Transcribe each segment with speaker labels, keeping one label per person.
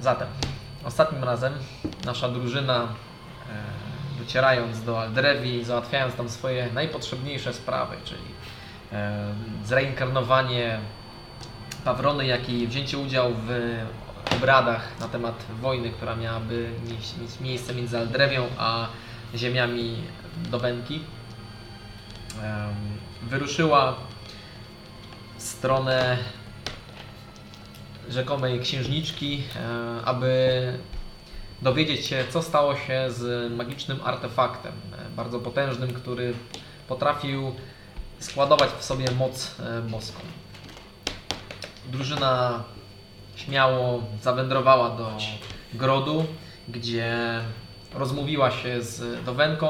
Speaker 1: Zatem, ostatnim razem nasza drużyna, e, docierając do Aldrewi, załatwiając tam swoje najpotrzebniejsze sprawy, czyli e, zreinkarnowanie Pawrony, jak i wzięcie udziału w obradach na temat wojny, która miałaby mieć, mieć miejsce między Aldrewią a ziemiami Dobenki, em, wyruszyła w stronę rzekomej księżniczki, e, aby dowiedzieć się, co stało się z magicznym artefaktem, e, bardzo potężnym, który potrafił składować w sobie moc e, boską. Drużyna śmiało zawędrowała do grodu, gdzie rozmówiła się z Dowenką,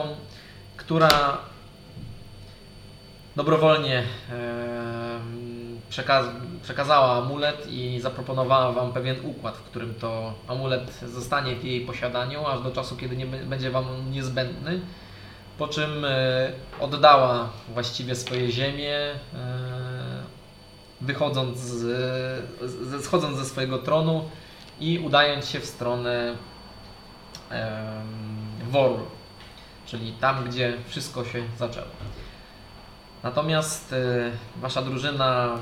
Speaker 1: która dobrowolnie em, przekaz przekazała amulet i zaproponowała Wam pewien układ, w którym to amulet zostanie w jej posiadaniu, aż do czasu, kiedy nie b- będzie Wam on niezbędny. Po czym e, oddała właściwie swoje ziemię, e, wychodząc z, z, schodząc ze swojego tronu i udając się w stronę em, Worul, czyli tam, gdzie wszystko się zaczęło. Natomiast y, wasza drużyna, mm,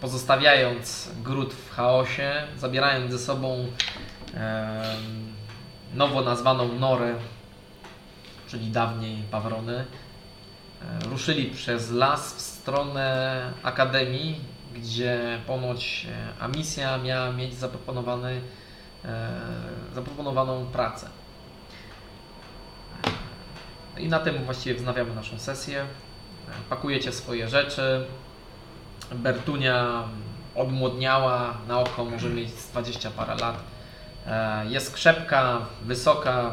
Speaker 1: pozostawiając gród w chaosie, zabierając ze sobą em, nowo nazwaną Norę, czyli dawniej Pawrony, e, ruszyli przez las w stronę Akademii, gdzie ponoć e, Amisja miała mieć zaproponowany, e, zaproponowaną pracę. E, I na tym właściwie wznawiamy naszą sesję. Pakujecie swoje rzeczy. Bertunia odmłodniała, na oko może mieć z 20 parę lat. E, Jest krzepka, wysoka,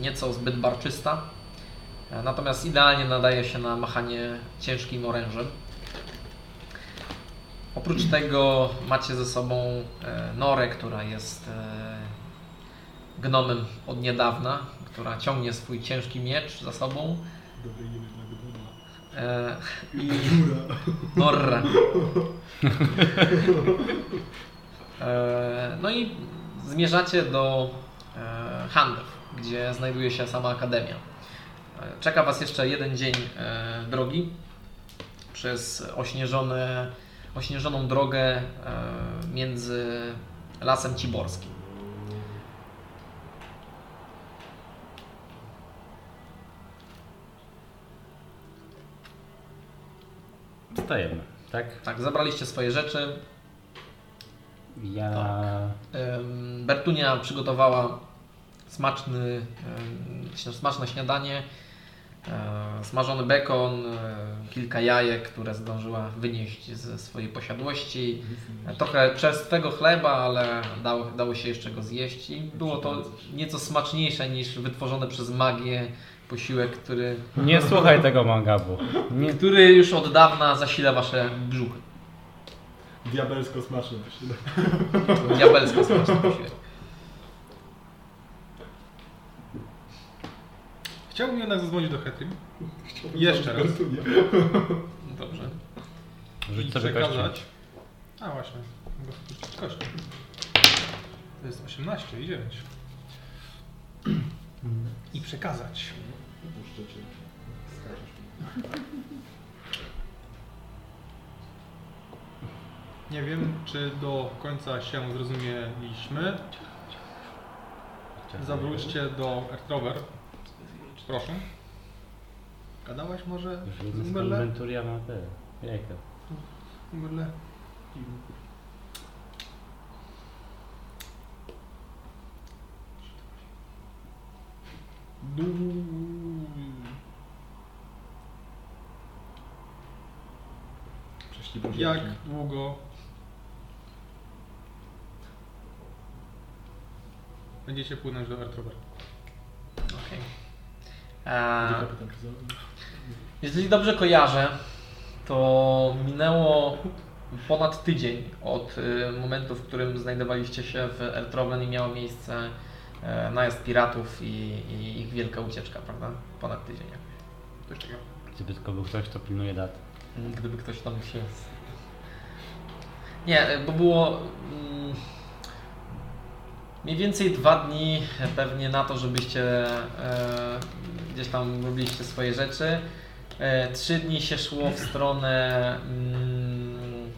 Speaker 1: nieco zbyt barczysta. E, Natomiast idealnie nadaje się na machanie ciężkim orężem. Oprócz tego macie ze sobą e, Norę, która jest e, gnomem od niedawna, która ciągnie swój ciężki miecz za sobą.
Speaker 2: Dobry imię na Gduna.
Speaker 1: E, I Norra. E, no i zmierzacie do e, Handów, gdzie znajduje się sama Akademia. E, czeka Was jeszcze jeden dzień e, drogi przez ośnieżone, ośnieżoną drogę e, między Lasem Ciborskim.
Speaker 3: Wstajemy, tak?
Speaker 1: Tak, zabraliście swoje rzeczy,
Speaker 3: Ja.
Speaker 1: Tak. Em, Bertunia przygotowała smaczny, em, ś- smaczne śniadanie, e, smażony bekon, e, kilka jajek, które zdążyła wynieść ze swojej posiadłości, e, trochę czerstwego chleba, ale dało, dało się jeszcze go zjeść i było to nieco smaczniejsze niż wytworzony przez magię posiłek, który,
Speaker 3: Nie słuchaj tego mangabu. Nie.
Speaker 1: który już od dawna zasila wasze brzuchy.
Speaker 2: Diabelsko smaczne to się da.
Speaker 1: Diabelsko smaczny posiłek.
Speaker 4: Chciałbym jednak zadzwonić do Hetrim. Jeszcze raz.
Speaker 2: Bertunia.
Speaker 1: Dobrze.
Speaker 3: Rzuć
Speaker 4: i
Speaker 3: sobie
Speaker 4: przekazać.
Speaker 3: kością.
Speaker 4: A właśnie. Mogę wpuścić kość. To jest 18 i 9. I przekazać.
Speaker 2: Puszczę cię. Skaczesz mi.
Speaker 4: Nie wiem, czy do końca się zrozumieliśmy. Zawróćcie do Ertrover. Proszę. Gadałaś może
Speaker 3: Już
Speaker 4: z
Speaker 3: jedno z
Speaker 4: Umberle?
Speaker 3: inwenturia ma te. Jajka.
Speaker 4: Umberle? Du...
Speaker 2: Prześli Boże.
Speaker 4: Jak długo będziecie płynąć do Ertrover?
Speaker 1: Okej. Okay.
Speaker 2: Gdzie kapitan Kryzolem?
Speaker 1: Jeżeli dobrze kojarzę, to minęło ponad tydzień od y, momentu, w którym znajdowaliście się w Eltrowen i miało miejsce e, najazd piratów i, i ich wielka ucieczka, prawda? Ponad tydzień. jakoś.
Speaker 4: Coś takiego.
Speaker 3: Gdyby tylko był ktoś, kto pilnuje dat.
Speaker 1: Gdyby ktoś tam się... e, Nie, bo było... mm, Mniej więcej dwa dni pewnie na to, żebyście e, gdzieś tam robiliście swoje rzeczy. E, trzy dni się szło w stronę mm,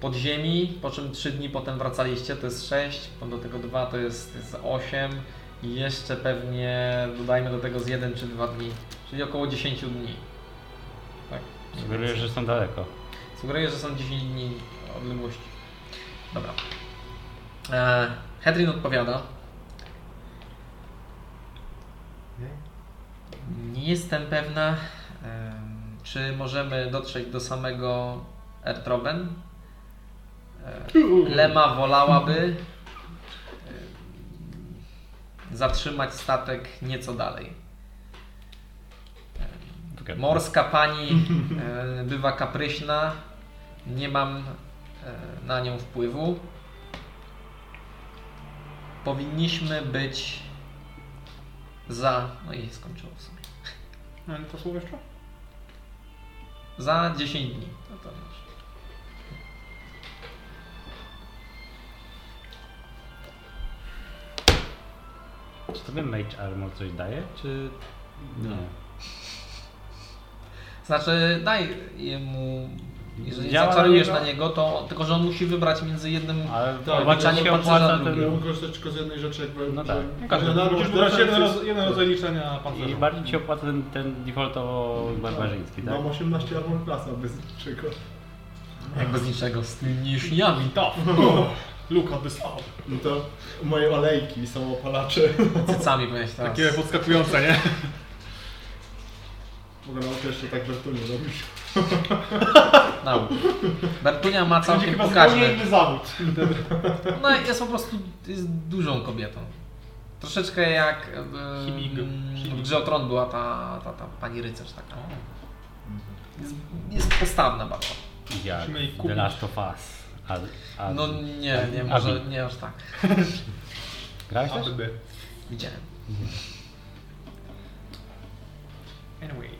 Speaker 1: podziemi, po czym trzy dni potem wracaliście, to jest sześć, bo do tego dwa to jest, jest osiem i jeszcze pewnie dodajmy do tego z jeden czy dwa dni, czyli około 10 dni. Tak.
Speaker 3: Sugeruję, że są daleko.
Speaker 1: Sugeruję, że są 10 dni odległości. Dobra. E, Hedrin odpowiada. Nie jestem pewna, em, czy możemy dotrzeć do samego Ertroben. E, Lema wolałaby e, zatrzymać statek nieco dalej.
Speaker 3: Tylko-
Speaker 1: Morska pani e, bywa kapryśna. Nie mam e, na nią wpływu. Powinniśmy być za. No i skończyło w sumie.
Speaker 5: No to słowo jeszcze?
Speaker 1: Za 10 dni. No to już.
Speaker 3: Czy to ten Mage Armor coś daje, czy...
Speaker 6: No.
Speaker 1: Znaczy, daj jemu. Jeżeli
Speaker 3: Działa na
Speaker 1: zaczarujesz
Speaker 3: niego?
Speaker 1: na niego, to. Tylko, że on musi wybrać między jednym.
Speaker 3: Ale
Speaker 6: Tak,
Speaker 3: zobaczenie
Speaker 1: się
Speaker 3: pancerza
Speaker 1: opłaca ten-
Speaker 6: Ja
Speaker 3: drugiego.
Speaker 6: mógł korzystać tylko z jednej rzeczy, jakby...
Speaker 3: No tak.
Speaker 5: Każdy. Tak.
Speaker 6: że na
Speaker 5: Musisz
Speaker 6: różne
Speaker 5: wybrać jeden,
Speaker 6: jest-
Speaker 5: roz, jeden rodzaj liczenia pancerza.
Speaker 3: I bardziej ci się opłaca ten, ten defaultowo barbarzyński, tak?
Speaker 6: Mam 18 armor klasa bez niczego.
Speaker 1: Jakby z niczego, z niszniami, to.
Speaker 5: Tak. Luka this up.
Speaker 6: No to moje olejki są opalacze.
Speaker 1: Cycami powinieneś teraz.
Speaker 5: Takie podskakujące, nie?
Speaker 6: Mogę nauczyć jeszcze tak Bertunie robić.
Speaker 1: Nauk. Bertunia ma
Speaker 5: Będzie
Speaker 1: całkiem
Speaker 5: chyba zupełnie
Speaker 1: pokaźny.
Speaker 5: inny zawód.
Speaker 1: Ona jest No, po prostu jest dużą kobietą. Troszeczkę jak em,
Speaker 5: Chimig.
Speaker 1: w
Speaker 5: Chimig.
Speaker 1: grze o Tron była ta, ta, ta pani rycerz taka. Jest, jest postawna bardzo.
Speaker 3: Jak
Speaker 5: Musimy jej
Speaker 3: The
Speaker 5: kupić.
Speaker 3: Last of Us. A, a,
Speaker 1: No nie, nie,
Speaker 3: Abi.
Speaker 1: może nie aż tak.
Speaker 3: Grałeś też?
Speaker 5: Aby.
Speaker 1: Widziałem.
Speaker 5: Anyway.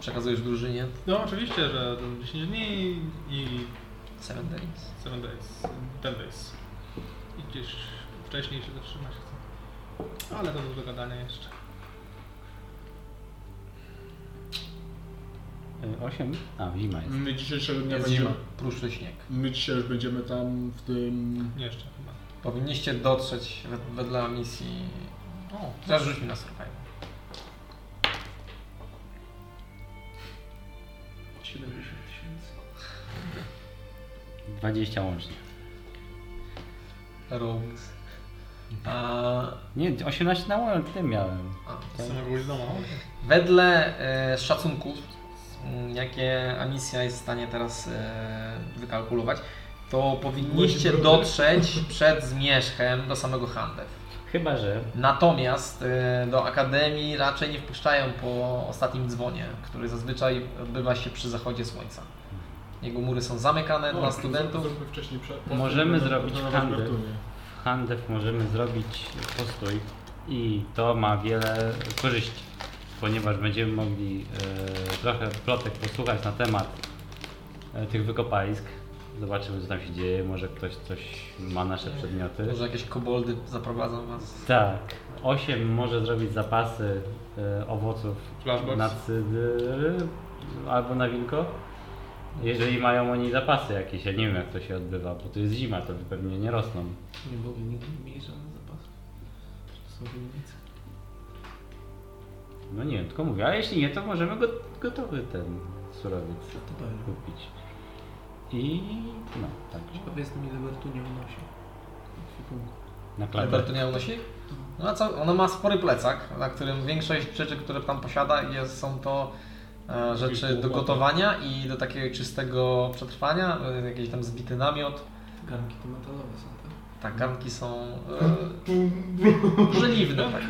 Speaker 1: Przekazujesz drużynie
Speaker 5: No oczywiście, że ten 10 dni i
Speaker 1: Seven Days.
Speaker 5: 7 days, 10 days. I gdzieś wcześniej się zatrzymać chcę. Ale to do gadania jeszcze.
Speaker 3: 8? E, A, zima jest.
Speaker 6: My dzisiejszego dnia
Speaker 1: Jest
Speaker 6: będziemy...
Speaker 1: zima, pruszczy śnieg.
Speaker 6: My dzisiaj już będziemy tam w tym...
Speaker 5: Nie jeszcze chyba.
Speaker 1: Powinniście dotrzeć wed- wedle misji.
Speaker 5: O,
Speaker 1: Zaraz rzuć mi na survival.
Speaker 6: 70 tysięcy.
Speaker 3: 20 łącznie.
Speaker 1: Rogues. A,
Speaker 3: Nie, 18 na łącznie tym miałem.
Speaker 1: a,
Speaker 5: z samego z domu.
Speaker 1: Wedle e, szacunków, m, jakie Amisja jest w stanie teraz e, wykalkulować, to powinniście
Speaker 6: Mój
Speaker 1: dotrzeć przed zmierzchem do samego Handew.
Speaker 3: Chyba, że...
Speaker 1: Natomiast e, do Akademii raczej nie wpuszczają po ostatnim dzwonie, który zazwyczaj odbywa się przy zachodzie słońca. Jego mury są zamykane
Speaker 6: No,
Speaker 1: dla studentów.
Speaker 6: Zróbmy wcześniej przed.
Speaker 3: Możemy zrobić
Speaker 6: na
Speaker 3: handel.
Speaker 6: Bertunie.
Speaker 3: Handel możemy zrobić postój i to ma wiele korzyści, ponieważ będziemy mogli e, trochę plotek posłuchać na temat e, tych wykopalisk. Zobaczymy, co tam się dzieje. Może ktoś coś ma nasze przedmioty.
Speaker 1: Może jakieś koboldy zaprowadzą was.
Speaker 3: Tak. 8 może zrobić zapasy e, owoców
Speaker 5: Flashbox.
Speaker 3: na cydry y, albo na wilko. Jeżeli mają oni zapasy jakieś, ja nie wiem jak to się odbywa, bo to jest zima, to pewnie nie rosną.
Speaker 6: Nie mogę nigdy nie mieć żadnych zapasów. To są winnice.
Speaker 3: No nie wiem, tylko mówię, a jeśli nie, to możemy go, gotowy ten surowiec
Speaker 6: To pewnie.
Speaker 3: kupić. I no, tak.
Speaker 6: Powiedz mi, ile Bertunie unosi.
Speaker 3: Na klatę.
Speaker 1: Albertunia unosi? No a co? Ona ma spory plecak, na którym większość rzeczy, które tam posiada, jest, są to e, rzeczy do gotowania i do takiego czystego przetrwania, e, jakiś tam zbity namiot.
Speaker 2: Garnki to metalowe są, tak?
Speaker 1: Tak, garnki są e, żeliwne. Tak.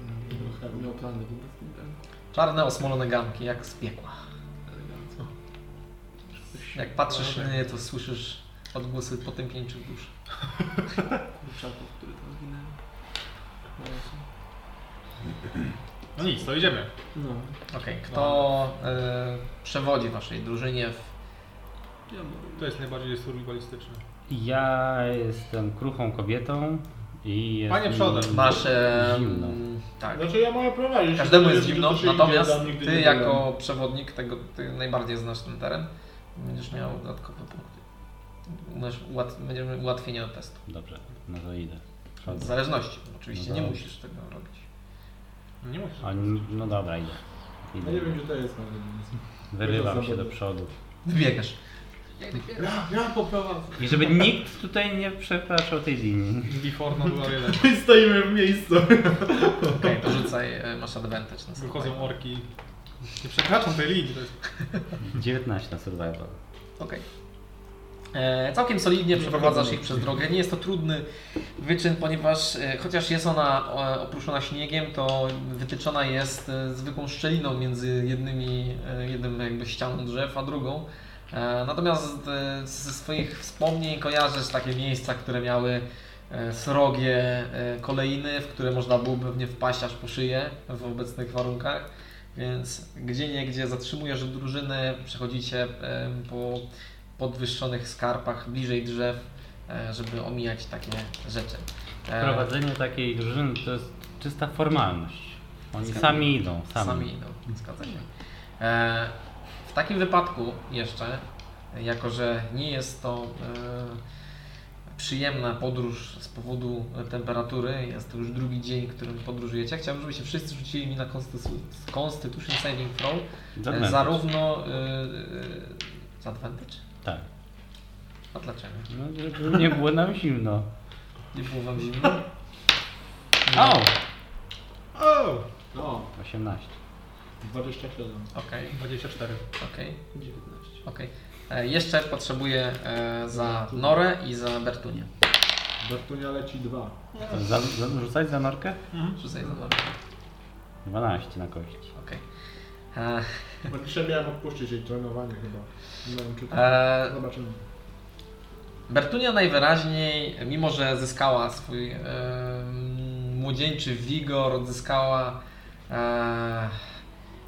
Speaker 2: Mm. Miał plany wobec tych garnków.
Speaker 1: Czarne, osmolone garnki, jak z piekła.
Speaker 2: Elegancko.
Speaker 1: Jak patrzysz na nie, to słyszysz odgłosy potępieńczych dusz.
Speaker 2: Kurczaków, które tam ginęły. No, są-
Speaker 5: No nic, to idziemy.
Speaker 2: No,
Speaker 1: Okej, kto e, przewodzi waszej drużynie w
Speaker 2: ja mogę.
Speaker 5: To jest najbardziej survivalistyczne.
Speaker 3: Ja jestem kruchą kobietą i jest
Speaker 4: Panie
Speaker 3: mi
Speaker 4: przodem.
Speaker 1: Masz. E,
Speaker 3: Zimno.
Speaker 6: No
Speaker 1: Tak.
Speaker 7: Znaczy ja mogę prowadzić.
Speaker 1: Każdemu
Speaker 7: jeśli
Speaker 1: jest
Speaker 7: to
Speaker 1: zimno,
Speaker 7: się idzie,
Speaker 1: natomiast
Speaker 7: tam nigdy
Speaker 1: ty
Speaker 7: nie byłem.
Speaker 1: jako przewodnik tego, ty najbardziej znasz ten teren, będziesz miał dodatkowe punkty. Masz ułat, będziesz miał ułatwienie od testu.
Speaker 3: Dobrze, no to idę.
Speaker 1: W
Speaker 3: Przodu.
Speaker 1: zależności. Oczywiście
Speaker 3: No
Speaker 1: nie
Speaker 3: dobrze.
Speaker 1: musisz tego robić.
Speaker 4: No nie musisz.
Speaker 3: A, no dobra, idę.
Speaker 8: Ja nie
Speaker 3: idę.
Speaker 8: wiem, gdzie to jest. no,
Speaker 3: Wyrywam
Speaker 8: to
Speaker 3: się do
Speaker 8: zawody.
Speaker 3: przodu.
Speaker 1: Wybiegasz.
Speaker 8: Ja, ja poprowadzę.
Speaker 3: I żeby nikt tutaj nie przekraczał tej linii.
Speaker 4: Before no była jeden.
Speaker 8: My stoimy w miejscu.
Speaker 1: Okej, to rzucaj, e, masz advantage na sobie.
Speaker 4: Wychodzą orki. Nie przekraczam tej linii. To jest...
Speaker 3: 19 na survival.
Speaker 1: Okej. E, Całkiem solidnie przeprowadzasz ich przez drogę. Nie jest to trudny wyczyn, ponieważ e, chociaż jest ona e, oprószona śniegiem, to wytyczona jest e, zwykłą szczeliną między jednymi, e, jednym jakby ścianą drzew, a drugą. E, Natomiast e, ze swoich wspomnień kojarzysz takie miejsca, które miały e, srogie e, kolejny, w które można było pewnie wpaść aż po szyję w obecnych warunkach. Więc gdzie niegdzie zatrzymujesz drużynę, przechodzicie e, po podwyższonych skarpach bliżej drzew, e, żeby omijać takie rzeczy. E,
Speaker 3: Prowadzenie takiej drużyny to jest czysta formalność. Oni
Speaker 1: Zgadzam.
Speaker 3: sami idą, sami.
Speaker 1: Sami idą, zgadza się. E, w takim wypadku jeszcze, jako że nie jest to e, przyjemna podróż z powodu temperatury, jest to już drugi dzień, w którym podróżujecie, chciałbym, żebyście wszyscy rzucili mi na Constitu- Constitution Saving Throw, e,
Speaker 3: Zadmęczyć.
Speaker 1: zarówno... E, e, z advantage?
Speaker 3: Tak.
Speaker 1: A dlaczego?
Speaker 3: No, żeby nie było nam zimno.
Speaker 1: Nie było wam zimno? No.
Speaker 3: O!
Speaker 4: O!
Speaker 8: No,
Speaker 3: 18.
Speaker 8: 27.
Speaker 1: Okej,
Speaker 4: 24.
Speaker 1: okej,
Speaker 8: 19.
Speaker 1: okej. E, Jeszcze potrzebuję e, za Norę i za Bertunię.
Speaker 8: Bartunia leci 2.
Speaker 3: Za, za, rzucać za norkę?
Speaker 5: Mhm.
Speaker 1: Rzucaj za Norę.
Speaker 3: 12 na kości.
Speaker 1: Okej. E,
Speaker 8: Bo dzisiaj miałem odpuścić jej trenowanie chyba. Nie wiem, czy to...
Speaker 1: e,
Speaker 8: Zobaczymy.
Speaker 1: Bertunia najwyraźniej, mimo że zyskała swój e, młodzieńczy wigor, odzyskała e,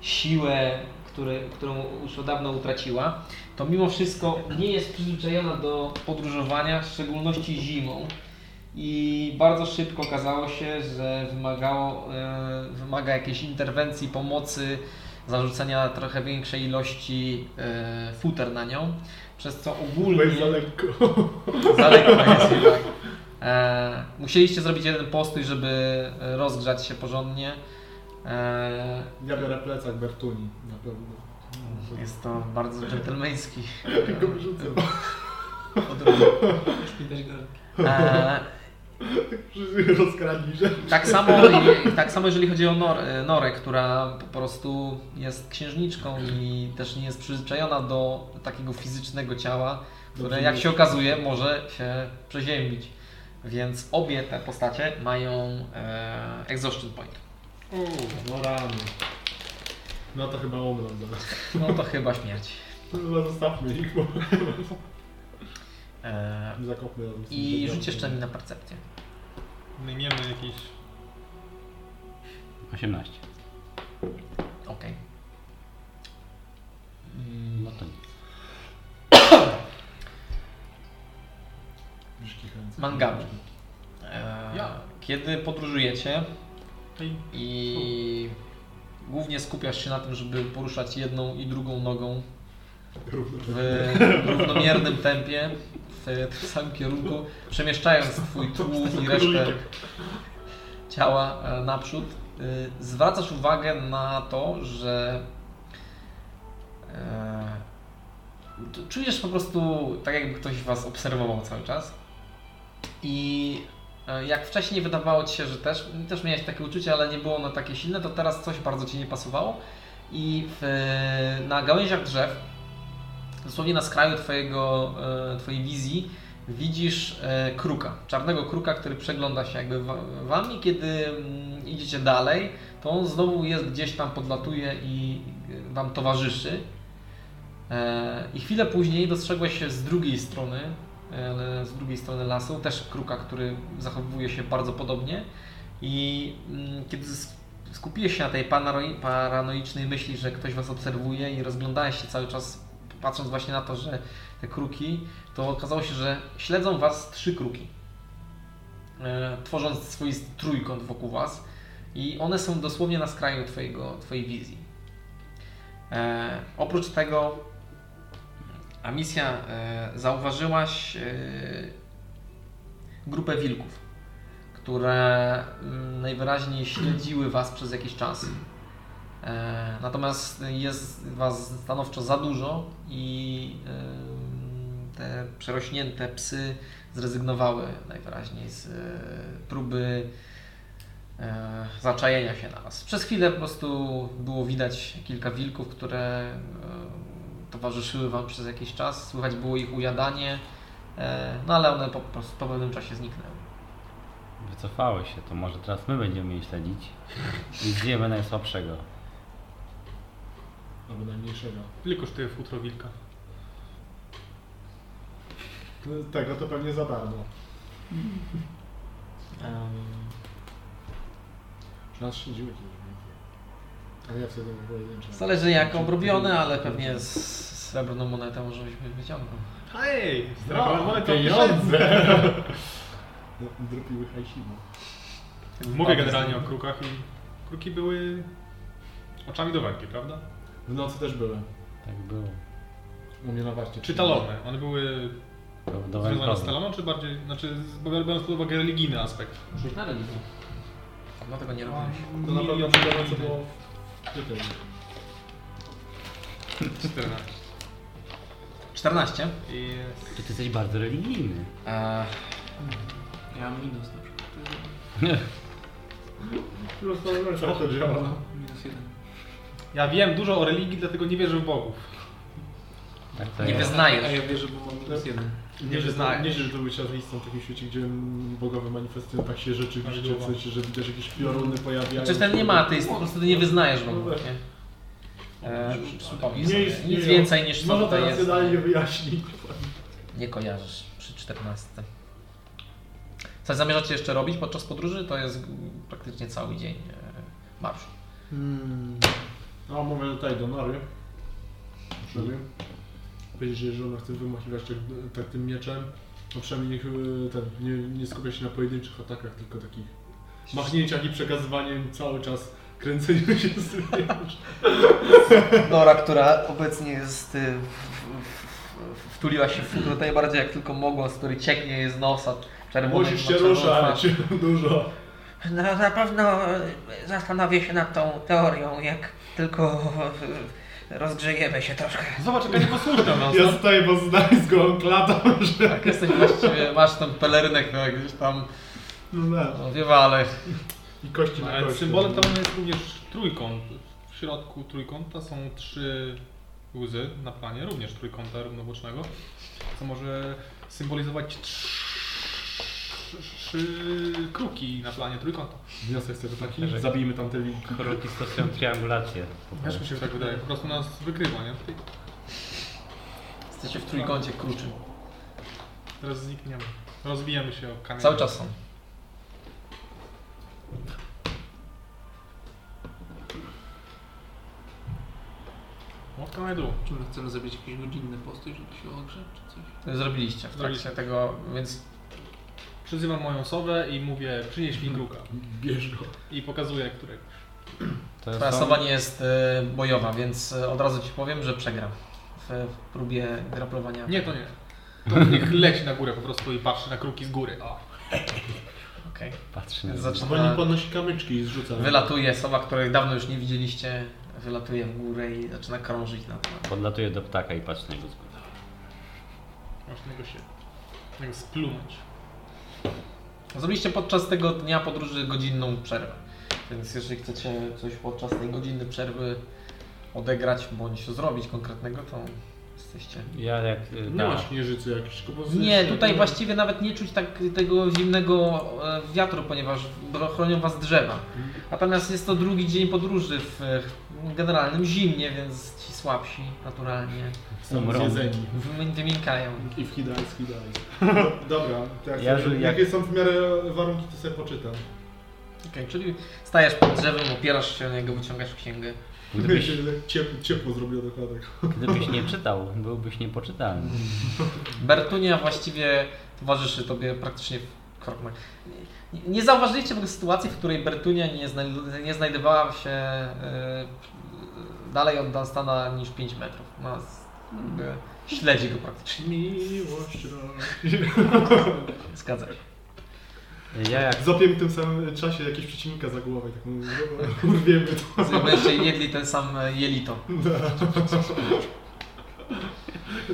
Speaker 1: siłę, który, którą już od dawna utraciła, to mimo wszystko nie jest przyzwyczajona do podróżowania, w szczególności zimą. I bardzo szybko okazało się, że wymagało, e, wymaga jakiejś interwencji, pomocy, zarzucenia trochę większej ilości e, futer na nią, przez co
Speaker 6: No
Speaker 1: ogólnie...
Speaker 8: Byłeś za lekko.
Speaker 1: Za lekko jest jednak. E, musieliście zrobić jeden postój, żeby e, rozgrzać się porządnie. E,
Speaker 8: Ja biorę plecak Bertuni, na pewno.
Speaker 1: jest to bardzo dżentelmeński.
Speaker 8: Tylko wyrzucę.
Speaker 2: Szpitać garnki.
Speaker 1: E,
Speaker 8: Wszyscy Rozkradli się.
Speaker 1: tak, samo, i- tak samo jeżeli chodzi o Nor, e, Norę, która po prostu jest księżniczką i też nie jest przyzwyczajona do takiego fizycznego ciała, które jak się okazuje może się przeziębić. Więc obie te postacie mają e, exhaustion point.
Speaker 8: No rany. No to chyba umrą zaraz.
Speaker 1: No to chyba śmierć.
Speaker 8: Chyba zostawmy ich, bo
Speaker 1: E,
Speaker 8: zakopmy razem z tym
Speaker 1: I
Speaker 8: żebrem.
Speaker 1: rzuć jeszcze mi na percepcję.
Speaker 4: Najmiemy jakiś...
Speaker 3: 18.
Speaker 1: Okej.
Speaker 3: No to nic.
Speaker 8: Brzydkie chęce.
Speaker 1: Mangami. Eee,
Speaker 4: Ja.
Speaker 1: Kiedy podróżujecie
Speaker 4: Ej,
Speaker 1: i głównie skupiasz się na tym, żeby poruszać jedną i drugą nogą w równomiernym tempie, w tym samym kierunku, przemieszczając twój tłum i resztę ciała e, naprzód, y, zwracasz uwagę na to, że e, t- czujesz po prostu tak, jakby ktoś was obserwował cały czas. I e, jak wcześniej wydawało ci się, że też, też miałeś takie uczucie, ale nie było ono takie silne, to teraz coś bardzo ci nie pasowało. I w, e, na gałęziach drzew, dosłownie na skraju twojego, e, twojej wizji, widzisz e, kruka, czarnego kruka, który przegląda się jakby wa- wam i kiedy mm, idziecie dalej, to on znowu jest gdzieś tam, podlatuje i e, wam towarzyszy. E, I chwilę później dostrzegłeś się z drugiej strony, e, z drugiej strony lasu, też kruka, który zachowuje się bardzo podobnie i mm, kiedy s- skupiłeś się na tej paranoi- paranoicznej myśli, że ktoś was obserwuje i rozglądałeś się cały czas patrząc właśnie na to, że te kruki, to okazało się, że śledzą Was trzy kruki, e, tworząc swój trójkąt wokół Was i one są dosłownie na skraju twojego, Twojej wizji. E, oprócz tego Amicia, e, zauważyłaś e, grupę wilków, które mm, najwyraźniej śledziły Was przez jakiś czas. E, Natomiast jest Was stanowczo za dużo i em, te przerośnięte psy zrezygnowały najwyraźniej z e, próby e, zaczajenia się na Was. Przez chwilę po prostu było widać kilka wilków, które e, towarzyszyły Wam przez jakiś czas. Słychać było ich ujadanie, e, no ale one po prostu po pewnym czasie zniknęły.
Speaker 3: Wycofały się, to może teraz my będziemy je śledzić i zjemy najsłabszego.
Speaker 6: Albo najmniejszego.
Speaker 5: Ile kosztuje futro wilka?
Speaker 6: No, Tego to pewnie za darmo. Czy nas śledziły kiedyś wilki? Ale ja wtedy nie pojedynczym.
Speaker 1: Zależy jak obrobione, ale pewnie z z srebrną monetą może byś wyciągnął.
Speaker 5: Hej!
Speaker 6: No,
Speaker 5: Zdrabowałem
Speaker 6: pieniądze! No, Dropiły hajsimu.
Speaker 5: Mówię generalnie o krukach i kruki były oczami do walki, prawda?
Speaker 6: W nocy też były.
Speaker 3: Tak było.
Speaker 6: U mnie na warcie.
Speaker 5: Czy talony? One były
Speaker 3: To do
Speaker 5: związane z
Speaker 3: rękowy.
Speaker 5: taloną, czy bardziej, znaczy z- biorąc pod uwagę religijny aspekt?
Speaker 2: Rzuć na religię.
Speaker 1: No tego nie robiłeś.
Speaker 6: To na pewno
Speaker 5: Milion
Speaker 6: przy talonie to
Speaker 5: religijny.
Speaker 6: było... Gdzie to jest?
Speaker 5: 14.
Speaker 1: 14.
Speaker 5: I
Speaker 3: Ty jesteś bardzo religijny.
Speaker 1: E,
Speaker 2: Ja mam minus na przykład.
Speaker 6: Plus to wręcz to działa.
Speaker 2: No, Minus jeden.
Speaker 5: ja wiem dużo o religii, dlatego nie wierzę w bogów.
Speaker 3: Tak to
Speaker 1: Nie
Speaker 3: jest.
Speaker 1: wyzna- Znajesz.
Speaker 2: A ja wierzę, bo mam
Speaker 6: No.
Speaker 2: minus jeden.
Speaker 6: Nie
Speaker 1: że
Speaker 6: że
Speaker 1: znajesz.
Speaker 6: Nie że to był czas istą w takim świecie, gdzie bogowie manifestują tak się rzeczywiście, w sensie, że widzisz jakieś pioruny pojawiają
Speaker 1: Przecież Znaczy, ten
Speaker 6: się.
Speaker 1: nie ma ateisty, po prostu ty nie wyznajesz go. Nie? E, przypomnij sobie. Nic więcej niż co
Speaker 6: Może
Speaker 1: tutaj
Speaker 6: teraz
Speaker 1: jest.
Speaker 6: idealnie wyjaśnić.
Speaker 1: Nie kojarzysz przy 14. Coś zamierzacie jeszcze robić podczas podróży? To jest mm, praktycznie cały dzień e, marszu.
Speaker 6: Hmm. No, mówię tutaj do Nory. Przynajmniej. Powiedzieć, jej, że ona chce wymachiwać tak, tak tym mieczem. No przynajmniej niech y, ten, nie, nie skupia się na pojedynczych atakach, tylko takich machnięciach i przekazywaniem cały czas kręceniu się z tym.
Speaker 1: Nora, która obecnie jest. y, w- w- w- Wtuliła się w futro najbardziej jak tylko mogła, z której cieknie jej z nosa. czerwony-
Speaker 6: Musisz się
Speaker 1: czerwona
Speaker 6: ruszać dużo.
Speaker 7: No, na pewno zastanowię się nad tą teorią, jak tylko e, rozgrzejemy się troszkę.
Speaker 5: Zobacz, jaka nieposłuszna nas. no.
Speaker 6: Ja staję, bo znaj z gołą klatą, że...
Speaker 1: Tak, jesteś właściwie, masz ten pelerynek no, gdzieś tam,
Speaker 6: No, no.
Speaker 1: no wiewa, ale
Speaker 6: I kości na
Speaker 5: Ale
Speaker 6: kości.
Speaker 5: symbolem tam jest również trójkąt. W środku trójkąta są trzy łzy na planie, również trójkąta równobocznego, co może symbolizować trz- trzy kruki na planie trójkąta.
Speaker 6: Wniosek z tego taki,
Speaker 3: Że-
Speaker 6: zabijmy tam te linki.
Speaker 3: Kroki stosują triangulację.
Speaker 5: Też mi się tak wydaje, po prostu nas wygrywa, nie?
Speaker 1: jesteście w trójkącie kruczym.
Speaker 5: Teraz znikniemy. Rozbijamy się o kamień.
Speaker 1: Cały czas są.
Speaker 5: Łapka na dół.
Speaker 2: Czy my chcemy zrobić jakiś godzinny postój, żeby się ogrzać, czy coś?
Speaker 1: Zrobiliście w trakcie
Speaker 5: Zrobiliście.
Speaker 1: tego, więc
Speaker 5: Przyzywam moją osobę i mówię, przynieś mi kruka.
Speaker 6: Bierz go.
Speaker 5: I pokazuję, którego.
Speaker 3: To
Speaker 1: twoja
Speaker 3: są-
Speaker 1: osoba nie jest e, bojowa, więc e, od razu ci powiem, że przegram w, w próbie graplowania.
Speaker 5: Nie, to nie. To niech leci na górę po prostu i patrzy na kruki z góry. O.
Speaker 1: Okej.
Speaker 3: Patrzy na
Speaker 6: Bo nie
Speaker 1: Zaczyna,
Speaker 6: podnosi kamyczki i zrzuca.
Speaker 1: wylatuje osoba, której dawno już nie widzieliście, wylatuje w górę i zaczyna krążyć na temat.
Speaker 3: Podlatuje do ptaka i patrzy na jego zgubę.
Speaker 5: Można go się tego splunąć.
Speaker 1: Zrobiliście podczas tego dnia podróży godzinną przerwę. Więc jeżeli chcecie coś podczas tej godziny przerwy odegrać bądź zrobić konkretnego, to jesteście.
Speaker 3: Ja jak... y,
Speaker 6: Nie
Speaker 3: ta-
Speaker 6: masz nieżycy jakichś tylko
Speaker 1: Nie, tutaj właściwie nawet nie czuć tak tego zimnego e, wiatru, ponieważ chronią was drzewa. Natomiast jest to drugi dzień podróży w e, generalnym zimnie, więc ci słabsi naturalnie
Speaker 6: Są
Speaker 3: Umrą.
Speaker 6: zjedzeni.
Speaker 1: wymi- wymikają.
Speaker 6: I w Hidais, Hidais. Dobra, to jak
Speaker 3: Ja,
Speaker 6: sobie-
Speaker 3: że jak-
Speaker 6: jakie są w miarę warunki, to sobie poczytam.
Speaker 1: Okej, czyli stajesz pod drzewem, opierasz się o niego, wyciągasz księgę.
Speaker 3: Gdybyś,
Speaker 6: Ciepło, ciepło zrobiło dokładnie.
Speaker 3: gdybyś nie czytał, byłbyś niepoczytalny.
Speaker 1: Bertunia właściwie towarzyszy tobie praktycznie w kroku. Nie, nie zauważyliście w ogóle sytuacji, w której Bertunia nie, zna, nie znajdowała się y, dalej od Dunstana niż 5 metrów. No, z- jakby śledzi go praktycznie.
Speaker 6: Miłość
Speaker 1: Zgadza się.
Speaker 3: Ja jak
Speaker 6: Zapiemy w tym samym czasie jakiegoś przeciwnika za głowę i tak mu urwiemy to.
Speaker 1: Jakby jeszcze jedli ten sam e, jelito.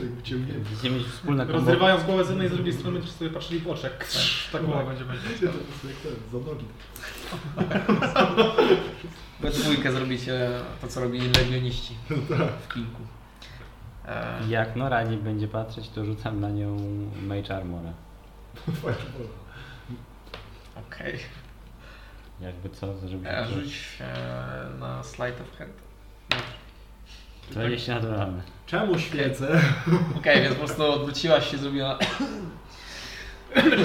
Speaker 6: Jakby cię mnie-
Speaker 3: będziemy mieć wspólne kombo,
Speaker 5: Tak, Rozrywając głowę z jednej i z drugiej strony, czy sobie patrzyli w oczy, jak tak ta głowa będzie będzie.
Speaker 6: Ja to po prostu jak ten, za nogi.
Speaker 1: We dwójkę zrobicie to, co robili legioniści w kilku. E,
Speaker 3: jak Nora nie będzie patrzeć, to rzucam na nią Mage Armora.
Speaker 6: Fireball.
Speaker 1: Okej.
Speaker 3: Jakby co, żeby
Speaker 1: E,
Speaker 3: się
Speaker 1: Rzuć e, na slide of hand.
Speaker 3: 20 naturalne.
Speaker 6: Czemu świecę?
Speaker 1: Okej, więc po prostu odwróciłaś się, zrobiła... Mm,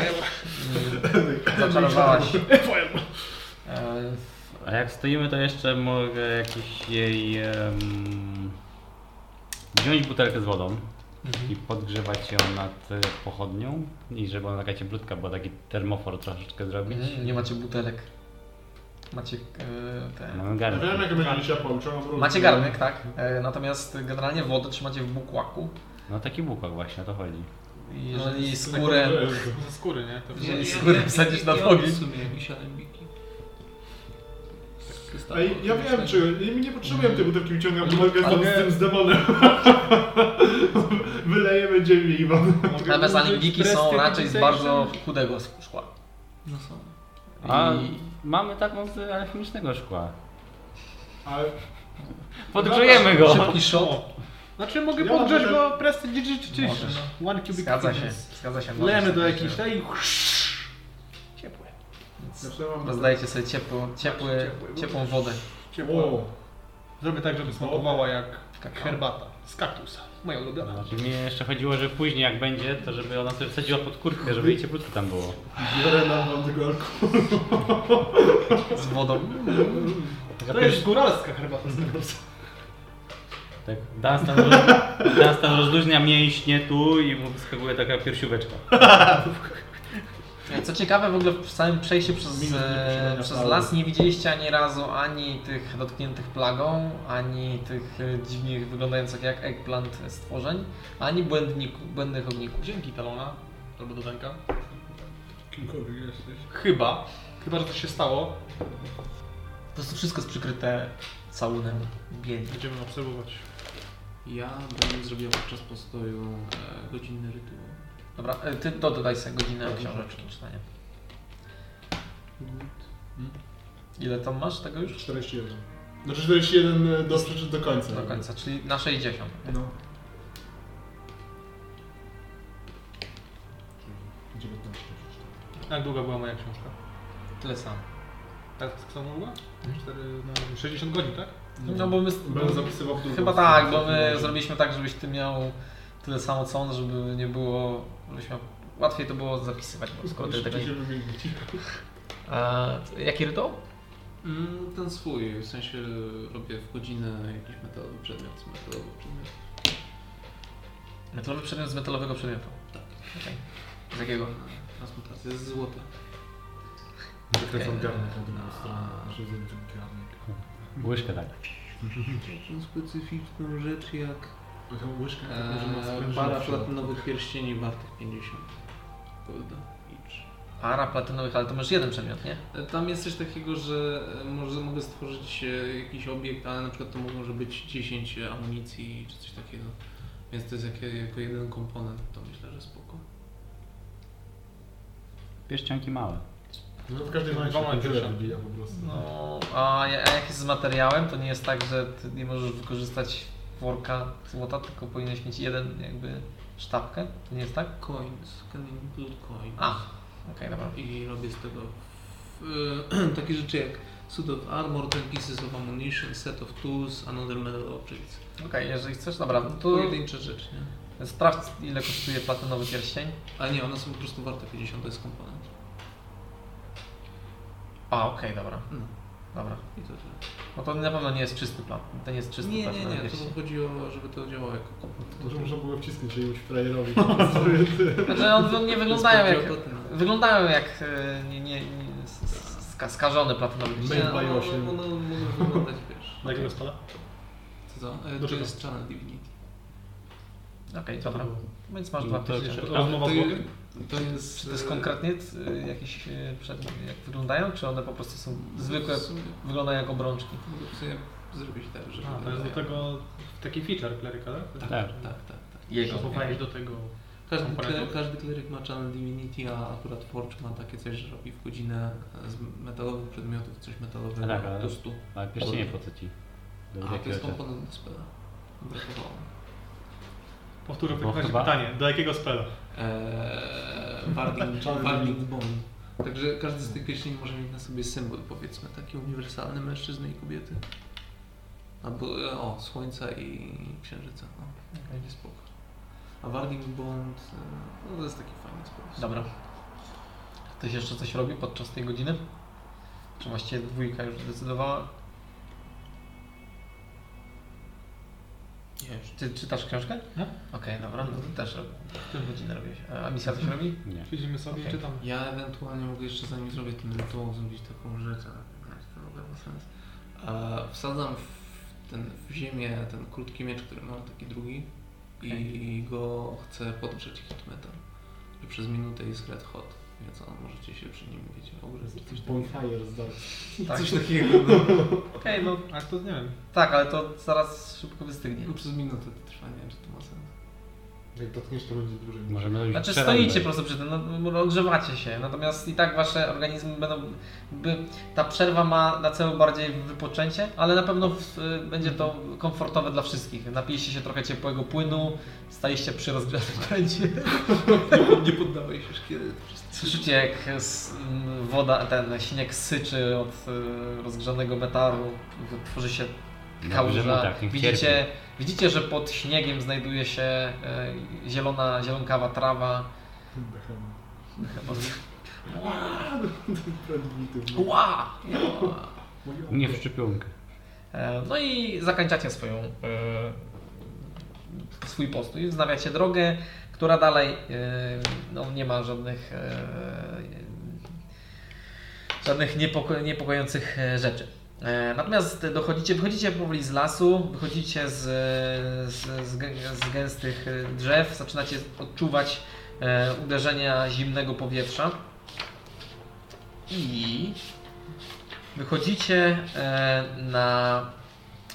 Speaker 1: Zaczarowałaś. E,
Speaker 3: A jak stoimy, to jeszcze mogę jakiś jej em, wziąć butelkę z wodą
Speaker 1: Mhm.
Speaker 3: i podgrzewać ją nad y, pochodnią i żeby ona taka cieplutka była, taki termofor troszeczkę zrobić.
Speaker 1: Mm, Nie macie butelek. Macie e, te...
Speaker 3: Mamy
Speaker 6: Ja wiem
Speaker 3: garnek.
Speaker 6: jak będzie ciepło, trzeba wrócić.
Speaker 1: Macie garnek, tak? E, natomiast generalnie wodę trzymacie w bukłaku.
Speaker 3: No taki bukłak właśnie, o to chodzi.
Speaker 1: I Jeżeli skórę...
Speaker 5: Ze skóry, nie? To
Speaker 1: Jeżeli skórę wsadzisz na
Speaker 2: Ja
Speaker 1: ogień.
Speaker 2: w sumie jakieś alembiki.
Speaker 6: A i- ja wiem czy, ja mi nie potrzebuję tej butelki, wyciągam
Speaker 1: Ale-
Speaker 6: butelkę tam z tym z demonem. Wylejemy ziemię i mam.
Speaker 5: Mogę
Speaker 1: Natomiast
Speaker 5: użyć
Speaker 1: anibiki są
Speaker 5: prestidigitation?
Speaker 1: raczej z bardzo chudego szkła.
Speaker 2: No są.
Speaker 3: A
Speaker 1: I-
Speaker 3: mamy taką z alchemicznego szkła.
Speaker 6: Ale
Speaker 1: No
Speaker 3: Podgrzejemy go!
Speaker 1: Szybki shot.
Speaker 5: Znaczy mogę
Speaker 6: Ja
Speaker 5: podgrzeć
Speaker 6: mogę-
Speaker 5: go prestidigitation.
Speaker 1: Możesz.
Speaker 5: no. One cubic
Speaker 1: Zgadza się,
Speaker 5: cubits.
Speaker 1: zgadza się.
Speaker 5: Lejemy
Speaker 1: możesz
Speaker 5: do
Speaker 1: sobie
Speaker 5: jakiejś tak?
Speaker 1: się-
Speaker 5: tej.
Speaker 1: Ciepłe.
Speaker 6: ja sobie mam.
Speaker 1: Rozdajecie sobie ciepłą, ciepły, ciepłą wodę.
Speaker 6: O,
Speaker 5: Zrobię tak, żeby smakowała jak herbata z kaktusa. Moja ulubiona.
Speaker 3: Znaczy, mnie jeszcze chodziło, że później jak będzie, to żeby ona sobie wsadziła pod kurtkę, żeby jej cieplutko tam było.
Speaker 6: biorę nam wam tego alkoholu.
Speaker 1: Z wodą.
Speaker 3: Taka
Speaker 5: To jest góralska herbata z kaktusa.
Speaker 3: Tak, Dunstan, roz... Dunstan rozluźnia mięśnie tu i mu wyskakuje taka piersióweczka.
Speaker 1: Co ciekawe, w ogóle w samym przejściu przez,
Speaker 6: Minus
Speaker 1: e,
Speaker 6: nieposiadania
Speaker 1: przez
Speaker 6: falu.
Speaker 1: las nie widzieliście ani razu ani tych dotkniętych plagą, ani tych e, dziwnych wyglądających jak eggplant stworzeń, ani błędniku, błędnych ogników.
Speaker 5: Dzięki Talona. Albo dodenka.
Speaker 6: Kimkolwiek jesteś.
Speaker 5: Chyba. Chyba, że coś się stało.
Speaker 1: Po prostu wszystko jest przykryte całunem bieli.
Speaker 5: Będziemy obserwować.
Speaker 2: Ja będę zrobił podczas postoju e, godzinny rytuał.
Speaker 1: Dobra, e, ty to dodaj sobie godzinę książeczki czytania. Ile tam masz tego już?
Speaker 6: 41. Znaczy 41 do, przeczy- do końca.
Speaker 1: Do końca, czyli na 60.
Speaker 6: No. 19.
Speaker 5: Jak długa była moja książka?
Speaker 1: Tyle samo.
Speaker 5: Tak samo długa?
Speaker 1: Mhm.
Speaker 5: 4 na 60 godzin, tak?
Speaker 1: No bo my,
Speaker 6: Będę zapisywał w drugą
Speaker 1: Chyba tak, bo
Speaker 6: stronę.
Speaker 1: my zrobiliśmy tak, żebyś ty miał tyle samo co on, żeby nie było, żebyś miał, łatwiej to było zapisywać, bo skoro ty
Speaker 6: Jeszcze
Speaker 1: taki...
Speaker 6: będziemy mieli-
Speaker 1: A, jaki rytuał?
Speaker 2: Mm, ten swój, w sensie e, robię w godzinę jakiś metalowy przedmiot, metalowy przedmiot.
Speaker 1: Metalowy przedmiot z metalowego przedmiotu.
Speaker 2: Tak.
Speaker 1: Okej. Z jakiego?
Speaker 2: Transmutacja jest złota.
Speaker 6: Zakręcam garnek na drugą stronę. Przez jeden ten garnek.
Speaker 3: Łyżkę tak.
Speaker 2: Taką specyficzną rzecz jak
Speaker 6: Taką łyżkę, tak może na
Speaker 2: e,
Speaker 6: sprężynę
Speaker 2: para
Speaker 6: przyda.
Speaker 2: platynowych pierścieni wartych 50 golda each.
Speaker 1: Para platynowych, ale to masz jeden przedmiot, nie?
Speaker 2: E, Tam jest coś takiego, że e, może mogę stworzyć e, jakiś obiekt, ale na przykład to może być 10 amunicji czy coś takiego. Więc to jest jak, jako jeden komponent, to myślę, że spoko.
Speaker 3: Pierścionki małe.
Speaker 6: No w każdym razie
Speaker 5: Dwoma
Speaker 6: się tyle
Speaker 5: piersiami.
Speaker 6: wybija po prostu.
Speaker 1: No, a ja- a jak jest z materiałem, to nie jest tak, że ty nie możesz wykorzystać worka złota, tylko powinieneś mieć jeden jakby sztabkę, to nie jest tak?
Speaker 2: Coins, can include coins.
Speaker 1: A, okej, dobra.
Speaker 2: I robię z tego e, takie rzeczy jak suit of armor, 10 pieces of ammunition, set of tools, another metal objects.
Speaker 1: Okej, jeżeli chcesz, dobra, no to
Speaker 2: Pojedyncze rzeczy, nie?
Speaker 1: sprawdź ile kosztuje platynowy pierścień.
Speaker 2: A nie, one są po prostu warte 50, to jest komponent.
Speaker 1: A, okej, dobra.
Speaker 2: No.
Speaker 1: Dobra.
Speaker 2: I to tyle.
Speaker 1: No to na pewno nie jest czysty plan. To nie jest czysty
Speaker 2: nie,
Speaker 1: plan.
Speaker 2: nie,
Speaker 1: tak na
Speaker 2: nie,
Speaker 1: pierścień.
Speaker 2: to chodzi o, żeby to działało jako komponent.
Speaker 8: Może można było wcisnąć jakiemuś frajerowi.
Speaker 6: No,
Speaker 8: po prostu.
Speaker 1: Znaczy on, on nie wyglądają jak.
Speaker 2: Chodzi o platinum.
Speaker 1: Wyglądają jak e, nie, nie, nie, s- s- ska, skażony platynowy
Speaker 8: Będzie
Speaker 1: pierścień.
Speaker 2: Nie,
Speaker 8: by
Speaker 2: ono,
Speaker 8: osiem.
Speaker 2: ono, ono może wyglądać, wiesz.
Speaker 5: No
Speaker 8: Na jakiego spala?
Speaker 2: Co to? E,
Speaker 8: Do
Speaker 2: to
Speaker 8: czego?
Speaker 2: jest Channel Divinity.
Speaker 1: Okej, dobra. Więc masz
Speaker 3: I
Speaker 1: dwa
Speaker 3: to
Speaker 1: pierścienie.
Speaker 3: też-
Speaker 8: Rozmowa z
Speaker 2: to,
Speaker 8: Bogiem?
Speaker 2: to jest...
Speaker 1: Czy to jest
Speaker 2: e,
Speaker 1: konkretnie e, jakieś e, przed, jak wyglądają, czy one po prostu są zwykłe,
Speaker 2: e, W sumie,
Speaker 1: wyglądają jak obrączki?
Speaker 2: w sumie zrobić tak, żeby...
Speaker 4: A, to jest do tego taki feature kleryka, tak?
Speaker 3: Tak.
Speaker 2: Tak, tak, tak.
Speaker 1: Jego.
Speaker 4: Przesłuchałeś do tego.
Speaker 2: Każdy,
Speaker 4: Komponentów?
Speaker 2: kle, każdy kleryk ma Channel Divinity, a akurat Forge ma takie coś, że robi w godzinę e, z metalowych przedmiotów coś metalowego
Speaker 3: Tak, ale-
Speaker 2: do 100.
Speaker 3: Ale pierścienie po co ci? Do
Speaker 2: A, to
Speaker 3: jakiego
Speaker 2: jest
Speaker 3: czasu?
Speaker 2: komponent do spela. Brakowało.
Speaker 4: Powtórzę w
Speaker 3: No,
Speaker 4: takim razie
Speaker 3: chyba.
Speaker 4: pytanie. Do jakiego spela?
Speaker 2: Eee, Warding,
Speaker 8: Czarny
Speaker 2: Warding Bond. Także każdy z tych pieśni może mieć na sobie symbol, powiedzmy, taki uniwersalny mężczyzny i kobiety. Albo, e, o, słońca i księżyca. O, będzie spoko. A Warding Bond, e, no to jest taki fajny sposób.
Speaker 1: Dobra. Ktoś jeszcze coś robi podczas tej godziny? Czy właściwie dwójka już zdecydowała?
Speaker 2: Nie, już.
Speaker 1: Ty czytasz książkę?
Speaker 4: No.
Speaker 1: Okej, dobra, no to też robię. W tym godzinę robiłeś. A a misja coś robi?
Speaker 3: Nie.
Speaker 4: Siedzimy sobie
Speaker 1: Okej.
Speaker 4: i czytamy.
Speaker 2: Ja ewentualnie mogę jeszcze zanim zrobię ten rytuał zrobić taką rzecz, ale nie, to w ogóle ma sens. E, wsadzam w, ten, w ziemię ten krótki miecz, który mam, taki drugi i go chcę podgrzeć hit metal. Że przez minutę jest red hot, więc on możecie się przy nim, wiecie, ogrzeć. czy Coś takiego.
Speaker 8: Bonfire z Dark.
Speaker 1: Tak.
Speaker 2: Coś takiego, no.
Speaker 1: Okej, no
Speaker 4: A to nie wiem.
Speaker 1: tak, ale to zaraz szybko wystygnie.
Speaker 2: Tylko przez minutę to trwa, nie wiem, czy to ma sens.
Speaker 8: Jak dotkniesz, to będzie dłużej.
Speaker 3: Możemy robić
Speaker 1: Znaczy
Speaker 3: trzy
Speaker 1: stoicie
Speaker 3: rundy.
Speaker 1: po prostu przy tym, no, ogrzewacie się, natomiast i tak wasze organizmy będą, by, ta przerwa ma na celu bardziej wypoczęcie, ale na pewno w, y, będzie to komfortowe dla wszystkich. Napiliście się trochę ciepłego płynu, staliście przy rozgrzanym prędzie.
Speaker 2: Nie poddawaj się szkielet.
Speaker 1: Słyszycie jak s- m, woda, ten śnieg syczy od y, rozgrzanego metalu, tworzy się
Speaker 3: Dobrze,
Speaker 1: kałuża.
Speaker 3: no tak, niech
Speaker 1: widzicie, widzicie, że pod śniegiem znajduje się e, zielona, zielonkawa trawa. Ła!
Speaker 3: Nie w szczepionkę.
Speaker 1: E, No i zakończacie swoją, e, swój postój, wznawiacie drogę, która dalej e, no, nie ma żadnych e, żadnych niepoko niepokojących e, rzeczy. E, Natomiast dochodzicie, wychodzicie powoli z lasu, wychodzicie z, z, z, gę- z gęstych e, drzew, zaczynacie odczuwać e, uderzenia zimnego powietrza i Wychodzicie e, na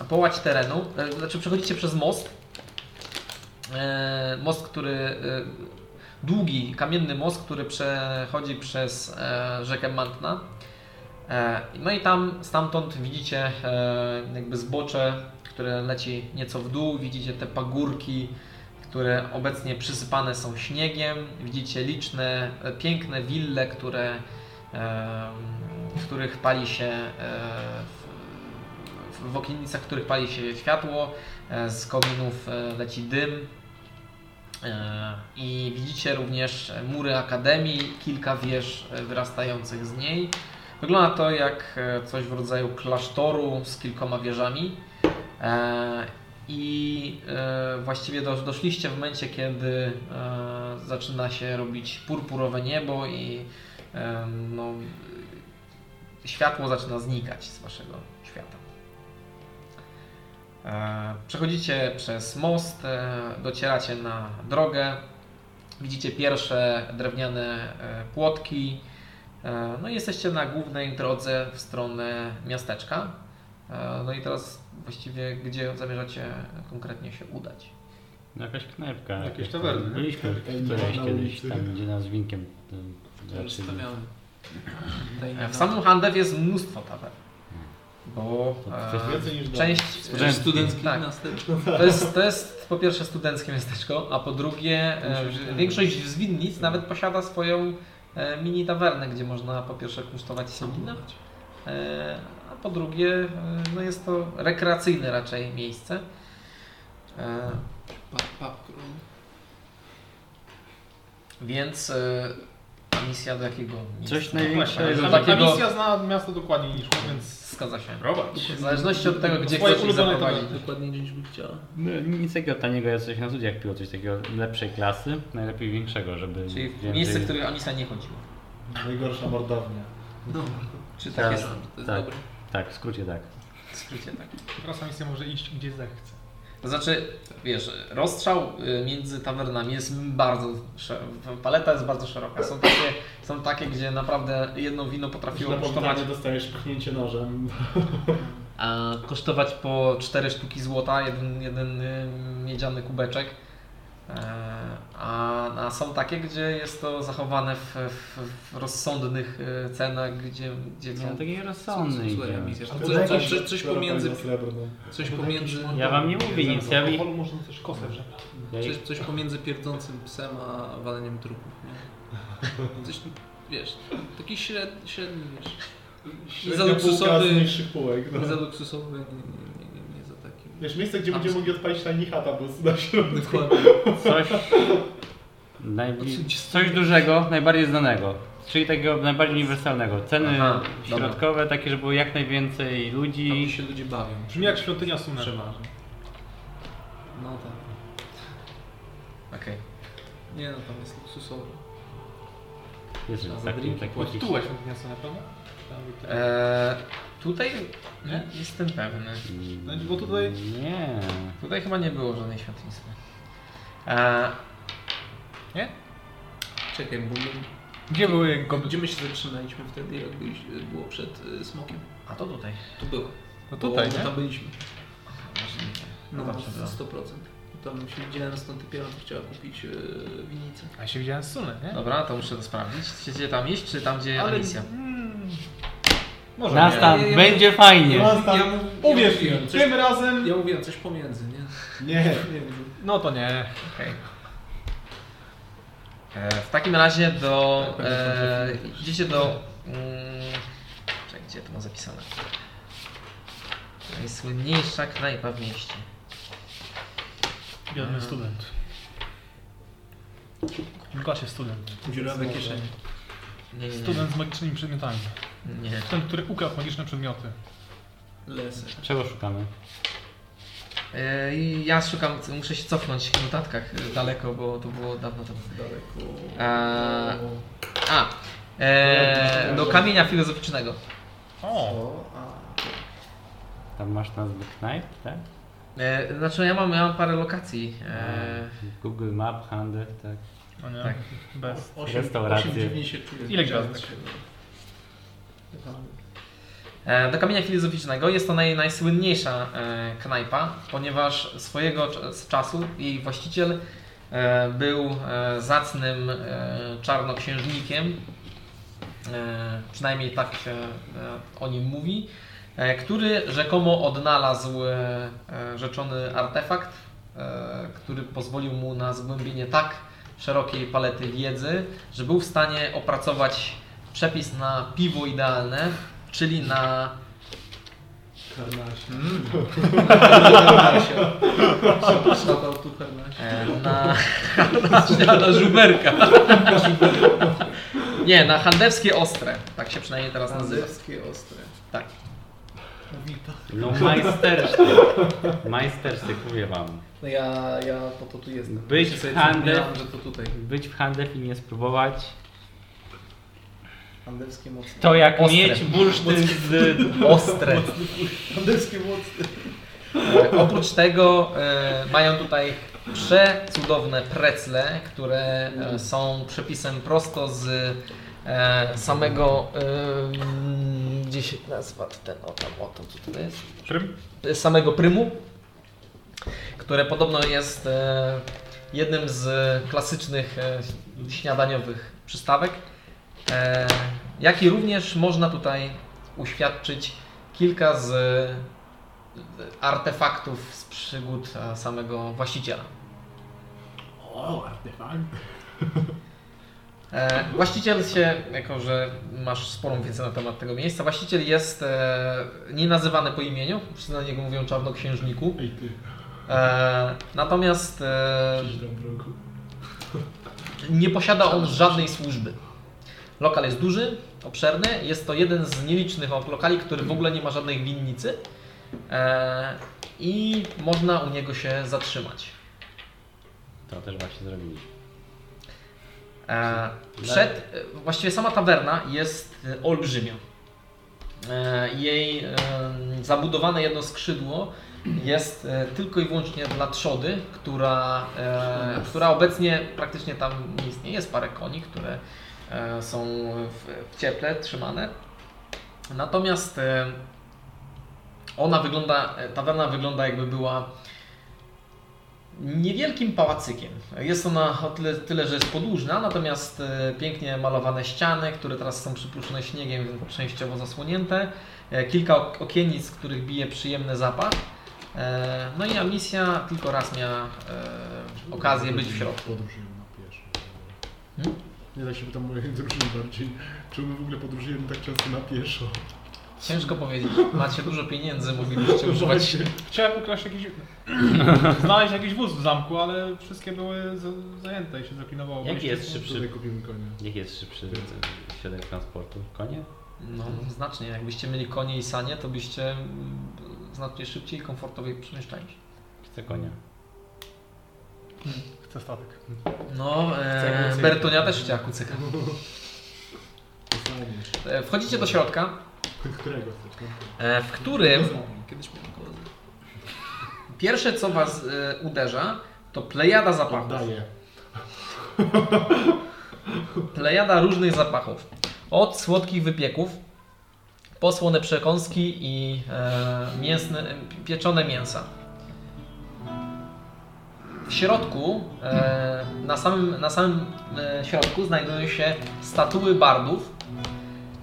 Speaker 1: połać terenu, e, znaczy przechodzicie przez most. E, most, który. E, długi, kamienny most, który przechodzi przez e, rzekę Mantna. E, no i tam stamtąd widzicie e, jakby zbocze, które leci nieco w dół, widzicie te pagórki. Które obecnie przysypane są śniegiem. Widzicie liczne, e, piękne wille, które em, w których pali się e, w, w okiennicach, w których pali się światło, e, z kominów e, leci dym. E, I widzicie również mury akademii, kilka wież e, wyrastających z niej. Wygląda to jak e, coś w rodzaju klasztoru z kilkoma wieżami. E, I e, właściwie dosz- doszliście w momencie, kiedy e, zaczyna się robić purpurowe niebo i em, no, y, światło zaczyna znikać z waszego świata. E, Przechodzicie przez most, e, docieracie na drogę, widzicie pierwsze drewniane e, płotki, e, no i jesteście na głównej drodze w stronę miasteczka. E, No i teraz właściwie gdzie zamierzacie konkretnie się udać?
Speaker 3: No Jakaś knajpka.
Speaker 4: Jakieś
Speaker 3: jakaś-
Speaker 4: tawerny.
Speaker 3: Byliśmy w
Speaker 8: Tawerny
Speaker 3: którejś
Speaker 8: na
Speaker 3: kiedyś
Speaker 8: ulicy.
Speaker 3: tam, gdzie nas winkiem y, raczyli.
Speaker 2: Zostawiamy.
Speaker 1: E, W samym Handew jest mnóstwo tawern, bo
Speaker 3: To jest
Speaker 6: tak.
Speaker 1: e,
Speaker 8: Hmm. Więcej niż dawno.
Speaker 1: część...
Speaker 3: Studencki.
Speaker 2: Studencki
Speaker 1: Tak.
Speaker 2: następny.
Speaker 1: To jest, to jest po pierwsze studenckie miasteczko, a po drugie e, że większość z winnic nawet posiada swoją e, mini tawernę, gdzie można po pierwsze kunsztować się wina, e, a po drugie e, no jest to rekreacyjne raczej miejsce. E,
Speaker 2: Pap, pap, król.
Speaker 1: Więc e, A misja do jakiego? miejsca?
Speaker 3: Coś
Speaker 1: Tego
Speaker 4: Ta,
Speaker 3: największego.
Speaker 4: ta
Speaker 1: takiego-
Speaker 4: misja zna miasto dokładniej niż my, więc
Speaker 1: Zgadza się.
Speaker 4: prowadź.
Speaker 1: W zależności od tego, gdzie
Speaker 4: Twoje
Speaker 1: chcesz ich
Speaker 4: ulubione
Speaker 1: zaprowadzić.
Speaker 2: Dokładnie gdzieś by chciała.
Speaker 3: No, nic takiego taniego, ja coś na studiach piło, coś takiego lepszej klasy, najlepiej większego, żeby...
Speaker 1: Czyli w
Speaker 3: więcej-
Speaker 1: miejsce, w które Anisa nie chodziła.
Speaker 8: Najgorsza mordownia.
Speaker 2: No,
Speaker 1: Czy tak
Speaker 3: Tak.
Speaker 1: jest?
Speaker 2: to jest
Speaker 3: Tak.
Speaker 2: dobre.
Speaker 3: Tak, w skrócie tak.
Speaker 1: W skrócie tak.
Speaker 4: Teraz ta misja może iść gdzie zechce.
Speaker 1: To znaczy, wiesz, rozstrzał y, między tawernami jest bardzo. sze- Paleta jest bardzo szeroka. Są takie, są takie gdzie naprawdę jedno wino potrafiło
Speaker 8: Na
Speaker 1: kosztować.
Speaker 8: pokonanie dostajesz pchnięcie nożem.
Speaker 1: A kosztować po 4 sztuki złota, jeden, jeden y, miedziany kubeczek. E, A, a są takie, gdzie jest to zachowane w, w, w rozsądnych y, cenach, gdzie, gdzie
Speaker 3: No
Speaker 1: są
Speaker 3: taki rozsądny
Speaker 2: Słuchaj,
Speaker 3: idziemy.
Speaker 2: misja. Coś- coś- znaczy, Coś coś pomiędzy...
Speaker 8: Srebrną.
Speaker 2: Coś pomiędzy...
Speaker 3: Ja wam nie mówię nic, ja, mi-
Speaker 4: Polu można też kosę wrzeć.
Speaker 3: ja
Speaker 2: Coś, coś pomiędzy pierdzącym psem a waleniem trupów, nie? Coś, wiesz, taki średni, średni wiesz. Nie za
Speaker 8: Średnia półka z
Speaker 2: luksusowy,
Speaker 8: niższych półek. No.
Speaker 2: nie za luksusowy, nie, nie, nie, nie, nie za takim.
Speaker 8: Wiesz, miejsce, gdzie będziemy mogli odpalić tani chata, bo jest na środku.
Speaker 2: Dokładnie.
Speaker 3: coś, najbli- coś dużego, najbardziej znanego. Czyli takiego najbardziej uniwersalnego. Ceny
Speaker 1: Aha,
Speaker 3: środkowe, takie, żeby było jak najwięcej
Speaker 2: I
Speaker 3: ludzi.
Speaker 2: się ludzie bawią.
Speaker 4: Brzmi jak świątynia Sumeru.
Speaker 2: Przeważnie. No tak.
Speaker 1: Okej.
Speaker 2: Nie no, tam jest luksusowy.
Speaker 3: Jezu,
Speaker 2: Trzeba za
Speaker 3: taki,
Speaker 2: drinki
Speaker 3: taki,
Speaker 2: płacić.
Speaker 4: Tu właśnie świątynia Sumeru, prawda? Tam-
Speaker 1: Eee, Tutaj
Speaker 4: Nie?
Speaker 1: jestem pewny.
Speaker 3: Mm,
Speaker 4: Bo tutaj-
Speaker 3: Nie.
Speaker 1: Tutaj chyba nie było żadnej świątyni. Eee,
Speaker 2: Czekaj, bo my,
Speaker 4: Gdzie były gobliny?
Speaker 2: gdzie my się zatrzymaliśmy wtedy, jak byliś, było przed y, smokiem?
Speaker 1: A to tutaj.
Speaker 2: Tu było.
Speaker 4: No tutaj,
Speaker 2: bo
Speaker 4: nie?
Speaker 2: Tam byliśmy.
Speaker 1: Możliwe.
Speaker 2: No,
Speaker 1: No dobrze,
Speaker 2: 100%. Tam się widziałem z tą typiarą, co chciała kupić yy, winnicę.
Speaker 4: A ja się widziałem z Sunę, nie?
Speaker 1: Dobra, to muszę to sprawdzić. Chcecie tam iść, czy tam gdzie Alicja?
Speaker 4: Mm, może
Speaker 3: Na
Speaker 4: nie.
Speaker 3: stan,
Speaker 2: nie, nie.
Speaker 3: będzie fajnie.
Speaker 8: No, tam-
Speaker 2: mów-
Speaker 8: Uwierz
Speaker 2: ja
Speaker 8: mi,
Speaker 2: mówiłem, coś,
Speaker 8: tym razem...
Speaker 2: ja mówiłem coś pomiędzy, nie?
Speaker 8: Nie.
Speaker 2: Pomiędzy.
Speaker 4: No to nie.
Speaker 1: Okej. E, W takim razie do. E, idziecie do. Mm, czekaj, gdzie to ma zapisane? Najsłynniejsza knajpa w mieście.
Speaker 4: Biedny student. Gasie student.
Speaker 2: Dziurawe kieszenie.
Speaker 1: Nie, nie, nie.
Speaker 4: Student z magicznymi przedmiotami.
Speaker 1: nie.
Speaker 4: Ten, który ukradł magiczne przedmioty.
Speaker 2: Lesek.
Speaker 3: Czego szukamy?
Speaker 1: E, i ja szukam, muszę się cofnąć w notatkach e, daleko, bo to było dawno temu.
Speaker 2: Daleko.
Speaker 1: Eee, A, e, do kamienia filozoficznego.
Speaker 4: O!
Speaker 8: O, a...
Speaker 3: Tam masz nazwę knajp, tak?
Speaker 1: E, znaczy ja mam, ja mam parę lokacji. E,
Speaker 3: Google Map, handel, tak.
Speaker 4: No nie.
Speaker 1: Tak.
Speaker 4: Bez.
Speaker 2: Osiem-
Speaker 3: Restauracje.
Speaker 2: osiem dziwnie się czuję.
Speaker 4: Ile gwiazd?
Speaker 1: E, Do kamienia filozoficznego jest to naj, najsłynniejsza e, knajpa, ponieważ swojego cz- z czasu jej właściciel e, był e, zacnym e, czarnoksiężnikiem, e, przynajmniej tak się e, o nim mówi, e, który rzekomo odnalazł e, e, rzeczony artefakt, e, który pozwolił mu na zgłębienie tak szerokiej palety wiedzy, że był w stanie opracować przepis na piwo idealne, czyli na
Speaker 8: Karnasie.
Speaker 2: Hmm. Szatał tu Hermesie.
Speaker 1: E, Na, na, na żuberka. Nie, na handewskie ostre. Tak się przynajmniej teraz nazywa.
Speaker 2: Nazywskie ostre.
Speaker 1: Tak.
Speaker 2: Wita.
Speaker 3: No majstersztyk. majstersztyk, mówię wam.
Speaker 2: No ja, ja po to tu jestem.
Speaker 3: Być
Speaker 2: Ja się sobie
Speaker 3: handel.
Speaker 2: przypomniałem, że to tutaj.
Speaker 3: Być w handel i nie spróbować.
Speaker 2: Handelskie mocne.
Speaker 3: To jak
Speaker 1: Ostre.
Speaker 3: mieć bursztyn z...
Speaker 1: Ostre.
Speaker 2: Handelskie mocne.
Speaker 1: E, Oprócz tego e, mają tutaj przecudowne precle, które e, są przepisem prosto z e, samego. E, gdzie się nazywa ten? O tam, o to, co to jest?
Speaker 4: Prym?
Speaker 1: z samego Prymu, które podobno jest e, jednym z klasycznych e, śniadaniowych przystawek, e, jak i również można tutaj uświadczyć kilka z e, artefaktów z przygód e, samego właściciela.
Speaker 8: O, artefakt.
Speaker 1: E, Właściciel się, jako że masz sporą wiedzę na temat tego miejsca, właściciel jest e, nie nazywany po imieniu, wszyscy na niego mówią czarnoksiężniku.
Speaker 8: Ej ty,
Speaker 1: E, natomiast e,
Speaker 8: przyjdź do bruku.
Speaker 1: nie posiada on żadnej służby. Lokal jest duży, obszerny. Jest to jeden z nielicznych lokali, który w ogóle nie ma żadnej winnicy. E, I można u niego się zatrzymać.
Speaker 3: To też właśnie zrobiliśmy.
Speaker 1: E, Przed, e, właściwie sama tawerna jest e, olbrzymia. E, Jej e, zabudowane jedno skrzydło jest e, tylko i wyłącznie dla trzody, która, e, która obecnie praktycznie tam nie istnieje. Jest parę koni, które e, są w, w cieple trzymane. Natomiast e, ona wygląda, e, tawerna wygląda jakby była niewielkim pałacykiem. Jest ona o tyle, tyle że jest podłużna, natomiast e, pięknie malowane ściany, które teraz są przyprószone śniegiem, więc częściowo zasłonięte. E, Kilka ok- okienic, z których bije przyjemny zapach. E, No i misja tylko raz miała e, okazję być w środku.
Speaker 8: Podróżujemy na pieszo.
Speaker 1: Hmm?
Speaker 8: Nie tak się pytam mojej drużyny bardziej, czy my w ogóle podróżujemy tak często na pieszo.
Speaker 1: Ciężko powiedzieć. Macie dużo pieniędzy, moglibyście używać
Speaker 8: Właśnie.
Speaker 4: Chciałem ukraść jakiś... znaleźć jakiś wóz w zamku, ale wszystkie były za- zajęte i się zaklinowało.
Speaker 3: Jaki
Speaker 4: Byliście-
Speaker 3: jest
Speaker 8: Tutaj
Speaker 3: szybszy,
Speaker 8: kupimy konia.
Speaker 3: jaki jest szybszy środek transportu? Konie?
Speaker 1: No, znacznie. Jakbyście mieli konie i sanie, to byście mm, znacznie szybciej i komfortowiej przemieszczali się.
Speaker 3: Chcę konia.
Speaker 8: Chcę statek.
Speaker 1: No, e,
Speaker 8: kucyka.
Speaker 1: Bertonia też chciała kucyka.
Speaker 8: Fajnie.
Speaker 1: E, Wchodzicie do środka,
Speaker 8: Którego chcesz? No?
Speaker 1: e, w którym
Speaker 2: No, Kiedyś miałem kozę.
Speaker 1: pierwsze co was e, uderza, to plejada zapachów.
Speaker 8: Oddaję.
Speaker 1: Plejada różnych zapachów. Od słodkich wypieków, po słone przekąski i e, mięsne, pieczone mięsa. W środku, e, na samym, na samym e, środku znajdują się statuły bardów,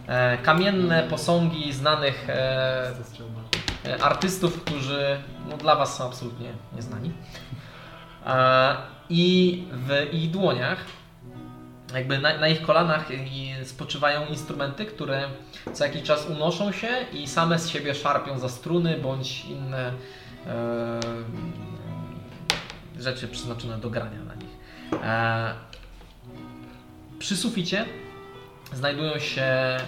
Speaker 1: e, kamienne posągi znanych e,
Speaker 8: Chcę strzelba.
Speaker 1: e, artystów, którzy no, dla Was są absolutnie nieznani. E, I w ich dłoniach, jakby na, na ich kolanach i spoczywają instrumenty, które co jakiś czas unoszą się i same z siebie szarpią za struny bądź inne e, rzeczy przeznaczone do grania na nich. E, przy suficie znajdują się em,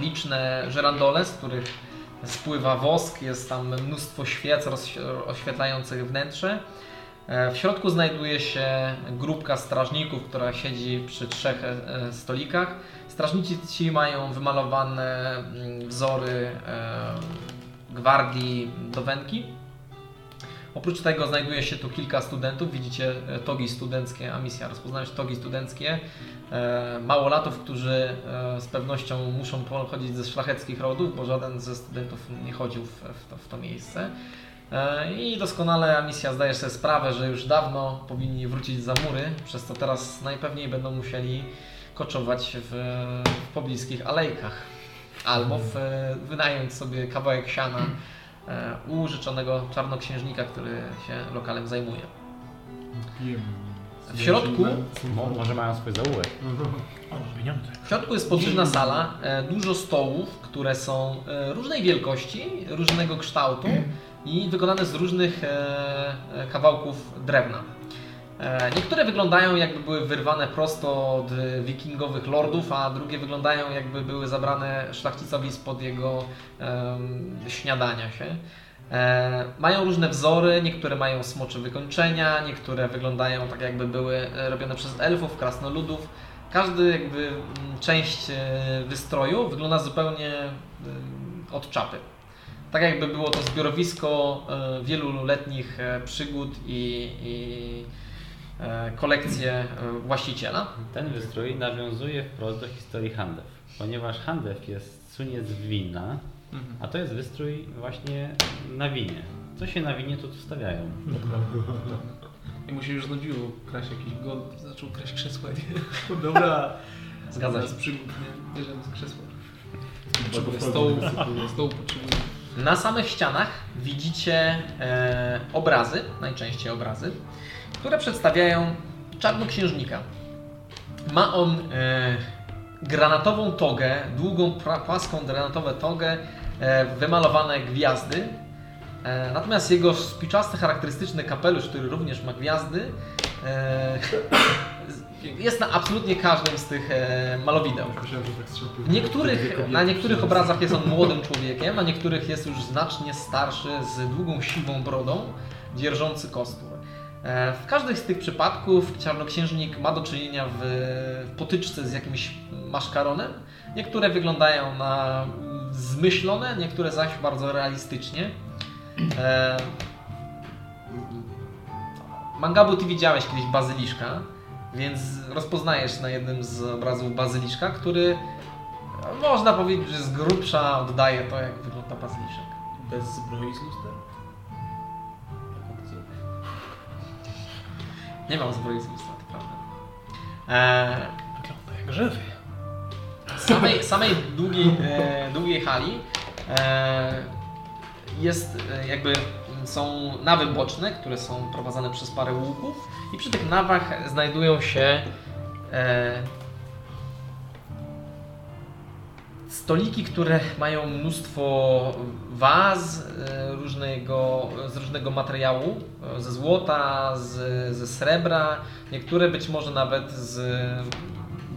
Speaker 1: liczne żerandole, z których spływa wosk, jest tam mnóstwo świec rozś- oświetlających wnętrze. E, W środku znajduje się grupka strażników, która siedzi przy trzech e, e, stolikach. Strażnicy ci mają wymalowane mm, wzory e, gwardii dowenki. Oprócz tego znajduje się tu kilka studentów. Widzicie e, togi studenckie, a misja rozpoznajesz togi studenckie. E, małolatów, którzy e, z pewnością muszą pochodzić ze szlacheckich rodów, bo żaden ze studentów nie chodził w, w, to, w to miejsce. E, I doskonale misja zdaje sobie sprawę, że już dawno powinni wrócić za mury, przez to teraz najpewniej będą musieli koczować w, w pobliskich alejkach albo w, wynająć sobie kawałek siana e, u życzonego czarnoksiężnika, który się lokalem zajmuje.
Speaker 8: Pijemy.
Speaker 1: W środku- No,
Speaker 3: Mo, może mają swój zaułek.
Speaker 1: W środku jest podłużna sala, e, dużo stołów, które są e, różnej wielkości, różnego kształtu i wykonane z różnych e, e, kawałków drewna. E, Niektóre wyglądają jakby były wyrwane prosto od e, wikingowych lordów, a drugie wyglądają jakby były zabrane szlachcicowi spod jego em, śniadania się. E, Mają różne wzory, niektóre mają smocze wykończenia, niektóre wyglądają tak jakby były e, robione przez elfów, krasnoludów. Każdy jakby mm, część e, wystroju wygląda zupełnie mm, od czapy. Tak jakby było to zbiorowisko e, wielu letnich e, przygód i, i e, kolekcje e, właściciela.
Speaker 3: Ten wystrój nawiązuje wprost do historii Handew, ponieważ Handew jest suniec wina,
Speaker 2: Mhm.
Speaker 3: a to jest wystrój właśnie na winie. Co się na winie tu wstawiają?
Speaker 2: I mu się już znudziło kraść jakiś gold, zaczął kraść krzesła. Nie? Dobra.
Speaker 1: Zgadza się.
Speaker 2: Zamiast przygód, nie? Bierzemy z krzesła.
Speaker 8: Potrzebuję
Speaker 2: Stołu, stołu potrzebuję.
Speaker 1: Na samych ścianach widzicie e, obrazy, najczęściej obrazy, które przedstawiają czarnoksiężnika. Ma on e, granatową togę, długą, pra, płaską granatową togę, e, wymalowane gwiazdy. E, natomiast jego spiczasty, charakterystyczny kapelusz, który również ma gwiazdy, e, z- Jest na absolutnie każdym z tych e, malowideł.
Speaker 8: Myślałem, że tak strzał
Speaker 1: W Niektórych, na niektórych obrazach jest on młodym człowiekiem, a niektórych jest już znacznie starszy, z długą siwą brodą, dzierżący kostur. E, W każdych z tych przypadków czarnoksiężnik ma do czynienia w w potyczce z jakimś maszkaronem. Niektóre wyglądają na mm, zmyślone, niektóre zaś bardzo realistycznie. E, Mangabu, ty widziałeś kiedyś bazyliszka, więc rozpoznajesz na jednym z obrazów bazyliszka, który można powiedzieć, że z grubsza oddaje to, jak wygląda bazyliszek.
Speaker 2: Bez zbroi z lustra? Tak,
Speaker 1: Nie mam zbroi z lustra, to prawda. Eee,
Speaker 4: Jak żywy.
Speaker 1: w samej, samej długiej, e, długiej hali e, jest e, jakby m, są nawy boczne, które są prowadzone przez parę łuków i przy tych nawach znajdują się e, stoliki, które mają mnóstwo waz e, różnego, z różnego materiału, e, ze złota, z, ze srebra, niektóre być może nawet z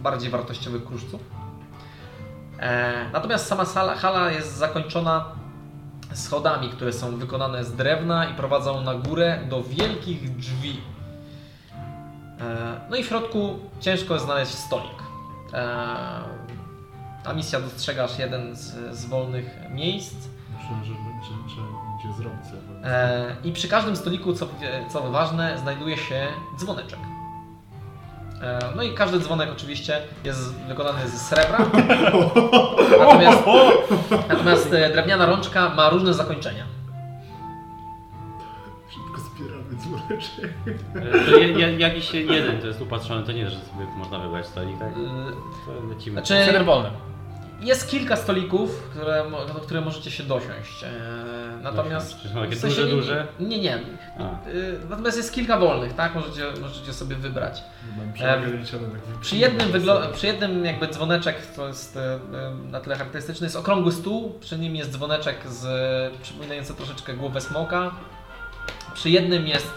Speaker 1: bardziej wartościowych kruszców. E, Natomiast sama sala, hala jest zakończona schodami, które są wykonane z drewna i prowadzą na górę do wielkich drzwi. E, No i w środku ciężko jest znaleźć stolik. E, A misja dostrzegasz jeden z, z wolnych miejsc.
Speaker 8: Myślałem, że trzeba będzie zrobić sobie.
Speaker 1: E, I przy każdym stoliku, co, e, co ważne, znajduje się dzwoneczek. E, No i każdy dzwonek oczywiście jest wykonany z srebra. Natomiast, natomiast e, drewniana rączka ma różne zakończenia.
Speaker 8: Szybko zbieramy dzwoneczek.
Speaker 3: E, To je, je, jakiś jeden to jest upatrzony, to nie, że sobie można wybrać stolik, tak?
Speaker 1: E,
Speaker 3: To lecimy.
Speaker 1: Znaczy,
Speaker 4: Cedr wolny.
Speaker 1: jest kilka stolików, które, mo- do których możecie się dosiąść. E, Natomiast.
Speaker 3: Czy są takie
Speaker 1: w sensie
Speaker 3: duże,
Speaker 1: nie-
Speaker 3: duże?
Speaker 1: Nie, nie.
Speaker 3: A.
Speaker 1: E, Natomiast jest kilka wolnych, tak? Możecie, możecie sobie wybrać.
Speaker 8: Mam przemierniczone tak wyprzedzone.
Speaker 1: Przy jednym, wyglo- przy jednym jakby dzwoneczek, to jest e, e, na tyle charakterystyczny, jest okrągły stół, przy nim jest dzwoneczek z, przypominający troszeczkę głowę smoka. Przy jednym jest,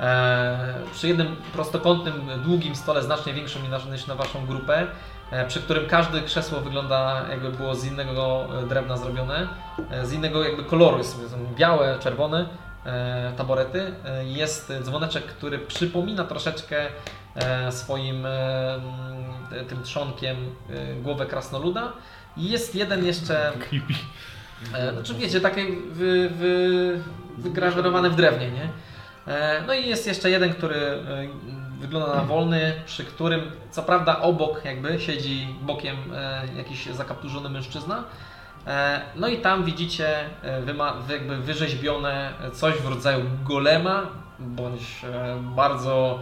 Speaker 1: e, przy jednym prostokątnym, długim stole, znacznie większym niż- niż na Waszą grupę, e, przy którym każde krzesło wygląda jakby było z innego e, drewna zrobione, e, z innego jakby koloru, są są białe, czerwone e, taborety. E, Jest dzwoneczek, który przypomina troszeczkę e, swoim e, m, t- tym trzonkiem e, głowę krasnoluda. I jest jeden jeszcze,
Speaker 4: Creepy.
Speaker 1: e, znaczy wiecie, takie wy, wy, wygrawerowane w drewnie, nie? E, No i jest jeszcze jeden, który e, wygląda na wolny, przy którym co prawda obok jakby siedzi bokiem e, jakiś zakapturzony mężczyzna. E, No i tam widzicie e, wyma, wy- jakby wyrzeźbione coś w rodzaju golema, bądź e, bardzo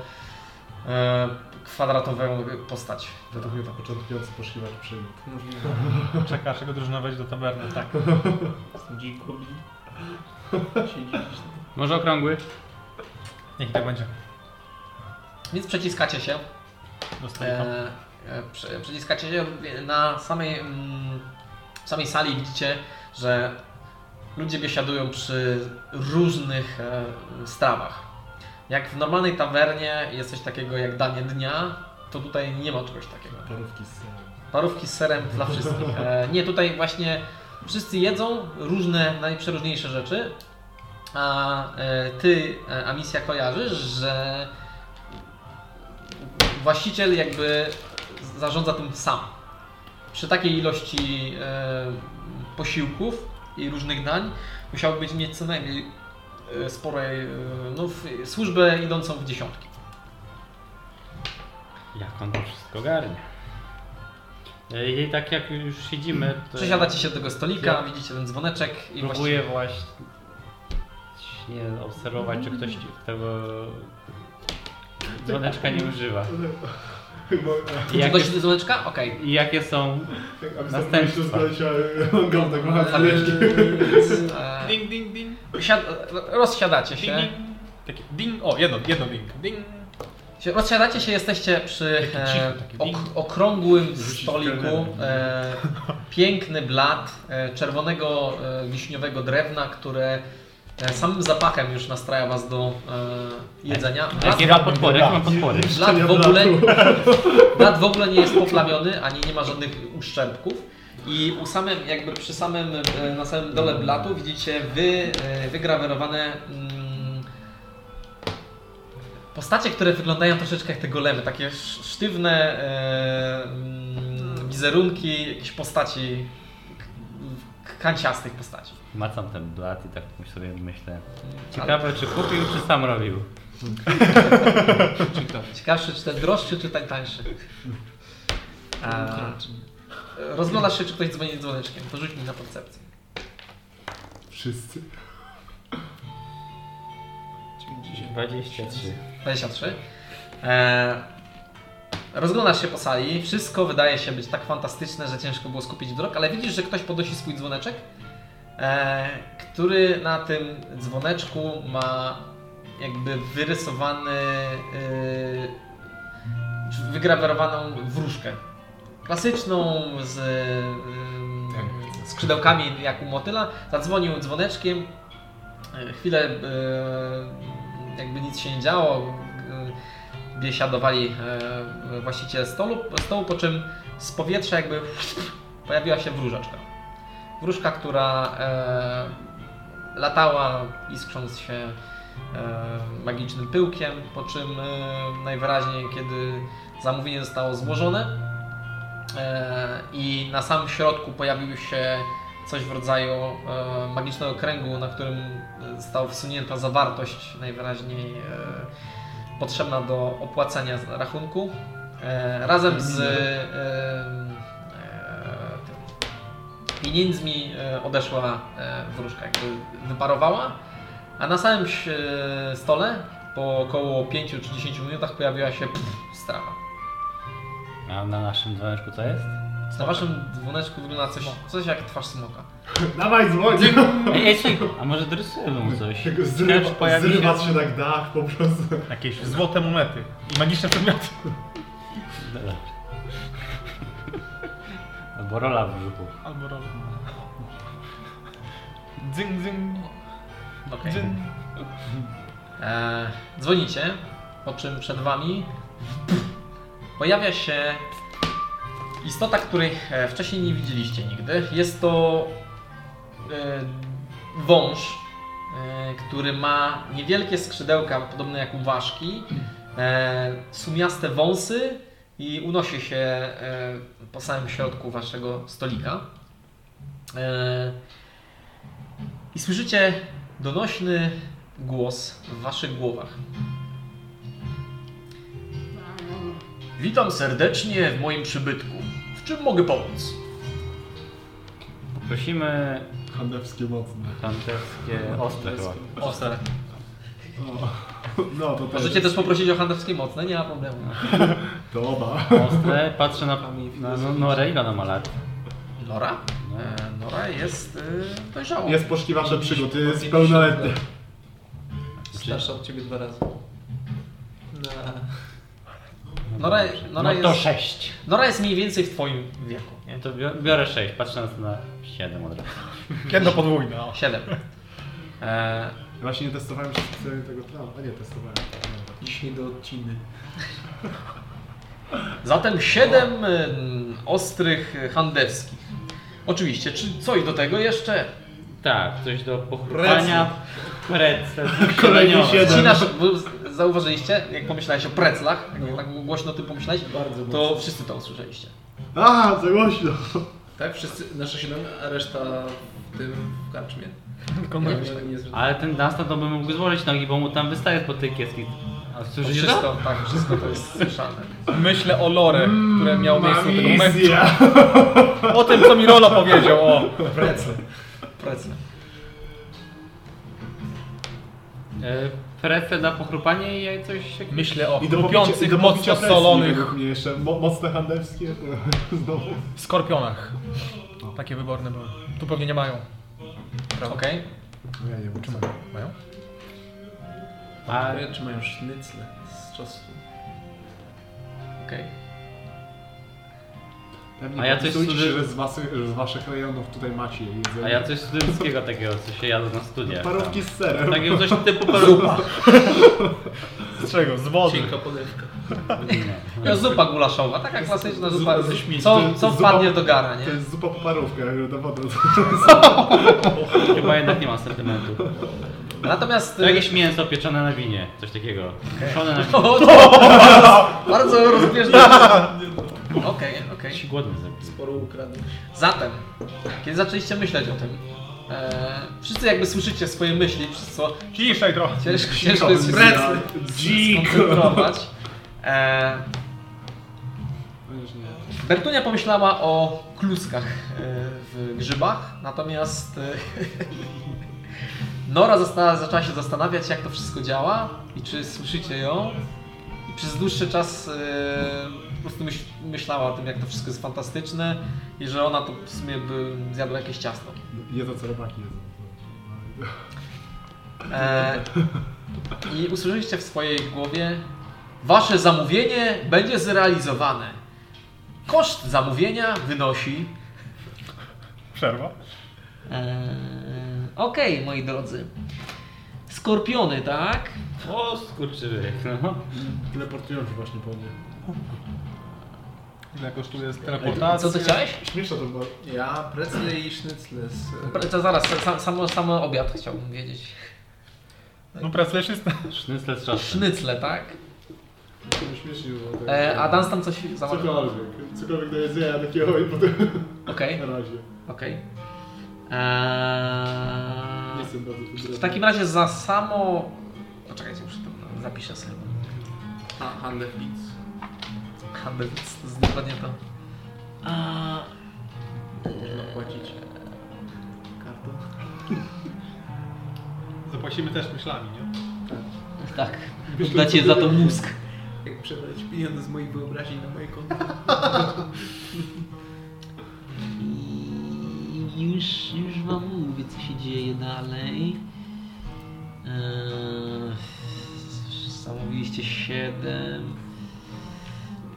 Speaker 1: e, kwadratową postać.
Speaker 6: Tak.
Speaker 8: Według mnie to początkujący poszukiwacz przygód.
Speaker 2: Tak Możliwe.
Speaker 4: Czeka, aż jego drużyna wejdzie do tawerny, tak.
Speaker 2: Jestem dziki goblin. Siedzi gdzieś tam.
Speaker 3: Może okrągły?
Speaker 4: Niech tak będzie.
Speaker 1: Więc przeciskacie się.
Speaker 4: Do stolika.
Speaker 1: E, e, prze- przeciskacie się na samej, mm, w samej sali widzicie, że ludzie biesiadują przy różnych e, strawach. Jak w normalnej tawernie jest coś takiego jak danie dnia, to tutaj nie ma czegoś takiego.
Speaker 8: Parówki z e, serem.
Speaker 1: Parówki z serem dla wszystkich. E, nie, tutaj właśnie wszyscy jedzą różne, najprzeróżniejsze rzeczy. A e, ty, e, Amisja, kojarzysz, że właściciel jakby zarządza tym sam. Przy takiej ilości e, posiłków i różnych dań musiałby być mieć co najmniej e, sporej, e, no, w- służbę idącą w dziesiątki.
Speaker 3: Jak on to wszystko garnie? E, I tak jak już siedzimy, to
Speaker 1: Przesiadacie się do tego stolika,
Speaker 3: Ja-
Speaker 1: widzicie ten dzwoneczek i właściwie...
Speaker 3: próbuję właśnie obserwować, czy ktoś tego dzwoneczka nie używa.
Speaker 8: Chyba...
Speaker 3: I
Speaker 1: Jakie...
Speaker 3: jakie,
Speaker 1: Gości do dzwoneczka? Okej.
Speaker 3: i jakie są...
Speaker 8: e, Aby
Speaker 3: Następstwo.
Speaker 8: Następstwo. Następstwo. Gał tak machać.
Speaker 1: Zależki. E,
Speaker 4: Ding, ding, ding.
Speaker 1: siad- rozsiadacie
Speaker 4: Ding,
Speaker 1: się.
Speaker 4: ding. Taki ding. O, jedno, jedno ding. Ding.
Speaker 1: Się- Rozsiadacie się, jesteście przy
Speaker 4: Taki
Speaker 1: e,
Speaker 4: cichy, taki
Speaker 1: ok,
Speaker 4: ding.
Speaker 1: okrągłym
Speaker 8: Wrzucić
Speaker 1: stoliku.
Speaker 8: kelnera.
Speaker 1: E, eee, piękny blat e, czerwonego e, wiśniowego drewna, eee, które E, Samym zapachem już nastraja Was do e, jedzenia. Blat,
Speaker 3: Jakie ma podpory? Jakie ma podpory?
Speaker 1: blat, w ogóle, blat w ogóle nie jest poplamiony, ani nie ma żadnych uszczerbków. I u samym, jakby przy samym, e, na samym dole blatu widzicie wy, e, wygrawerowane mm, postacie, które wyglądają troszeczkę jak te golemy. Takie sz- sztywne e, mm, wizerunki, jakieś postaci, k- k- kanciastych postaci.
Speaker 3: Macam ten blat i tak sobie myślę. Ciekawe, czy kupił, czy sam robił.
Speaker 2: Czy kto?
Speaker 1: Ciekawszy, czy ten droższy, czy ten tańszy. Tak. A,
Speaker 2: Czy nie?
Speaker 1: rozglądasz się, czy ktoś dzwoni dzwoneczkiem. To rzuć mi na percepcję.
Speaker 8: Wszyscy.
Speaker 2: Czyli dzisiaj.
Speaker 3: 23.
Speaker 1: 23. E, rozglądasz się po sali. Wszystko wydaje się być tak fantastyczne, że ciężko było skupić wzrok, ale widzisz, że ktoś podnosi swój dzwoneczek, e, który na tym dzwoneczku ma jakby wyrysowany, e, czy wygrawerowaną wróżkę. Klasyczną z e, skrzydełkami jak u motyla, zadzwonił dzwoneczkiem, e, chwilę e, jakby nic się nie działo, e, biesiadowali e, właściciel stolu, stołu, po czym z powietrza jakby pojawiła się wróżeczka. Wróżka, która e, latała iskrząc się e, magicznym pyłkiem, po czym e, najwyraźniej kiedy zamówienie zostało złożone, E, i na samym środku pojawił się coś w rodzaju e, magicznego kręgu, na którym e, została wsunięta zawartość najwyraźniej e, potrzebna do opłacenia z- rachunku. E, Razem z e, e, tym pieniędzmi e, odeszła e, wróżka, jakby wyparowała, a na samym ś- e, stole po około 5 czy 10 minutach pojawiła się pff, strawa.
Speaker 3: A na naszym dzwoneczku co jest?
Speaker 1: Na waszym dzwoneczku wygląda coś, coś jak twarz smoka.
Speaker 8: Dawaj złodziej!
Speaker 3: Ej, ej, czekaj, a może dorysujemy mu coś?
Speaker 8: Tego
Speaker 3: Ciekawe, czy
Speaker 8: zrywa,
Speaker 3: pojawi
Speaker 8: zrywa
Speaker 3: się...
Speaker 8: się tak dach po prostu.
Speaker 3: Jakieś...
Speaker 4: Złote monety i magiczne przedmioty.
Speaker 3: Dobra. Albo rola w brzuchu.
Speaker 4: Albo rolę. Dzyng, dzyng,
Speaker 1: Okej.
Speaker 5: Znaczy,
Speaker 4: dzyng.
Speaker 1: E, dzwonicie, po czym przed wami pojawia się istota, której e, wcześniej nie widzieliście nigdy. Jest to e, wąż, e, który ma niewielkie skrzydełka, podobne jak u ważki, e, sumiaste wąsy i unosi się e, po samym środku waszego stolika. E, I słyszycie donośny głos w waszych głowach. Witam serdecznie w moim przybytku. W czym mogę pomóc?
Speaker 3: Poprosimy
Speaker 8: Handewskie mocne.
Speaker 3: tanterskie ostre chyba.
Speaker 1: Ostre.
Speaker 8: O. No to też.
Speaker 1: Możecie też poprosić o handelskie mocne, nie ma problemu.
Speaker 8: To oba.
Speaker 3: Ostre, patrzę na, na, no, na Norę, ile ona ma lat?
Speaker 1: Nora? E, Nora jest e, dojrzała.
Speaker 8: Jest poszukiwacze przygód, jest
Speaker 1: 50
Speaker 8: pełnoletnia.
Speaker 1: lat.
Speaker 2: Starsza od ciebie dwa razy. Na...
Speaker 1: Nora, Nora,
Speaker 3: no to
Speaker 1: jest,
Speaker 3: 6.
Speaker 1: Nora jest mniej więcej w twoim wieku.
Speaker 3: Ja to bio- biorę 6, patrzę na to na 7 od razu.
Speaker 4: Jedno podwójne. o.
Speaker 1: 7. E,
Speaker 8: Właśnie nie testowałem się specjalnie tego trawa. A nie, testowałem.
Speaker 2: Dzisiaj do odciny.
Speaker 1: Zatem 7 ostrych handewskich. Oczywiście, czy coś do tego jeszcze?
Speaker 3: Tak, coś do pochłania. Precel.
Speaker 8: Kolejny siedem.
Speaker 1: Ścinasz, bo zauważyliście, jak pomyślałeś o preclach, jak tak głośno o tym pomyślałeś,
Speaker 2: No. Bardzo
Speaker 1: to wszyscy to usłyszeliście.
Speaker 8: A, za głośno.
Speaker 2: Tak, wszyscy, nasze siedem, a reszta w tym w karczmie.
Speaker 4: Tylko
Speaker 2: Nie,
Speaker 4: my.
Speaker 2: nie, nie jest-
Speaker 3: Ale ten Dunstan to by mógł złożyć nogi, bo mu tam wystaje spod tej kieski. A
Speaker 1: To
Speaker 3: słyszycie to?
Speaker 1: wszystko, tak, wszystko to jest słyszalne.
Speaker 4: Myślę o lore, które miało miejsce do tego
Speaker 8: Mam
Speaker 4: momentu.
Speaker 8: wizję.
Speaker 4: O tym, co mi Rolo powiedział, o.
Speaker 1: Precle. Precle.
Speaker 3: E, Precel na pochrupanie i jej coś jakiegoś...
Speaker 4: Myślę o
Speaker 8: I do pobicia- i
Speaker 4: chrupiących,
Speaker 8: do
Speaker 4: mocno
Speaker 8: pobicia
Speaker 4: solonych
Speaker 8: solonych. Mnie jeszcze. Mo mocne handelskie.
Speaker 6: e,
Speaker 8: Znowu.
Speaker 4: skorpionach. Takie wyborne były. Tu pewnie nie mają.
Speaker 1: Okej.
Speaker 8: No ja nie wiem, czy mam.
Speaker 4: Mają?
Speaker 3: A
Speaker 2: Ale czy mają sznycle z czasu?
Speaker 1: Okej.
Speaker 6: Pewnie
Speaker 3: A ja coś
Speaker 6: popisujcie się,
Speaker 3: słyszę-
Speaker 6: że z, wasy, że z waszych rejonów tutaj macie jedzenie.
Speaker 3: A ja coś studenckiego takiego, co się jadło na studiach.
Speaker 6: Parówki z serem.
Speaker 3: Tam. Takiego coś typu parówka.
Speaker 9: Z czego? Z wody.
Speaker 2: Cienka podewka.
Speaker 1: No, zupa gulaszowa, taka klasyczna zupa.
Speaker 6: zupa ze śmieci. To
Speaker 1: Co,
Speaker 6: jest
Speaker 1: co
Speaker 6: zupa-
Speaker 1: wpadnie do gara, nie?
Speaker 6: To jest zupa po parówkach, że to woda.
Speaker 3: Chyba jednak nie ma sentymentu.
Speaker 1: Natomiast y,
Speaker 3: To jakieś mięso pieczone na winie, coś takiego. Pieczone na winie.
Speaker 1: O, to bardzo, bardzo rozbieżne. Okej, okej.
Speaker 3: Się głodny zrobił.
Speaker 2: Sporo ukradł.
Speaker 1: Zatem, kiedy zaczęliście myśleć o tym, e, wszyscy jakby słyszycie swoje myśli, przez co
Speaker 9: Ciszej trochę.
Speaker 1: ciężko, ciężko jest się z- skoncentrować. E, Bertunia pomyślała o kluskach e, w grzybach, natomiast e, Nora zastana- zaczęła się zastanawiać, jak to wszystko działa i czy słyszycie ją. I przez dłuższy czas e, po prostu myśl, myślała o tym, jak to wszystko jest fantastyczne i że ona to w sumie by zjadła jakieś ciasto.
Speaker 6: Jedzą co robaki jedzą.
Speaker 1: E, I usłyszeliście w swojej głowie: Wasze zamówienie będzie zrealizowane. Koszt zamówienia wynosi.
Speaker 9: Przerwa.
Speaker 1: E, Okej, moi drodzy. Skorpiony, tak?
Speaker 3: O, skurczywy. No.
Speaker 6: Teleportują się właśnie po mnie.
Speaker 5: Ile kosztuje z
Speaker 1: Co
Speaker 5: teleportacji?
Speaker 1: ty chciałeś?
Speaker 6: Śmieszna to była.
Speaker 2: Ja precle i sznycle z...
Speaker 1: To zaraz, sam, samo, samo obiad chciałbym wiedzieć.
Speaker 9: No pracujesz jest...
Speaker 3: Sznycle z czosnkiem.
Speaker 1: Sznycle, tak?
Speaker 6: To śmiesznie było. Tak.
Speaker 1: E, a Dan tam coś zamówił. Okej,
Speaker 6: Cokolwiek. Cokolwiek do jedzenia takiego i potem
Speaker 1: okej.
Speaker 6: na razie.
Speaker 1: Eee,
Speaker 6: Nie jestem bardzo wybredny.
Speaker 1: W takim razie za samo. Poczekajcie, muszę to zapiszę sobie.
Speaker 2: A, handel Blitz.
Speaker 1: Handel z- z dokładnie to. A,
Speaker 2: Można płacić kartą.
Speaker 5: Zapłacimy też myślami, nie?
Speaker 1: tak. Dacie za to mózg.
Speaker 2: Jak przebrać pieniądze z moich wyobraźni na moje konto.
Speaker 1: I już, już wam mówię, co się dzieje dalej. Eee, zamówiliście 7.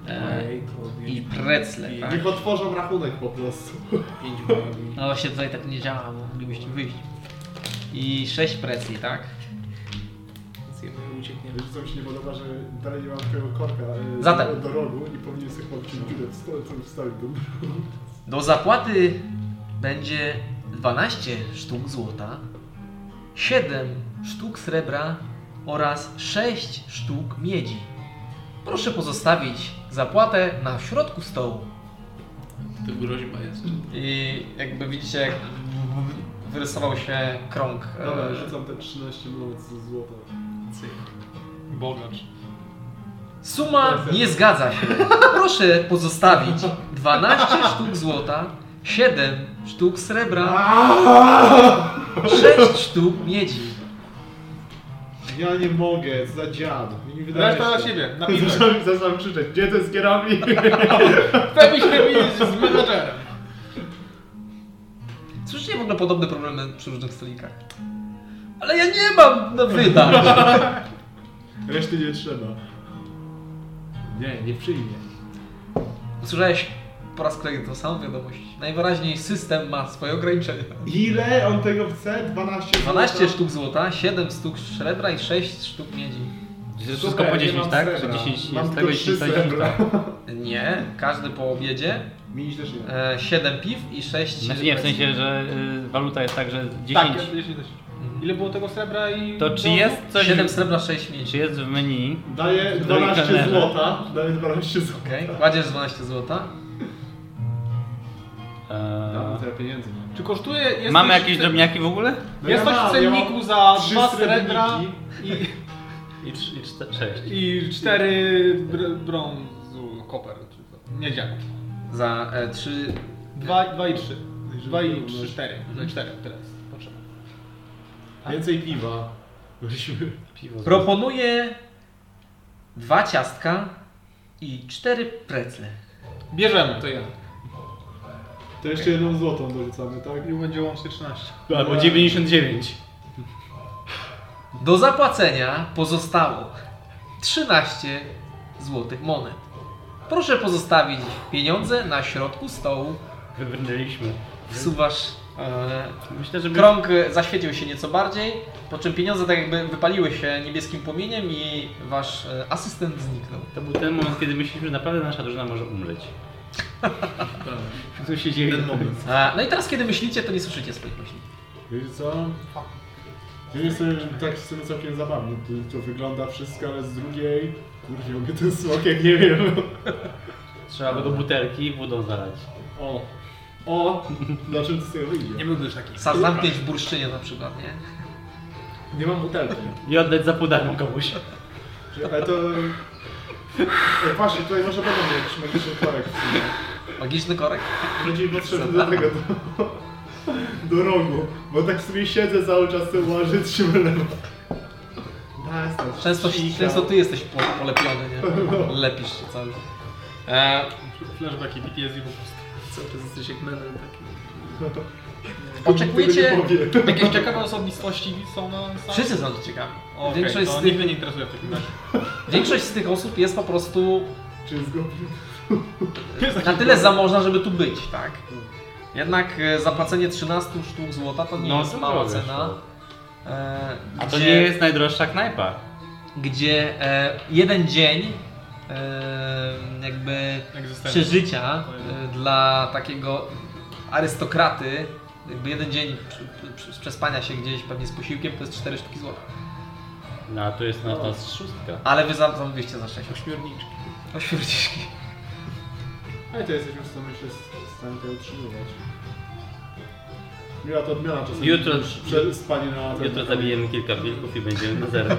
Speaker 1: Eee, I precle, tak?
Speaker 6: Niech otworzą rachunek po prostu.
Speaker 2: Pięć bali.
Speaker 1: No właśnie tutaj tak nie działa, bo moglibyście wyjść. I 6 presji, tak?
Speaker 2: Więc jemy uciekniemy.
Speaker 6: Wiesz co mi się nie podoba, że dalej nie mam twojego korka e,
Speaker 1: Zatem.
Speaker 6: do rogu i powinien sobie chłopić dziurę w stole, co wstawił do
Speaker 1: Do zapłaty będzie 12 sztuk złota, 7 sztuk srebra oraz 6 sztuk miedzi. Proszę pozostawić zapłatę na środku stołu.
Speaker 2: To groźba jest.
Speaker 1: I jakby widzicie, jak wyrysował się krąg. e,
Speaker 6: Dobra, no rzucam te 13 minut złota.
Speaker 2: Cyk.
Speaker 5: Bogacz.
Speaker 1: Suma nie zgadza się. Proszę pozostawić 12 sztuk złota, 7 sztuk srebra, 6 sztuk miedzi.
Speaker 6: Ja nie mogę, co za dziad. Nie wydaje
Speaker 5: Reszta na
Speaker 6: się.
Speaker 5: siebie, na piwę.
Speaker 6: Zacząłem, zacząłem krzyczeć, gdzie to jest kierownik?
Speaker 5: Pewnie się z menadżerem.
Speaker 1: Słyszycie w ogóle podobne problemy przy różnych stolikach. Ale ja nie mam no na wydań.
Speaker 6: Reszty nie trzeba. Nie, nie przyjmie.
Speaker 1: Usłyszałeś po raz kolejny tą samą wiadomość. Najwyraźniej system ma swoje ograniczenia.
Speaker 6: Ile on tego chce? 12 złota?
Speaker 1: 12 sztuk złota, 7 sztuk srebra i 6 sztuk miedzi.
Speaker 3: Wszystko
Speaker 6: Super,
Speaker 3: po
Speaker 6: nie
Speaker 3: 10,
Speaker 6: mam
Speaker 3: tak? Czy
Speaker 6: srebra.
Speaker 3: 10
Speaker 6: Mam
Speaker 3: z tego
Speaker 6: tylko trzy
Speaker 3: 10
Speaker 6: srebra.
Speaker 1: Nie, każdy po obiedzie.
Speaker 6: Mieć też nie.
Speaker 1: E, 7 piw i 6...
Speaker 3: Znaczy nie, w sensie, że y, waluta jest tak, że 10.
Speaker 5: Tak, ja- ja się też. Ile było tego srebra i...
Speaker 3: To czy jest coś...
Speaker 1: 7 srebra, 6 miedzi.
Speaker 3: Czy jest w menu?
Speaker 6: Daję
Speaker 3: Drugi
Speaker 6: 12
Speaker 3: kelner.
Speaker 6: złota. Daję 12 złota.
Speaker 1: Okej, kładziesz 12 złota.
Speaker 6: Mam
Speaker 3: E,
Speaker 6: tyle pieniędzy. nie?
Speaker 5: Czy kosztuje... Jest
Speaker 3: mamy
Speaker 5: coś-
Speaker 3: jakieś drobniaki w ogóle?
Speaker 6: No
Speaker 5: Jest
Speaker 6: ja
Speaker 5: coś w
Speaker 6: mam, ja mam
Speaker 5: cenniku za
Speaker 6: trzy
Speaker 5: dwa srebra
Speaker 6: srebrniki.
Speaker 5: i,
Speaker 3: I 6.
Speaker 5: i cztery br- brązu, koper, czy to, miedziaków.
Speaker 1: Za e, 3...
Speaker 5: Dwa, dwa i trzy. Dwa i trzy, cztery.
Speaker 6: Mhm.
Speaker 5: No cztery teraz potrzeba.
Speaker 6: Więcej piwa. Byliśmy-
Speaker 1: Proponuję dwa ciastka i cztery precle.
Speaker 5: Bierzemy.
Speaker 2: To ja.
Speaker 6: To jeszcze jedną złotą dorzucamy, tak?
Speaker 5: I będzie łącznie 13.
Speaker 6: Albo
Speaker 3: 99.
Speaker 1: Do zapłacenia pozostało 13 złotych monet. Proszę pozostawić pieniądze na środku stołu.
Speaker 3: Wybrnęliśmy.
Speaker 1: Wsuwasz. E,
Speaker 3: Myślę, że my-
Speaker 1: krąg zaświecił się nieco bardziej, po czym pieniądze tak jakby wypaliły się niebieskim płomieniem i wasz e, asystent zniknął.
Speaker 3: to był ten moment, kiedy myśleliśmy, że naprawdę nasza drużyna może umrzeć.
Speaker 2: Prawda.
Speaker 3: Co się dzieje?
Speaker 2: Ten moment.
Speaker 1: E, no i teraz kiedy myślicie, to nie słyszycie swoich myśli.
Speaker 6: Wiecie co? Ja nie sobie, tak w sumie całkiem zabawnie to, to wygląda wszystko, ale z drugiej... Kurwa, mogę ten smokiem, nie wiem.
Speaker 3: Trzeba by go butelki wodą zalać.
Speaker 6: O! O! Na czym to z tego
Speaker 5: Nie
Speaker 6: wyjdzie?
Speaker 5: byłbyś taki.
Speaker 1: Sam zamknięć w bursztynie na przykład, nie?
Speaker 6: Nie mam butelki.
Speaker 3: I oddać za pół darmo komuś.
Speaker 6: Ale to... Ej, Właśnie, tutaj może będą jakiś magiczny korek w sumie.
Speaker 1: Magiczny korek.
Speaker 6: Będzie mi potrzebny do tego, do, do rogu. Bo tak sobie siedzę cały czas, te łażę, trzymam lewo. Da, jestem
Speaker 1: Często,
Speaker 6: sika.
Speaker 1: często ty jesteś po- polepiony, nie?
Speaker 5: No.
Speaker 1: Lepisz się cały czas. E,
Speaker 5: Flashbacki PTSD po prostu.
Speaker 2: Co, to jesteś jak menem taki.
Speaker 1: oczekujecie...
Speaker 6: Tego nie powiem.
Speaker 5: Jakieś ciekawe osobnistości są na sali?
Speaker 1: Wszyscy są to ciekawi.
Speaker 5: Okej,
Speaker 1: Większość
Speaker 5: to
Speaker 1: z tych-
Speaker 5: nigdy nie interesuje w takim razie.
Speaker 1: Większość z tych osób jest po prostu
Speaker 6: Czy zgubił?
Speaker 1: na tyle zamożna, żeby tu być, tak?
Speaker 5: Hmm.
Speaker 1: Jednak e, zapłacenie 13 sztuk złota to nie
Speaker 5: No,
Speaker 1: jest
Speaker 3: to
Speaker 1: mała
Speaker 3: drogo
Speaker 1: cena.
Speaker 3: wyszło.
Speaker 1: E,
Speaker 3: A to
Speaker 1: gdzie-
Speaker 3: nie jest najdroższa knajpa.
Speaker 1: gdzie e, jeden dzień e, jakby
Speaker 5: Egzystencja.
Speaker 1: przeżycia e, dla takiego arystokraty, jakby jeden dzień przy, przy, przespania się gdzieś pewnie z posiłkiem to jest 4 sztuki złota.
Speaker 3: No a tu jest na nas szóstka.
Speaker 1: Ale wy za- zamówiliście za 6
Speaker 2: Ośmiorniczki.
Speaker 1: oświerciszki.
Speaker 6: Ale to jesteśmy w stanie się w stanie to utrzymywać. Miła to odmiana czasem.
Speaker 3: Jutro-
Speaker 6: Prze- spanie
Speaker 1: No.
Speaker 6: na...
Speaker 3: Jutro zabijemy kilka wilków i będziemy na zero.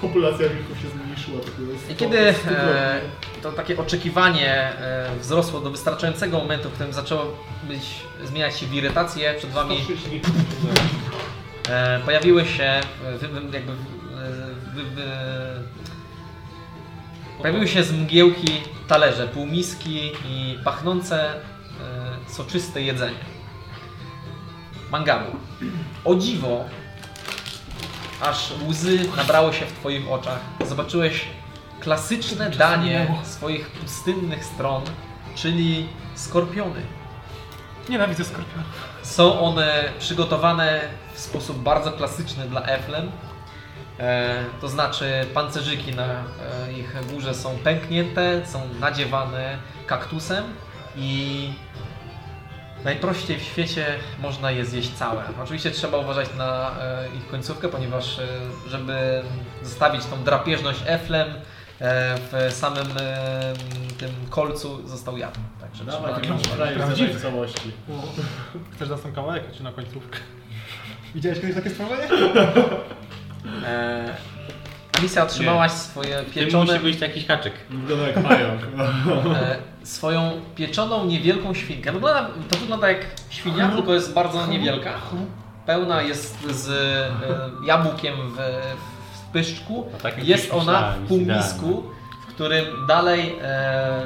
Speaker 6: Populacja wilków się zmniejszyła. tylko jest
Speaker 1: I
Speaker 6: sto-
Speaker 1: kiedy
Speaker 6: sto
Speaker 1: e,
Speaker 6: drobnych.
Speaker 1: to takie oczekiwanie e, wzrosło do wystarczającego momentu, w którym zaczęło być, zmieniać się w irytację, przed wami e, pojawiły się e, wy, wy, jakby e, wy, wy, pojawiły się z mgiełki talerze, półmiski i pachnące e, soczyste jedzenie. Mangabu. O dziwo, aż łzy nabrało się w Twoich oczach. Zobaczyłeś klasyczne danie swoich pustynnych stron, czyli skorpiony.
Speaker 5: Nienawidzę skorpiona.
Speaker 1: Są one przygotowane w sposób bardzo klasyczny dla Eflem. E, to znaczy pancerzyki na e, ich górze są pęknięte, są nadziewane kaktusem i najprościej w świecie można je zjeść całe. Oczywiście trzeba uważać na e, ich końcówkę, ponieważ e, żeby zostawić tą drapieżność Eflem e, w samym e, tym kolcu został jad. Także trzeba-
Speaker 6: Dawaj, nie masz
Speaker 5: Prawdziwy.
Speaker 6: prawie w całości.
Speaker 5: Chcesz dać ten kawałek, czy na końcówkę? Widziałeś kiedyś takie sprawy?
Speaker 1: E, Alicja otrzymałaś swoje
Speaker 3: Ty musi
Speaker 1: pieczone,
Speaker 3: być jakiś haczyk.
Speaker 6: Wygląda jak pająk.
Speaker 1: e, swoją pieczoną niewielką świnkę. Wygląda, to wygląda jak świnia,
Speaker 3: Mhm.
Speaker 1: tylko jest bardzo No, niewielka. Pełna jest z e, jabłkiem w, w pyszczku.
Speaker 3: A tak jak
Speaker 1: Jest
Speaker 3: już
Speaker 1: ona
Speaker 3: myślałem,
Speaker 1: w
Speaker 3: jest
Speaker 1: półmisku, w którym dalej e,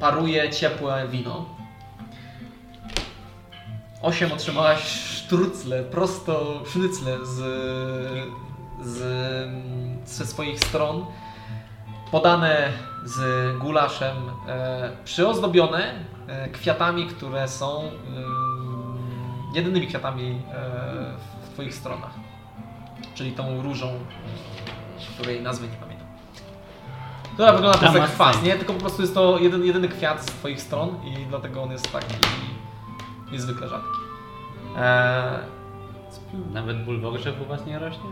Speaker 1: paruje ciepłe wino. Osiem otrzymałaś sztrucle, prosto sznycle z, z, ze swoich stron. Podane z gulaszem, e, przyozdobione e, kwiatami, które są e, jedynymi kwiatami e, w Twoich stronach. Czyli tą różą, e, której nazwy nie pamiętam. Która wygląda też jak
Speaker 3: Damascen.
Speaker 1: kwas, nie? Tylko po prostu jest to jeden, jedyny kwiat z Twoich stron i dlatego on jest taki niezwykle rzadki. E,
Speaker 3: Nawet ból w ogrzech u was nie rośnie?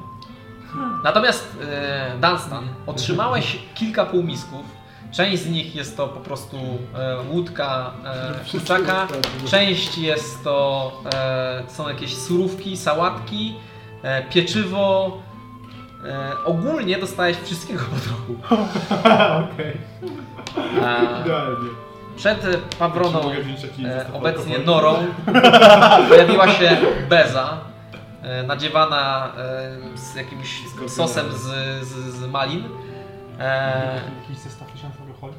Speaker 1: Natomiast e, Dunstan, otrzymałeś kilka półmisków. Część z nich jest to po prostu e, łódka e, kurczaka, część jest to e, są jakieś surówki, sałatki, e, pieczywo. E, ogólnie dostałeś wszystkiego po trochu.
Speaker 6: Okej,
Speaker 1: E,
Speaker 6: idealnie.
Speaker 1: przed Pawroną,
Speaker 6: Mogę wziąć taki
Speaker 1: e,
Speaker 6: zestaw
Speaker 1: obecnie
Speaker 6: alkoholi?
Speaker 1: Norą, pojawiła się Beza, e, nadziewana e, z jakimś sosem z, z, z malin. E,
Speaker 4: Jakiś zestaw tysiąca alkoholi?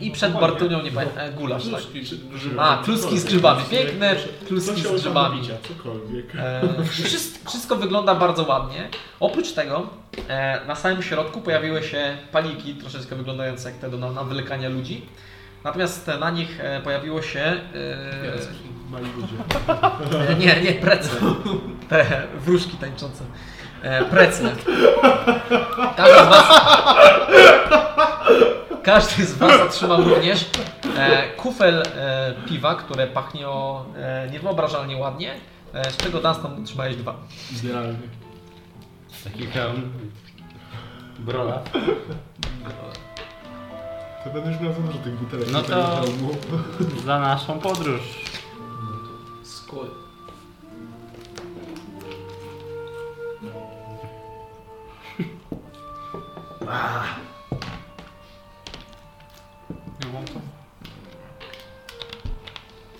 Speaker 1: I przed Bartunią, nie pamiętam, e, gulasz, tak.
Speaker 2: Kluski,
Speaker 1: A, kluski z grzybami, piękne
Speaker 8: Co
Speaker 1: kluski
Speaker 8: się
Speaker 1: z grzybami.
Speaker 8: odmówić, a Cokolwiek.
Speaker 1: E, wszystko, wszystko wygląda bardzo ładnie. Oprócz tego e, na samym środku pojawiły się paliki, troszeczkę wyglądające jak te do na, na wylekania ludzi. Natomiast e, na nich e, pojawiło się... E,
Speaker 8: Mali ludzie.
Speaker 1: nie, nie, precle. Te wróżki tańczące. E, precle. Każdy z Was... Każdy z Was otrzymał również e, kufel e, piwa, które pachnie o, e, niewyobrażalnie ładnie, e, z czego Dunstan otrzymałeś dwa.
Speaker 8: Idealnie.
Speaker 3: Taki hełm. Brola.
Speaker 8: To będę już miał za dużo tych butelek.
Speaker 3: No
Speaker 8: do
Speaker 3: to-
Speaker 8: tego domu.
Speaker 3: Za naszą podróż.
Speaker 2: Skoj.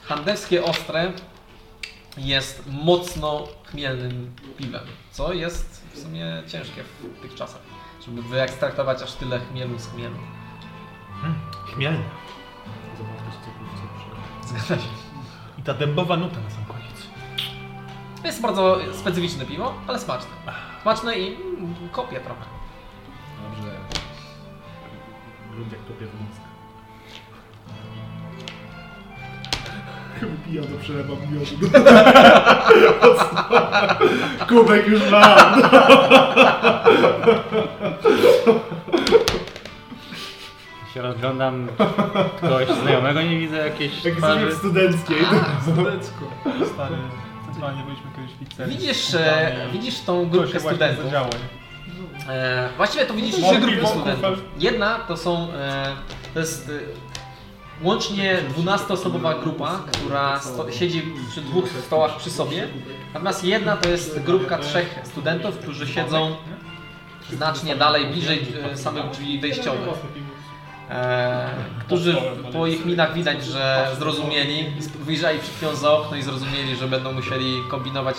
Speaker 1: Handelskie ostre jest mocno chmielnym piwem, co jest w sumie ciężkie w tych czasach, żeby wyekstraktować aż tyle chmielu z chmielu.
Speaker 5: Chmielne.
Speaker 8: Zobaczyć, co tu co przyjdzie.
Speaker 1: Zgadza się.
Speaker 5: I ta dębowa nuta na sam koniec.
Speaker 1: To Jest bardzo specyficzne piwo, ale smaczne. Smaczne i mm, kopie trochę.
Speaker 8: Dobrze. Grunt jak kopie w mózg. Wypijam do przelewa miodu. Kubek już mam.
Speaker 3: Się rozglądam, kogoś znajomego nie widzę, jakieś
Speaker 8: Jak z
Speaker 3: twarzy.
Speaker 8: w studenckiej.
Speaker 5: Studecko. Stary, centralnie byliśmy kiedyś w pizzerii.
Speaker 1: Widzisz,
Speaker 5: Z
Speaker 1: e,
Speaker 5: kumplami.
Speaker 1: widzisz tą
Speaker 5: To
Speaker 1: grupkę
Speaker 5: się właśnie
Speaker 1: studentów.
Speaker 5: zadziało. nie?
Speaker 1: E, właściwie to widzisz
Speaker 5: No,
Speaker 1: trzy
Speaker 5: piwo,
Speaker 1: grupy studentów.
Speaker 5: kufel.
Speaker 1: Jedna to są. E, to jest e, łącznie 12-osobowa grupa, która sto, siedzi przy dwóch stołach przy sobie.
Speaker 2: E,
Speaker 1: Natomiast jedna to jest grupka trzech studentów, którzy siedzą znacznie dalej, bliżej e, samych drzwi wejściowych. E, którzy po ich minach widać, że zrozumieli, sp- wyjrzeli przed chwilą za okno i zrozumieli, że będą musieli kombinować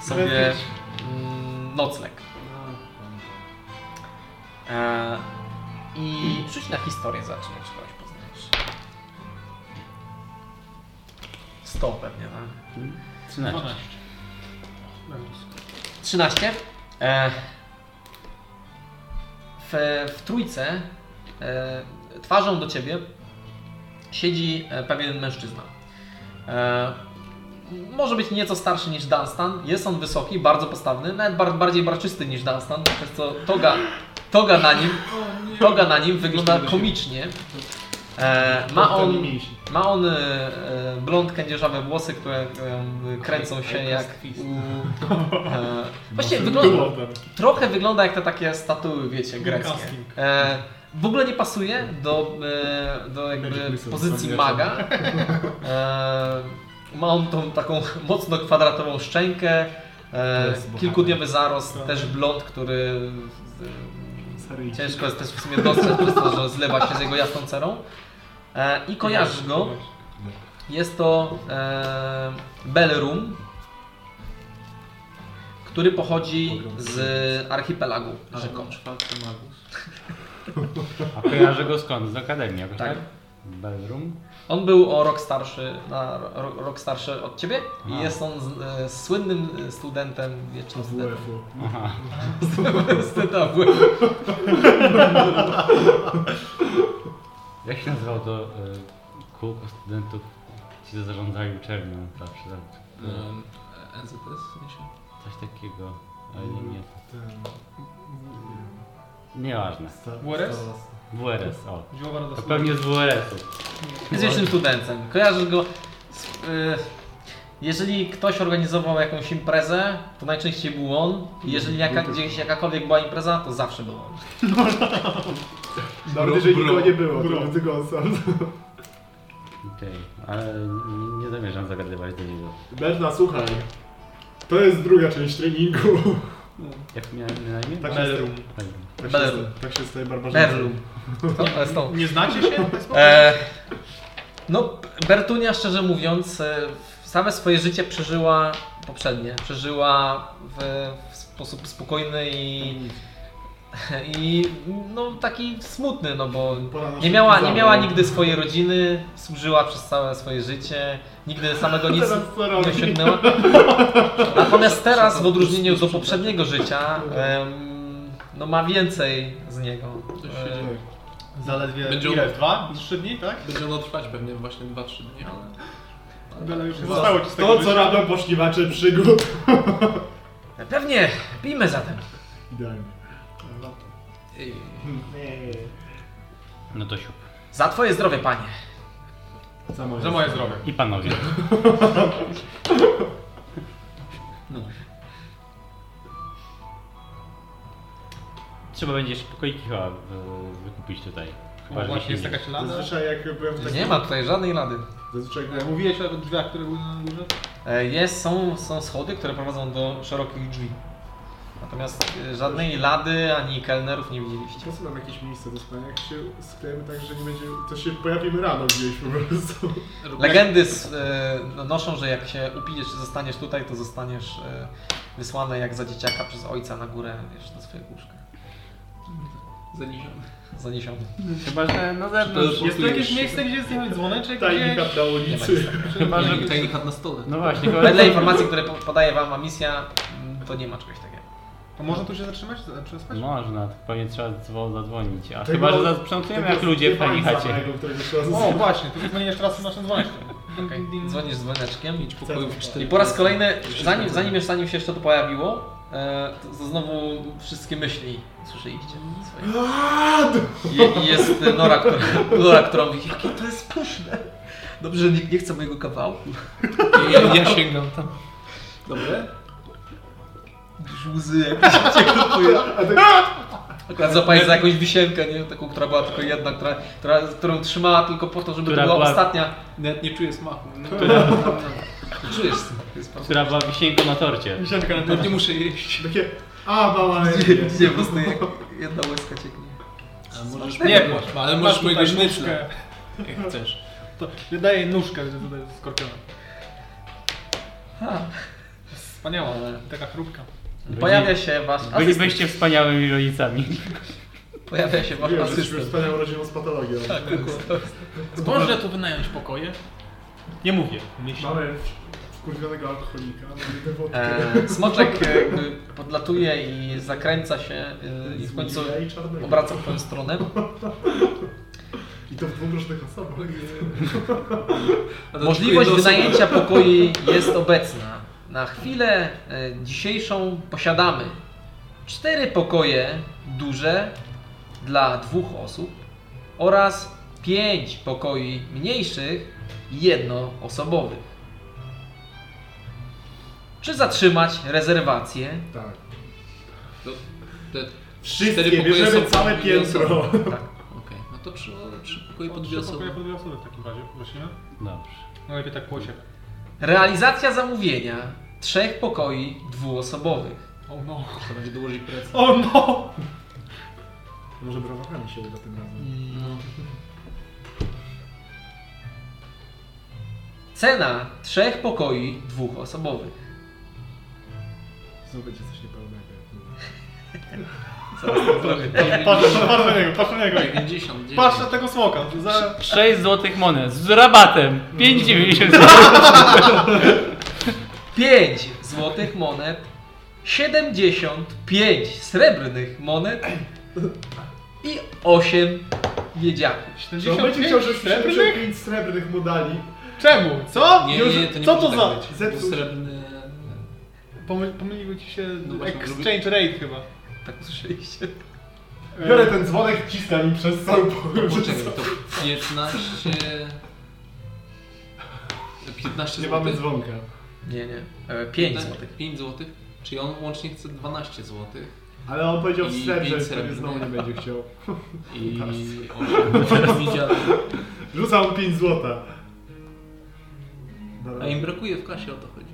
Speaker 1: e, sobie mm, nocleg. E, I rzuć na historię zacznie, czy kogoś poznajesz. 100 pewnie, tak?
Speaker 5: No
Speaker 3: 13.
Speaker 1: 13.
Speaker 5: tak.
Speaker 1: E, w, w trójce e, twarzą do ciebie siedzi e, pewien mężczyzna. E, może być nieco starszy niż Dunstan. Jest on wysoki, bardzo postawny, nawet bar, bardziej barczysty niż Dunstan, przez co toga, toga na nim toga na nim wygląda komicznie. E, ma on, ma on e, e, blond kędzierzawe włosy, które e, kręcą się jak u... E, właśnie wygląda, trochę wygląda jak te takie statuły, wiecie, greckie.
Speaker 4: Casting.
Speaker 1: E, w ogóle nie pasuje do, e, do jakby
Speaker 8: Magic
Speaker 1: pozycji
Speaker 8: Missile,
Speaker 1: maga. E, ma on tą taką mocno kwadratową szczękę. E,
Speaker 8: jest bohater. Tak.
Speaker 1: kilkudniowy zarost, też blond, który e, Ciężko jest też w sumie dostrzec przez to, że zlewa się z jego jasną cerą. E, I kojarzysz go. Jest to e, Belrum, który pochodzi z archipelagu Rzekoczy.
Speaker 2: Czwarty magus.
Speaker 3: A kojarzę go skąd? Z akademii jakoś,
Speaker 1: Tak.
Speaker 3: tak? Bellroom?
Speaker 1: On był o rok starszy, na, ro, rok starszy od ciebie i
Speaker 3: Aha.
Speaker 1: jest on z, e, słynnym studentem, wiecznym studentem.
Speaker 8: WF-u.
Speaker 3: Aha.
Speaker 1: Studenta WF.
Speaker 3: Jak się nazywał to y, kółko studentów, ci co zarządzali uczelnią zawsze? Tam,
Speaker 2: Um, NZS, w sensie?
Speaker 3: coś takiego. Ale nie, nie.
Speaker 8: Ten...
Speaker 3: Nieważne.
Speaker 8: sta-
Speaker 4: WRS?
Speaker 8: sta-
Speaker 3: WRS, o.
Speaker 4: Dziełowa rada
Speaker 3: To pewnie z WRS-u.
Speaker 1: Jest wiecznym studentem. Kojarzysz go. Z, y, jeżeli ktoś organizował jakąś imprezę, to najczęściej był on. Jeżeli jaka, gdzieś jakakolwiek była impreza, to zawsze był on.
Speaker 8: Nawet jeżeli nikogo nie było, to był tylko on sam.
Speaker 3: Okej, ale nie, nie zamierzam zagadywać do niego.
Speaker 8: Berna, słuchaj. To jest druga część treningu.
Speaker 3: Jak miałem na imię?
Speaker 8: Tak się
Speaker 4: Belrum.
Speaker 3: Bellroom.
Speaker 8: Tak się,
Speaker 1: Berlu.
Speaker 8: staje- tak się staje barbarzyńcą.
Speaker 1: Berlu. To, to jest to.
Speaker 4: Nie znacie się?
Speaker 1: E, no, Bertunia, szczerze mówiąc, e, same swoje życie przeżyła poprzednie. Przeżyła w, w sposób spokojny i I no taki smutny, no bo
Speaker 6: Pora na
Speaker 1: nie miała, nie
Speaker 6: szybki
Speaker 1: miała
Speaker 6: zabaw.
Speaker 1: nigdy swojej rodziny, służyła przez całe swoje życie, nigdy samego nic
Speaker 6: Teraz co
Speaker 1: nie
Speaker 6: robi?
Speaker 1: osiągnęła. Natomiast teraz, w odróżnieniu do poprzedniego życia, em, no ma więcej z niego.
Speaker 2: Coś się
Speaker 1: E,
Speaker 2: dzieje.
Speaker 5: Zaledwie
Speaker 2: Będzie-
Speaker 5: ile? Dwa? Trzy dni, tak?
Speaker 2: Będzie ono trwać pewnie właśnie 2-3 dni, ale...
Speaker 5: Ale już nie zostało ci z tego
Speaker 6: To, co
Speaker 5: wyjścia.
Speaker 6: robią poszukiwacze przygód.
Speaker 1: Pewnie, pijmy zatem.
Speaker 6: Idealnie.
Speaker 2: No to... Ej,
Speaker 6: Hmm.
Speaker 3: No to siup.
Speaker 1: Za twoje zdrowie, panie.
Speaker 6: Za moje.
Speaker 5: Za moje zdrowie.
Speaker 3: I panowie. No Trzeba będzie jeszcze pokoiki chyba e, wykupić tutaj. Chyba,
Speaker 5: Bo
Speaker 3: że
Speaker 5: właśnie
Speaker 3: się
Speaker 5: jest
Speaker 3: nie-
Speaker 5: jakaś lada.
Speaker 6: Zazwyczaj jak byłem w takim...
Speaker 1: Nie ma tutaj żadnej lady.
Speaker 6: Zazwyczaj jak
Speaker 5: E, Mówiłeś o drzwiach, które były na górze?
Speaker 1: E, Jest, są, są schody, które prowadzą do szerokich drzwi. Natomiast e, żadnej lady ani kelnerów nie widzieliście.
Speaker 6: Po co nam jakieś miejsce do spania? Jak się sklepiemy tak, że nie będzie... To się pojawimy rano gdzieś po prostu.
Speaker 1: Legendy s- e, no- noszą, że jak się upijesz i zostaniesz tutaj, to zostaniesz e, wysłany jak za dzieciaka przez ojca na górę wiesz, do swojego łóżka.
Speaker 2: zaniesiony.
Speaker 1: Zaniesiony.
Speaker 3: Chyba, że na zewnązdź.
Speaker 5: Jest tu jakieś miejsce, gdzie zdjąć dzwoneczek?
Speaker 6: Tajnik
Speaker 5: Gdzieś?
Speaker 6: na ulicy.
Speaker 3: Chyba, że...
Speaker 2: Tajnik- Tajnik na stole.
Speaker 3: No właśnie, chyba,
Speaker 1: Wedle informacji, które po- podaje wam Amisja, m, to nie ma czegoś takiego.
Speaker 5: To można tu się zatrzymać, za- przespać?
Speaker 3: Można, tylko pewnie trzeba dzwo- zadzwonić. A
Speaker 6: Tego-
Speaker 3: chyba, że zasprzątujemy jak ludzie w
Speaker 6: Tego
Speaker 3: pani chacie.
Speaker 6: samego, którego trzeba
Speaker 5: O, właśnie, tu zmieniasz teraz na naszym dzwoneczkiem.
Speaker 1: Okay. Dzwonisz dzwoneczkiem.
Speaker 2: Pięć pokojów, cztery
Speaker 1: I po raz
Speaker 2: piasty.
Speaker 1: kolejny,
Speaker 2: Wszystko
Speaker 1: zanim,
Speaker 2: to-
Speaker 1: zanim, zanim się jeszcze to pojawiło, e, to znowu wszystkie myśli słyszeliście. swoje.
Speaker 6: Aaa,
Speaker 1: Je, jest Nora, która, Nora, która mówi, jakie to jest pyszne. Dobrze, że nikt nie chce mojego kawałku.
Speaker 2: I ja, ja sięgam tam. Dobre?
Speaker 1: Gdzieś łzy jakieś cię kupuje. Akurat zapalić za jakąś wisienkę, nie? Taką, która była tylko jedna, która, która, którą trzymała tylko po to, żeby to
Speaker 3: Która
Speaker 1: była
Speaker 3: była-
Speaker 1: ostatnia.
Speaker 2: Nawet nie czuję smaku. No,
Speaker 1: Czujesz smak, to jest prawda.
Speaker 3: Która była wisienką na torcie.
Speaker 5: Wisienka na
Speaker 2: no nie muszę jeść.
Speaker 6: Takie... A, mała
Speaker 1: Gdzie,
Speaker 6: energia.
Speaker 1: gdzie po prostu jak jedna łezka cieknie.
Speaker 2: A możesz
Speaker 5: Nie
Speaker 2: nie płacz, ale możesz mojego śmyczka. Jak chcesz.
Speaker 5: To ja daję nóżkę że tutaj z skorpiona.
Speaker 1: A.
Speaker 5: Wspaniała, taka chrupka.
Speaker 1: Pojawia się wasz asystent.
Speaker 3: Bylibyście wspaniałymi rodzicami.
Speaker 1: Pojawia się wasz
Speaker 6: Wiem, że jesteśmy
Speaker 1: asystent.
Speaker 6: wspaniałą rodziną z patologią. Tak.
Speaker 2: Można tu wynająć pokoje?
Speaker 5: Nie mówię. Myślę.
Speaker 6: Mamy wkurwionego alkoholika, mamy tę wodkę.
Speaker 1: E, smoczek e, jakby podlatuje i zakręca się e, i w końcu
Speaker 6: Zbudzi jaj czarnego.
Speaker 1: obraca w twoją stronę.
Speaker 6: I to w dwóch różnych osobach.
Speaker 2: Tak. A to
Speaker 1: No, Możliwość
Speaker 2: tylko jedna
Speaker 1: wynajęcia pokoi jest obecna. Na chwilę e, dzisiejszą posiadamy cztery pokoje duże dla dwóch osób oraz pięć pokoi mniejszych jednoosobowych. Czy zatrzymać rezerwację?
Speaker 6: Tak.
Speaker 2: osoba. Te-
Speaker 6: Wszystkie,
Speaker 2: pokoje
Speaker 6: bierzemy
Speaker 2: są
Speaker 6: całe
Speaker 2: podwójne
Speaker 6: piętro.
Speaker 2: Okej, no to trzy, trzy pokoje
Speaker 5: Po
Speaker 2: po dwie
Speaker 5: dwie
Speaker 2: osoby.
Speaker 5: osoby w takim razie, prosimy.
Speaker 3: Dobrze.
Speaker 5: No lepiej tak płosie.
Speaker 1: Realizacja zamówienia trzech pokoi dwuosobowych.
Speaker 5: O no.
Speaker 2: Trzeba będzie dołożyć pracę.
Speaker 5: O no!
Speaker 6: Może browokami się uda tym razem.
Speaker 2: No.
Speaker 1: Cena trzech pokoi dwuosobowych.
Speaker 6: Znowu będzie coś niepełnego.
Speaker 5: Patrz, patrz na niego, patrz na niego.
Speaker 2: 90, 10.
Speaker 5: Patrz na tego smoka. Za...
Speaker 3: 6 złotych monet z rabatem. 5,90.
Speaker 1: 5 złotych monet, 75 srebrnych monet i 8 miedziaków.
Speaker 6: Czy on będzie chciał,
Speaker 5: 75
Speaker 6: że
Speaker 5: srebrnych?
Speaker 6: srebrnych? srebrnych mu dali?
Speaker 5: Czemu? Co?
Speaker 2: Nie,
Speaker 5: Już-
Speaker 2: nie, to nie
Speaker 5: Co
Speaker 2: może
Speaker 5: to za?
Speaker 2: tak być.
Speaker 6: Zepsuł.
Speaker 2: Srebrny...
Speaker 5: Pomyl, pomyliły ci się
Speaker 2: No właśnie,
Speaker 5: exchange rate chyba.
Speaker 1: Tak usłyszeliście.
Speaker 4: E,
Speaker 6: Biorę ten dzwonek, ciskam im przez całą połowę.
Speaker 2: Poczekaj, to 15... 15
Speaker 6: Nie
Speaker 2: złotych.
Speaker 6: mamy dzwonka.
Speaker 1: Nie, nie. 5 złotych.
Speaker 2: 5 złotych. Czyli on łącznie chce 12 złotych.
Speaker 6: Ale on powiedział w
Speaker 2: I
Speaker 6: srebrze,
Speaker 2: pięć
Speaker 6: że pewnie
Speaker 2: srebrnych.
Speaker 6: znowu nie będzie chciał.
Speaker 2: I
Speaker 6: Tak.
Speaker 2: on teraz nie działa.
Speaker 6: Rzucam 5 złota.
Speaker 2: A im brakuje w kasie, o to chodzi.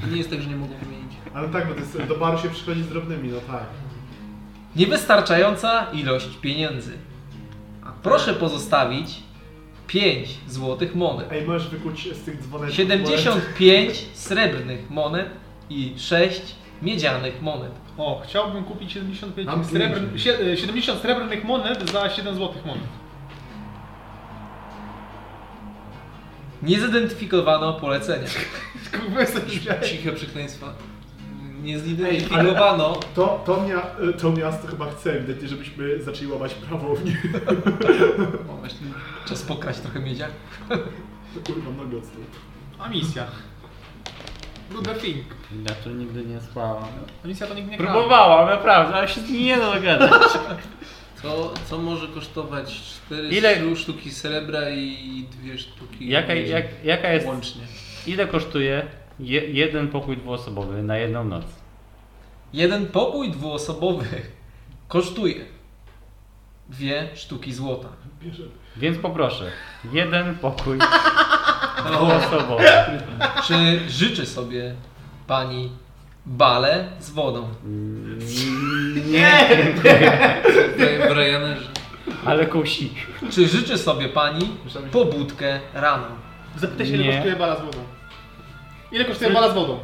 Speaker 2: To nie jest tak, że nie mogą wymienić.
Speaker 6: Ale tak, bo to jest, do baru się przychodzi z drobnymi, no tak.
Speaker 1: Niewystarczająca ilość pieniędzy. Proszę pozostawić 5 złotych monet,
Speaker 6: Ej, możesz wykuć z tych dzwonek.
Speaker 1: 75 srebrnych monet i 6 miedzianych monet.
Speaker 4: O, chciałbym kupić 75
Speaker 1: Mam
Speaker 4: srebrn...
Speaker 1: pięć.
Speaker 4: sie- e, 70 srebrnych monet za 7 złotych monet.
Speaker 1: Nie zidentyfikowano polecenia.
Speaker 4: Kurwa, jestem dzisiaj.
Speaker 2: Ciche przekleństwa. Nie zidentyfikowano.
Speaker 6: To, to, mia, to miasto chyba chce ewidentnie, żebyśmy zaczęli łamać prawo w nim.
Speaker 2: O, właśnie.
Speaker 1: Czas pokraść trochę miedzia.
Speaker 6: Kurwa, nogi odstawię.
Speaker 4: A misja. Do the thing.
Speaker 3: Ja tu nigdy nie spałam.
Speaker 4: A misja to nigdy nie gra.
Speaker 3: Próbowałam, naprawdę, ale się nie da dogadać.
Speaker 2: To, co może kosztować 4
Speaker 3: Ile-
Speaker 2: sztuki srebra i 2 sztuki
Speaker 3: Jaka,
Speaker 2: miedzi
Speaker 3: jak, jaka jest,
Speaker 2: łącznie.
Speaker 3: ile kosztuje je, jeden pokój dwuosobowy na jedną noc?
Speaker 1: Jeden pokój dwuosobowy kosztuje dwie sztuki złota.
Speaker 3: Więc poproszę, jeden pokój dwuosobowy.
Speaker 1: Czy życzy sobie pani bale z wodą?
Speaker 3: Nie!
Speaker 2: Daję Brianerze.
Speaker 3: Ale kusi.
Speaker 1: Czy życzy sobie pani pobudkę rano?
Speaker 4: Zapytaj się, ile
Speaker 3: Nie.
Speaker 4: kosztuje bala z wodą. Ile kosztuje bala z wodą?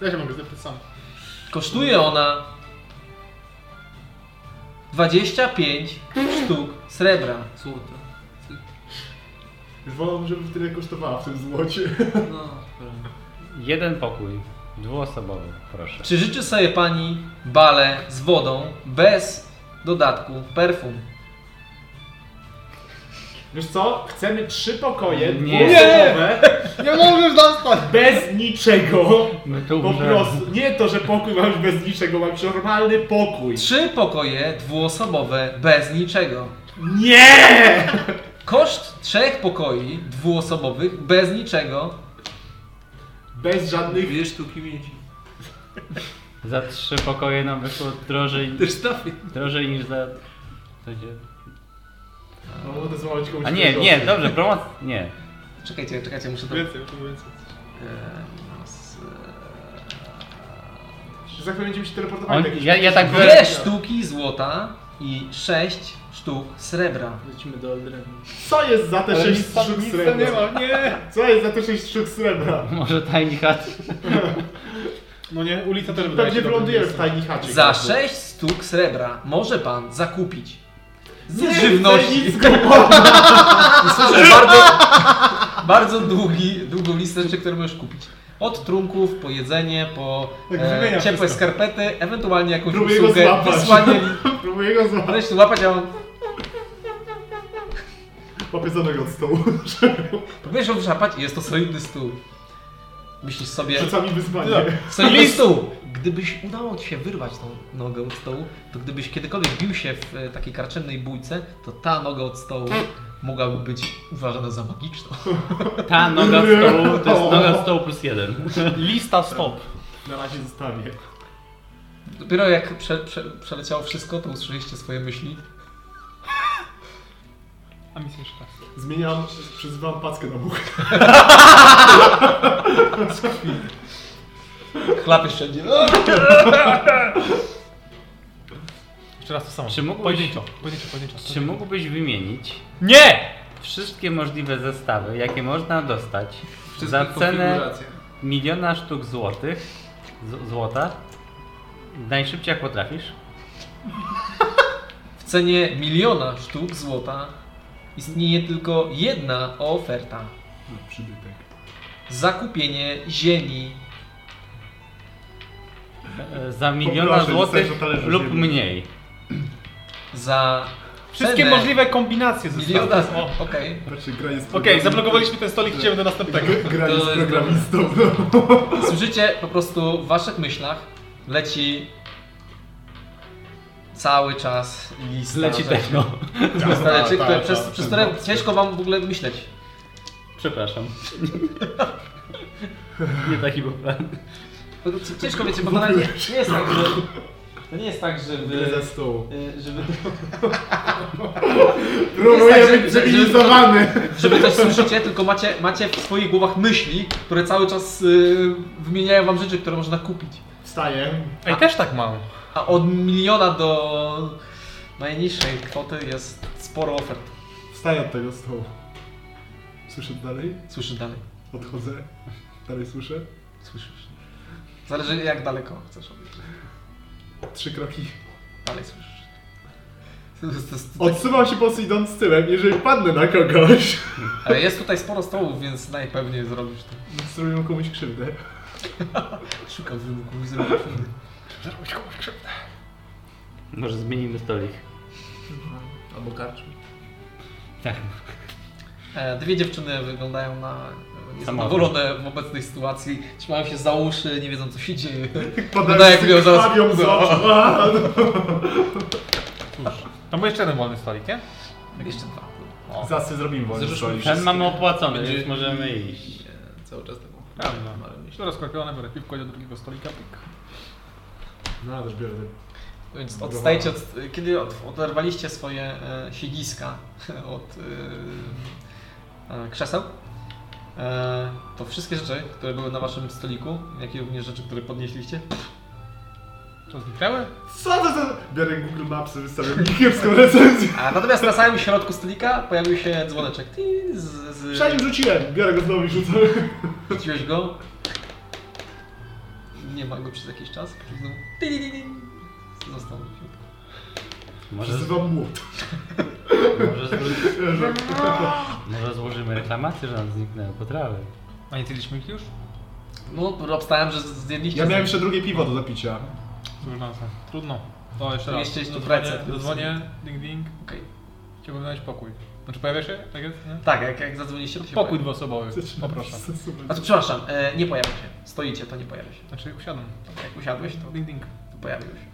Speaker 4: Ja się mogę zapytać sam.
Speaker 1: Kosztuje ona 25 sztuk srebra.
Speaker 2: Złote.
Speaker 6: Już wolałbym, żeby tyle kosztowała w tym złocie.
Speaker 2: No, pewnie.
Speaker 3: Jeden pokój dwuosobowy, proszę.
Speaker 1: Czy życzy sobie pani bale z wodą bez dodatku perfum?
Speaker 6: Wiesz co? Chcemy trzy pokoje,
Speaker 3: Nie.
Speaker 6: dwuosobowe,
Speaker 4: Nie możesz dostać!
Speaker 6: bez niczego.
Speaker 3: No to
Speaker 6: Po prostu. Nie to, że pokój mam już bez niczego, mam już normalny pokój.
Speaker 1: Trzy pokoje dwuosobowe bez niczego.
Speaker 6: Nie!
Speaker 1: Koszt trzech pokoi dwuosobowych bez niczego
Speaker 6: Bez żadnych...
Speaker 2: 2 sztuki miedzi.
Speaker 3: Za trzy pokoje nam wyszło drożej,
Speaker 2: Też trafię.
Speaker 3: drożej niż za... co się-
Speaker 6: No, mogę złamać komuś
Speaker 3: A nie,
Speaker 6: tego.
Speaker 3: nie, dobrze, promocja... Nie.
Speaker 1: Czekajcie, czekajcie, muszę to.
Speaker 4: Więcej, już więcej.
Speaker 6: Za chwilę będziemy się teleportować.
Speaker 3: On,
Speaker 6: do jakiejś-
Speaker 3: ja, ja tak
Speaker 1: Dwie sztuki złota i sześć sztuk srebra.
Speaker 2: Lecimy do Aldrenu.
Speaker 6: Co jest za te
Speaker 4: Ale
Speaker 6: 6
Speaker 4: nic tam-
Speaker 6: sztuk
Speaker 4: nic tam nie
Speaker 6: srebra?
Speaker 4: ma, nie!
Speaker 6: Co jest za te 6 sztuk srebra?
Speaker 3: Może tajni chat.
Speaker 4: No nie, ulica też wydaje się dobrym
Speaker 6: Pewnie tak. wylądujemy w
Speaker 4: miejscem.
Speaker 6: tajni chacie.
Speaker 1: Za sześć sztuk srebra może pan zakupić
Speaker 6: Nie
Speaker 1: z żywności.
Speaker 6: chcę nic kupować.
Speaker 1: I słyszę bardzo, bardzo długi, długą listę rzeczy, które możesz kupić. Od trunków, po jedzenie, po
Speaker 4: Tak,
Speaker 1: e,
Speaker 4: wymienia
Speaker 1: ciepłe
Speaker 4: wszystko.
Speaker 1: skarpety, ewentualnie jakąś
Speaker 6: Próbuję go
Speaker 1: usługę,
Speaker 6: złapać.
Speaker 1: wysłanie.
Speaker 6: Próbuję go złapać.
Speaker 1: Możesz tu łapać, a on
Speaker 6: Łapię za nogę od stołu.
Speaker 1: próbujesz ją wyszarpać i jest to solidny stół. Myślisz sobie,
Speaker 6: Rzuca mi wyzwanie.
Speaker 4: Tak.
Speaker 1: solidny stół! Gdybyś udało ci się wyrwać tą nogę od stołu, to gdybyś kiedykolwiek bił się w e, takiej karczemnej bójce, to ta noga od stołu mogłaby być uważana za magiczną.
Speaker 3: Ta noga w stołu, to jest noga w stołu plus jeden.
Speaker 5: Lista stop.
Speaker 6: Na razie zostawię.
Speaker 1: Dopiero jak prze, prze, przeleciało wszystko, to usłyszeliście swoje myśli.
Speaker 4: A misja jeszcze raz.
Speaker 6: Zmieniam, przyzywam packę na muchę.
Speaker 1: Chlapy wszędzie.
Speaker 4: Jeszcze raz to samo.
Speaker 3: Czy mógłbyś-
Speaker 4: Pojedynczo, pojedynczo, pojedynczo.
Speaker 3: Czy mógłbyś wymienić
Speaker 5: Nie!
Speaker 3: wszystkie możliwe zestawy, jakie można dostać za cenę miliona sztuk złotych, z, złota, najszybciej jak potrafisz?
Speaker 1: W cenie miliona sztuk złota istnieje tylko jedna oferta.
Speaker 4: No,
Speaker 6: Przybytek.
Speaker 1: Zakupienie ziemi.
Speaker 3: E, Za miliona
Speaker 6: Poproszę,
Speaker 3: złotych
Speaker 6: zostań na talerzu
Speaker 3: lub
Speaker 6: ziemi.
Speaker 3: mniej.
Speaker 1: Za
Speaker 5: Wszystkie
Speaker 1: cenę
Speaker 5: możliwe kombinacje
Speaker 1: miliona...
Speaker 5: zestawu.
Speaker 1: Okej.
Speaker 6: Znaczy gra jest...
Speaker 5: Okej, zablokowaliśmy ten stolik, idziemy do następnego.
Speaker 6: Gra jest
Speaker 2: To jest
Speaker 6: programistą. no.
Speaker 1: Słyszycie po prostu w waszych myślach leci cały czas lista
Speaker 3: Zleci
Speaker 1: rzeczy.
Speaker 3: techno.
Speaker 1: Lista rzeczy,
Speaker 6: Ta, ta,
Speaker 1: które
Speaker 6: ta,
Speaker 1: przez,
Speaker 6: ta,
Speaker 1: przez
Speaker 6: ta.
Speaker 1: które ciężko wam w ogóle myśleć.
Speaker 3: Przepraszam. Nie taki był plan.
Speaker 1: Bo to c- Ciężko wiecie, bo to nawet nie, nie jest tak, że... To nie jest tak, że
Speaker 6: Gra
Speaker 1: wy...
Speaker 6: ze stołu.
Speaker 1: y, Tak, Że wy
Speaker 6: Próbuję
Speaker 1: że-
Speaker 6: być
Speaker 1: że- że-
Speaker 6: cywilizowany.
Speaker 1: żeby coś słyszycie, tylko macie, macie w swoich głowach myśli, które cały czas y, wymieniają wam rzeczy, które można kupić.
Speaker 6: Wstaję.
Speaker 4: Ej, też tak mam.
Speaker 1: A od miliona do najniższej kwoty jest sporo ofert.
Speaker 6: Wstaję od tego stołu. Słyszę dalej?
Speaker 1: Słyszysz dalej.
Speaker 6: Odchodzę. Dalej słyszę?
Speaker 1: Słyszysz. Zależy jak daleko chcesz odbić.
Speaker 6: Trzy kroki.
Speaker 1: Dalej słyszysz. To jest- to jest-
Speaker 6: Odsuwam się po prostu idąc z tyłem, jeżeli padnę na kogoś.
Speaker 1: Ale jest tutaj sporo stołów, więc najpewniej zrobisz to.
Speaker 6: Zrobię komuś krzywdę.
Speaker 1: Szukam wymówków i zrobisz inny.
Speaker 3: Może zmienimy stolik.
Speaker 2: Albo karczmy.
Speaker 3: Tak.
Speaker 1: E, Dwie dziewczyny wyglądają na e,
Speaker 3: Samotne.
Speaker 1: niezadowolone w obecnej sytuacji. Trzymają się za uszy, nie wiedzą co się dzieje.
Speaker 6: Padają
Speaker 1: No tak,
Speaker 6: z
Speaker 1: miał zaraz-
Speaker 6: krwawią z oczu. A,
Speaker 5: Cóż. Tam był jeszcze jeden wolny stolik, nie?
Speaker 1: Tak, Jeszcze dwa.
Speaker 6: no. Zasy zrobimy wolny
Speaker 2: Zrzućmy
Speaker 6: stolik.
Speaker 3: Ten mamy opłacony,
Speaker 2: Będzie-
Speaker 3: więc możemy iść. Tak.
Speaker 2: Nie, Cały czas
Speaker 1: tak
Speaker 2: taką
Speaker 5: Prawda.
Speaker 2: marę myślę.
Speaker 5: Teraz sklepione, biorę piwko do drugiego stolika. Pyk.
Speaker 6: No, ja też biorę.
Speaker 1: Więc odstajecie, od, kiedy od, oderwaliście swoje e, siedziska od e, e, krzeseł, e, to wszystkie rzeczy, które były na waszym stoliku, jak i również rzeczy, które podnieśliście,
Speaker 5: To zniknęły?
Speaker 6: Co to za... Biorę Google Maps, wystawiam kiepską recenzję.
Speaker 1: A natomiast na samym środku stolika pojawił się dzwoneczek. Ty z, z...
Speaker 6: Przed nim rzuciłem, biorę go znowu i rzucę.
Speaker 1: Rzuciłeś go. Nie ma go przez jakiś czas. po prostu ty, ty, ty, ty. Został. w środku.
Speaker 3: Może,
Speaker 6: Wzywam młot.
Speaker 3: może, złoży, może złożymy reklamację, że nam zniknęły potrawy.
Speaker 5: A nie zjedliśmy ich już?
Speaker 1: No, obstałem, że zjedliście.
Speaker 6: Ja miałem
Speaker 1: z-
Speaker 6: jeszcze drugie piwo do zapicia.
Speaker 5: Cóż, na co? Trudno. To jeszcze raz.
Speaker 1: Mieściłeś tu pracę.
Speaker 5: Zadzwonię, ding ding.
Speaker 1: Okej.
Speaker 5: Chciałbym znaleźć pokój. Znaczy pojawia się? Tak jest? Nie?
Speaker 1: Tak, jak, jak zadzwoniliście, to się
Speaker 5: Pokój
Speaker 1: pojawi.
Speaker 5: dwuosobowy. Poproszę.
Speaker 1: A to przepraszam, e, nie pojawia się. Stoicie, to nie pojawia się.
Speaker 5: Znaczy usiadłem.
Speaker 1: Jak usiadłeś, to,
Speaker 5: Ding ding.
Speaker 1: to pojawił się.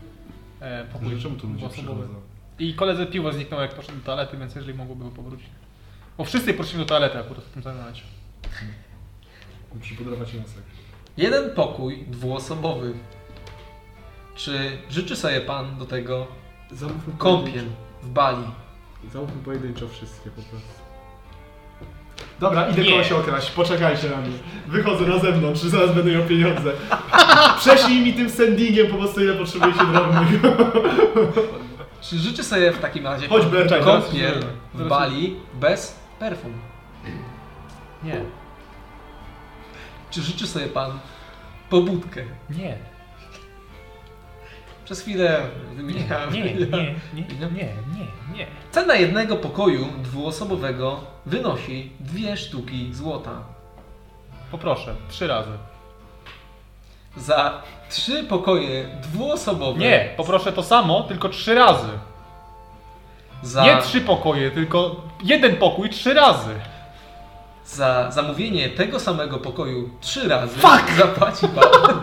Speaker 5: E,
Speaker 6: Może
Speaker 5: pokój
Speaker 6: No czemu tu ludzie
Speaker 5: dwuosobowy.
Speaker 6: przychodzą?
Speaker 5: I koledze piwo zniknęło jak poszedł do toalety, więc jeżeli mogłoby go powrócić. Bo wszyscy poszliśmy do toalety akurat w tym samym momencie.
Speaker 6: Muszę podrapać nosek.
Speaker 1: Jeden pokój dwuosobowy. Czy życzy sobie pan do tego
Speaker 6: Zamówmy
Speaker 1: kąpiel w Bali?
Speaker 6: Zamówmy pojedynczo wszystkie po prostu. Dobra, idę kogoś okraść, poczekajcie na mnie. Wychodzę na zewnątrz, zaraz będę miał pieniądze. Prześlij mi tym sendingiem po prostu ile potrzebuje się drobnych.
Speaker 1: Czy życzy sobie w takim razie
Speaker 6: Chodź, Berta, teraz
Speaker 1: kąpiel
Speaker 5: zmieniamy.
Speaker 1: w
Speaker 5: Teraz-
Speaker 1: Bali bez perfum?
Speaker 5: Nie.
Speaker 1: Czy życzy sobie pan pobudkę?
Speaker 5: Nie.
Speaker 1: Przez chwilę wymieniałem.
Speaker 5: nie, nie, nie, nie.
Speaker 1: Cena jednego pokoju dwuosobowego wynosi dwie sztuki złota.
Speaker 5: Poproszę, trzy razy.
Speaker 1: Za trzy pokoje dwuosobowe.
Speaker 5: Nie, poproszę to samo, tylko trzy razy.
Speaker 1: za,
Speaker 5: Nie trzy pokoje, tylko jeden pokój trzy razy.
Speaker 1: za zamówienie tego samego pokoju trzy razy Fuck! zapłaci pan.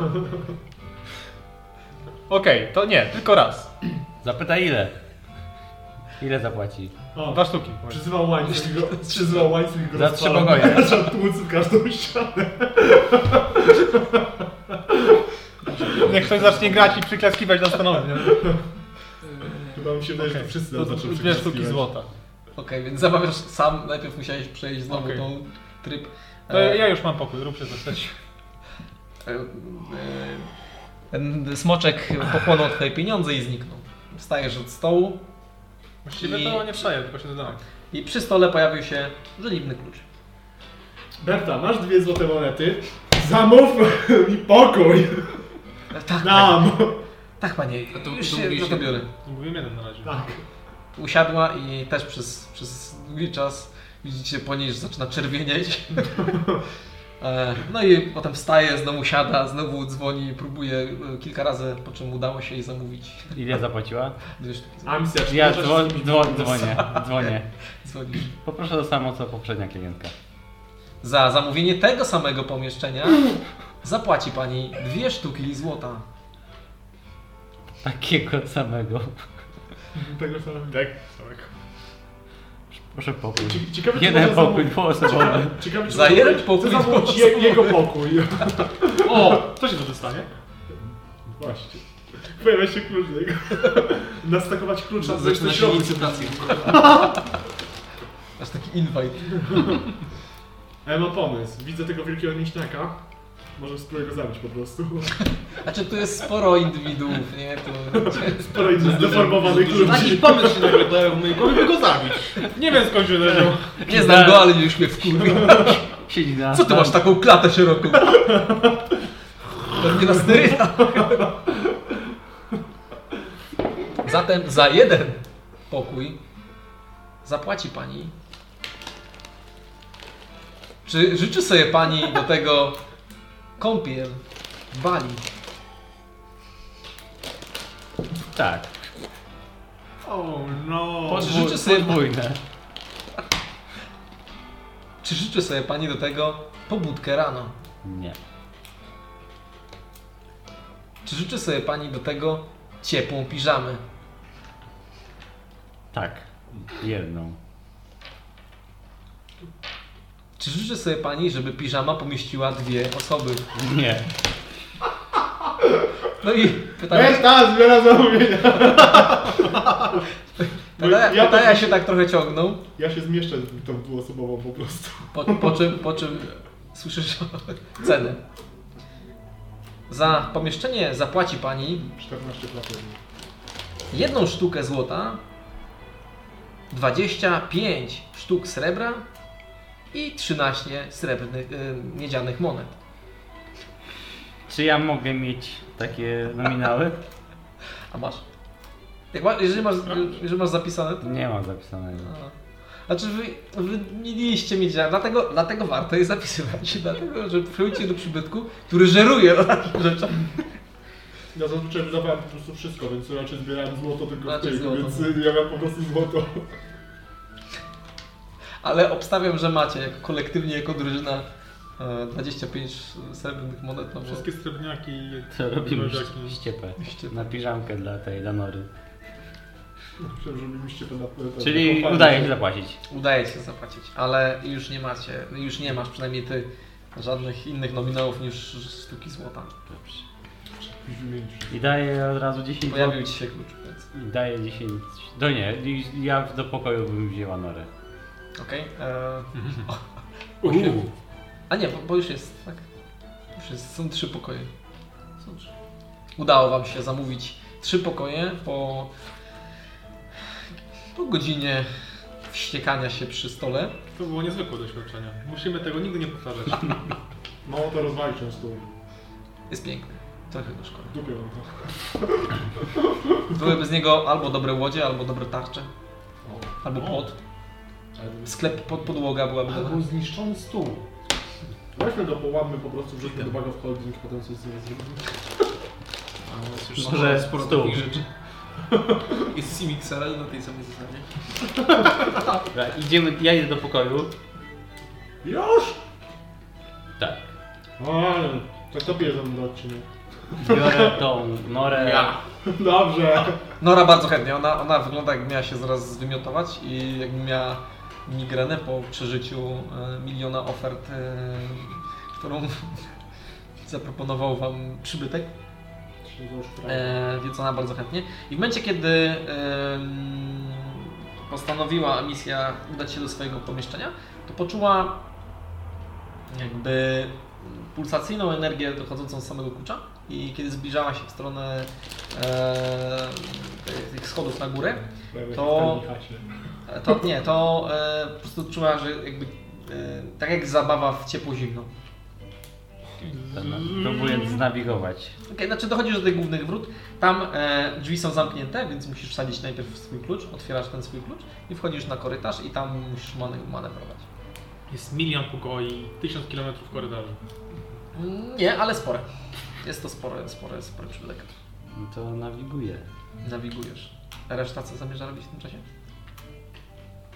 Speaker 5: Okej, to nie, tylko raz.
Speaker 3: Zapytaj ile. Ile zapłaci?
Speaker 6: O,
Speaker 5: Dwa sztuki.
Speaker 6: przyzywał łańcuch,
Speaker 2: No,
Speaker 6: go, przyzywał łańcuch go
Speaker 3: Za trzy
Speaker 6: rozpalam.
Speaker 3: pokoje.
Speaker 6: Zaczął tłuc w każdą ścianę.
Speaker 5: Niech ktoś zacznie grać i przyklaskiwać na stanowie.
Speaker 6: Chyba mi się wydaje, że to wszyscy
Speaker 5: No To
Speaker 6: nas
Speaker 5: są
Speaker 6: zaczęli
Speaker 5: dwie sztuki
Speaker 6: przyklaskiwać.
Speaker 5: złota.
Speaker 1: Okej, więc zamawiasz sam, najpierw musiałeś przejść znowu
Speaker 5: Okej.
Speaker 1: tą tryb.
Speaker 5: To
Speaker 1: E,
Speaker 5: ja już mam pokój, rób się co chcesz.
Speaker 1: e, e, ten smoczek pochłonął twoje pieniądze i zniknął. Wstajesz od stołu
Speaker 5: Właściwie
Speaker 1: I-
Speaker 5: to nie wstaję, tylko się dodałem.
Speaker 1: i przy stole pojawił się żeliwny klucz.
Speaker 6: Berta, masz dwie złote monety. Zamów mi pokój.
Speaker 1: E, Tak,
Speaker 6: No,
Speaker 1: tak,
Speaker 6: Nam.
Speaker 1: tak panie,
Speaker 2: A to-
Speaker 1: już
Speaker 2: to
Speaker 1: się
Speaker 2: mówiłeś
Speaker 1: za to
Speaker 2: jedno.
Speaker 1: biorę.
Speaker 5: Mówiłem jeden na razie.
Speaker 6: Tak.
Speaker 1: Usiadła i też przez, przez długi czas widzicie po niej, że zaczyna czerwienieć. E, no i potem wstaje, znowu siada, znowu dzwoni, próbuje e, kilka razy, po czym udało się jej zamówić.
Speaker 3: Ile zapłaciła?
Speaker 1: Dwie sztuki za-
Speaker 6: Amsja, czy
Speaker 3: Ja
Speaker 6: możesz
Speaker 3: dzwo-
Speaker 6: z kimś
Speaker 3: dzwo-
Speaker 6: pomóc?
Speaker 3: dzwonię, dzwonię.
Speaker 1: dzwonisz.
Speaker 3: Poproszę to samo co poprzednia klientka.
Speaker 1: Za zamówienie tego samego pomieszczenia zapłaci pani dwie sztuki złota.
Speaker 3: Takiego samego.
Speaker 6: Tego samego. Tak.
Speaker 3: Proszę pokój.
Speaker 6: Cie- Ciekawe, czy
Speaker 3: Jeden
Speaker 6: można
Speaker 3: pokój
Speaker 6: zamówić...
Speaker 3: dwuosobowy.
Speaker 6: Ciekawe, czy
Speaker 1: Za
Speaker 6: można
Speaker 1: jeden
Speaker 6: zamówić-
Speaker 1: pokój
Speaker 6: Chcę zamówić
Speaker 1: dwuosobowy.
Speaker 6: je, jego pokój.
Speaker 5: O, co się wtedy stanie?
Speaker 6: Właśnie. Pojawia się klucz do jego. Nastakować klucza ze
Speaker 2: Zaczyna się
Speaker 6: środków.
Speaker 2: licytację.
Speaker 1: Aż taki invite.
Speaker 6: Ja mam E, no pomysł. Widzę tego wielkiego mięśniaka. Może spróbuję go zabić po prostu.
Speaker 1: Znaczy tu jest sporo indywiduów, nie? Tu...
Speaker 6: Sporo innych zdeformowanych
Speaker 2: Taki
Speaker 6: ludzi.
Speaker 2: pomysł się nagle pojawił w mojej głowie, by go zabić.
Speaker 5: Nie wiem skąd się leżą.
Speaker 1: Nie znam go, ale już mnie wkurwił.
Speaker 3: Siedzi na
Speaker 1: Co ty masz taką klatę szeroką? Nie rozrywa. Zatem za jeden pokój zapłaci pani. Czy życzy sobie pani do tego kąpiel w Bali?
Speaker 3: Tak,
Speaker 8: Oh no.
Speaker 1: Czy życzy sobie,
Speaker 3: podwójne.
Speaker 1: czy życzy sobie pani do tego pobudkę rano?
Speaker 3: Nie,
Speaker 1: Czy życzy sobie pani do tego ciepłą piżamę?
Speaker 3: tak, jedną.
Speaker 1: Czy życzy sobie pani, żeby piżama pomieściła dwie osoby?
Speaker 3: Nie,
Speaker 1: No i pytania,
Speaker 6: Reszta E, tak, zbiera zamówienia.
Speaker 1: pytania,
Speaker 6: ja
Speaker 1: pytania się tak trochę ciągną,
Speaker 6: Ja się zmieszczę w tą dwuosobową po prostu.
Speaker 1: po, po, czym, po czym słyszysz ceny. Za pomieszczenie zapłaci pani
Speaker 6: 14 platform.
Speaker 1: jedną sztukę złota, 25 sztuk srebra i 13 srebrnych, y, miedzianych monet.
Speaker 3: czy ja mogę mieć takie nominały?
Speaker 1: A masz? Jak ma, jeżeli, masz jeżeli masz zapisane, to...
Speaker 3: Nie mam zapisanego.
Speaker 1: A. Znaczy wy, wy mieliście mieć, dlatego, dlatego warto je zapisywać, dlatego że przyjdzie do przybytku, który żeruje na takich rzeczach.
Speaker 6: Ja zazwyczaj wydawałem po prostu wszystko, więc raczej zbierałem złoto tylko
Speaker 1: Raczej
Speaker 6: w tym,
Speaker 1: złoto.
Speaker 6: więc ja miałem po prostu złoto.
Speaker 1: Ale obstawiam, że macie jako kolektywnie, jako drużyna e, 25 srebrnych monet, no bo
Speaker 4: Wszystkie srebrniaki i
Speaker 3: To robimy
Speaker 4: drożdżaki.
Speaker 3: ściepę.
Speaker 1: Ściepę.
Speaker 3: Na piżamkę dla tej Danory.
Speaker 6: Chciałem, żeby mi się to na na- na
Speaker 3: Czyli
Speaker 6: kompanię.
Speaker 3: udaje się zapłacić.
Speaker 1: no, udaje się zapłacić, ale już nie macie, już nie masz przynajmniej ty żadnych innych nominałów niż sztuki złota.
Speaker 6: Jakiś wymienić.
Speaker 3: I daję od razu 10
Speaker 1: Pojawił ci się klucz, więc
Speaker 3: I daję 10. No nie, i- ja do pokoju bym wzięła norę.
Speaker 1: okej. e,
Speaker 3: Uuu.
Speaker 1: A nie, bo, bo już jest, tak? Już jest, są trzy pokoje. Są trzy. Udało Wam się zamówić trzy pokoje po, po godzinie wściekania się przy stole.
Speaker 4: To było niezwykłe doświadczenie. Musimy tego nigdy nie powtarzać.
Speaker 6: Mało to rozwali często.
Speaker 1: Jest piękny. Trochę go szkoda.
Speaker 6: Dupię mam to.
Speaker 1: Byłyby z niego albo dobre łodzie, albo dobre tarcze. Albo pod. Sklep pod podłoga byłaby
Speaker 6: Ale
Speaker 1: dobra.
Speaker 6: był zniszczony stół. Weźmy go, połammy po prostu, wrzućmy do baga w holding, potem coś z nim zrobimy.
Speaker 2: A jest już
Speaker 3: Może
Speaker 2: sporo, sporo
Speaker 3: stół.
Speaker 2: takich rzeczy. Jest Simic Sarel na tej samej zasadzie.
Speaker 3: Dobra, idziemy, ja idę do pokoju.
Speaker 6: Już!
Speaker 3: Tak.
Speaker 6: Ale, to kto pije ze mną do odcinek?
Speaker 3: Biorę tą norę.
Speaker 6: Dobrze.
Speaker 1: Nora bardzo chętnie. Ona, ona wygląda jakby miała się zaraz zwymiotować i jakby miała migrenę po przeżyciu e, miliona ofert, e, którą zaproponował wam przybytek.
Speaker 6: Się to już prawie.
Speaker 1: E, więc ona bardzo chętnie. I w momencie, kiedy em, postanowiła misja udać się do swojego pomieszczenia, to poczuła jakby pulsacyjną energię dochodzącą z samego klucza i kiedy zbliżała się w stronę e, tych- tych schodów na górę,
Speaker 6: Prawie
Speaker 1: to-
Speaker 6: się w stanie
Speaker 1: to nie, to e, po prostu czuła, że jakby e, tak jak zabawa w ciepło-zimno.
Speaker 3: Próbuję znawigować.
Speaker 1: Okay, znaczy dochodzisz do tych głównych wrót, tam e, drzwi są zamknięte, więc musisz wsadzić najpierw swój klucz, otwierasz ten swój klucz i wchodzisz na korytarz i tam musisz mane- manewrować.
Speaker 4: Jest milion pokoi, tysiąc kilometrów korytarzy.
Speaker 1: Mm, Nie, ale spore. Jest to spore, spore, spore przybytek.
Speaker 3: No to nawiguję.
Speaker 1: Nawigujesz. Reszta co zamierza robić w tym czasie?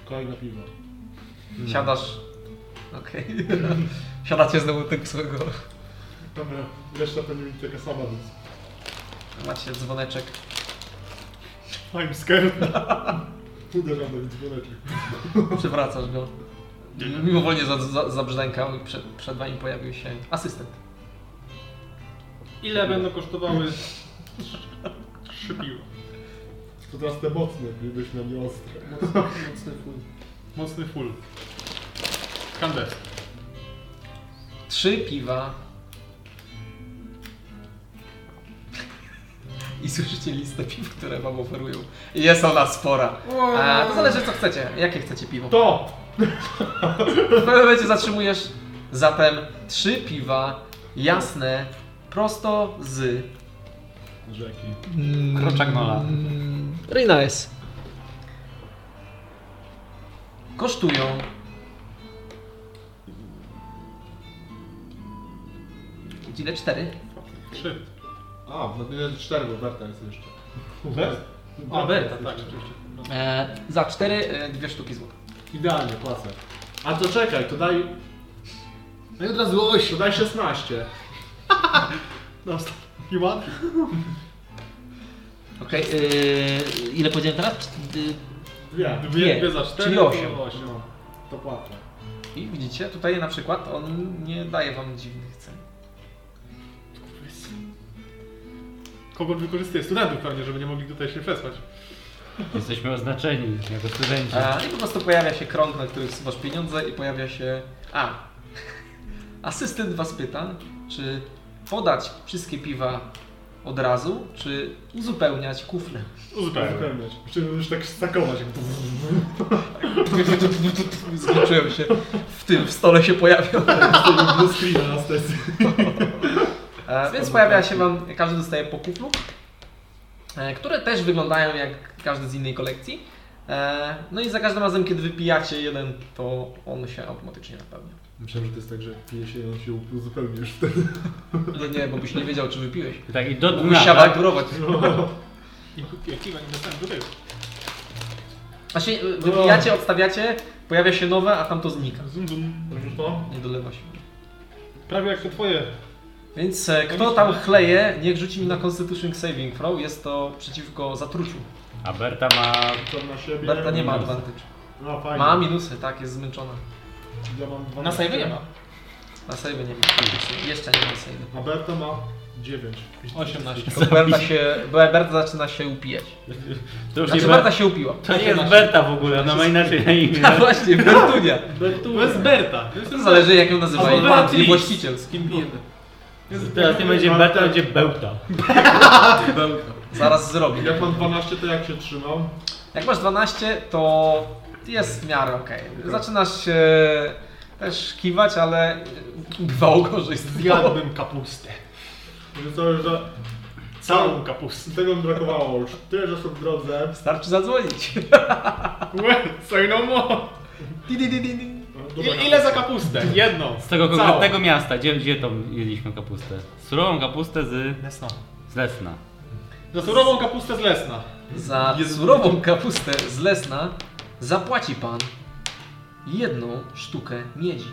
Speaker 6: Kolejne piwo.
Speaker 1: Siadasz. Okej. Siadacie znowu tego swojego.
Speaker 6: Dobra, reszta pewnie będzie taka sama, więc...
Speaker 1: Macie dzwoneczek.
Speaker 6: I'm scared. Uderzam do dzwoneczek.
Speaker 1: Przewracasz go. Mimowolnie za, za, zabrzdękał i przed, przed wami pojawił się asystent.
Speaker 4: Ile będą kosztowały trzy- trzy piwa?
Speaker 6: To teraz te mocne, gdybyś na mnie ostre.
Speaker 1: Mocny fuj.
Speaker 4: Mocny full. Kanderski.
Speaker 1: Trzy piwa. I słyszycie listę piw, które wam oferują. I Jest ona spora. A, to zależy co chcecie. Jakie chcecie piwo?
Speaker 6: To!
Speaker 1: W pewnym momencie zatrzymujesz zatem trzy piwa jasne prosto z
Speaker 6: Rzeki.
Speaker 3: Kroczak Nola.
Speaker 1: Rina jest. Kosztują. Ile? Cztery?
Speaker 5: Trzy.
Speaker 6: A, no to cztery, bo Berta jest jeszcze.
Speaker 5: Hubert?
Speaker 1: A, Berta,
Speaker 6: jest
Speaker 5: tak,
Speaker 6: jeszcze.
Speaker 5: oczywiście.
Speaker 1: E, za cztery e, dwie sztuki złota.
Speaker 6: Idealnie, płacę. A to czekaj, to daj...
Speaker 5: No i od razu oś.
Speaker 6: To daj 16. No, ostatni ład.
Speaker 1: Okej, e, ile powiedziałem teraz? Czt- y,
Speaker 6: Dwie.
Speaker 1: Dwie.
Speaker 5: Dwie, dwie za cztery.
Speaker 1: Czyli
Speaker 5: to
Speaker 1: osiem.
Speaker 5: osiem.
Speaker 6: No, to płacę.
Speaker 1: I widzicie, tutaj na przykład on nie daje wam dziwnych cen.
Speaker 5: Kogo on wykorzystuje? Studentów pewnie, żeby nie mogli tutaj się przesłać.
Speaker 3: Jesteśmy oznaczeni jako studenci.
Speaker 1: E, I po prostu pojawia się krąg, na który wsuwasz pieniądze i pojawia się... A! Asystent was pyta, czy podać wszystkie piwa od razu, czy uzupełniać kufle.
Speaker 5: Uzupełniam.
Speaker 6: Pewnie. Czyli już tak stakować. jak to-
Speaker 1: Zliczyłem się. W tym w stole się pojawił.
Speaker 6: Blue screena na sesji.
Speaker 1: E, Więc pojawia się wam, każdy dostaje po kuflu, e, które też wyglądają jak każdy z innej kolekcji. E, No i za każdym razem, kiedy wypijacie jeden, to on się automatycznie napełnia.
Speaker 6: Myślałem, że to jest tak, że pije się i on się uzupełni już wtedy.
Speaker 1: Nie, nie, bo byś nie wiedział, czy wypiłeś.
Speaker 3: I tak i do dna,
Speaker 1: Musiał
Speaker 3: tak?
Speaker 1: awanturować.
Speaker 5: I kupię piwa, nie dostałem do tego.
Speaker 1: Znaczy, y, wypijacie, odstawiacie, pojawia się nowe, a tamto znika.
Speaker 5: Zum, zum.
Speaker 6: Robisz No to?
Speaker 1: Nie dolewa się.
Speaker 5: Prawie jak to twoje.
Speaker 1: Więc e, kto tam chleje, niech rzuci mi na Constitution Saving Throw. Jest to przeciwko zatruciu.
Speaker 3: A Berta ma
Speaker 6: Co na siebie?
Speaker 1: Berta nie ma advantage.
Speaker 6: No fajnie.
Speaker 1: Ma minusy, tak, jest zmęczona.
Speaker 6: Ja mam 12.
Speaker 2: Na sejwie nie ma.
Speaker 1: Na save nie ma. Jeszcze nie ma save.
Speaker 6: A Berta ma 9.
Speaker 2: 18.
Speaker 1: Tylko Berta się, Berta zaczyna się upijać.
Speaker 3: To już nie
Speaker 1: Znaczy
Speaker 3: Berta,
Speaker 1: Berta się upiła.
Speaker 3: to nie jest Berta w ogóle, ona ma inaczej na imię.
Speaker 1: A właśnie, Bertunia.
Speaker 2: To jest Berta.
Speaker 1: To zależy jak ją nazywa jej pan, jej
Speaker 2: Beatrice.
Speaker 1: właściciel.
Speaker 2: Z kim bijemy?
Speaker 3: Teraz nie będzie Berta, będzie Bełta.
Speaker 1: Zaraz zrobię.
Speaker 6: Jak mam 12, to jak się trzymam?
Speaker 1: Jak masz 12, to jest w miarę okej. Zaczynasz się też kiwać, ale bywało gorzej z tym.
Speaker 5: Zjadłbym kapustę.
Speaker 6: Że to już za...
Speaker 5: Całą kapustę.
Speaker 6: Tego mi brakowało już. Tyle, że są w drodze.
Speaker 1: Starczy zadzwonić.
Speaker 5: Say no more.
Speaker 1: Di, di, di, di, di.
Speaker 6: No, dobra,
Speaker 5: I, ile za kapustę? Jedną.
Speaker 3: Z tego konkretnego miasta, gdzie, gdzie tą jedliśmy kapustę? Surową kapustę z,
Speaker 5: Lesną.
Speaker 3: z Lesna.
Speaker 5: Za surową kapustę z Lesna.
Speaker 1: Za surową kapustę z Lesna zapłaci pan jedną sztukę miedzi.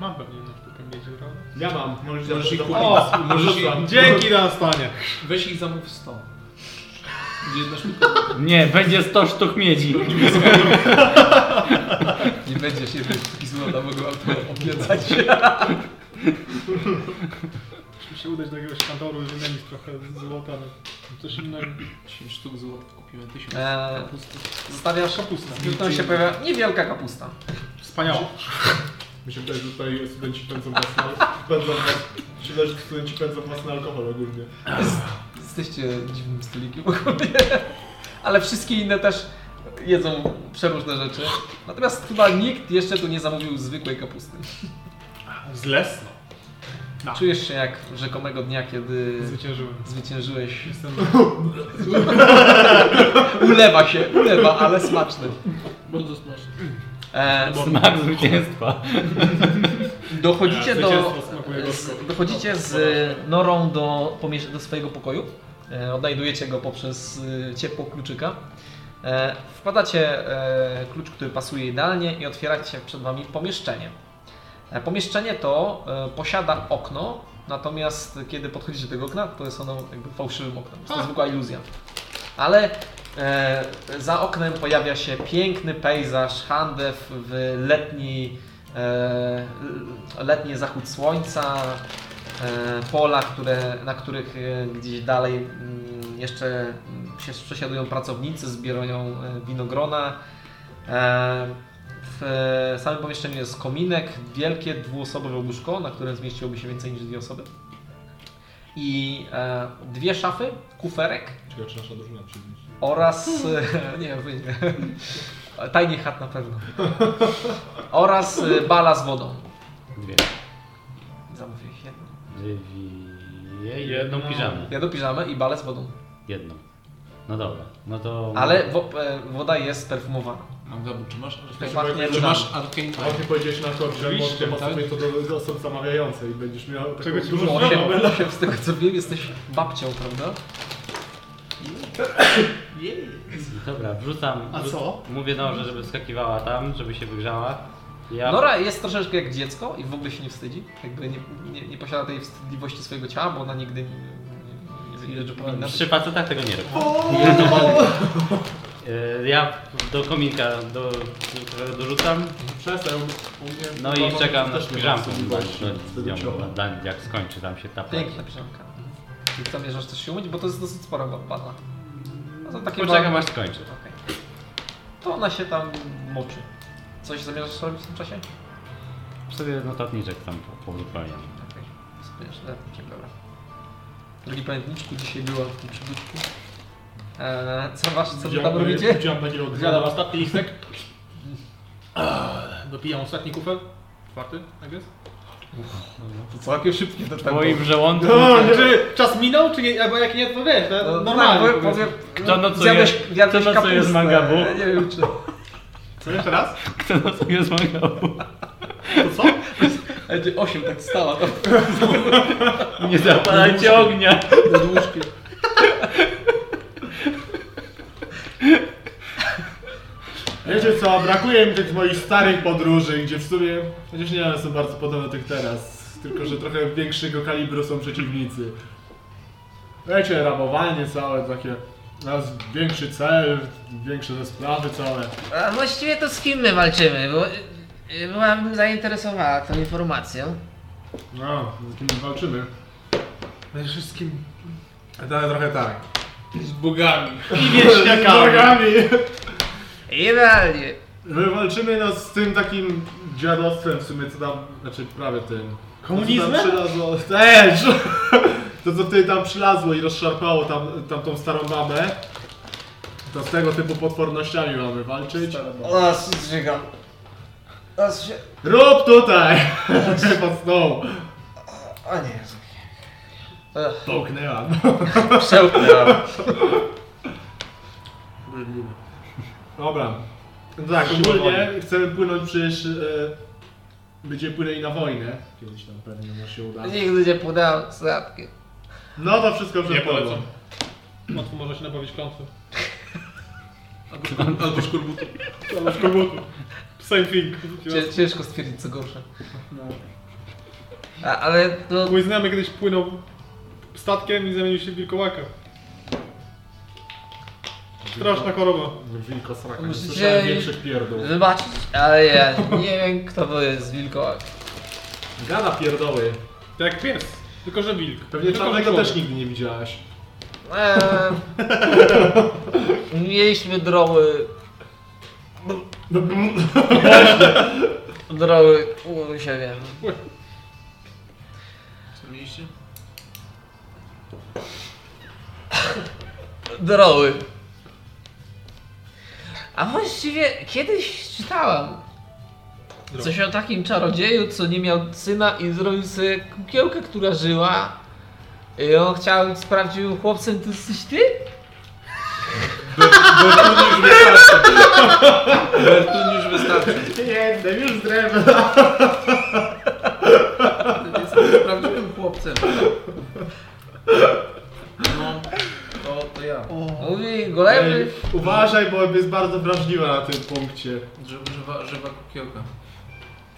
Speaker 5: Mam pewnie jedną sztukę miedzi, prawda?
Speaker 6: Ja mam. Możesz,
Speaker 2: Możesz ich kupić.
Speaker 5: O,
Speaker 2: Możesz ich...
Speaker 5: Dzięki na stanie.
Speaker 2: Weź ich zamów 100. Jedna sztuka.
Speaker 3: Nie, będzie 100 sztuk miedzi.
Speaker 1: Nie będziesz się złota mogła obiecać.
Speaker 5: Musimy się udać do jakiegoś kantoru i wymienić trochę złota na coś innego.
Speaker 2: 10 sztuk złota. Kupimy 1000
Speaker 3: E.
Speaker 1: Eee.
Speaker 2: kapusty.
Speaker 1: Zostawiasz kapustę. Tam się pojawia niewielka kapusta.
Speaker 5: Wspaniało.
Speaker 6: Mi się wydaje, że tutaj studenci pędzą własny pędzą włas- Mi się wydaje, że studenci pędzą własny alkohol ogólnie.
Speaker 1: Jesteście dziwnym stolikiem ogólnie. Ale wszystkie inne też jedzą przeróżne rzeczy. Natomiast chyba nikt jeszcze tu nie zamówił zwykłej kapusty.
Speaker 5: Z Lesno.
Speaker 1: Czujesz się jak rzekomego dnia, kiedy
Speaker 5: Zwyciężyłem.
Speaker 1: zwyciężyłeś.
Speaker 5: Jestem
Speaker 1: Ulewa się, ulewa, ale smaczny.
Speaker 2: Bardzo smaczne.
Speaker 1: E,
Speaker 3: Smak zwycięstwa.
Speaker 1: dochodzicie do,
Speaker 5: Zwycięstwo smakuje gorzko. No,
Speaker 1: z, dochodzicie z norą do, pomiesz- do swojego pokoju. E, Odnajdujecie go poprzez e, ciepło kluczyka. E, Wkładacie e, klucz, który pasuje idealnie i otwieracie przed Wami pomieszczenie. E, Pomieszczenie to e, posiada okno, natomiast kiedy podchodzicie do tego okna, to jest ono jakby fałszywym oknem. Jest to zwykła iluzja. Ale e, za oknem pojawia się piękny pejzaż, handew w letni, e, letni zachód słońca, e, pola, które, na których e, gdzieś dalej mm, jeszcze mm, się przesiadują pracownicy, zbierają e, winogrona. E, W e, samym pomieszczeniu jest kominek, wielkie dwuosobowe łóżko, na którym zmieściłoby się więcej niż dwie osoby. I e, dwie szafy, kuferek
Speaker 6: Ciekawe, czy nasza drużyna przyjdzie.
Speaker 1: oraz. e, Nie, wy nie. Tajnie chat na pewno. Oraz e, bala z wodą.
Speaker 3: Dwie.
Speaker 1: Zamówiłeś jedną.
Speaker 3: Drzwi. Je, jedną piżamę.
Speaker 1: Ja do piżamy i balę z wodą.
Speaker 3: Jedną. No dobra, no to...
Speaker 1: Ale wo, e, woda jest perfumowana.
Speaker 2: Magdabu, czy masz
Speaker 1: Pachnie
Speaker 2: Czy
Speaker 1: różami.
Speaker 2: masz Arcane
Speaker 6: A właśnie powiedziałeś na to, że
Speaker 4: Oczywiście,
Speaker 6: możesz
Speaker 4: tak.
Speaker 6: sobie to do, do osób zamawiającej i będziesz miał taką
Speaker 4: Czego ci
Speaker 6: dużą
Speaker 4: można?
Speaker 6: osobę.
Speaker 1: Osiem, osiem, No z tego co wiem, jesteś babcią, prawda?
Speaker 3: Dobra, wrzucam...
Speaker 6: A
Speaker 3: wrzu-
Speaker 6: co?
Speaker 3: Mówię Norze, żeby skakiwała tam, żeby się wygrzała. Ja...
Speaker 6: No
Speaker 1: Nora jest troszeczkę jak dziecko i w ogóle się nie wstydzi. Jakby nie, nie, nie posiada tej wstydliwości swojego ciała, bo ona nigdy nie, nie, nie, nie, nie powinna.
Speaker 3: Przy facetach tego nie robię. E, Ja do kominka do, do, dorzucam,
Speaker 6: Przestań, u mnie-
Speaker 3: no
Speaker 6: mama
Speaker 3: i czekam na
Speaker 6: też nie ma
Speaker 3: piżamkę,
Speaker 6: osobowości
Speaker 3: no,
Speaker 6: wstydziciowa.
Speaker 3: no, no, jak skończy tam się ta
Speaker 1: Piękna piżamka. I co mierzasz też się umyć, bo to jest dosyć spora bada. No to takie
Speaker 3: Poczekam
Speaker 1: ba-
Speaker 3: aż skończy.
Speaker 1: Okej. To ona się tam moczy. Coś zamierzasz robić w tym czasie?
Speaker 3: Sobie notatniczek tam po- pouzupełniam.
Speaker 1: Okej. Spędzę. Dobra. Drogi pamiętniczku, dzisiaj była w tym przybytku. Eee, co wasz, co wy tam robicie?
Speaker 6: Widziałem takiego
Speaker 4: Zjadam ostatni listek. Dopijam ostatni kufel. Czwarty, tak jest?
Speaker 1: To całkiem szybkie to
Speaker 3: W moim żołądku...
Speaker 5: No,
Speaker 4: Czy czas minął, czy nie? Albo jak nie, to wiesz,
Speaker 1: No,
Speaker 4: to
Speaker 3: No, tak,
Speaker 4: normalnie. po prostu.
Speaker 3: Kto nocuje-
Speaker 1: tak, Zjadłeś, zjadłeś
Speaker 3: kto nocuje
Speaker 1: kapustę.
Speaker 3: z Mangabu?
Speaker 1: Nie wiem czy...
Speaker 6: Co jeszcze raz?
Speaker 3: Kto na sobie zmagał?
Speaker 6: To co?
Speaker 1: Ale ty 8 tak stała tam.
Speaker 3: Nie zapalajcie ognia!
Speaker 6: Wiecie co, brakuje mi tych moich starych podróży, gdzie w sumie, chociaż nie one są bardzo podobne do tych teraz, tylko że trochę większego kalibru są przeciwnicy. Wiecie, rabowanie całe takie, raz większy cel, większe te sprawy całe.
Speaker 7: A właściwie to z kim my walczymy, bo y, byłam zainteresowała tą informacją.
Speaker 6: No, z kim walczymy?
Speaker 8: Przede wszystkim
Speaker 6: Dalej trochę tak.
Speaker 2: z bogami?
Speaker 6: I wieśniakami.
Speaker 7: Idealnie.
Speaker 6: My walczymy no, z tym takim dziadostwem w sumie, co tam, znaczy prawie tym. Komunizmem? To, co tam przylazło, też! To, co ty tam przylazło i rozszarpało tam, tamtą starą babę, to z tego typu potwornościami mamy walczyć.
Speaker 7: Nas zżygam. Nas się...
Speaker 6: Rób tutaj! Pod stoł!
Speaker 7: O nie,
Speaker 6: Połknęłam.
Speaker 1: Przełknęłam.
Speaker 6: Dobra. No tak, ogólnie chcemy płynąć przecież... E, będziemy płynęli na wojnę. Kiedyś tam pewnie może się uda.
Speaker 7: Nigdy nie podał statkiem.
Speaker 6: No to wszystko przed
Speaker 4: Nie
Speaker 6: tobą.
Speaker 4: polecam. Łatwo można się nabawić klątwy.
Speaker 2: Albo szkurbuty.
Speaker 4: Ale w kogutu. Same thing.
Speaker 1: Cię- Ciężko stwierdzić co gorsze. no,
Speaker 7: A, ale to...
Speaker 4: Mój znajomy kiedyś płynął statkiem i zamienił się w wilkołaka. Straszna choroba.
Speaker 6: Wilkosraka.
Speaker 7: Musicie-
Speaker 6: Słyszałem większych pierdół.
Speaker 7: Wybaczyć, ale ja nie wiem kto to jest wilkołak.
Speaker 6: Gada pierdoły.
Speaker 4: To jak pies, tylko że wilk.
Speaker 6: Pewnie
Speaker 4: tylko, że
Speaker 6: czarnego
Speaker 4: człowiek.
Speaker 6: też nigdy nie widziałaś.
Speaker 7: Eee, mieliśmy droły... Droły u siebie.
Speaker 2: Co mieliście?
Speaker 7: Droły. A właściwie kiedyś czytałam coś o takim czarodzieju, co nie miał syna i zrobił sobie kukiełkę, która żyła. I on chciał sprawdził chłopcem, to jesteś ty?
Speaker 2: Bertun już wystarczy.
Speaker 6: Jednym już z drewna.
Speaker 2: Jestem prawdziwym chłopcem. No, to, to ja.
Speaker 7: Mówi golemy.
Speaker 6: Uważaj, bo jest bardzo wrażliwa na tym punkcie.
Speaker 2: Drzew- Drzewa, drzewa kukiełka.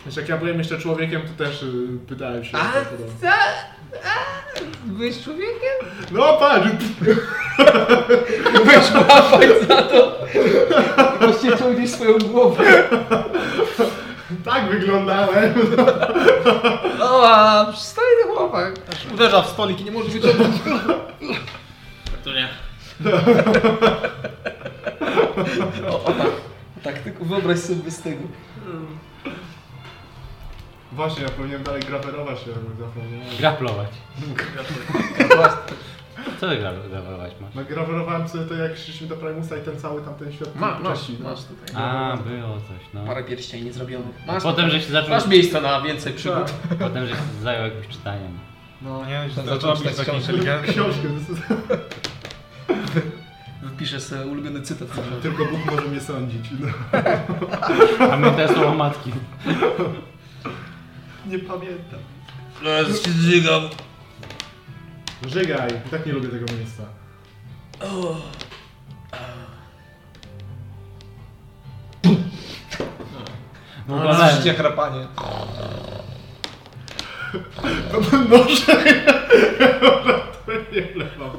Speaker 6: Wiesz, jak ja byłem jeszcze człowiekiem, to też y, pytałem się. o
Speaker 7: A,
Speaker 1: tak
Speaker 6: to podobno.
Speaker 7: co? A, byłeś człowiekiem?
Speaker 6: No patrz!
Speaker 1: Weź łapać za to. Właśnie ciągniesz swoją głowę.
Speaker 6: Tak wyglądałem.
Speaker 7: O, a przystojny chłopak.
Speaker 4: Uderza w stolik i nie może wyciągnąć.
Speaker 2: To nie.
Speaker 1: Tak, tylko wyobraź sobie z tego.
Speaker 6: Właśnie, ja powinienem dalej grawerować się, jakby zapomniałem.
Speaker 3: Graplować.
Speaker 1: Właśnie.
Speaker 3: Co ty gra- graplować masz?
Speaker 6: No grawerowałem sobie to jak szliśmy do Primusa i ten cały tamten świat.
Speaker 1: Ma, masz,
Speaker 6: Czesi, no.
Speaker 1: masz tutaj.
Speaker 3: A, było coś, no.
Speaker 1: Parę pierścieni zrobionych. Masz,
Speaker 3: Potem, że się zaczął...
Speaker 1: masz miejsca na więcej przygód.
Speaker 3: Potem, że się zajął jakimś czytaniem.
Speaker 6: No.
Speaker 5: Nie,
Speaker 1: Ten
Speaker 5: że
Speaker 1: zaczął
Speaker 5: zaczął być
Speaker 1: czytać
Speaker 5: taki
Speaker 1: książkę.
Speaker 5: inteligentny.
Speaker 6: Książkę. to jest-
Speaker 1: Wypiszę sobie ulubiony cytat. No,
Speaker 6: Tylko Bóg może mnie sądzić. No.
Speaker 3: Pamiętaj słowa matki.
Speaker 6: Nie pamiętam.
Speaker 10: Teraz się zżygam.
Speaker 6: Żygaj, i tak nie lubię tego miejsca.
Speaker 3: No,
Speaker 1: Życie chrapanie.
Speaker 6: Noże! to nie wlewam.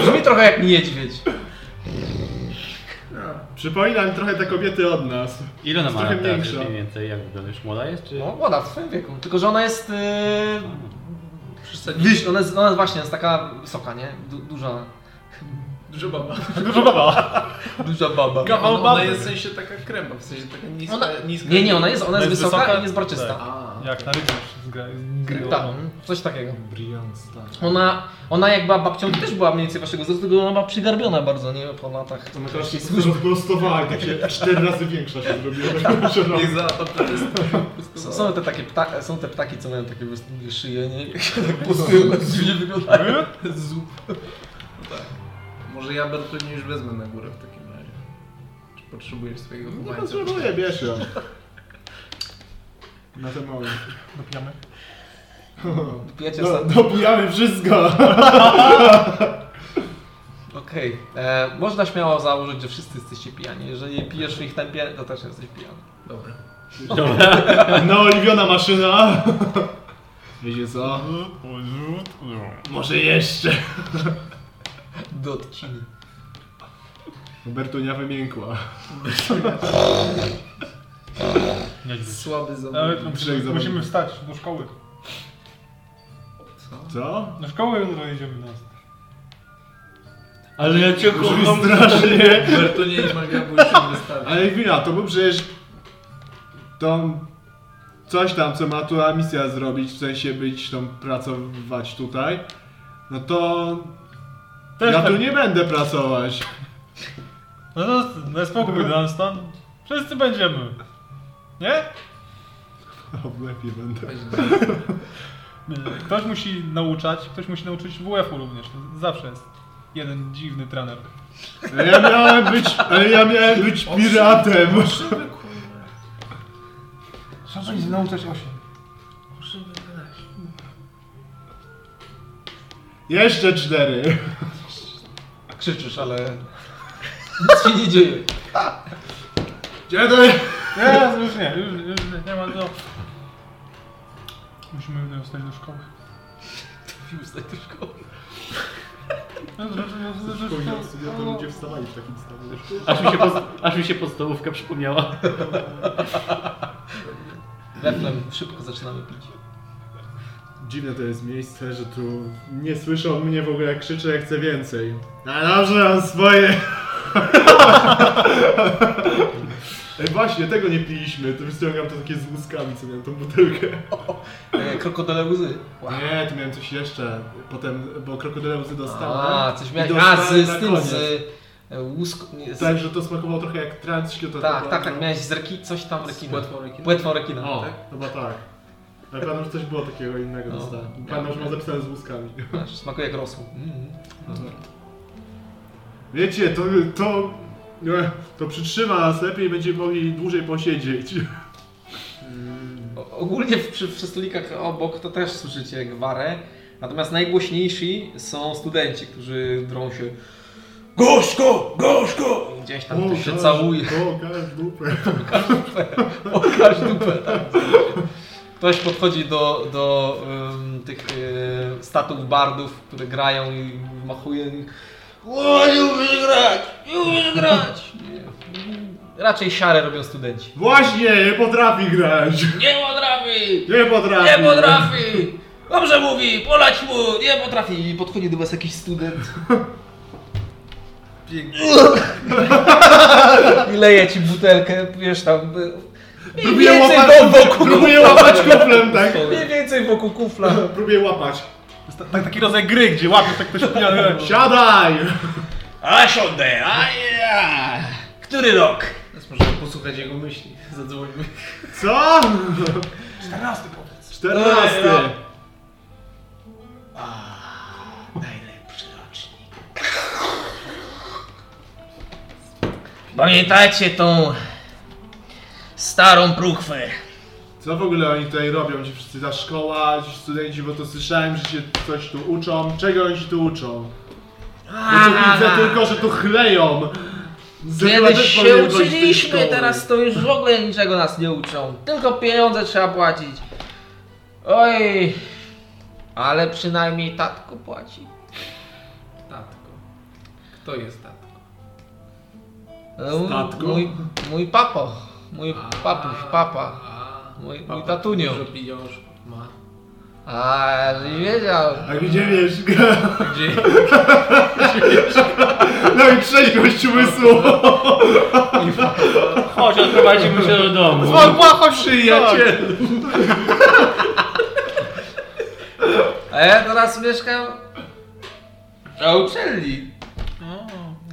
Speaker 1: Brzmi trochę jak niedźwiedź.
Speaker 6: Przypomina mi trochę te kobiety od nas.
Speaker 3: Ile ona ma
Speaker 6: Trochę
Speaker 3: lat teraz
Speaker 6: większa.
Speaker 3: mniej więcej? Jak wygląda? Już młoda jest? Czy...
Speaker 1: No, młoda w swoim wieku. Tylko, że ona jest... Yy...
Speaker 2: Przesadzić.
Speaker 1: Wiesz, ona jest, ona jest właśnie jest taka wysoka, nie? Du, duża.
Speaker 2: Dużo baba.
Speaker 1: Duża baba.
Speaker 2: Ona, ona jest w sensie taka kręba, w sensie taka niska.
Speaker 1: Ona-
Speaker 2: niska Tak.
Speaker 1: Nie, nie, ona jest, ona jest,
Speaker 5: Ona jest
Speaker 1: wysoka,
Speaker 5: wysoka?
Speaker 1: i jest barczysta.
Speaker 2: A,
Speaker 5: Jak na rycerz z gra- z gry.
Speaker 1: Tak, coś takiego.
Speaker 6: Brian Star.
Speaker 2: tak.
Speaker 1: Ona, ona jak była babcią, też była mniej więcej waszego wzrostu, tylko ona była przygarbiona bardzo, nie? Po latach.
Speaker 6: To my teraz się rozprostowała, tak się cztery razy większa się zrobiła.
Speaker 2: niech za to jest.
Speaker 1: S- Są te takie ptaki, są te ptaki, co mają takie wys- szyje, nie? Jak się tak posują, dziwnie wyglądają. Zup.
Speaker 2: Tak. Może ja Bertoni już wezmę na górę w takim razie. Czy potrzebujesz swojego
Speaker 1: No,
Speaker 6: Nie
Speaker 2: kubańca?
Speaker 6: potrzebuję, bierz ją. Na ten moment.
Speaker 5: Dopijamy.
Speaker 1: Wypijacie
Speaker 6: No,
Speaker 1: sobie.
Speaker 6: dobijamy wszystko!
Speaker 1: Okej. E, Można śmiało założyć, że wszyscy jesteście pijani. Jeżeli pijesz w ich tempie, to też jesteś pijany.
Speaker 2: Dobra.
Speaker 3: Dobra.
Speaker 6: Naoliwiona maszyna! Wiecie co? Może jeszcze.
Speaker 1: Do odciny.
Speaker 6: Bertunia wymiękła.
Speaker 2: Słaby
Speaker 5: Ale
Speaker 2: zawód.
Speaker 5: no,
Speaker 6: Trzech zawodników.
Speaker 5: musimy wstać do szkoły.
Speaker 2: Co?
Speaker 6: Co?
Speaker 5: Do szkoły jutro jedziemy nas.
Speaker 3: Ale ja cię
Speaker 6: Brzmi strasznie.
Speaker 2: Bertonie i Magia bo już się wystawi.
Speaker 6: Ale chwila, to był przecież... Tą... Coś tam, co ma tu misja zrobić, w sensie być tą, pracować tutaj. No to...
Speaker 5: Też
Speaker 6: ja
Speaker 5: tak.
Speaker 6: tu nie będę pracować.
Speaker 5: No to no, spokój Dunstan. Wszyscy będziemy. Nie?
Speaker 6: O, lepiej będę.
Speaker 2: Weź
Speaker 5: E, Ktoś musi nauczać, ktoś musi nauczyć WF-u również. Zawsze jest jeden dziwny trener.
Speaker 6: Ale ja miałem być... Ale ja miałem być piratem.
Speaker 2: Szyby, kurwa.
Speaker 5: Trzeba będzie nauczać 8.
Speaker 2: Szyby, weź.
Speaker 6: Jeszcze cztery.
Speaker 1: Tak Krzyczysz, ale nic się nie dzieje.
Speaker 6: Gdzie to jest?
Speaker 5: Nie, już nie, już, już nie, nie ma co. Musimy jutro wstać do szkoły. No, że- że- że- że-
Speaker 6: to ludzie wstawali w takim stanie.
Speaker 3: Aż mi, się pod, aż mi się podstawówka przypomniała.
Speaker 1: Reflem szybko zaczynamy pić.
Speaker 6: Dziwne to jest miejsce, że tu nie słyszą mnie w ogóle jak krzyczę, jak chcę więcej. A dobrze, mam swoje. Ej, właśnie, tego nie piliśmy. To wyciągam to takie z łuskami, co miałem tą butelkę.
Speaker 1: E, Krokodyle łzy.
Speaker 6: Nie, tu miałem coś jeszcze. Potem, bo krokodyle łzy dostałem.
Speaker 1: A, coś miałeś.
Speaker 6: I
Speaker 1: A,
Speaker 6: dostałem
Speaker 1: z,
Speaker 6: na
Speaker 1: z tym,
Speaker 6: koniec.
Speaker 1: z e, łuską. nie, Z,
Speaker 6: Tak, że to smakowało trochę jak trans światowy.
Speaker 1: tak, tak, tak, miałeś z reki, coś tam
Speaker 2: Z
Speaker 1: rekina.
Speaker 2: płetwą rekina.
Speaker 1: Płetwą rekina.
Speaker 6: no. O,
Speaker 1: tak?
Speaker 6: chyba tak. Ale pamiętam, że coś było takiego innego
Speaker 1: No.
Speaker 6: dostałem. Pamiętam, że mam zapisane z łuskami.
Speaker 1: Masz, smakuje jak rosół. Mm.
Speaker 6: Wiecie, to, to, e, to przytrzyma nas lepiej, będziemy mogli dłużej posiedzieć.
Speaker 1: O- Ogólnie w- przy, przy stolikach obok to też słyszycie gwarę. Natomiast najgłośniejsi są studenci, którzy drą się Gorzko! Gorzko! I Gdzieś tam ktoś się
Speaker 6: Pokaż-
Speaker 1: całuje.
Speaker 6: Pokaż dupę.
Speaker 1: Pokaż dupę. Tak. Ktoś podchodzi do, do em, tych y, statów bardów, które grają i machuje. O, nie umiesz grać! Nie umiesz grać! Nie. Raczej siarę robią studenci.
Speaker 6: Właśnie, nie potrafi grać.
Speaker 1: Nie potrafi!
Speaker 6: Nie potrafi.
Speaker 1: Nie potrafi! Dobrze mówi! Polać mu! Nie potrafi! I podchodzi do was jakiś student. I leje ci butelkę, wiesz tam... y, Mniej
Speaker 6: Próbuję
Speaker 1: więcej
Speaker 6: łapać,
Speaker 1: do- wokół
Speaker 6: próbuję łapać kuflem, tak?
Speaker 1: Mniej więcej wokół kufla.
Speaker 6: Próbuję łapać.
Speaker 5: Tak, taki rodzaj gry, gdzie łapiesz tak ktoś pijany ręką.
Speaker 6: Siadaj!
Speaker 1: A siądę, a ja. Który rok?
Speaker 2: Teraz możemy posłuchać jego myśli. Zadzwońmy.
Speaker 1: no.
Speaker 6: Co? Czternasty.
Speaker 1: Pamiętajcie tą starą próchwę.
Speaker 6: Co w ogóle oni tutaj robią? Ci wszyscy ta szkoła, ci studenci, bo to słyszałem, że się coś tu uczą. Czego oni się tu uczą? Ja tu widzę tylko, że tu chleją. Że chyba
Speaker 1: Kiedyś
Speaker 6: też
Speaker 1: się
Speaker 6: powinien chodzić do tej
Speaker 1: uczyliśmy,
Speaker 6: szkoły.
Speaker 1: teraz to już w ogóle niczego nas nie uczą. Tylko pieniądze trzeba płacić. Oj, ale przynajmniej tatko płaci.
Speaker 2: Tatko. Kto jest tatko?
Speaker 1: No, mój-
Speaker 6: Tatko?
Speaker 1: Mój, mój papo, mój papuś, papa,
Speaker 2: A,
Speaker 1: mój, mój
Speaker 2: papa
Speaker 1: tatunio.
Speaker 2: Dużo pieniążków ma.
Speaker 1: A, żeś wiedział.
Speaker 6: A
Speaker 2: Tak,
Speaker 6: gdzie wiesz?
Speaker 2: Gdzie?
Speaker 6: No i trzeź gość umysłu.
Speaker 3: Chodź, odprowadzimy się do domu.
Speaker 2: Papa przyjaciel!
Speaker 1: Tak. A ja teraz mieszkam na uczelni.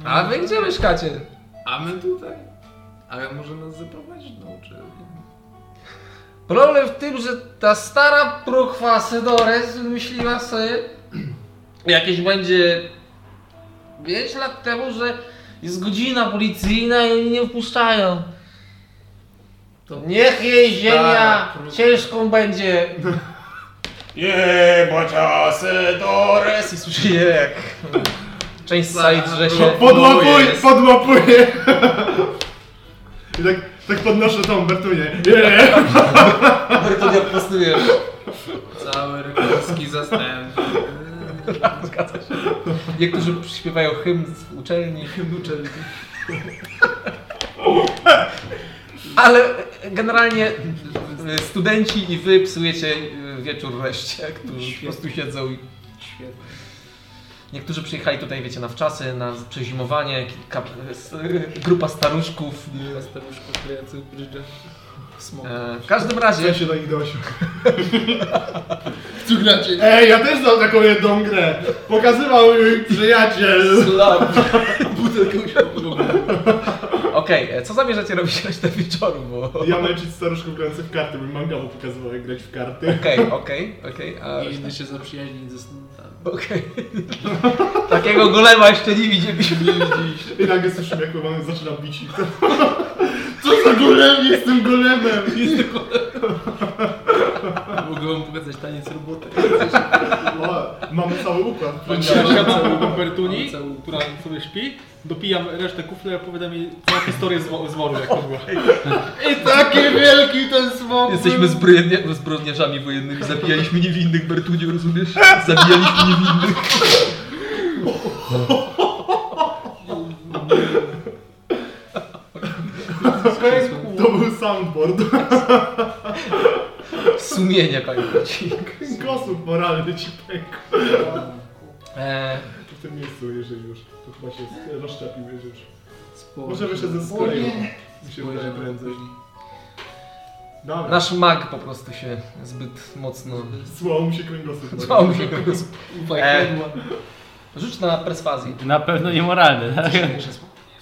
Speaker 1: A wy gdzie mieszkacie?
Speaker 2: A my tutaj? Ale może nas zaprowadzić na uczelnię.
Speaker 1: Problem w tym, że ta stara próchwa Sedores wymyśliła sobie jakieś będzie 5 lat temu, że jest godzina policyjna i nie wpuszczają. To niech jej ziemia
Speaker 2: stara
Speaker 11: Tak.
Speaker 2: pró-
Speaker 1: ciężką będzie.
Speaker 11: Jeba czasy dores i słyszy jak No,
Speaker 1: Część sali drze
Speaker 6: No,
Speaker 1: się.
Speaker 6: Podłapuję, podłapuję. I tak, tak podnoszę tą Bertunię. Yeah.
Speaker 1: To nie odprostujesz.
Speaker 2: Cały rykolski zastęp.
Speaker 1: Niektórzy śpiewają hymn z uczelni. Hymn uczelni. Ale generalnie y, studenci i wy psujecie y, wieczór reszcie, którzy po prostu siedzą i...
Speaker 2: Świetnie.
Speaker 1: Niektórzy przyjechali tutaj, wiecie, na wczasy, na przezimowanie, kilka, s- grupa staruszków.
Speaker 2: Staruszku klejących brydżę. Smok.
Speaker 1: E, w każdym razie...
Speaker 6: Ja się do nich dosił. Tu gracie. Ej, ja też znam taką jedną grę. Pokazywał mi przyjaciel.
Speaker 1: Okej, e, co zamierzacie robić resztę wieczoru, bo...
Speaker 6: Ja męczyć staruszków grających w karty, mój manga mu pokazywał jak grać w karty.
Speaker 1: Okej, okej, okej, a...
Speaker 2: I inny się zaprzyjaźnić ze studentami.
Speaker 1: Okej. Takiego golema jeszcze nie widzieliśmy.
Speaker 6: I nagle słyszymy jak mój mamy zaczyna bić. i to- Co za golem? Jestem golemem!
Speaker 2: Mogę wam pokazać taniec roboty.
Speaker 6: O, mamy cały układ.
Speaker 5: Siadam Bertuni,
Speaker 2: Cały-
Speaker 5: która sobie śpi, dopijam resztę kufla i opowiadam jej całą historię z, wo- z woru, jak to było.
Speaker 6: I taki wielki ten smok!
Speaker 12: Jesteśmy zbrodnia- zbrodniarzami wojennymi, zabijaliśmy niewinnych, Bertunio, rozumiesz? Zabijaliśmy niewinnych.
Speaker 6: To był soundboard.
Speaker 12: Sumienie, panie bracie.
Speaker 6: Kręgosłup moralny ci pękł.
Speaker 1: E,
Speaker 12: Eee,
Speaker 6: W tym miejscu, jeżeli już. To chyba się rozszczepił, jeżeli już.
Speaker 2: Spojrzę.
Speaker 6: Może wyszedł ze
Speaker 2: O
Speaker 6: skleju.
Speaker 2: nie.
Speaker 6: Mi się wydaje
Speaker 2: Spojrzę
Speaker 6: prędzej.
Speaker 2: później.
Speaker 6: Dobra.
Speaker 1: Nasz mag po prostu się zbyt mocno...
Speaker 6: Złamał mu się kręgosłup.
Speaker 1: Złamał mi się po prostu.
Speaker 2: Eee.
Speaker 1: Rzuć na perswazję.
Speaker 3: Na pewno niemoralny, tak?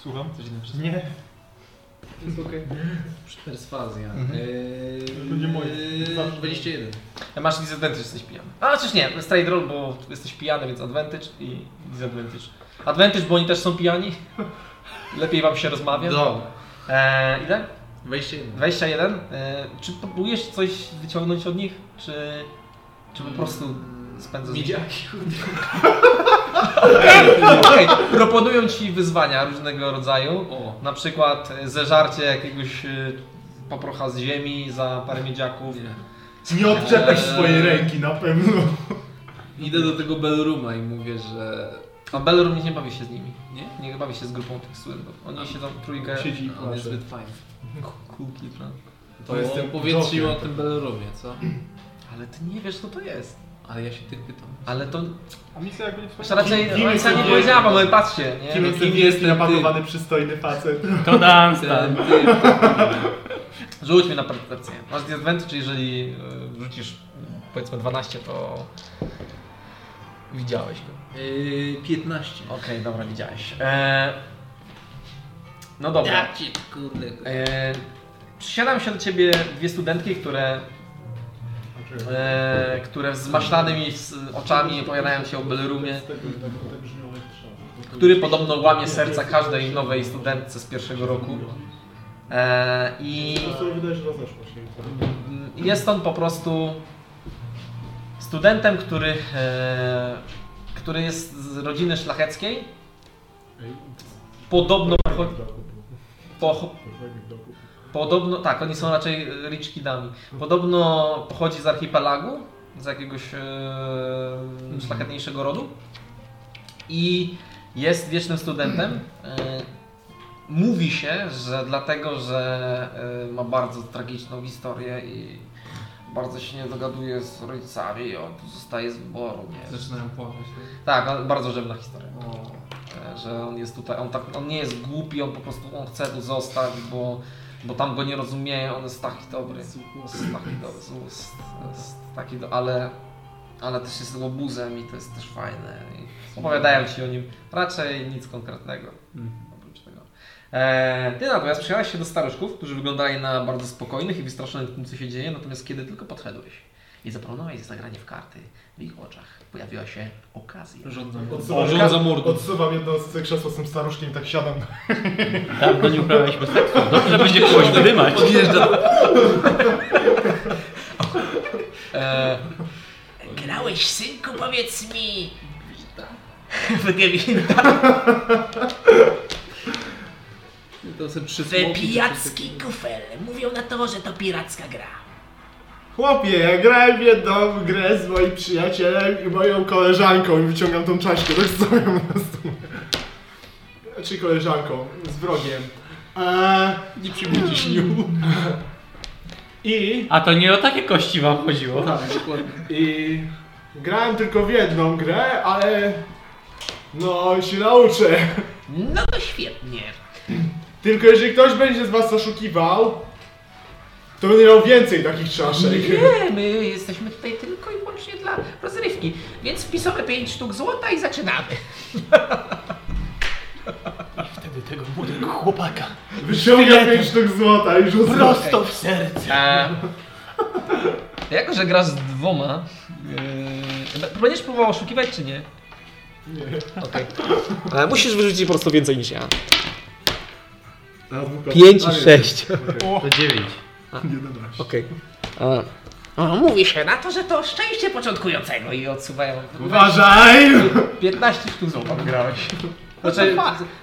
Speaker 5: Słucham?
Speaker 2: Coś innego przez
Speaker 5: Nie.
Speaker 2: Jest okej. Perswazja. Eee,
Speaker 5: będzie moje.
Speaker 2: eee, 21.
Speaker 1: Masz disadvantage, jesteś pijany. A, czyż nie, straight roll, bo jesteś pijany, więc advantage i disadvantage. Advantage, bo oni też są pijani. Lepiej wam się rozmawia.
Speaker 2: Dobra.
Speaker 1: Eee, ile?
Speaker 2: 21.
Speaker 1: 21. Eee, czy próbujesz coś wyciągnąć od nich, czy, czy po prostu
Speaker 2: Mm,
Speaker 1: spędzasz...
Speaker 2: Midziaki.
Speaker 1: Okej, proponują ci wyzwania różnego rodzaju.
Speaker 2: O.
Speaker 1: Na przykład e, zeżarcie jakiegoś e, poprocha z ziemi za parę miedziaków.
Speaker 2: Nie.
Speaker 6: Nie odczepiasz
Speaker 2: Eee.
Speaker 6: swojej ręki na pewno.
Speaker 2: Idę do tego Bellrooma i mówię, że...
Speaker 1: A Belrum nie bawi się z nimi.
Speaker 2: Nie?
Speaker 1: Nie bawi się z grupą tych studentów. Oni siedzą w trójkę.
Speaker 6: Siedzi i
Speaker 2: On jest
Speaker 6: płacze.
Speaker 2: zbyt fajny.
Speaker 1: Kulki, no.
Speaker 2: To
Speaker 6: jest
Speaker 2: jest
Speaker 6: ten
Speaker 2: powiedz mi o
Speaker 6: Joker.
Speaker 2: tym Bellroomie, co?
Speaker 1: Ale ty nie wiesz co to jest.
Speaker 2: Ale ja się tych pytam.
Speaker 1: Ale to...
Speaker 5: A misja jakby nie
Speaker 1: Jeszcze
Speaker 5: wspomniała.
Speaker 1: raczej
Speaker 6: kim jest
Speaker 1: Alexa nie
Speaker 6: ten-
Speaker 1: powiedziała, ale patrzcie.
Speaker 6: Kim
Speaker 1: Nie?
Speaker 6: jest
Speaker 2: kim
Speaker 6: ten
Speaker 2: jest
Speaker 6: wielki,
Speaker 2: ten
Speaker 6: napakowany, przystojny facet?
Speaker 3: To
Speaker 2: Ten
Speaker 3: Dunstan.
Speaker 2: typ.
Speaker 1: Rzuć mi na percepcję. Masz disadvantage, jeżeli e, wrzucisz powiedzmy 12, to... Widziałeś go.
Speaker 2: Eee, 15.
Speaker 1: Okej, dobra, widziałeś. E... No dobra.
Speaker 2: Ja cię kurde.
Speaker 1: E, przysiadam się do ciebie dwie studentki, które, e, które z maślanymi s- oczami opowiadają się o Bellroomie. który podobno łamie serca każdej nowej studentce z pierwszego roku. E, I
Speaker 8: To sobie wydaje, że rozeszło się.
Speaker 1: Mm, Jest on po prostu studentem, który, e, który jest z rodziny szlacheckiej. Podobno, pocho- pocho- podobno, tak, oni są raczej rich kidami. Podobno pochodzi z archipelagu, z jakiegoś e, szlachetniejszego rodu i jest wiecznym studentem. E, mówi się, że dlatego, że e, ma bardzo tragiczną historię i bardzo się nie dogaduje z rodzicami, on zostaje z wyboru, nie?
Speaker 2: Zaczynają płakać.
Speaker 1: Tak, on- bardzo rzewna historia.
Speaker 2: O,
Speaker 1: E, Że on jest tutaj, on, tak, on nie jest głupi, on po prostu on chce tu zostać, bo, bo tam go nie rozumieją, on jest taki dobry. Jest taki dobry, z- jest, jest taki do, ale, ale też jest łobuzem i to jest też fajne. I opowiadają ci o nim raczej nic konkretnego. Oprócz tego. E, ty natomiast przyjechałeś się do staruszków, którzy wyglądali na bardzo spokojnych i wystraszonych tym, co się dzieje, natomiast kiedy tylko podszedłeś i zaproponowałeś zagranie w karty, w ich oczach pojawiła się okazja.
Speaker 2: Rządzą.
Speaker 6: Odsuwam,
Speaker 4: Rządza mordu.
Speaker 6: odsuwam jedno z krzesła z tym staruszkiem i tak siadam.
Speaker 3: Dawno nie uprawialiśmy seksu. Tak. Dobrze będzie kogoś wyrymać.
Speaker 1: E,
Speaker 7: Grałeś, synku, powiedz mi.
Speaker 2: To są trzy
Speaker 7: Te
Speaker 2: smoki.
Speaker 7: pijacki kufel. Mówią na to, że to piracka gra.
Speaker 6: Chłopie, ja grałem w jedną grę z moim przyjacielem i moją koleżanką i wyciągam tą czaszkę, tak stoją na stół. Czy koleżanką, z wrogiem. Eee,
Speaker 2: Nie przybudzi śniu.
Speaker 6: I...
Speaker 3: A to nie o takie kości wam chodziło.
Speaker 6: Tak, I... Grałem tylko w jedną grę, ale... No, się nauczę.
Speaker 7: No to świetnie.
Speaker 6: Tylko jeżeli ktoś będzie z was oszukiwał, to będę miał więcej takich czaszek.
Speaker 7: Nie, my jesteśmy tutaj tylko i wyłącznie dla rozrywki. Więc wpisowe 5 sztuk złota i zaczynamy.
Speaker 6: Wyciągam 5 sztuk złota i rzucę. Prosto.
Speaker 1: E, jako, że grasz z dwoma, e, będziesz próbował oszukiwać, czy nie? Nie. Okej. E, Musisz wyrzucić po prostu więcej niż ja. Pięć i sześć.
Speaker 3: To dziewięć.
Speaker 6: 11.
Speaker 1: Okej. E,
Speaker 7: O, mówi się na to, że to szczęście początkującego i odsuwają.
Speaker 6: Uważaj!
Speaker 1: 15 sztuk złota wygrałeś. Znaczy,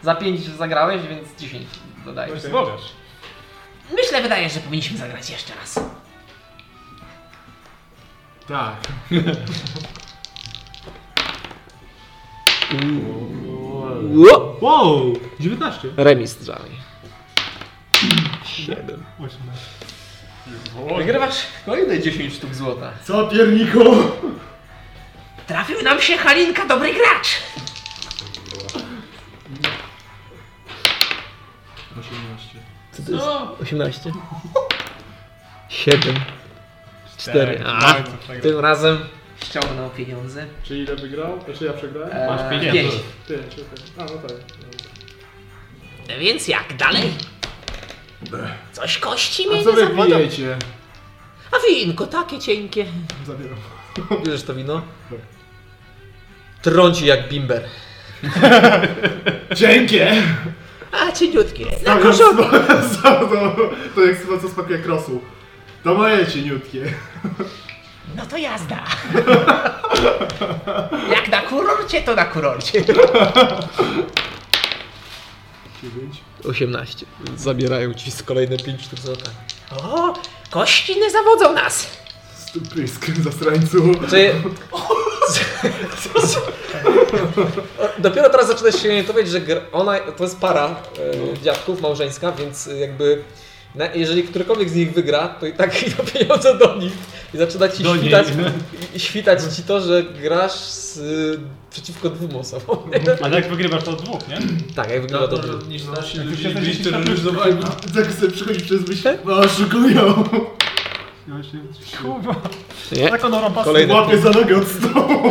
Speaker 1: za 5 zagrałeś, więc 10 dodajesz.
Speaker 4: Zwogasz.
Speaker 7: Myślę, wydaje, że powinniśmy zagrać jeszcze raz.
Speaker 6: Tak.
Speaker 8: Wow! 19.
Speaker 1: Remis drzami. 7. Wygrywasz kolejne 10 sztuk złota.
Speaker 6: Co pierniku?
Speaker 7: Trafił nam się Halinka, dobry gracz.
Speaker 1: Co to jest? 18. 7. 4. A, tym razem Tak. ściągnął pieniądze.
Speaker 8: Czy ile wygrał? Znaczy ja przegrałem?
Speaker 1: Masz
Speaker 3: Eee, pięć.
Speaker 8: Ty, czy okej. A, no tak.
Speaker 7: No Więc jak dalej? Coś kości
Speaker 6: A
Speaker 7: mnie
Speaker 6: co
Speaker 7: nie
Speaker 6: wy
Speaker 7: zawodą.
Speaker 6: pijecie?
Speaker 7: A winko takie cienkie.
Speaker 6: Zabieram. Tak.
Speaker 1: Bierzesz to wino? Trąci jak bimber.
Speaker 6: Dziękie!
Speaker 7: A cieniutkie. Na
Speaker 6: Stawiam
Speaker 7: korzonku.
Speaker 6: spo- Tak, to, to jak chyba co smakuje krosu. To moje cieniutkie.
Speaker 7: No to jazda. jak na kurorcie, to na kurorcie.
Speaker 6: 9.
Speaker 1: 18. Zabierają ci z kolejne 5 sztuk złota.
Speaker 7: O, kości nie zawodzą nas.
Speaker 6: Pysk, zasrańcu.
Speaker 1: Czy... Dopiero teraz zaczyna się orientować, że gr- ona, to jest para e, dziadków małżeńska, więc e, jakby na, jeżeli którykolwiek z nich wygra, to i tak idą pieniądze do nich i zaczyna ci świtać, i- i świtać ci to, że grasz z, e, przeciwko dwóm osobom.
Speaker 4: Ale jak wygrywasz to od dwóch, nie?
Speaker 1: tak, jak wygląda to.
Speaker 2: niż nasi
Speaker 4: Jak już
Speaker 2: ludzie
Speaker 4: jesteś
Speaker 2: byli
Speaker 4: dziesięć lat
Speaker 2: terroryzowani.
Speaker 6: Tak sobie przychodzi przez myśl. No, oszukują.
Speaker 4: Kurwa.
Speaker 1: Nie.
Speaker 4: Tak ono rampa
Speaker 1: Kolejny.
Speaker 6: Łapie za nogę od stołu.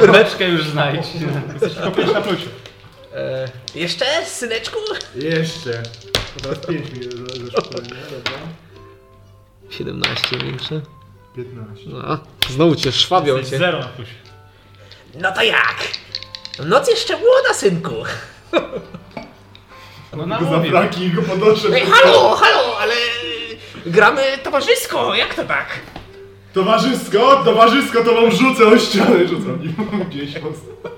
Speaker 3: Rybeczkę już znajdź.
Speaker 4: tylko pięć na plusie.
Speaker 1: E,
Speaker 7: Jeszcze, syneczku?
Speaker 6: Jeszcze. To teraz 5 mi zeszło, nie? Dobra.
Speaker 1: 17 większe.
Speaker 6: 15.
Speaker 1: No, znowu cię szwabią
Speaker 4: Jesteś Zero na plusie.
Speaker 7: No to jak? Noc jeszcze młoda, synku.
Speaker 6: No go za fraki i go podnoszę.
Speaker 7: Ej, halo, halo, ale gramy towarzysko, jak to tak?
Speaker 6: Towarzysko, towarzysko, to wam rzucę o ścianę, rzucam nim gdzieś mocno.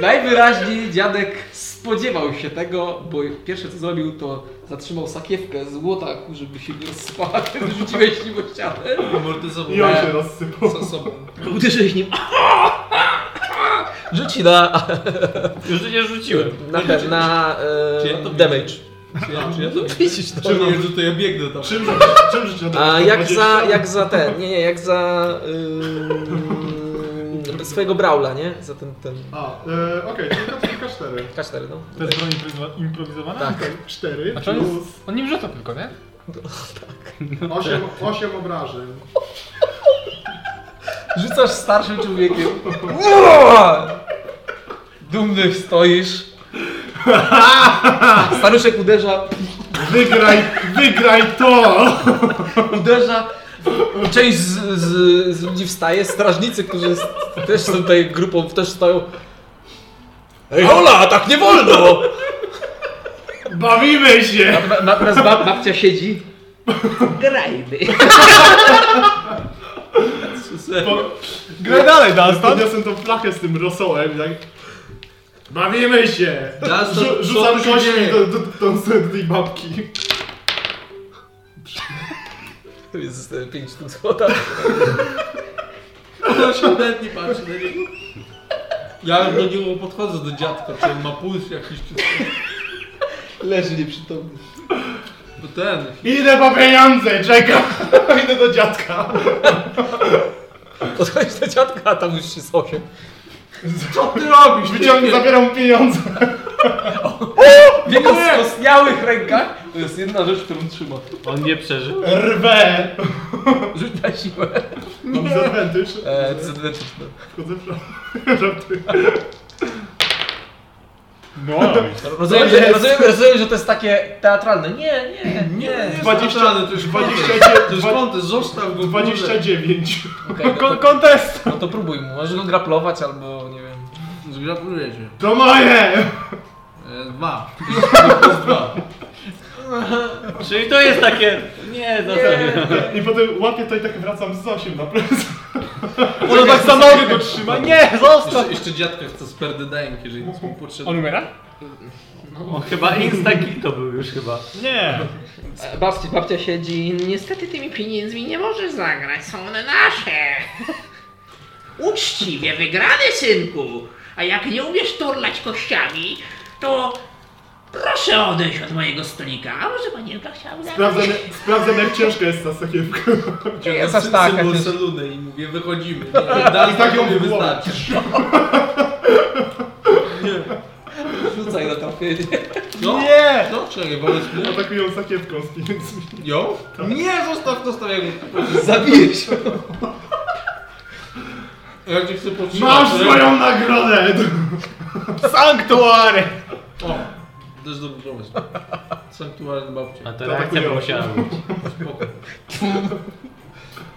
Speaker 1: Najwyraźniej dziadek spodziewał się tego, bo pierwsze co zrobił to zatrzymał sakiewkę z łotaku, żeby się nie rozsypała, kiedy rzuciłeś nim o ścianę.
Speaker 2: Amortyzował
Speaker 6: I on się rozsypał.
Speaker 2: za sobą.
Speaker 7: Uderzyłeś nim. Rzuci na,
Speaker 3: Już nie rzuciłem.
Speaker 7: na, na, na
Speaker 2: Czy ja to
Speaker 7: e,
Speaker 2: widzę?
Speaker 7: damage. No,
Speaker 2: Czy ja, czy ja to
Speaker 7: Widzisz to?
Speaker 2: Czemu wiedzę, to ja biegnę tam.
Speaker 6: Czym, czym życie
Speaker 7: A jak za, jak za ten, nie, nie, jak za ym, swojego Braula, nie? Za ten, ten
Speaker 6: A, e, okej, tylko tylko cztery.
Speaker 7: K4, no.
Speaker 4: To jest broń improwizowa- improwizowana?
Speaker 7: Tak.
Speaker 6: Cztery
Speaker 4: A czy on
Speaker 6: plus
Speaker 4: jest... On nim rzuca tylko, nie?
Speaker 6: osiem, osiem obrażeń.
Speaker 1: Rzucasz starszym człowiekiem. Dumny stoisz. Staruszek uderza,
Speaker 6: Wygraj, wygraj to!
Speaker 1: uderza.
Speaker 7: Część z, z, z ludzi wstaje, strażnicy, którzy s- też są tutaj grupą, też stoją. Ej, hola, tak nie wolno!
Speaker 6: Bawimy się!
Speaker 1: Na- Natomiast bab, babcia siedzi.
Speaker 7: Grajmy.
Speaker 6: Po,
Speaker 5: Graj dalej, Dunstan!
Speaker 6: podniosłem tą flachę z tym rosołem, tak? Bawimy się!
Speaker 2: Dunstan,
Speaker 6: Rzu-
Speaker 2: co
Speaker 6: Rzucam
Speaker 2: tu się
Speaker 6: kośćmi
Speaker 2: dzieje?
Speaker 6: do, do, do, do, tej babki.
Speaker 7: To jest 5 sztuk złota.
Speaker 2: Ona się nawet nie patrzy na niego. Ja do niego podchodzę, do dziadka, czy on ma puls jakiś, czy coś.
Speaker 1: Leży nieprzytomny.
Speaker 2: Bo ten,
Speaker 6: Idę po pieniądze, czekam! Idę do dziadka.
Speaker 7: Podchodzisz do dziadka, a tam już jest 8.
Speaker 6: Co ty robisz? Wyciągnę, zabieram pieniądze.
Speaker 1: W jego skostniałych rękach to jest jedna rzecz, którą trzyma.
Speaker 3: On nie przeżył.
Speaker 6: Rwę!
Speaker 1: Rzuć na siłę.
Speaker 6: Mam disadvantage.
Speaker 7: Eee,
Speaker 1: E,
Speaker 7: to jest identyczne.
Speaker 6: Wchodzę w żart- żarty.
Speaker 4: No,
Speaker 7: rozumiem, że, rozumiem, rozumiem, że to jest takie teatralne. Nie, nie, nie.
Speaker 2: nie,
Speaker 6: 20
Speaker 2: 20, to już 20,
Speaker 6: 20,
Speaker 2: to już kąty, zostaw go,
Speaker 6: 29.
Speaker 7: Okej, no, to,
Speaker 4: Kontest!
Speaker 7: no to próbuj mu. Możesz go graplować albo nie wiem.
Speaker 2: Zgrapuję cię.
Speaker 6: To moje!
Speaker 2: E, Dwa.
Speaker 3: Czyli to jest takie... Nie, za
Speaker 6: I potem łapię to i tak wracam z 8 na plecach.
Speaker 4: Ona tak za nogę go trzyma. Nie, zostaw!
Speaker 2: Jeszcze, jeszcze dziadka chce z perdydajem, jeżeli nic mu potrzebne.
Speaker 4: On umiera?
Speaker 3: On chyba insta-kill to był już chyba.
Speaker 4: Nie.
Speaker 7: Babcia, babcia siedzi. Niestety tymi pieniędzmi nie możesz zagrać, są one nasze.
Speaker 13: Uczciwie wygrany, synku. A jak nie umiesz turlać kościami, to proszę odejść od mojego stolika. A może panienka chciałaby zabrać?
Speaker 6: Sprawdzam, sprawdzam jak ciężka jest ta sakiewka.
Speaker 7: Nie, jest
Speaker 2: Ja
Speaker 7: aż taka.
Speaker 2: symbol
Speaker 7: też-
Speaker 2: Selunę i mówię, wychodzimy. Nie, Dalej tak ją
Speaker 6: w głowę.
Speaker 2: wystarczy.
Speaker 1: Rzucaj na trafienie.
Speaker 2: No,
Speaker 4: Nie!
Speaker 2: no czekaj, wobec mnie.
Speaker 6: Atakują sakiewką z pieniędzmi.
Speaker 2: Ją? Nie, zostaw, zostaw jak
Speaker 1: Zabijesz.
Speaker 2: Ja cię chcę potrzymać.
Speaker 6: Masz
Speaker 2: ale-
Speaker 6: swoją nagrodę!
Speaker 4: Sanktuary!
Speaker 2: O, też dobry pomysł. Sanktuarny babcia.
Speaker 3: A to tak reakcja by musiała być.
Speaker 2: Spoko.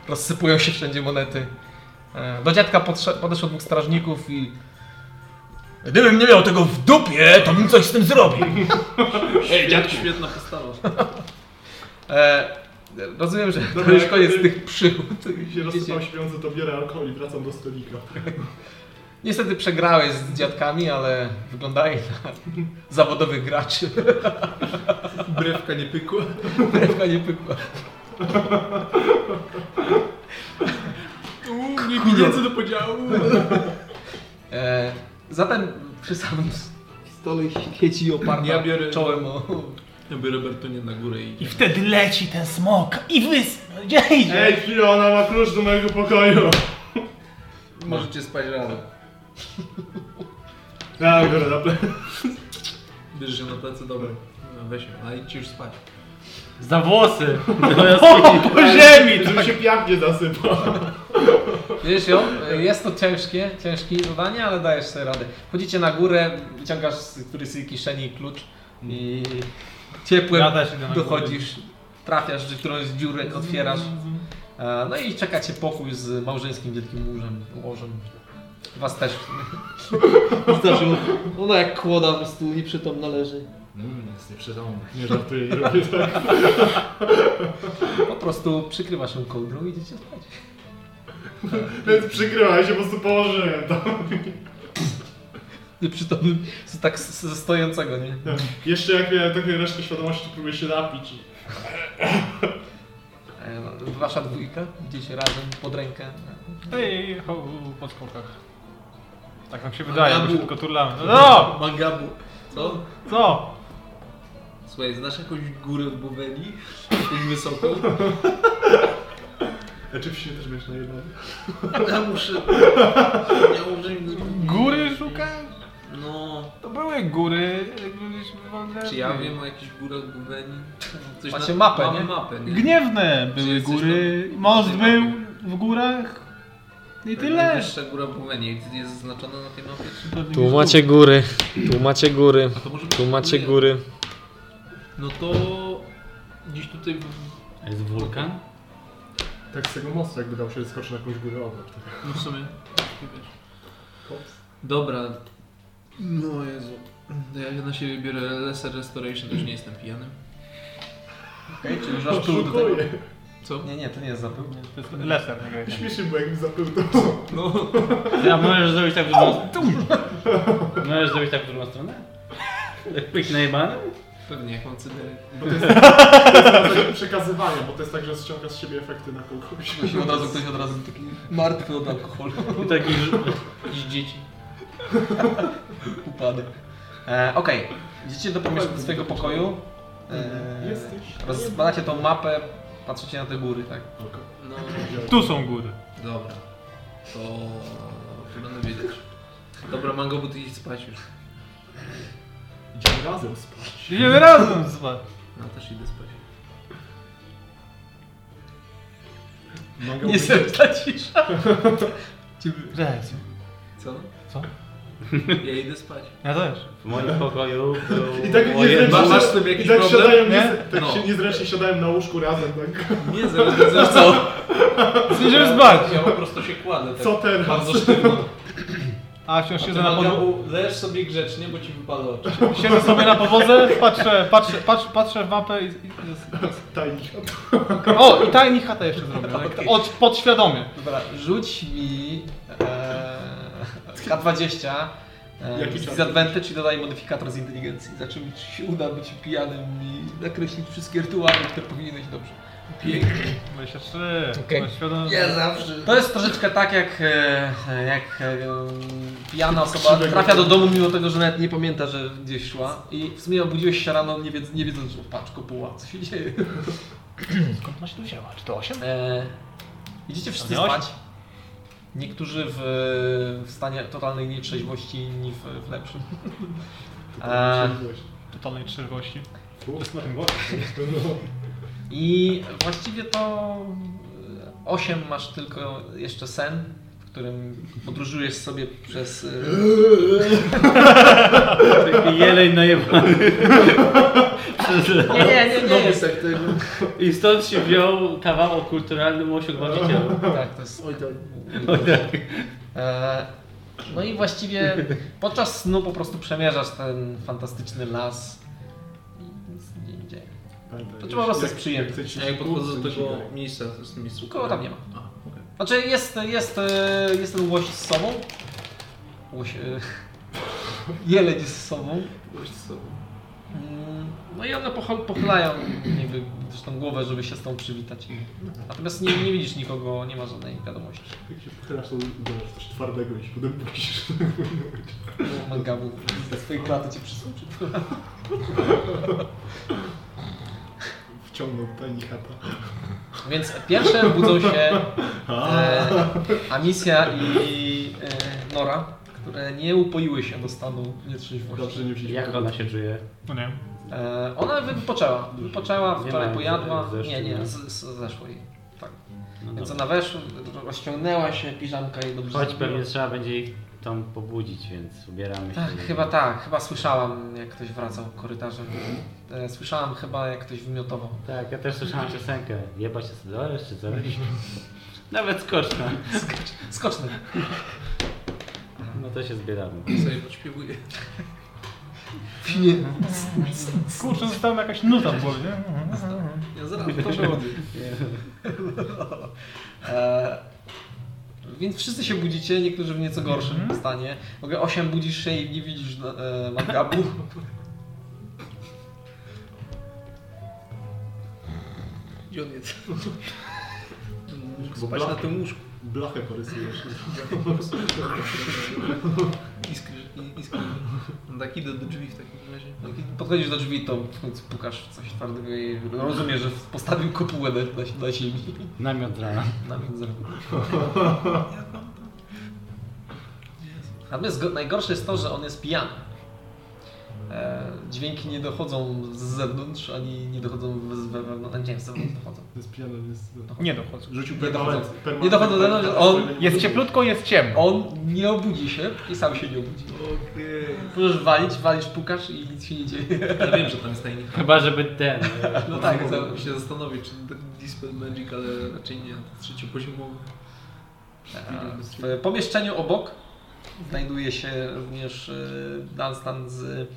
Speaker 1: Rozsypują się wszędzie monety. E, Do dziadka podsze- podeszło dwóch strażników i...
Speaker 7: Gdybym nie miał tego w dupie, to bym coś z tym zrobił.
Speaker 2: Ej, dziadku, świetna postawa.
Speaker 1: E, rozumiem, że to
Speaker 6: Dobra,
Speaker 1: już
Speaker 6: jak-
Speaker 1: koniec tych przygód.
Speaker 6: I się rozsypał śpiący, to biorę alkohol i wracam do stolika.
Speaker 1: Niestety przegrałeś z dziadkami, ale wyglądaj na zawodowych graczy.
Speaker 2: Brewka nie pykła.
Speaker 1: Brewka nie pykła.
Speaker 2: Uuu, nie pieniędzy do podziału.
Speaker 1: E, zatem przy samym stole świeci oparta
Speaker 2: Ja biorę-
Speaker 1: czołem o...
Speaker 2: Ja biorę Bertunię na górę i...
Speaker 5: Wtedy leci ten smok i wys... Gdzie idzie?
Speaker 6: Ej, chwilę, ona ma klucz do mojego pokoju.
Speaker 2: Możecie spać razem.
Speaker 6: Ja biorę na plecach.
Speaker 2: Bierzesz się na plecy, dobra. Weź ją, a idźcie już spać.
Speaker 3: Za włosy!
Speaker 6: Po ziemi! Żeby się piach nie zasypał.
Speaker 1: Wiesz ją, e, jest to ciężkie, ciężkie zadanie, ale dajesz sobie radę. Chodzicie na górę, wyciągasz z którejś z jej kieszeni klucz i ciepłem
Speaker 4: Ja też idę na
Speaker 1: dochodzisz, trafiasz w którąś z dziurek, otwierasz. E, No i czeka cię pokój z małżeńskim wielkim łóżem. łożem. Was też.
Speaker 7: Zdarzyło. Ona jak kłoda po prostu nieprzytomna leży.
Speaker 6: No,
Speaker 14: Mm, jest nieprzytomny.
Speaker 8: Nie żartuję, nie robię tak.
Speaker 1: Po prostu przykrywa się kołdrą i idziecie spać.
Speaker 6: Więc przykryła, ja się po prostu położyłem tam.
Speaker 1: Nieprzytomny, z- tak z- ze stojącego, nie?
Speaker 6: Jeszcze jak miałem takie resztę świadomości, to próbuję się napić. i-
Speaker 1: E, Wasza dwójka, idziecie razem pod rękę.
Speaker 5: Ej, ho, No po skokach. Tak nam się
Speaker 2: A
Speaker 5: wydaje,
Speaker 2: No, ja
Speaker 5: bo się
Speaker 2: był-
Speaker 5: tylko turlamy. No!
Speaker 2: Mangabu. Co?
Speaker 5: Co?
Speaker 2: Słuchaj, znasz jakąś górę w Boweni? Jakąś wysoką?
Speaker 6: Oczywiście też będziesz na jedno.
Speaker 2: Ja muszę... Ja muszę...
Speaker 5: Góry szukasz?
Speaker 2: No...
Speaker 5: To były góry, jakby byliśmy w ogóle...
Speaker 2: Czy ja wiem o jakichś górach w Boweni? Coś
Speaker 1: Macie mapę,
Speaker 2: mamy
Speaker 1: nie?
Speaker 2: mapę, nie?
Speaker 5: Gniewne
Speaker 2: Czy
Speaker 5: były
Speaker 2: jesteś
Speaker 5: góry,
Speaker 2: na-
Speaker 5: most
Speaker 2: na tej
Speaker 5: był
Speaker 2: mapie?
Speaker 5: w górach i
Speaker 2: To
Speaker 5: tyle.
Speaker 2: Najwyższa góra w Boweni. Jest zaznaczona na tej mapie? Czy...
Speaker 5: Tu
Speaker 7: góry, tu macie góry,
Speaker 2: A to może być górę. No to... Gdzieś tutaj... w-
Speaker 3: Jest wulkan?
Speaker 8: Tak z tego mostu jakby dał się skoczyć na jakąś górę obok. Tak.
Speaker 2: No w sumie... nie wiesz. Dobra. No Jezu. To Ja na siebie biorę Lesser Restoration, już nie jestem pijany.
Speaker 1: Okej, czyli już aż tu do tego.
Speaker 2: Co?
Speaker 1: Nie, nie, to nie jest zapewne.
Speaker 5: To jest leser. nie wiem.
Speaker 6: Śmiesznie, bo jakbym zapył to...
Speaker 2: No,
Speaker 3: Ja możesz zrobić tak w drugą stronę. Możesz zrobić tak w drugą stronę? Quick najebany?
Speaker 2: pewnie jak mam cydelek.
Speaker 6: Bo to jest, to jest rodzaj przekazywania, bo to jest tak, że ściąga z siebie efekty na kogoś.
Speaker 1: Musi od razu ktoś od razu taki martwy od alkoholu
Speaker 3: Taki ż-
Speaker 2: Dziś dzieci.
Speaker 1: upadł. E, Okej, idziecie do pomieszczenia do swojego pokoju. E,
Speaker 6: Jesteś.
Speaker 1: rozpalacie tą mapę, patrzycie na te góry, tak?
Speaker 2: No,
Speaker 5: Tu są góry.
Speaker 2: dobra. To... to będę wiedzieć. Dobra, mango, bo ty idź spać już.
Speaker 6: Idziemy razem spać.
Speaker 5: Idziemy razem spać.
Speaker 2: Ja też idę spać.
Speaker 6: Mogę
Speaker 1: Nie
Speaker 6: być-
Speaker 1: serca cisza.
Speaker 5: Cześć.
Speaker 2: Co?
Speaker 5: Co?
Speaker 2: Ja idę spać.
Speaker 5: Ja też.
Speaker 3: W moim pokoju był
Speaker 6: I tak
Speaker 3: moje...
Speaker 6: nie
Speaker 2: Masz
Speaker 6: zręcznie,
Speaker 2: z tym
Speaker 6: I
Speaker 2: jakiś
Speaker 6: tak
Speaker 2: problem?
Speaker 6: siadają,
Speaker 5: nie?
Speaker 6: nie? Tak
Speaker 2: No.
Speaker 6: się niezręcznie siadają na łóżku razem, tak.
Speaker 2: Nie, zaraz, zaraz co?
Speaker 5: Idziemy spać.
Speaker 2: Ja po prostu się kładę tak
Speaker 6: Co teraz?
Speaker 2: bardzo sztywno.
Speaker 5: A wciąż siedzę na
Speaker 2: Na
Speaker 5: podłodze.
Speaker 2: mangabu, leż sobie grzecznie, bo ci wypada oczy.
Speaker 5: Siedzę sobie na podłodze, patrzę, patrzę, patrzę, patrzę w mapę i... i jest...
Speaker 6: Tajnik.
Speaker 5: O, i tajni chatę jeszcze zrobię. Tak? Od, podświadomie.
Speaker 1: Dobra, rzuć mi e, K20 e,
Speaker 6: Jaki
Speaker 1: z
Speaker 6: czas?
Speaker 1: advantage i dodaj modyfikator z inteligencji. Za czym ci się uda być pijanym i nakreślić wszystkie rytuały, które powinieneś dobrze. Pięknie.
Speaker 5: 23.
Speaker 1: Okej.
Speaker 5: podświadomie.
Speaker 2: zawsze.
Speaker 1: To jest troszeczkę tak jak, e, jak e, pijana osoba trafia do domu mimo tego, że nawet nie pamięta, że gdzieś szła i w sumie obudziłeś się rano nie, wiedz, nie wiedząc, że patrz, kopuła, co się dzieje.
Speaker 5: Skąd masz tu wzięła? Czy to 8?
Speaker 1: E, idziecie wszyscy
Speaker 5: Miałaś?
Speaker 1: spać. Niektórzy w, w stanie totalnej nietrzeźwości, inni w, w lepszym. E,
Speaker 5: Totalnej trzeźwości.
Speaker 1: I właściwie to 8 masz tylko jeszcze sen, w którym podróżujesz sobie przez. e,
Speaker 3: Taki jeleń najebany. Przez-
Speaker 1: Nie, nie, nie, tak. nie jest.
Speaker 3: I stąd się wziął kawał o kulturalnym osiu gwałcicielu.
Speaker 1: Tak, to jest. tak. E, No i właściwie podczas snu po prostu przemierzasz ten fantastyczny las. i Nic się nie dzieje. To trzeba tak po prostu jest przyjemne.
Speaker 2: Ja jak podchodzę do tego miejsca, to jest miejscu.
Speaker 1: Kogo tam nie ma.
Speaker 2: A, okej.
Speaker 1: Znaczy jest, jest, e, jest ten łoś z sobą. Łoś, e, jeleń jest z sobą.
Speaker 2: Gość z sobą.
Speaker 1: Mm, No i one pochol- pochylają niby też tą głowę, żeby się z tą przywitać.
Speaker 2: Mhm.
Speaker 1: Natomiast nie, nie widzisz nikogo, nie ma żadnej wiadomości.
Speaker 6: Jak się pochylasz, to wiesz, coś twardego i się potem musisz.
Speaker 1: Mangabu ze swojej klaty cię przysłuży.
Speaker 6: Wciągnął tajni chata.
Speaker 1: Więc pierwsze budzą się e, Amisja i e, Nora, które nie upoiły się do stanu
Speaker 6: Dobrze,
Speaker 1: nietrzeźwości.
Speaker 6: nie wzięliśmy.
Speaker 3: Jak ona się czuje?
Speaker 5: No nie.
Speaker 1: E, ona wypoczęła, wypoczęła,
Speaker 3: Nie
Speaker 1: wczoraj
Speaker 3: ma,
Speaker 1: pojadła,
Speaker 3: zeszło,
Speaker 1: nie, nie,
Speaker 3: nie?
Speaker 1: z, z, zeszło jej. Tak.
Speaker 3: No
Speaker 1: Więc
Speaker 3: dobra.
Speaker 1: ona weszła, rozciągnęła się, piżamka jej dobrze
Speaker 3: Choć
Speaker 1: zrobiła.
Speaker 3: pewnie trzeba będzie ich tam pobudzić, więc ubieramy się.
Speaker 1: Tak, chyba tak. Chyba słyszałam, jak ktoś wracał korytarzem. E, Słyszałam chyba, jak ktoś wymiotował.
Speaker 3: Tak, ja też słyszałem piosenkę. Jeba się Sedorys czy coś? Nawet skoczna.
Speaker 1: Skoczny.
Speaker 3: No to się zbieramy.
Speaker 2: sobie podśpiewuję.
Speaker 5: Kurczę, została mi jakaś nuta w głowie, nie?
Speaker 2: Ja zaraz proszę o
Speaker 1: E, Więc wszyscy się budzicie, niektórzy w
Speaker 2: Mhm.
Speaker 1: nieco gorszym stanie. W ogóle 8 budzisz się i nie widzisz e, makabu.
Speaker 2: Gdzie on jest? Mógł Spać na tym łóżku.
Speaker 6: Blachę porysujesz.
Speaker 2: Iskry, i- iskry. On tak idę do drzwi w takim razie.
Speaker 1: No, kiedy Podchodzisz do drzwi, to w końcu pukasz w coś twardego i rozumiesz, że postawił kopułę na, na, na ziemi. No
Speaker 3: Namiot dla nas.
Speaker 1: Na między. Natomiast go- najgorsze jest to, że on jest pijany. E, dźwięki nie dochodzą z zewnątrz, ani nie dochodzą z wewnątrz. No, Nie wiem, z zewnątrz dochodzą.
Speaker 8: To jest pijany, jest...
Speaker 5: Nie dochodzę.
Speaker 8: Rzucił
Speaker 1: Nie
Speaker 8: permanent.
Speaker 1: dochodzą.
Speaker 8: permanent-
Speaker 1: Nie dochodzą do tego, że on-
Speaker 5: Jest cieplutko, jest ciemno.
Speaker 1: On nie obudzi się i sam się nie obudzi.
Speaker 2: Okej.
Speaker 1: Możesz walić, walisz, pukasz i nic się nie dzieje.
Speaker 2: Ja wiem, że tam jest tajnik.
Speaker 3: Chyba, żeby ten. e,
Speaker 1: No tak, za-
Speaker 2: Chciałbym się zastanowić, czy to Dispel Magic, ale raczej nie. Trzeciopoziomowy.
Speaker 1: W pomieszczeniu obok znajduje się również e, Dunstan z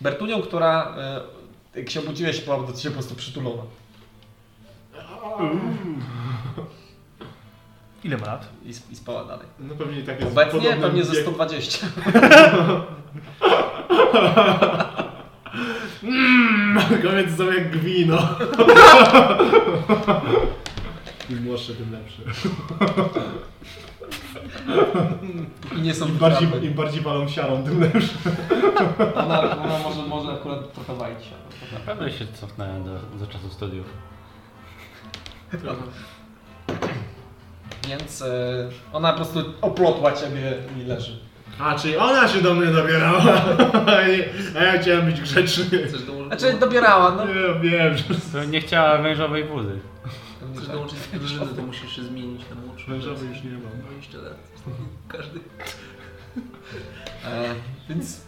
Speaker 1: Bertunią, która e, jak się obudziłeś, to była do ciebie po prostu przytulona.
Speaker 5: Ile ma lat?
Speaker 1: I, sp- i spała dalej.
Speaker 6: No pewnie i tak jest.
Speaker 1: Obecnie
Speaker 6: podobny
Speaker 1: pewnie ze
Speaker 6: wiek.
Speaker 1: 120.
Speaker 6: Kobiety są jak gwino. Im młodsze, tym lepsze.
Speaker 1: I nie są
Speaker 6: Im bardziej,
Speaker 1: wytrawne.
Speaker 6: im bardziej palą siarą, tym lepsze.
Speaker 1: Ona, ona może, może akurat trochę walić się.
Speaker 3: Na pewno się cofnąłem do, do czasu studiów.
Speaker 1: Więc e, ona po prostu oplotła ciebie i leży.
Speaker 6: A, czyli ona się do mnie dobierała. A ja chciałem być grzeczny.
Speaker 2: Chcesz dołożyć,
Speaker 1: Znaczy dobierała, no.
Speaker 6: Nie wiem, że
Speaker 3: To nie chciała wężowej wody.
Speaker 2: chcesz dołączyć do drużyny, to musisz się zmienić na młodszy.
Speaker 6: wężowy już nie mam.
Speaker 2: 20 lat. Każdy.
Speaker 1: E, więc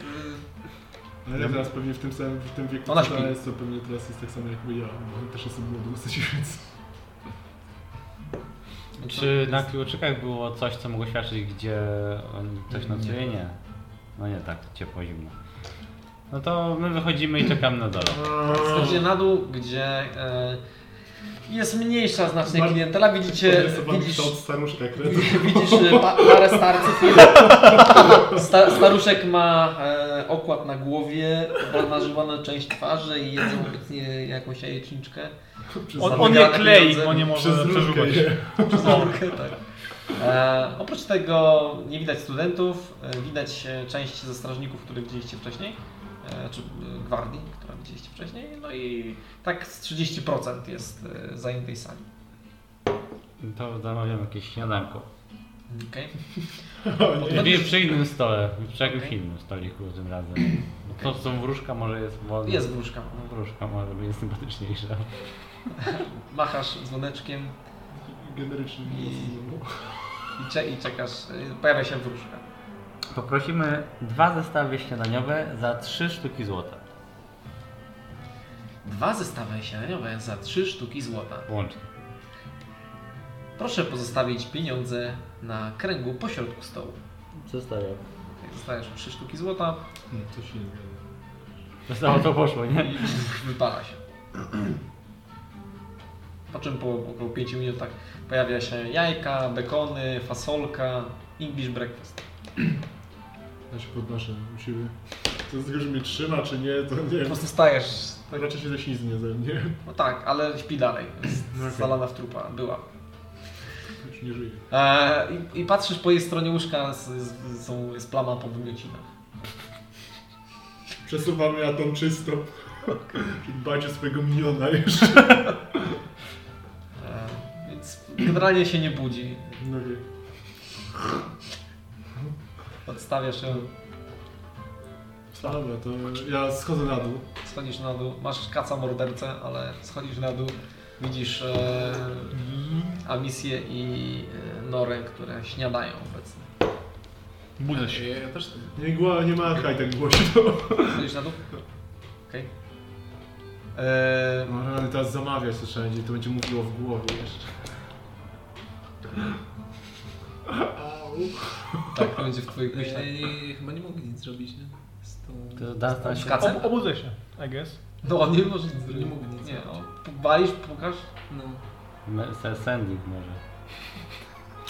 Speaker 6: Ale ja teraz pewnie w tym samym w tym wieku,
Speaker 1: Ona
Speaker 6: co
Speaker 1: śpi.
Speaker 6: teraz jest, to pewnie teraz jest tak samo jak ja, bo też jestem młody dosyć, więc...
Speaker 1: e,
Speaker 3: Czy na kluczykach było coś, co mogło świadczyć, gdzie on- ktoś nocuje? Nie. No nie tak, ciepło, zimno. No to my wychodzimy i czekamy na dole.
Speaker 1: Schodzicie na dół, gdzie e, jest mniejsza znacznie
Speaker 6: Mar-
Speaker 1: klientela. Widzicie,
Speaker 6: Odrysowany
Speaker 1: widzisz,
Speaker 6: kształt staruszka kredyt.
Speaker 1: widzisz e, pa, parę starców. Sta, staruszek ma e, okład na głowie, obnażywana część twarzy i jedzą obecnie jakąś jajeczniczkę.
Speaker 5: On, on nie klei, bo nie może
Speaker 6: Przez różkę
Speaker 5: przeżuwać.
Speaker 6: je.
Speaker 1: Przez rurkę, tak. E, oprócz tego nie widać studentów, e, widać e, część ze strażników, których widzieliście wcześniej, e, czy e, gwardii, którą widzieliście wcześniej, no i tak z 30% jest e, zajętej sali.
Speaker 3: To zamawiam jakieś śniadanko.
Speaker 1: Okay.
Speaker 3: Dwie przy innym stole, przy jakimś
Speaker 1: Okej.
Speaker 3: innym stoliku tym razem. To są wróżka, może jest wolna.
Speaker 1: Jest wróżka.
Speaker 3: Wróżka może być sympatyczniejsza.
Speaker 1: Machasz dzwoneczkiem
Speaker 6: Generyczny. no
Speaker 1: i, cze- i czekasz, e, pojawia się wróżka.
Speaker 3: Poprosimy dwa zestawy śniadaniowe za trzy sztuki złota.
Speaker 1: Dwa zestawy śniadaniowe za trzy sztuki złota.
Speaker 3: Łącznie.
Speaker 1: Proszę pozostawić pieniądze na kręgu pośrodku stołu.
Speaker 3: Zostawiam.
Speaker 1: Zostajesz trzy sztuki złota,
Speaker 6: To się nie zgadza.
Speaker 3: Zostało to poszło, nie?
Speaker 1: I wypala się. Po czym po około 5 minutach pojawia się jajka, bekony, fasolka, English breakfast.
Speaker 6: Ja się podnoszę u siebie. To z tego, że mnie trzyma, czy nie, to nie
Speaker 1: Po
Speaker 6: wiem.
Speaker 1: prostu stajesz,
Speaker 6: To raczej się zaślizgnie ze mnie.
Speaker 1: no tak, ale śpi dalej. Jest
Speaker 6: No okej.
Speaker 1: Zalana w trupa, była.
Speaker 6: Już nie żyje.
Speaker 1: E, i, I patrzysz po jej stronie łóżka, s- s- są, jest plama po wymiocinach.
Speaker 6: Przesuwamy ja tą czysto. Dbać o swojego miniona jeszcze.
Speaker 1: E, więc generalnie się nie budzi.
Speaker 6: No nie.
Speaker 1: Odstawiasz ją,
Speaker 6: Dobra, to ja schodzę na dół.
Speaker 1: schodzisz na dół. Masz kaca mordercę, ale schodzisz na dół. Widzisz e, Amisję i e, Norę, które śniadają obecnie.
Speaker 5: Budzę się.
Speaker 2: Ja, ja też tak.
Speaker 6: Nie, gła, nie machaj tak głośno.
Speaker 1: Wchodzisz na dół? Okej. Eee,
Speaker 6: No rany, teraz zamawiać to trzeba będzie, to będzie mówiło w głowie jeszcze. Au.
Speaker 1: Tak, to będzie w twoich myślach.
Speaker 2: Ej, chyba E, nie mogę nic zrobić, nie? Z tą...
Speaker 3: To da się.
Speaker 1: Skacze?
Speaker 5: Ob- obudzę się, I guess.
Speaker 1: No on nie może nic
Speaker 2: Nie
Speaker 1: zrobić.
Speaker 2: mogę nic
Speaker 1: Nie,
Speaker 2: zrobić.
Speaker 1: no. Walisz, pukasz?
Speaker 2: No.
Speaker 3: Me- se- Sending może.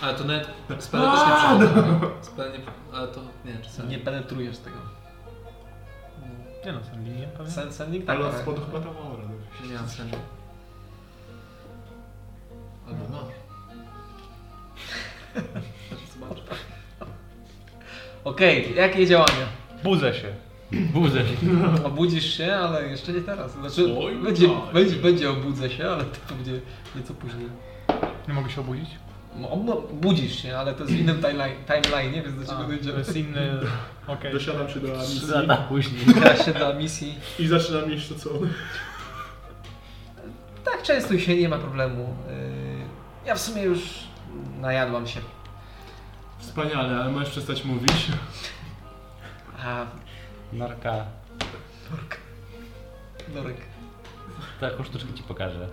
Speaker 2: Ale to nawet spele też nie przechodzą. Spele nie... Ale to... no. Nie, czasami...
Speaker 1: Nie penetrujesz tego.
Speaker 5: Nie no, sam linię pewnie.
Speaker 1: Sen, sennik? Tak,
Speaker 6: Ale od
Speaker 1: tak.
Speaker 6: spodu chyba tam aura. no.
Speaker 2: Nie, nie mam sensu. Albo masz. Zobacz.
Speaker 1: Okej, jakie działania?
Speaker 5: Budzę się.
Speaker 3: Budzę się.
Speaker 1: Obudzisz się, ale jeszcze nie teraz. Znaczy, będzie, będzie, będzie obudzę się, ale to będzie nieco później.
Speaker 5: Nie mogę się obudzić.
Speaker 1: No, no, budzisz się, ale to jest w innym timeline, timeline więc do
Speaker 5: A,
Speaker 1: czego
Speaker 5: to
Speaker 1: dojdziemy.
Speaker 5: jest inny... Okej.
Speaker 6: Dosiadam się do
Speaker 3: Trzy
Speaker 6: misji
Speaker 3: lata później.
Speaker 1: Teraz się do misji.
Speaker 6: i zaczynam jeść to co one.
Speaker 1: Tak często się nie ma problemu. Yy, Ja w sumie już najadłam się.
Speaker 6: Wspaniale, ale możesz przestać mówić.
Speaker 1: A,
Speaker 3: Norka,
Speaker 1: Dorek.
Speaker 3: taką Tak, sztuczkę ci pokażę.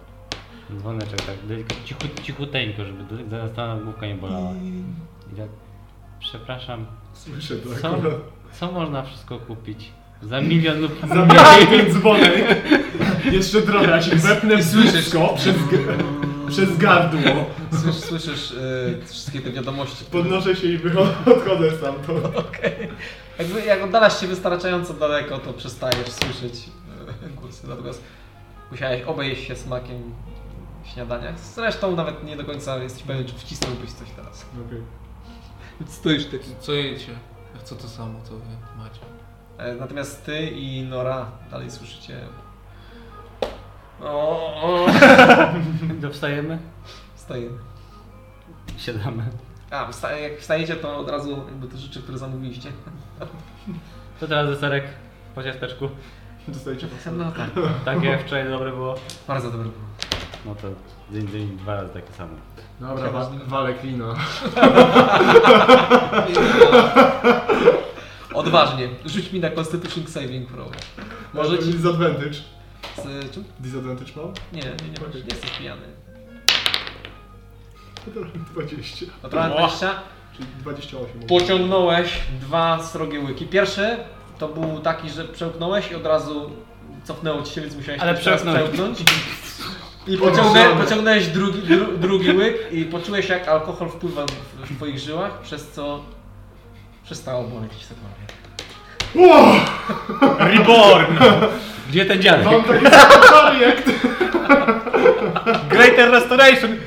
Speaker 3: Dzwoneczek tak delikatnie, cichu, cichuteńko, żeby zastana główka nie bolała. I tak, przepraszam,
Speaker 6: Słyszę to
Speaker 3: co,
Speaker 6: akurat.
Speaker 3: co można wszystko kupić? Za milion lub za
Speaker 6: Zabijaj ten dzwonek. Jeszcze trochę się wepnę w wszystko przez, g- przez gardło.
Speaker 1: Słysz, Mm. słyszysz yy, wszystkie te wiadomości. które-
Speaker 6: Podnoszę się i wycho- odchodzę stamtąd.
Speaker 1: Jakby, jak oddalasz się wystarczająco daleko, to przestajesz słyszeć e, głosy. Natomiast musiałeś obejść się smakiem śniadania. Zresztą nawet nie do końca jesteś pewien, czy wcisnąłbyś coś teraz.
Speaker 6: Okej.
Speaker 1: Stoisz taki.
Speaker 2: Co jecie? Co to samo, co wy macie?
Speaker 1: E, Natomiast ty i Nora dalej słyszycie. O, o.
Speaker 3: Dowstajemy?
Speaker 1: Stoję.
Speaker 3: Siadamy.
Speaker 1: A, wsta- jak wstajecie, to od razu jakby te rzeczy, które zamówiliście.
Speaker 3: To teraz deserek po ciasteczku.
Speaker 6: Dostajecie
Speaker 1: No tak.
Speaker 3: Takie jak wczoraj dobre było.
Speaker 1: Bardzo dobre. było.
Speaker 3: No to dzień, dzień, dwa razy takie samo.
Speaker 6: Dobra, wa- walę klina.
Speaker 1: Odważnie. Rzuć mi na Constitution Saving Throw. Może ci...
Speaker 6: Disadvantage.
Speaker 1: Z, czym?
Speaker 6: Disadvantage mam?
Speaker 1: Nie, nie, nie, masz, nie jesteś pijany.
Speaker 6: To trochę 20.
Speaker 1: Naturalna 20.
Speaker 6: Czyli 28.
Speaker 1: Pociągnąłeś dwa srogie łyki. Pierwszy to był taki, że przełknąłeś i od razu cofnęło ci się, więc musiałeś
Speaker 3: Ale
Speaker 1: też teraz
Speaker 3: przełknąłeś.
Speaker 1: przełknąć. I pociągnę, pociągnąłeś drugi, dru, drugi łyk i poczułeś jak alkohol wpływa w, w twoich żyłach, przez co przestało boleć ci cokolwiek.
Speaker 3: Reborn! Gdzie ten
Speaker 6: Mam
Speaker 3: dziadek?
Speaker 6: taki projekt.
Speaker 3: Greater Restoration!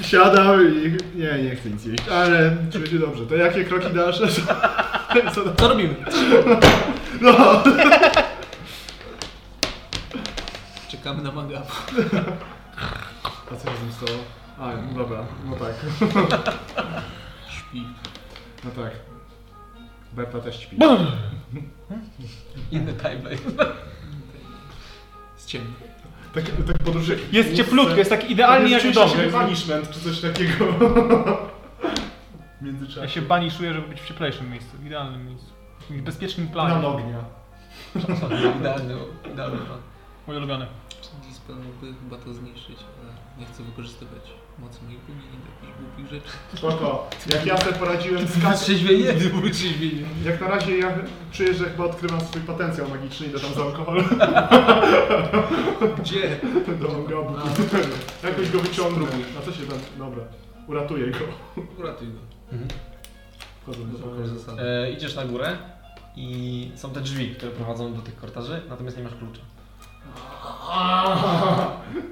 Speaker 6: Siadam i... Nie, nie chcę nic jeść, ale czuję się dobrze. To jakie kroki dasz? Co da-
Speaker 2: Co robimy?
Speaker 6: No.
Speaker 2: Czekamy na manga.
Speaker 6: A co się z nim stało? A, dobra, no tak.
Speaker 2: Śpi.
Speaker 6: No tak. Berta też śpi.
Speaker 1: Inny timeline.
Speaker 2: Z ciemno.
Speaker 6: Tak, tak podróży...
Speaker 5: Jest cieplutko, jest tak idealnie jak w
Speaker 6: Czuję
Speaker 5: domu.
Speaker 6: się punishment czy coś takiego. Międzyczasie.
Speaker 5: Ja się baniszuję, żeby być w cieplejszym miejscu, w idealnym miejscu. W jakimś bezpiecznym
Speaker 6: Plan
Speaker 5: planie.
Speaker 6: ognia.
Speaker 1: Idealny, idealny. plan.
Speaker 5: Mój ulubiony.
Speaker 2: Czyli Dispel mógłby chyba to zniszczyć, ale nie chcę wykorzystywać mocy moich płomieni do jakichś głupich rzeczy.
Speaker 6: Spoko. Jak ja sobie poradziłem z kas...
Speaker 1: Trzeźwienie?
Speaker 6: Jak na razie ja czuję, że chyba odkrywam swój potencjał magiczny i dodam z alkohol.
Speaker 2: Gdzie?
Speaker 6: Do mągabu. Jakoś go wyciągnę. A co się tam... Dobra. Uratuję go.
Speaker 2: Uratuj go.
Speaker 6: Wchodzę do
Speaker 2: Bez
Speaker 6: pokoju.
Speaker 2: zasady.
Speaker 1: E, idziesz na górę i są te drzwi, które prowadzą do tych korytarzy, natomiast nie masz klucza.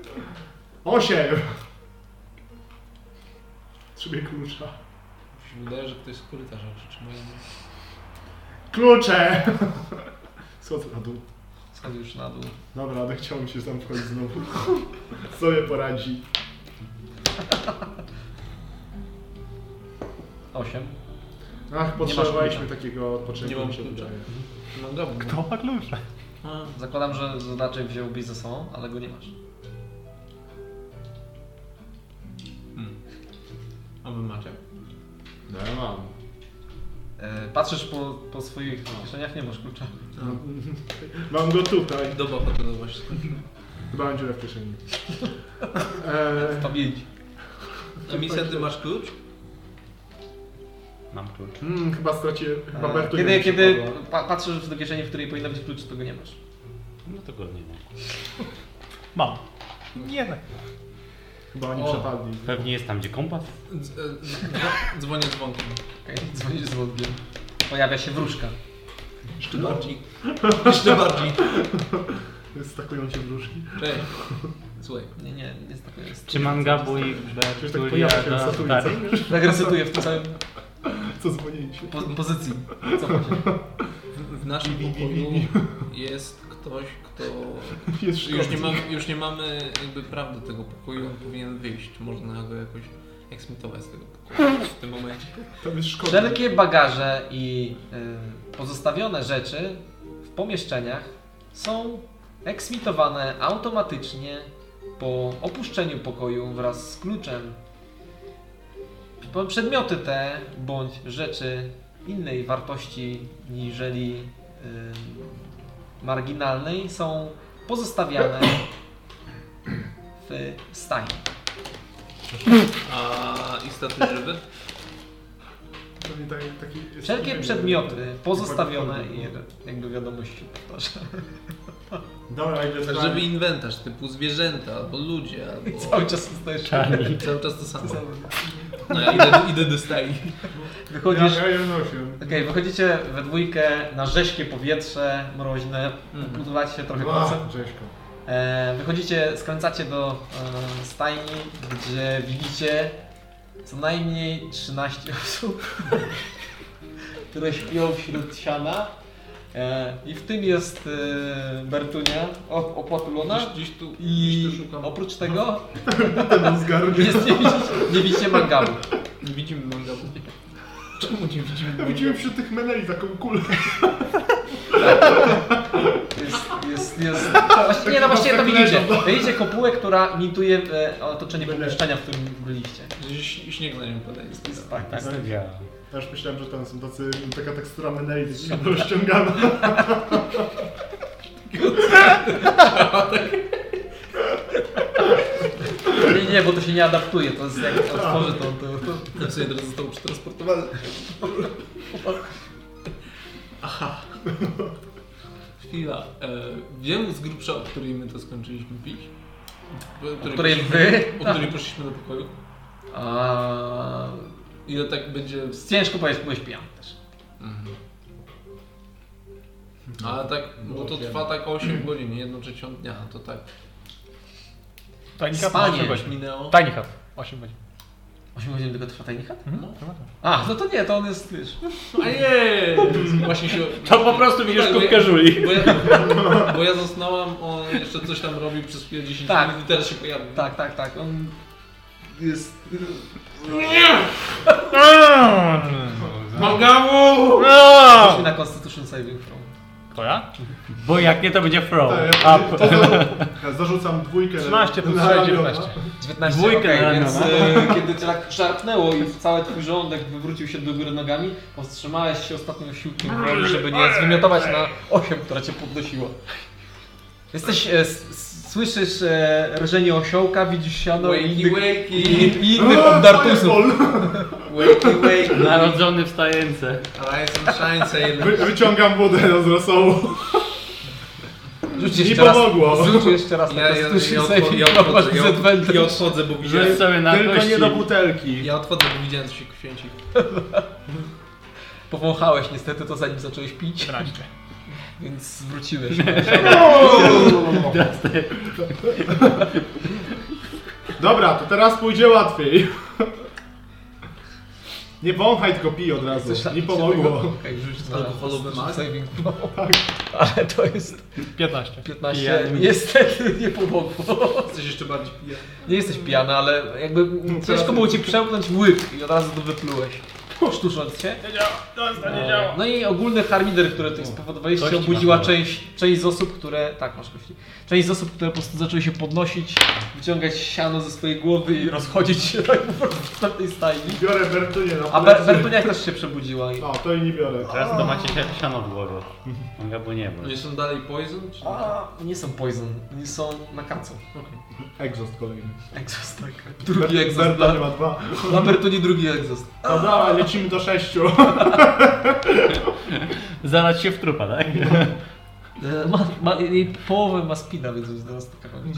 Speaker 6: Osiem! Trzymaj klucza.
Speaker 2: Mi się wydaje, że ktoś z korytarza krzyczy moje imię.
Speaker 6: Klucze! Schodzę na dół.
Speaker 1: Schodzisz na dół.
Speaker 6: Dobra, ale chciałem się tam wchodzić znowu. Sobie poradzi.
Speaker 1: 8.
Speaker 6: Ach,
Speaker 1: masz
Speaker 6: potrzebowaliśmy
Speaker 1: klucza.
Speaker 6: takiego odpoczynku.
Speaker 2: Nie mam
Speaker 6: mi się
Speaker 2: klucza.
Speaker 6: wydaje.
Speaker 2: Mangabu.
Speaker 5: Kto ma klucze?
Speaker 2: A,
Speaker 1: Zakładam, że znaczy wziąłbyś ze sobą, ale go nie masz.
Speaker 2: a wy macie?
Speaker 6: No ja mam.
Speaker 1: E, patrzysz po, po swoich kieszeniach, nie masz klucza.
Speaker 6: Mam go tutaj.
Speaker 2: Doba hotelowa się skończyła.
Speaker 6: Chyba mam dziurę w kieszeni. Eee, E,
Speaker 1: Pamięci.
Speaker 2: A misja, ty masz klucz?
Speaker 3: Mam klucz.
Speaker 6: Mm, chyba straciłem, chyba
Speaker 1: E,
Speaker 6: Bertu
Speaker 1: Kiedy, kiedy pa patrzysz do kieszeni, w której powinna być klucz, to go nie masz.
Speaker 3: No to go nie mam.
Speaker 5: Mam. Nie tak.
Speaker 6: Chyba oni
Speaker 2: O.
Speaker 6: przepadli.
Speaker 3: Pewnie jest tam, gdzie kompas.
Speaker 2: Dz- e, dz- Dzwonię dzwonkiem.
Speaker 1: Okej, Dzwonisz z wodkiem. Pojawia się wróżka.
Speaker 2: Jeszcze bardziej. Jeszcze bardziej.
Speaker 6: Stakują się wróżki.
Speaker 2: Cześć. Słuchaj.
Speaker 1: Nie, nie, jest taka jest.
Speaker 3: Czy Mangabu i
Speaker 6: Już tak pojawia się
Speaker 3: Bertulia
Speaker 6: na
Speaker 3: dotarli?
Speaker 1: Tak recytuję w tym samym
Speaker 6: Co dzwonili się?
Speaker 1: po pozycji. Cofa się.
Speaker 2: W, w naszym
Speaker 6: Bi, bi, bi,
Speaker 2: pokoju
Speaker 6: bi.
Speaker 2: jest ktoś, kto...
Speaker 6: Jest
Speaker 2: Już nie,
Speaker 6: szkodny.
Speaker 2: mamy, już nie mamy jakby prawdy tego pokoju, on powinien wyjść. Można go jakoś eksmitować z tego pokoju w tym momencie.
Speaker 6: Tam jest szkoda.
Speaker 1: Wszelkie bagaże i y, pozostawione rzeczy w pomieszczeniach są eksmitowane automatycznie po opuszczeniu pokoju wraz z kluczem. Po- Przedmioty te bądź rzeczy innej wartości niżeli y, marginalnej są pozostawiane w stajni.
Speaker 2: A istoty żywe?
Speaker 6: Pewnie tak- taki- taki-
Speaker 1: Wszelkie
Speaker 6: jest-
Speaker 1: przedmioty pozostawione i jakby wiadomości powtarzam.
Speaker 6: Dobra, ile
Speaker 2: Tak, żeby inwentarz typu zwierzęta, albo ludzie,
Speaker 1: I
Speaker 2: albo...
Speaker 1: cały czas zostajesz
Speaker 2: I cały czas to samo. No ja idę, idę do stajni.
Speaker 1: Wychodzisz.
Speaker 6: Ja, ja ją nosiłem.
Speaker 1: Okej, wychodzicie we dwójkę na rześkie powietrze mroźne,
Speaker 2: Mhm.
Speaker 1: budowlacie się trochę koce.
Speaker 6: Ła, Grześko.
Speaker 1: E, wychodzicie, skręcacie do e, stajni, gdzie widzicie co najmniej 13 osób, które śpią wśród siana. E, I w tym jest e, Bertunia o- opłatulona.
Speaker 2: Gdzieś, gdzieś tu,
Speaker 1: I
Speaker 2: gdzieś tu szukam.
Speaker 1: oprócz tego
Speaker 6: Ten zgarnie.
Speaker 1: jest, nie, widzicie, nie widzicie mangabu.
Speaker 2: Nie widzimy mangabu. Czemu nie widzimy
Speaker 6: Ja
Speaker 2: mangabu?
Speaker 6: widziałem wśród tych meneli taką kulę.
Speaker 1: Jest, jest, jest. Właśnie, nie, no właściwie to widzicie. Widzicie kopułę, która imituje e, otoczenie pomieszczenia, w którym byliście.
Speaker 2: Gdzieś śnieg na nią pada. Jest
Speaker 1: Jest, tak, tak.
Speaker 3: Bertulia.
Speaker 6: Ja już myślałem, że tam są tacy, taka tekstura meneli, taka rozciągana.
Speaker 1: Nie, nie, bo to się nie adaptuje. To jest jak otworzy to, to, to.
Speaker 2: Ten Tak sobie teraz został przetransportowany. Aha. Chwila. E, wiem z grubsza, o której my to skończyliśmy pić. O
Speaker 1: której
Speaker 2: poszliśmy-
Speaker 1: wy?
Speaker 2: O której poszliśmy do pokoju.
Speaker 1: A,
Speaker 2: Ile tak będzie... w-
Speaker 1: ciężko powiedzieć, byłeś pijany też.
Speaker 2: A tak, bo to trwa tak 8 godzin, jedną trzecią dnia, to tak.
Speaker 5: Tajnik
Speaker 1: Spanie.
Speaker 5: godzin.
Speaker 2: Minęło.
Speaker 5: Tajnik hat. 8 godzin.
Speaker 1: 8 godzin tylko trwa tajnika?
Speaker 5: Mhm.
Speaker 1: A, no to nie, to on jest, wiesz.
Speaker 2: Ojej! Właśnie się...
Speaker 3: To po prostu widzisz
Speaker 2: Tak, bo ja-
Speaker 3: kubkę żuli.
Speaker 2: Bo ja, bo ja zasnąłem, on jeszcze coś tam robi przez chwilę 10
Speaker 1: Tak.
Speaker 2: minut i teraz się pojawił.
Speaker 1: Tak, tak, tak. On jest.
Speaker 2: Mangamu!
Speaker 1: Chodźmy na Constitution Saving Throw.
Speaker 5: To ja?
Speaker 3: Bo jak nie, to będzie throw.
Speaker 6: Tak, ja-
Speaker 3: Up.
Speaker 6: to za- ja Zarzucam dwójkę.
Speaker 5: 13 plus
Speaker 6: na
Speaker 5: 6,
Speaker 6: ramiona.
Speaker 5: 19.
Speaker 1: 19,
Speaker 3: Dwójkę
Speaker 1: okej,
Speaker 3: na
Speaker 1: więc
Speaker 3: ramiona.
Speaker 1: e, kiedy cię tak szarpnęło i cały twój żołądek wywrócił się do góry nogami, powstrzymałeś się ostatnim siłkiem woli, żeby nie zwymiotować na 8, która cię podnosiła. Jesteś, e, s- s- słyszysz e, rżenie osiołka, widzisz siano i
Speaker 2: No Wakey,
Speaker 1: innych, i,
Speaker 2: wakey!
Speaker 1: i innych obdartusów.
Speaker 6: Fireball.
Speaker 2: Wakey, wakey!
Speaker 3: Narodzony wstający.
Speaker 2: Rise and shine, sailor.
Speaker 6: Wy, wyciągam wodę z rosołu.
Speaker 1: Rzuć
Speaker 6: Nie
Speaker 1: jeszcze raz,
Speaker 6: pomogło.
Speaker 1: rzuć jeszcze raz
Speaker 2: Ja,
Speaker 1: na
Speaker 2: ja, ja,
Speaker 1: Constitution
Speaker 2: odchodzę,
Speaker 1: Saving
Speaker 2: ja,
Speaker 1: Throw, masz
Speaker 2: odchodzę, ja, odchodzę, ja
Speaker 1: disadvantage.
Speaker 2: odchodzę, bo
Speaker 3: Rzuć
Speaker 2: widziałem...
Speaker 3: sobie na
Speaker 6: Tylko
Speaker 3: kości.
Speaker 6: nie do butelki.
Speaker 2: Ja odchodzę, bo widziałem, co się święci.
Speaker 1: Powąchałeś niestety to zanim zacząłeś pić,
Speaker 5: 14.
Speaker 1: więc wróciłeś.
Speaker 6: Dobra, to teraz pójdzie łatwiej. Nie wąchaj, tylko pij od razu.
Speaker 1: Coś tam
Speaker 6: Nie pomogło. No, tak.
Speaker 1: Okej, rzuć na
Speaker 2: Alkoholowy
Speaker 1: Constitution
Speaker 2: mak?
Speaker 1: Saving Throw. Ale to jest
Speaker 5: 15.
Speaker 1: 15
Speaker 3: Pijany.
Speaker 1: niestety nie pomogło.
Speaker 2: Jesteś jeszcze bardziej pijany.
Speaker 1: Nie jesteś pijany, ale jakby ciężko było ci przełknąć łyk i od razu to wyplułeś. Sztucząc się. E, No i ogólny harmider, który tutaj spowodowaliście,
Speaker 3: Kości
Speaker 1: obudziła
Speaker 3: masz.
Speaker 1: część, część z osób, które. Tak, masz myśli. Część z osób, które po prostu zaczęły się podnosić, wyciągać siano ze swojej głowy i rozchodzić się tak po prostu w tej stajni.
Speaker 6: Biorę Bertunię na
Speaker 1: A Ber-
Speaker 6: plecy.
Speaker 1: Bertuniak też się przebudziła i.
Speaker 6: O, to i nie biorę.
Speaker 3: Teraz to macie się siano w głowie. Mangabu nie był.
Speaker 2: Oni są dalej poison? Czy...
Speaker 1: A, nie są poison, nie są na kacu.
Speaker 6: Egzost kolejny.
Speaker 1: Egzost, tak. Drugi
Speaker 6: Ber-
Speaker 1: egzost. tak?
Speaker 6: Bertunia
Speaker 1: Dla,
Speaker 6: ma dwa.
Speaker 1: dla Bertuni drugi egzost.
Speaker 6: No dawaj, lecimy do sześciu.
Speaker 8: Zalać się w trupa, tak?
Speaker 1: E, Ma, ma, jej połowę ma spina, więc już zaraz taka robić.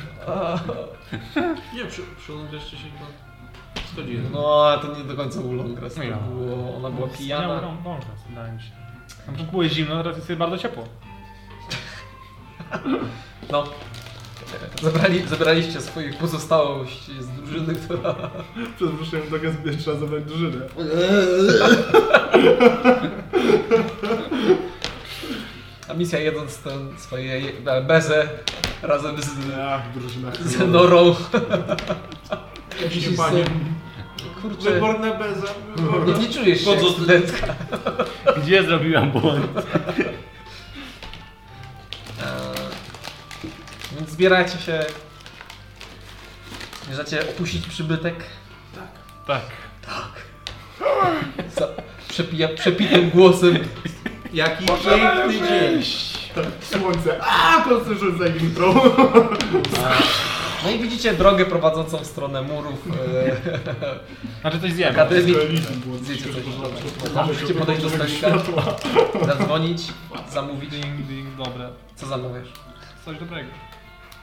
Speaker 2: Nie, przy, przy Long Reście się chyba zgodziłem.
Speaker 1: No, ale to nie do końca był Longres. To
Speaker 5: No.
Speaker 1: było, ona była
Speaker 5: Wspaniały
Speaker 1: pijana.
Speaker 5: rą- Longres, wydaje mi się. Tam też było zimno, teraz jest bardzo ciepło.
Speaker 1: No. E, Zabrali, zabraliście swoich pozostałości z drużyny, która...
Speaker 6: Przepraszam, do gazby trzeba zabrać drużynę.
Speaker 1: A misja jedząc ten swoje je- bezę razem z,
Speaker 6: Ach, drużyna.
Speaker 1: z Norą.
Speaker 6: Jakiś panie.
Speaker 1: Kurczę,
Speaker 6: Wyborne beza.
Speaker 1: nie, nie czujesz się jak
Speaker 2: Wchodzą-
Speaker 1: studentka.
Speaker 8: Gdzie zrobiłam błąd?
Speaker 1: Eee, E, Więc zbieracie się. Zamierzacie opuścić przybytek.
Speaker 5: Tak.
Speaker 1: Za przepija, przepitym głosem.
Speaker 2: Jaki piękny dzień!
Speaker 6: Słońce. A, to słyszę za intro.
Speaker 1: No i widzicie drogę prowadzącą w stronę murów eee,
Speaker 5: Znaczy coś zjemy.
Speaker 1: Akademii.
Speaker 6: Elity tak było.
Speaker 1: Zjecie coś.
Speaker 6: Przepraszam.
Speaker 1: Dobra, Musicie podejść do stolika, zadzwonić, zamówić.
Speaker 5: Ding, ding, dobre.
Speaker 1: Co zamawiasz?
Speaker 5: Coś dobrego.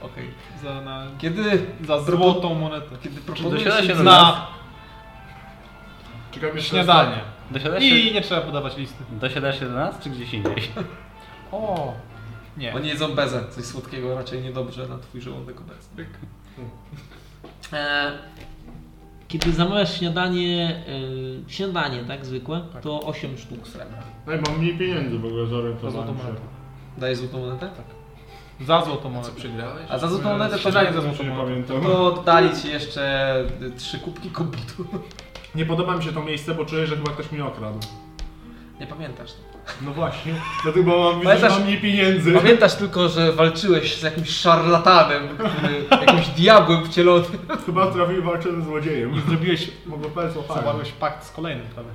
Speaker 1: Okej.
Speaker 5: Za, na,
Speaker 1: Kiedy,
Speaker 5: za złotą monetę.
Speaker 1: kiedy
Speaker 8: dosiada
Speaker 1: proponujesz
Speaker 8: się
Speaker 5: Na
Speaker 6: Czekam jeszcze na
Speaker 5: śniadanie.
Speaker 8: Dosiadasz się,
Speaker 5: I nie trzeba podawać listy.
Speaker 8: dosiadasz się do nas, czy gdzieś indziej?
Speaker 5: O! Nie.
Speaker 1: Oni jedzą bezę, coś słodkiego raczej niedobrze na twój żołądek obecny.
Speaker 3: E, Kiedy zamawiasz śniadanie, e, śniadanie tak zwykłe, to 8 sztuk srebra.
Speaker 6: No i mam mniej pieniędzy w ogóle,
Speaker 5: Za złotą
Speaker 6: zorientowałem się.
Speaker 5: monetę.
Speaker 1: Dajesz złotą monetę?
Speaker 5: Za złotą
Speaker 2: Co
Speaker 5: monetę.
Speaker 2: przegrałeś?
Speaker 1: A za złotą monetę to,
Speaker 5: Śniadanie za
Speaker 6: Zresztą
Speaker 5: złotą
Speaker 6: nie
Speaker 5: monetę.
Speaker 6: pamiętam.
Speaker 1: to dali ci jeszcze y, trzy kubki kombitu.
Speaker 6: Nie podoba mi się to miejsce, bo czuję, że chyba ktoś mnie okradł.
Speaker 1: Nie pamiętasz.
Speaker 6: No właśnie. Dlatego mam, widzę, że
Speaker 1: Pamiętasz-
Speaker 6: mam mniej pieniędzy.
Speaker 1: Pamiętasz tylko, że walczyłeś z jakimś szarlatanem, który, jakimś diabłem wcielonym.
Speaker 6: Chyba trafił walczę ze złodziejem.
Speaker 5: Zrobiłeś,
Speaker 6: Mogę państwo fajnie.
Speaker 5: zawarłeś pakt z kolejnym prawie.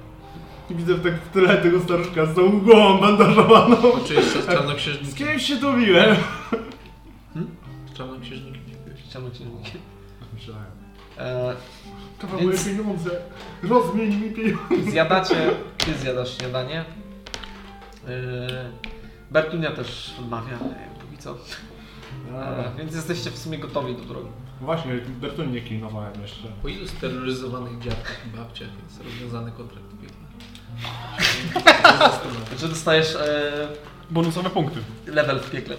Speaker 6: I Widzę tak w tyle tego staruszka z tą głową bandażowaną.
Speaker 2: Oczywiście z
Speaker 6: Z
Speaker 2: czarnoksiężnikiem.
Speaker 6: kim się dobiłem?
Speaker 2: Z czarnoksiężnikiem nie byłeś.
Speaker 1: Czemu cię nie-
Speaker 6: Myślałem.
Speaker 1: E,
Speaker 6: To moje
Speaker 1: Więc-
Speaker 6: pieniądze. Rozmień mi pieniądze.
Speaker 1: Zjadacie, ty zjadasz śniadanie. Yy, Bertunia też odmawia, e, póki co. E, Więc jesteście w sumie gotowi do drogi.
Speaker 6: Właśnie, Bertun nie kilnowałem jeszcze.
Speaker 2: Po ilu steroryzowanych dziadkach i babciach jest rozwiązany kontrakt kobietny?
Speaker 1: Znaczy dostajesz e,
Speaker 5: Bonusowe punkty.
Speaker 1: level w piekle.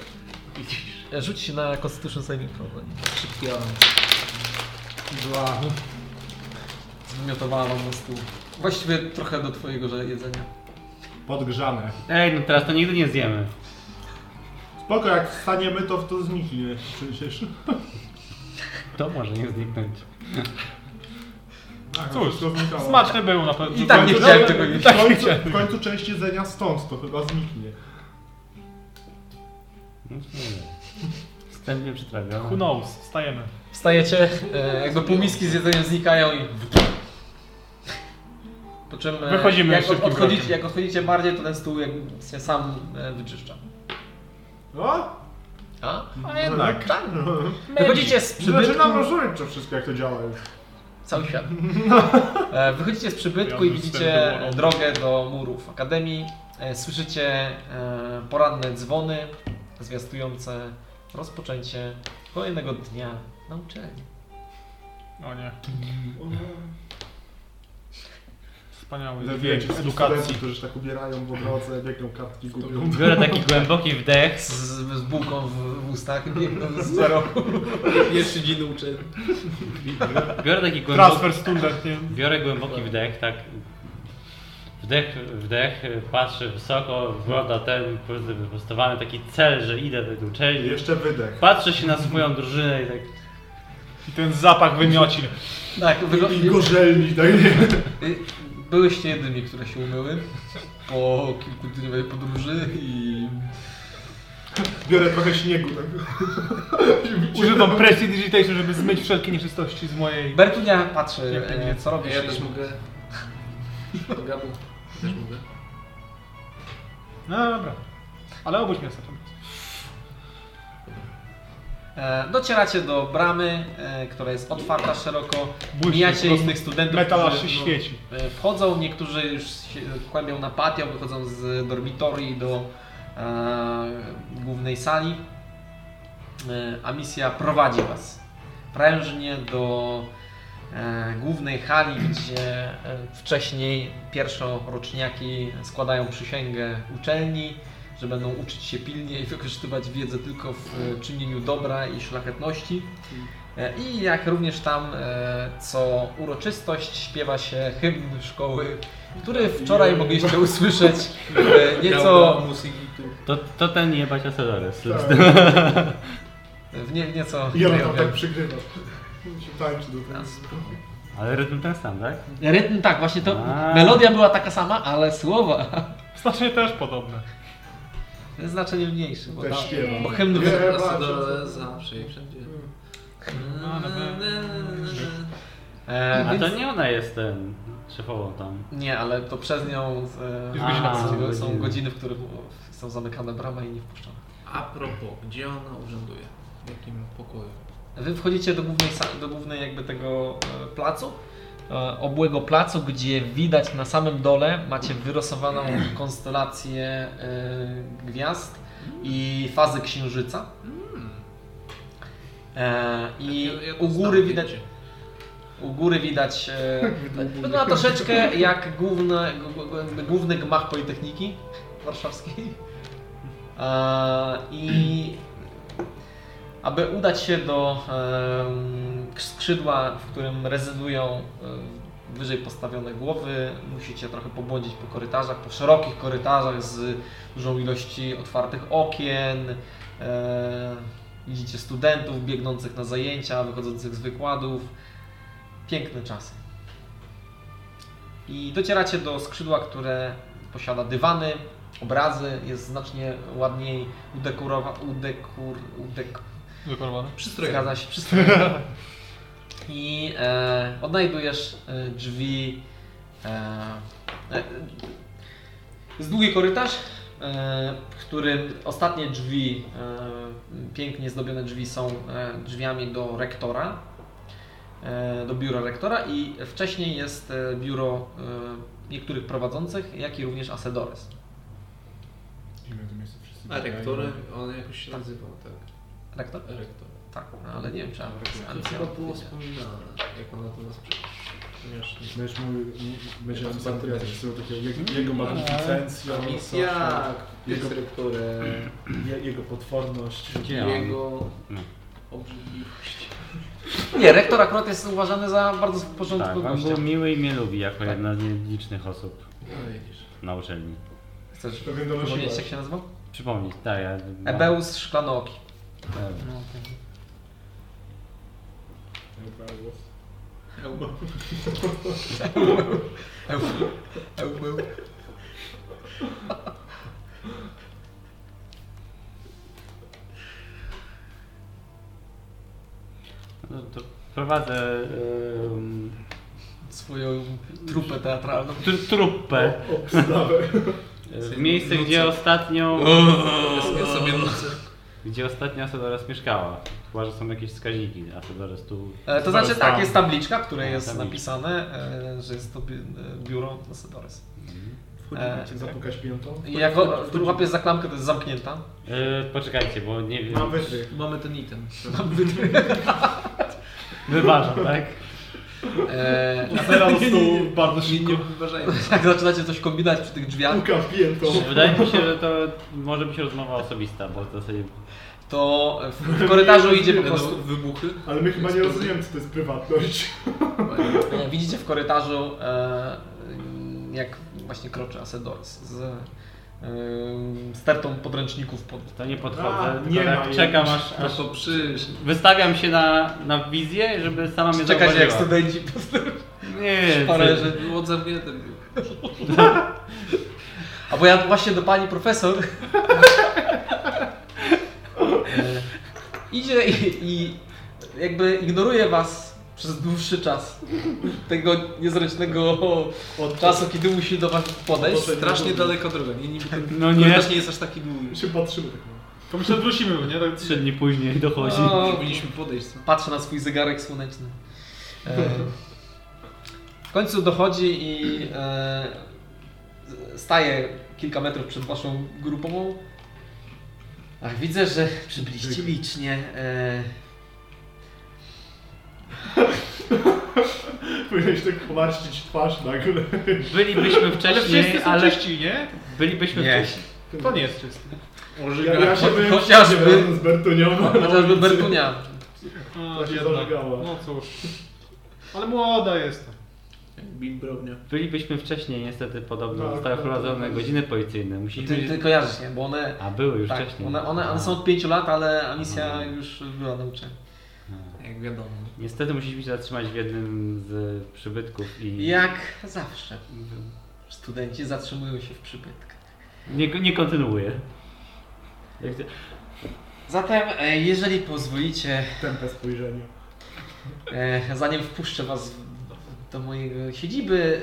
Speaker 1: E, Rzuć się na Constitution Saving Throw. bo nie-
Speaker 2: Szybki awans.
Speaker 6: Dwa.
Speaker 1: Zmiotowała wam na stół. Właściwie trochę do twojego że- jedzenia.
Speaker 6: Podgrzane.
Speaker 8: Ej, no teraz to nigdy nie zjemy.
Speaker 6: Spoko, jak wstaniemy, to w to zniknie. Przecież.
Speaker 8: To może nie zniknąć.
Speaker 6: Aha,
Speaker 5: Cóż,
Speaker 6: Tak, wszystko znikało.
Speaker 5: Smaczny był na pewno.
Speaker 1: I tak nie
Speaker 6: Końcu-
Speaker 1: chciałem tego jeść.
Speaker 6: W końcu, w końcu część jedzenia stąd, to chyba zniknie.
Speaker 8: No, nie wiem. Wstępnie przytrawione.
Speaker 5: Who knows? Wstajemy.
Speaker 1: Wstajecie, e, jakby półmiski z jedzeniem znikają i... Po czym e,
Speaker 5: Wychodzimy
Speaker 1: jak,
Speaker 5: szybkim
Speaker 1: odchodzicie,
Speaker 5: krokiem.
Speaker 1: jak odchodzicie bardziej, to ten stół jakby się sam e, wyczyszcza.
Speaker 6: No,
Speaker 1: A?
Speaker 6: a jednak.
Speaker 1: Wychodzicie z przybytku,
Speaker 6: no, tak, Zaczynam rozumieć to wszystko, jak to działa już.
Speaker 1: cały świat. E, Wychodzicie z przybytku i
Speaker 5: Ja bym
Speaker 1: widzicie
Speaker 5: wstępny
Speaker 1: drogę do murów Akademii. E, Słyszycie e, poranne dzwony zwiastujące rozpoczęcie kolejnego dnia na uczelni.
Speaker 5: O nie. Wspaniały.
Speaker 6: Wiecie,
Speaker 5: dźwięk
Speaker 6: ci studenci, którzy tak ubierają w odrodze, biegną kartki, gubią.
Speaker 8: Biorę taki głęboki wdech.
Speaker 1: Z, z bułką w, w ustach biegną z roku.
Speaker 2: Pierwszy dzień uczę.
Speaker 8: Biorę taki głęboki,
Speaker 5: Transfer student, nie?
Speaker 8: biorę głęboki wdech, tak. Wdech, wdech, patrzę wysoko, wygląda ten wyprostowany taki cel, że idę do
Speaker 6: I
Speaker 8: tej uczelni.
Speaker 6: Jeszcze wydech.
Speaker 8: Patrzę się na swoją drużynę i tak.
Speaker 5: I ten zapach wymiocin.
Speaker 1: Tak,
Speaker 8: No,
Speaker 6: I
Speaker 1: wygląda. y,
Speaker 6: gorzelni, tak nie.
Speaker 1: Byłyście jedynymi, które się umyły po kilkudniowej podróży i
Speaker 6: Biorę trochę śniegu. Tak.
Speaker 5: Używam presji digitation, żeby zmyć wszelkie nieczystości z mojej...
Speaker 1: Bertunia patrzy,
Speaker 5: Jak to
Speaker 1: e,
Speaker 5: nie-
Speaker 1: co
Speaker 2: A
Speaker 1: robisz.
Speaker 2: ja też mogę. Do gabu. Też mogę.
Speaker 5: No dobra. Ale obudź mnie sobie.
Speaker 1: E, Docieracie do bramy, e, która jest otwarta szeroko.
Speaker 5: Błyszczy po
Speaker 1: Mijacie
Speaker 5: prostu.
Speaker 1: innych studentów.
Speaker 5: Metal aż
Speaker 1: którzy,
Speaker 5: się
Speaker 1: no,
Speaker 5: świeci.
Speaker 1: e, Wchodzą, niektórzy już się kłębią na patio, wychodzą z dormitorii do e, głównej sali. E, a misja prowadzi Was prężnie do e, głównej hali, gdzie e, wcześniej pierwszoroczniaki składają przysięgę uczelni, że będą uczyć się pilnie i wykorzystywać wiedzę tylko w e, czynieniu dobra i szlachetności. E, I jak również tam e, co uroczystość śpiewa się hymn szkoły, który wczoraj mogliście usłyszeć e, nieco
Speaker 3: To, to ten jebać Asedores.
Speaker 1: w nie, nieco
Speaker 6: Ja tam
Speaker 1: krajowym.
Speaker 6: tak przygrywa. Się tańczy do tego.
Speaker 3: Ale rytm ten sam, tak?
Speaker 1: Rytm tak, właśnie to
Speaker 3: A.
Speaker 1: melodia była taka sama, ale słowa
Speaker 5: Znacznie też podobne.
Speaker 1: znaczenie mniejsze, bo,
Speaker 6: Też
Speaker 1: tam,
Speaker 6: śpiewam.
Speaker 1: bo hymn
Speaker 6: Nie,
Speaker 1: wy...
Speaker 6: bardzo.
Speaker 2: Asadole zawsze i wszędzie.
Speaker 5: No,
Speaker 1: e,
Speaker 3: No, A to
Speaker 1: więc...
Speaker 3: nie ona jest ten szefową tam.
Speaker 1: Nie, ale to przez nią e,
Speaker 3: Jest godzina
Speaker 1: są-
Speaker 3: godziny.
Speaker 1: są godziny, w których są zamykane brama i nie wpuszczone.
Speaker 2: A propos, gdzie ona urzęduje? W jakim pokoju?
Speaker 1: Wy wchodzicie do głównej, sa- do głównej jakby tego e, placu, e, obłego placu, gdzie widać na samym dole, macie wyrosowaną konstelację e, gwiazd i fazy księżyca. E, I
Speaker 2: Jak Tak, ja- jak
Speaker 1: u góry
Speaker 2: znam
Speaker 1: widać...
Speaker 2: wiecie.
Speaker 1: U góry widać e, wygląda troszeczkę jak główny, główny gmach Politechniki Warszawskiej. E, I aby udać się do em, skrzydła, w którym rezydują em, wyżej postawione głowy, musicie trochę pobłądzić po korytarzach, po szerokich korytarzach z dużą ilości otwartych okien. E, Widzicie studentów biegnących na zajęcia, wychodzących z wykładów. Piękne czasy. I docieracie do skrzydła, które posiada dywany, obrazy, jest znacznie ładniej udekorowa, udekur, udek,
Speaker 5: Wykorowane.
Speaker 1: Zgadza się, przystrojony. I e, odnajdujesz e, drzwi. E, e, jest długi korytarz, e, w którym ostatnie drzwi, e, pięknie zdobione drzwi, są e, drzwiami do rektora, e, do biura rektora, i wcześniej jest e, biuro e, niektórych prowadzących, jak i również Asedores.
Speaker 8: Zimę to miejsce wszyscy
Speaker 2: A
Speaker 8: biegają.
Speaker 2: rektorem, on jakoś się nazywał, tak?
Speaker 1: Rektor?
Speaker 2: Rektor.
Speaker 1: Tak, ale nie wiem, czy
Speaker 2: Ale
Speaker 1: Ancjan.
Speaker 2: chyba było wspominane, jak ona do nas przyszła.
Speaker 8: Będziesz mówił, będzie
Speaker 2: Jak
Speaker 8: ambasador,
Speaker 2: ambasador.
Speaker 8: jakiś sobie takiego, jego, jego ma licencję,
Speaker 6: tak.
Speaker 2: Misja,
Speaker 8: Jego-
Speaker 2: jest rektorem,
Speaker 8: je, jego potworność.
Speaker 3: Gdzie on?
Speaker 2: jego
Speaker 3: No.
Speaker 2: obrzydliwość.
Speaker 1: Nie, rektor akurat jest uważany za bardzo w
Speaker 3: Tak,
Speaker 1: porządku
Speaker 3: on
Speaker 1: gościa.
Speaker 3: był miły i mnie lubi jako jedna z nielicznych osób
Speaker 2: No widzisz.
Speaker 3: na uczelni.
Speaker 1: Chcesz
Speaker 8: Pewnie do
Speaker 1: przypomnieć, jak się nazywał?
Speaker 3: Przypomnieć, tak, ja...
Speaker 1: Ebeus Szklanooki.
Speaker 3: Tak. No, to prowadzę em,
Speaker 1: Swoją trupę teatralną.
Speaker 3: tr- trupę w miejsce, gdzie ostatnio...
Speaker 2: No, Ja sobie nocy.
Speaker 3: Gdzie ostatnio Asadores mieszkała. Chyba, że są jakieś wskaźniki. Asadores tu...
Speaker 1: E, To znaczy tak, jest tabliczka, w której
Speaker 3: Tak,
Speaker 1: jest
Speaker 3: tabliczka.
Speaker 1: napisane, e, że jest to bi- e, biuro Sedores. E,
Speaker 8: Wchodzimy, zapukać piętą.
Speaker 1: I jak o- łapiesz za klamkę, to jest zamknięta.
Speaker 3: E, poczekajcie, bo nie wiem...
Speaker 8: Mam wytrych.
Speaker 2: Mamy ten item.
Speaker 3: Wyważam, tak?
Speaker 1: E,
Speaker 8: Teraz tu bardzo
Speaker 2: Nie, nie
Speaker 8: szybko.
Speaker 2: wyważajmy.
Speaker 1: Jak zaczynacie coś kombinować przy tych drzwiach,
Speaker 8: Puka piętą.
Speaker 3: Wydaje mi się, że to może być rozmowa osobista, bo w zasadzie...
Speaker 1: to w w korytarzu idzie po prostu
Speaker 2: Będą No, wybuchy.
Speaker 8: Ale my chyba nie rozumiemy, co to jest prywatność.
Speaker 1: E, Widzicie w korytarzu, e, jak właśnie kroczy Asedors z e, stertą podręczników pod...
Speaker 3: To nie
Speaker 8: A,
Speaker 3: podchodzę, tylko
Speaker 8: nie
Speaker 3: tak
Speaker 8: ma
Speaker 3: czekam
Speaker 8: jej.
Speaker 3: aż,
Speaker 2: No
Speaker 3: aż...
Speaker 2: to przysz.
Speaker 3: Wystawiam się na, na wizję, żeby sama mnie
Speaker 1: Czekać jak
Speaker 3: zauważyła.
Speaker 1: studenci po prostu
Speaker 3: Nie,
Speaker 1: parę,
Speaker 3: co-
Speaker 1: że...
Speaker 2: Było zamknięte. było.
Speaker 1: A bo ja właśnie do pani profesor... E, Idzie i, i jakby ignoruje was przez dłuższy czas. Tego niezręcznego
Speaker 8: Od
Speaker 1: czasu, kiedy musi do was podejść.
Speaker 8: Od-
Speaker 2: Strasznie daleka droga. Nie, niby ten
Speaker 3: No nie.
Speaker 2: korytarz nie jest aż taki długi.
Speaker 8: się patrzymy tak.
Speaker 4: To my się odwrócimy, nie? Tak,
Speaker 3: Trzy dni później dochodzi.
Speaker 1: O,
Speaker 2: Powinniśmy podejść co?
Speaker 1: Patrzę na swój zegarek słoneczny. E, w końcu dochodzi i e, staje kilka metrów przed waszą grupową. Ach, widzę, że przybyliście licznie. E,
Speaker 6: Powinieneś tak pomarszczyć twarz nagle.
Speaker 3: Bylibyśmy
Speaker 4: Ale wszyscy
Speaker 3: wcześniej,
Speaker 4: są
Speaker 3: ale
Speaker 4: czyści, nie?
Speaker 3: bylibyśmy
Speaker 1: Nie.
Speaker 3: wcześniej.
Speaker 4: To nie jest czysty.
Speaker 6: Ja, ja się bym
Speaker 1: Chociażby-
Speaker 6: razem z Bertunią.
Speaker 1: Chociażby Bertunia.
Speaker 4: A,
Speaker 6: To się
Speaker 4: jednak.
Speaker 6: zażegało.
Speaker 4: No cóż. Ale młoda jestem.
Speaker 2: Bimbrownia.
Speaker 3: Byliśmy wcześniej niestety podobno.
Speaker 6: Tak,
Speaker 3: Zostały
Speaker 6: tak,
Speaker 3: wprowadzone
Speaker 6: tak.
Speaker 3: godziny policyjne. Musieliśmy...
Speaker 1: Ty, ty kojarzysz, nie? Bo one,
Speaker 3: A były już
Speaker 1: tak,
Speaker 3: wcześniej.
Speaker 1: one, one, one są od 5 lat, ale Amicia już była na uczeniu.
Speaker 2: Jak wiadomo.
Speaker 3: Niestety musieliśmy się zatrzymać w jednym z przybytków i
Speaker 1: Jak zawsze. Studenci zatrzymują się w przybytkach.
Speaker 3: nie, nie kontynuuję. Jak to-
Speaker 1: Zatem, e, jeżeli pozwolicie,
Speaker 6: Tempę spojrzenia.
Speaker 1: e, zanim wpuszczę was do mojego siedziby,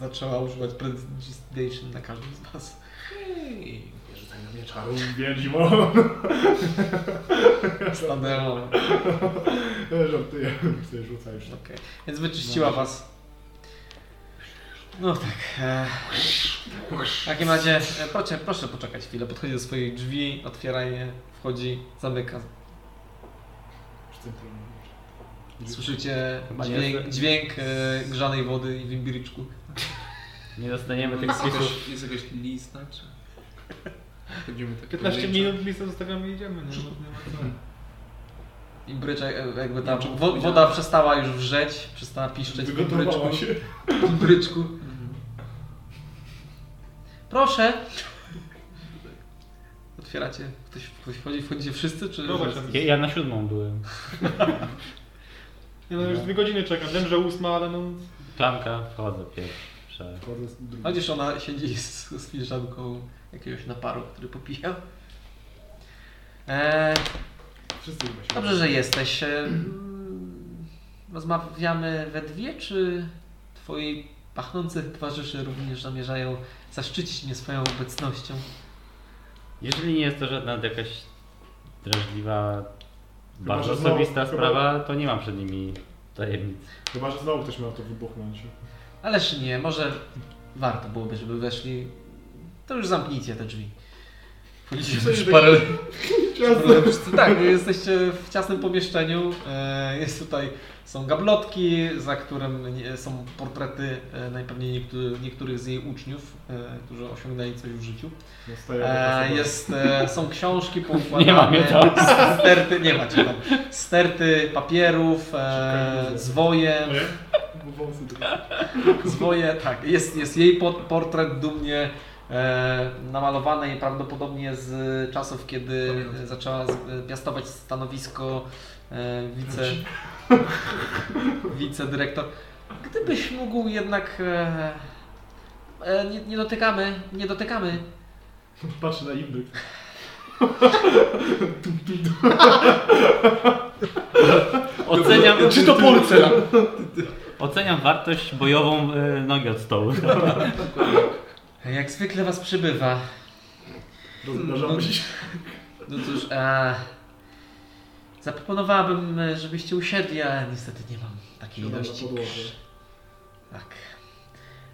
Speaker 1: e, zaczęła używać prestidigitation na każdym z was.
Speaker 2: Ej,
Speaker 6: Nie rzucaj na mnie czaru, wiedźmo.
Speaker 1: Standardowo.
Speaker 6: Ja Żartuję, sobie rzucaj już.
Speaker 1: Okej, Więc wyczyściła was. No tak. E, w takim razie, e, proszę, proszę poczekać chwilę. Podchodzi do swoich drzwi, otwiera je, wchodzi, zamyka. Słyszycie
Speaker 3: Chyba nie
Speaker 1: dźwięk,
Speaker 3: jest-
Speaker 1: dźwięk e, grzanej wody i w imbiryczku.
Speaker 3: Nie dostaniemy tych
Speaker 2: Jest
Speaker 3: spisów.
Speaker 2: jakaś, jest jakaś lista, czy... Chodzimy tak
Speaker 4: 15
Speaker 2: pojedynczo.
Speaker 4: minut listę zostawiamy i idziemy. Nie, No, nie ma co.
Speaker 1: Imbrycza e, jakby ta wo, woda przestała już wrzeć, przestała piszczeć w imbryczku.
Speaker 6: Wygotowała się.
Speaker 1: W imbryczku. Proszę. Otwieracie. Ktoś, ktoś wchodzi? Wchodzicie wszyscy? Czy
Speaker 5: No,
Speaker 4: Dobra, tam-
Speaker 3: Ja, ja na siódmą byłem.
Speaker 4: Nie, no już dwie godziny czekam. Wiem, że ósma, ale no...
Speaker 3: Klamka, wchodzę pierwsza.
Speaker 6: Wchodzę z drugim.
Speaker 1: Chociaż ona siedzi z, z filiżanką jakiegoś naparu, który popijał. Eee,
Speaker 6: Wszyscy chyba się
Speaker 1: dobrze, że jesteś. Eee, mm, Rozmawiamy we dwie, czy twoi pachnący towarzysze również zamierzają zaszczycić mnie swoją obecnością?
Speaker 3: Jeżeli nie jest to żadna jakaś drażliwa,
Speaker 6: Chyba,
Speaker 3: bardzo
Speaker 6: że znowu-
Speaker 3: osobista
Speaker 6: chyba-
Speaker 3: sprawa, to nie mam przed nimi tajemnic.
Speaker 6: Chyba, że znowu ktoś miał to wybuchnąć.
Speaker 1: Ależ nie, może warto byłoby, żeby weszli. To już zamknijcie te drzwi. Wchodzicie
Speaker 6: Coś
Speaker 1: już
Speaker 6: tak-
Speaker 1: parę... Problem wszyscy- Tak, jesteście w ciasnym pomieszczeniu. E, Jest tutaj, są gablotki, za którym nie- są portrety e, najpewniej niektórych, niektórych z jej uczniów, e, którzy osiągnęli coś w życiu.
Speaker 6: Zostaje No, taka
Speaker 1: E,
Speaker 6: osoba.
Speaker 1: Jest, e, są książki
Speaker 3: tak Nie ma mnie
Speaker 1: poukładane,
Speaker 3: tam.
Speaker 1: sterty, nie ma cię tam, sterty papierów, e,
Speaker 3: No
Speaker 1: zwoje,
Speaker 6: Nie? Bo wąsy tylko-
Speaker 1: zwoje, tak, jest, jest jej pod, portret dumnie e, namalowany i prawdopodobnie z czasów, kiedy
Speaker 2: Pamiętam.
Speaker 1: zaczęła z, e, piastować stanowisko e, wice, wicedyrektor. Gdybyś mógł jednak... E, e, nie, nie dotykamy, nie dotykamy.
Speaker 6: Patrzę na imbryk.
Speaker 3: Oceniam,
Speaker 8: Czy to porcel?
Speaker 1: No.
Speaker 3: oceniam wartość bojową e, nogi od stołu.
Speaker 1: Jak zwykle was przybywa.
Speaker 6: Rozmnażamy się.
Speaker 1: No cóż, e, zaproponowałabym, e, żebyście usiedli, ale niestety nie mam takiej
Speaker 6: Siadam na
Speaker 1: ilości.
Speaker 6: podłodze.
Speaker 1: Tak.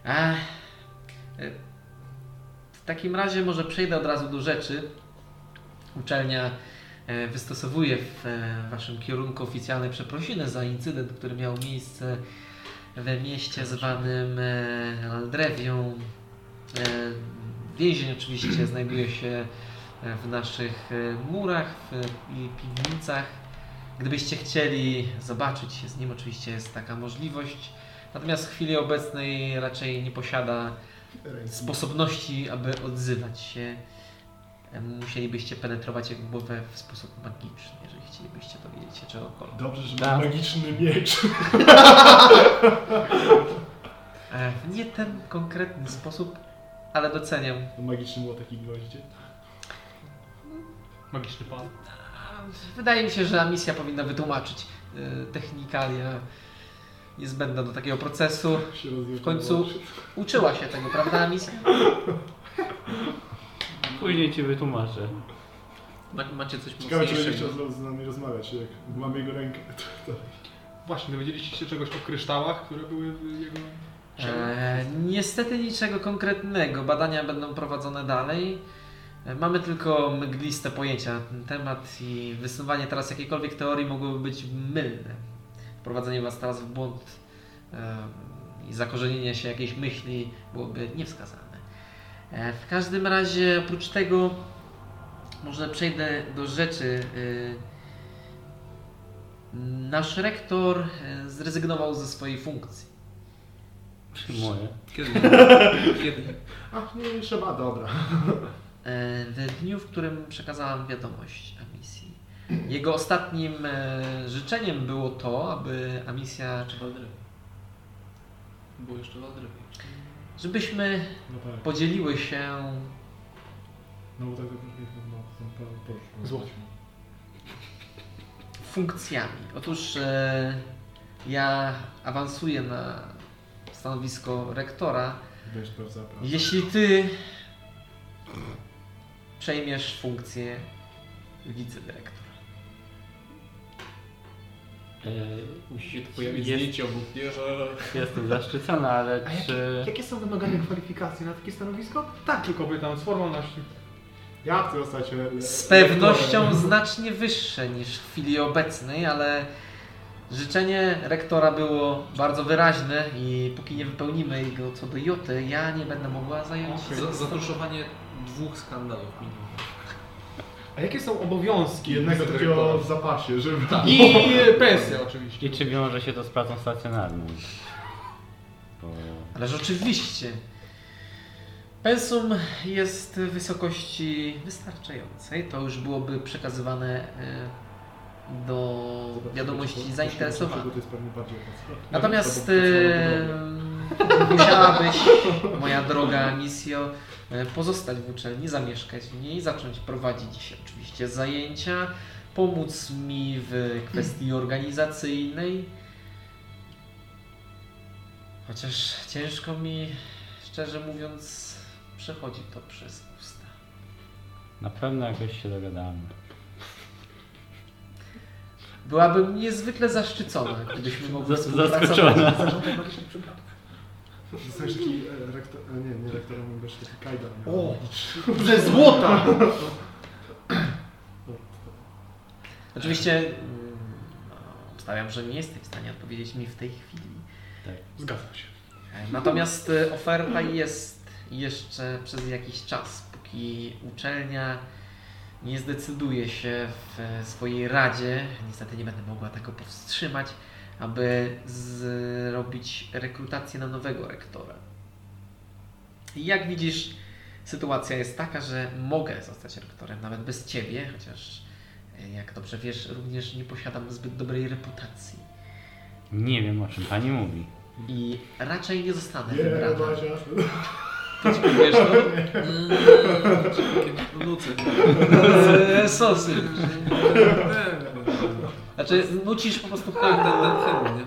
Speaker 1: E, e, w takim razie może przejdę od razu do rzeczy. Uczelnia e, wystosowuje w e, waszym kierunku oficjalne przeprosiny za incydent, który miał miejsce we mieście zwanym e, Aldrewią. E, Więzień oczywiście znajduje się w naszych e, murach w, i piwnicach. Gdybyście chcieli zobaczyć się z nim, oczywiście jest taka możliwość. Natomiast w chwili obecnej raczej nie posiada sposobności, aby odzywać się. E, Musielibyście penetrować jego głowę w sposób magiczny, jeżeli chcielibyście dowiedzieć się czegokolwiek.
Speaker 6: Dobrze, że
Speaker 3: Tak.
Speaker 6: mam magiczny miecz.
Speaker 1: E, W nie ten konkretny sposób, ale doceniam.
Speaker 6: Magiczny młotek i gwoździe.
Speaker 4: Magiczny pan.
Speaker 1: Wydaje mi się, że misja powinna wytłumaczyć e, technikalia niezbędna do takiego procesu.
Speaker 6: Tak Się rozjeżdżało.
Speaker 1: W końcu uczyła się tego, prawda misja?
Speaker 3: Później ci wytłumaczę.
Speaker 2: Ma, macie coś
Speaker 6: Ciekawe, czy będzie
Speaker 2: mocniejszego.
Speaker 6: chciał znowu z nami rozmawiać, jak mamy jego rękę. To, to.
Speaker 4: Właśnie, dowiedzieliście się czegoś o kryształach, które były w jego...
Speaker 1: E, niestety niczego konkretnego. Badania będą prowadzone dalej. E, Mamy tylko mgliste pojęcia na ten temat i wysuwanie teraz jakiejkolwiek teorii mogłoby być mylne. Wprowadzenie Was teraz w błąd e, i zakorzenienie się jakiejś myśli byłoby niewskazane. E, w każdym razie, oprócz tego, może przejdę do rzeczy. e, Nasz rektor e, zrezygnował ze swojej funkcji.
Speaker 3: Moje.
Speaker 2: Kiedy? Kiedy?
Speaker 6: Ach, nie, trzeba, dobra.
Speaker 1: E, w dniu, w którym przekazałam wiadomość Amisji. Jego ostatnim e, życzeniem było to, aby Amisja,
Speaker 2: Jeszcze Waldry. Było jeszcze Waldry.
Speaker 1: żebyśmy
Speaker 6: No tak.
Speaker 1: podzieliły się
Speaker 6: No bo tak to brzmi, no, no, no, proszę.
Speaker 8: Złoć.
Speaker 1: funkcjami. Otóż e, ja awansuję na stanowisko rektora.
Speaker 6: Weź to zapraszam.
Speaker 1: Jeśli ty przejmiesz funkcję wicedyrektora.
Speaker 3: E,
Speaker 2: Musi się tu pojawić
Speaker 3: Jest.
Speaker 2: zdjęcie obok wieża.
Speaker 3: Jestem zaszczycony, ale
Speaker 8: A jak-
Speaker 3: czy...
Speaker 8: Jakie są wymagane kwalifikacje na takie stanowisko?
Speaker 4: Tak, tylko pytam z formalności.
Speaker 6: Ja chcę zostać re-
Speaker 1: Z pewnością znacznie wyższe niż w chwili obecnej, ale życzenie rektora było bardzo wyraźne i póki nie wypełnimy jego co do joty, ja nie będę mogła zająć się.
Speaker 2: Za- Zatuszowanie dwóch skandalów minimum.
Speaker 5: A jakie są obowiązki?
Speaker 6: jednego takiego
Speaker 5: dyrektora?
Speaker 6: w zapasie, żeby...
Speaker 5: I pensja oczywiście.
Speaker 3: I czy wiąże się to z pracą stacjonarną? Bo...
Speaker 1: Ależ oczywiście. Pensum jest wysokości wystarczającej. To już byłoby przekazywane e, do wiadomości zainteresowanych.
Speaker 6: To jest pewnie bardziej opłacalne.
Speaker 1: Natomiast
Speaker 6: Albo
Speaker 1: e,
Speaker 6: pracownik
Speaker 1: musiałabyś, moja droga misjo, e, pozostać w uczelni, zamieszkać w niej, zacząć prowadzić się oczywiście zajęcia, pomóc mi w kwestii organizacyjnej. Chociaż ciężko mi, szczerze mówiąc, przechodzi to przez usta.
Speaker 3: Na pewno jakoś się dogadamy.
Speaker 1: Byłabym niezwykle zaszczycona, gdybyśmy mogli współpracować.
Speaker 3: Zaskoczona.
Speaker 6: dobry. Zostajesz taki e, rektor... A nie, nie rektorem, bo jeszcze taki kajdan.
Speaker 8: O! Ze złota!
Speaker 1: Oczywiście mm, no, obstawiam, że nie jesteś w stanie odpowiedzieć mi w tej chwili.
Speaker 4: Zgadzam się.
Speaker 1: Natomiast e, oferta jest jeszcze przez jakiś czas, póki uczelnia nie zdecyduje się w e, swojej radzie, niestety nie będę mogła tego powstrzymać, aby zrobić rekrutację na nowego rektora. I jak widzisz, sytuacja jest taka, że mogę zostać rektorem nawet bez ciebie, chociaż e, jak dobrze wiesz, również nie posiadam zbyt dobrej reputacji.
Speaker 3: Nie wiem o czym pani mówi.
Speaker 1: I raczej nie zostanę
Speaker 6: Nie,
Speaker 1: wybrana.
Speaker 6: Basia.
Speaker 1: Ty ci powiesz, no?
Speaker 2: Eee, Takie nuce.
Speaker 1: Eee, Sosy.
Speaker 2: eee,
Speaker 1: Znaczy, nucisz po prostu
Speaker 2: Tak,
Speaker 1: tak.
Speaker 2: ten, ten film, nie?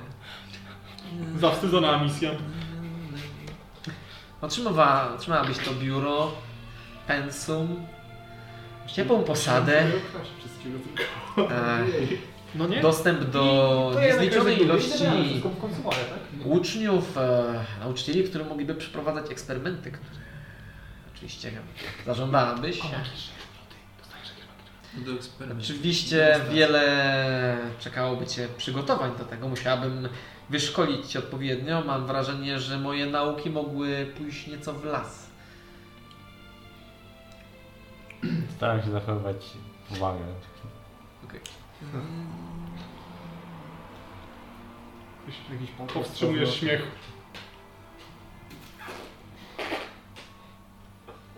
Speaker 2: Eee.
Speaker 4: Zawstydzona misja.
Speaker 1: Otrzymała, otrzymałabyś to biuro, pensum, ciepłą posadę,
Speaker 6: Nie ukraść wszystkiego, tylko...
Speaker 1: e,
Speaker 6: Ojej.
Speaker 5: No nie?
Speaker 1: dostęp do
Speaker 5: To ja
Speaker 1: niezliczonej
Speaker 5: jednak
Speaker 1: ilości
Speaker 5: rezygnuję. Wszystko w konsumacie, tak?
Speaker 1: uczniów, e, nauczycieli, którzy mogliby przeprowadzać eksperymenty, które oczywiście zażądałabyś.
Speaker 2: Do eksperymentu.
Speaker 1: Oczywiście wiele czekałoby Cię przygotowań do tego. Musiałabym wyszkolić Cię odpowiednio. Mam wrażenie, że moje nauki mogły pójść nieco w las.
Speaker 3: Staram się zachowywać powagę.
Speaker 8: Jakiś pan-
Speaker 4: Powstrzymujesz śmiech.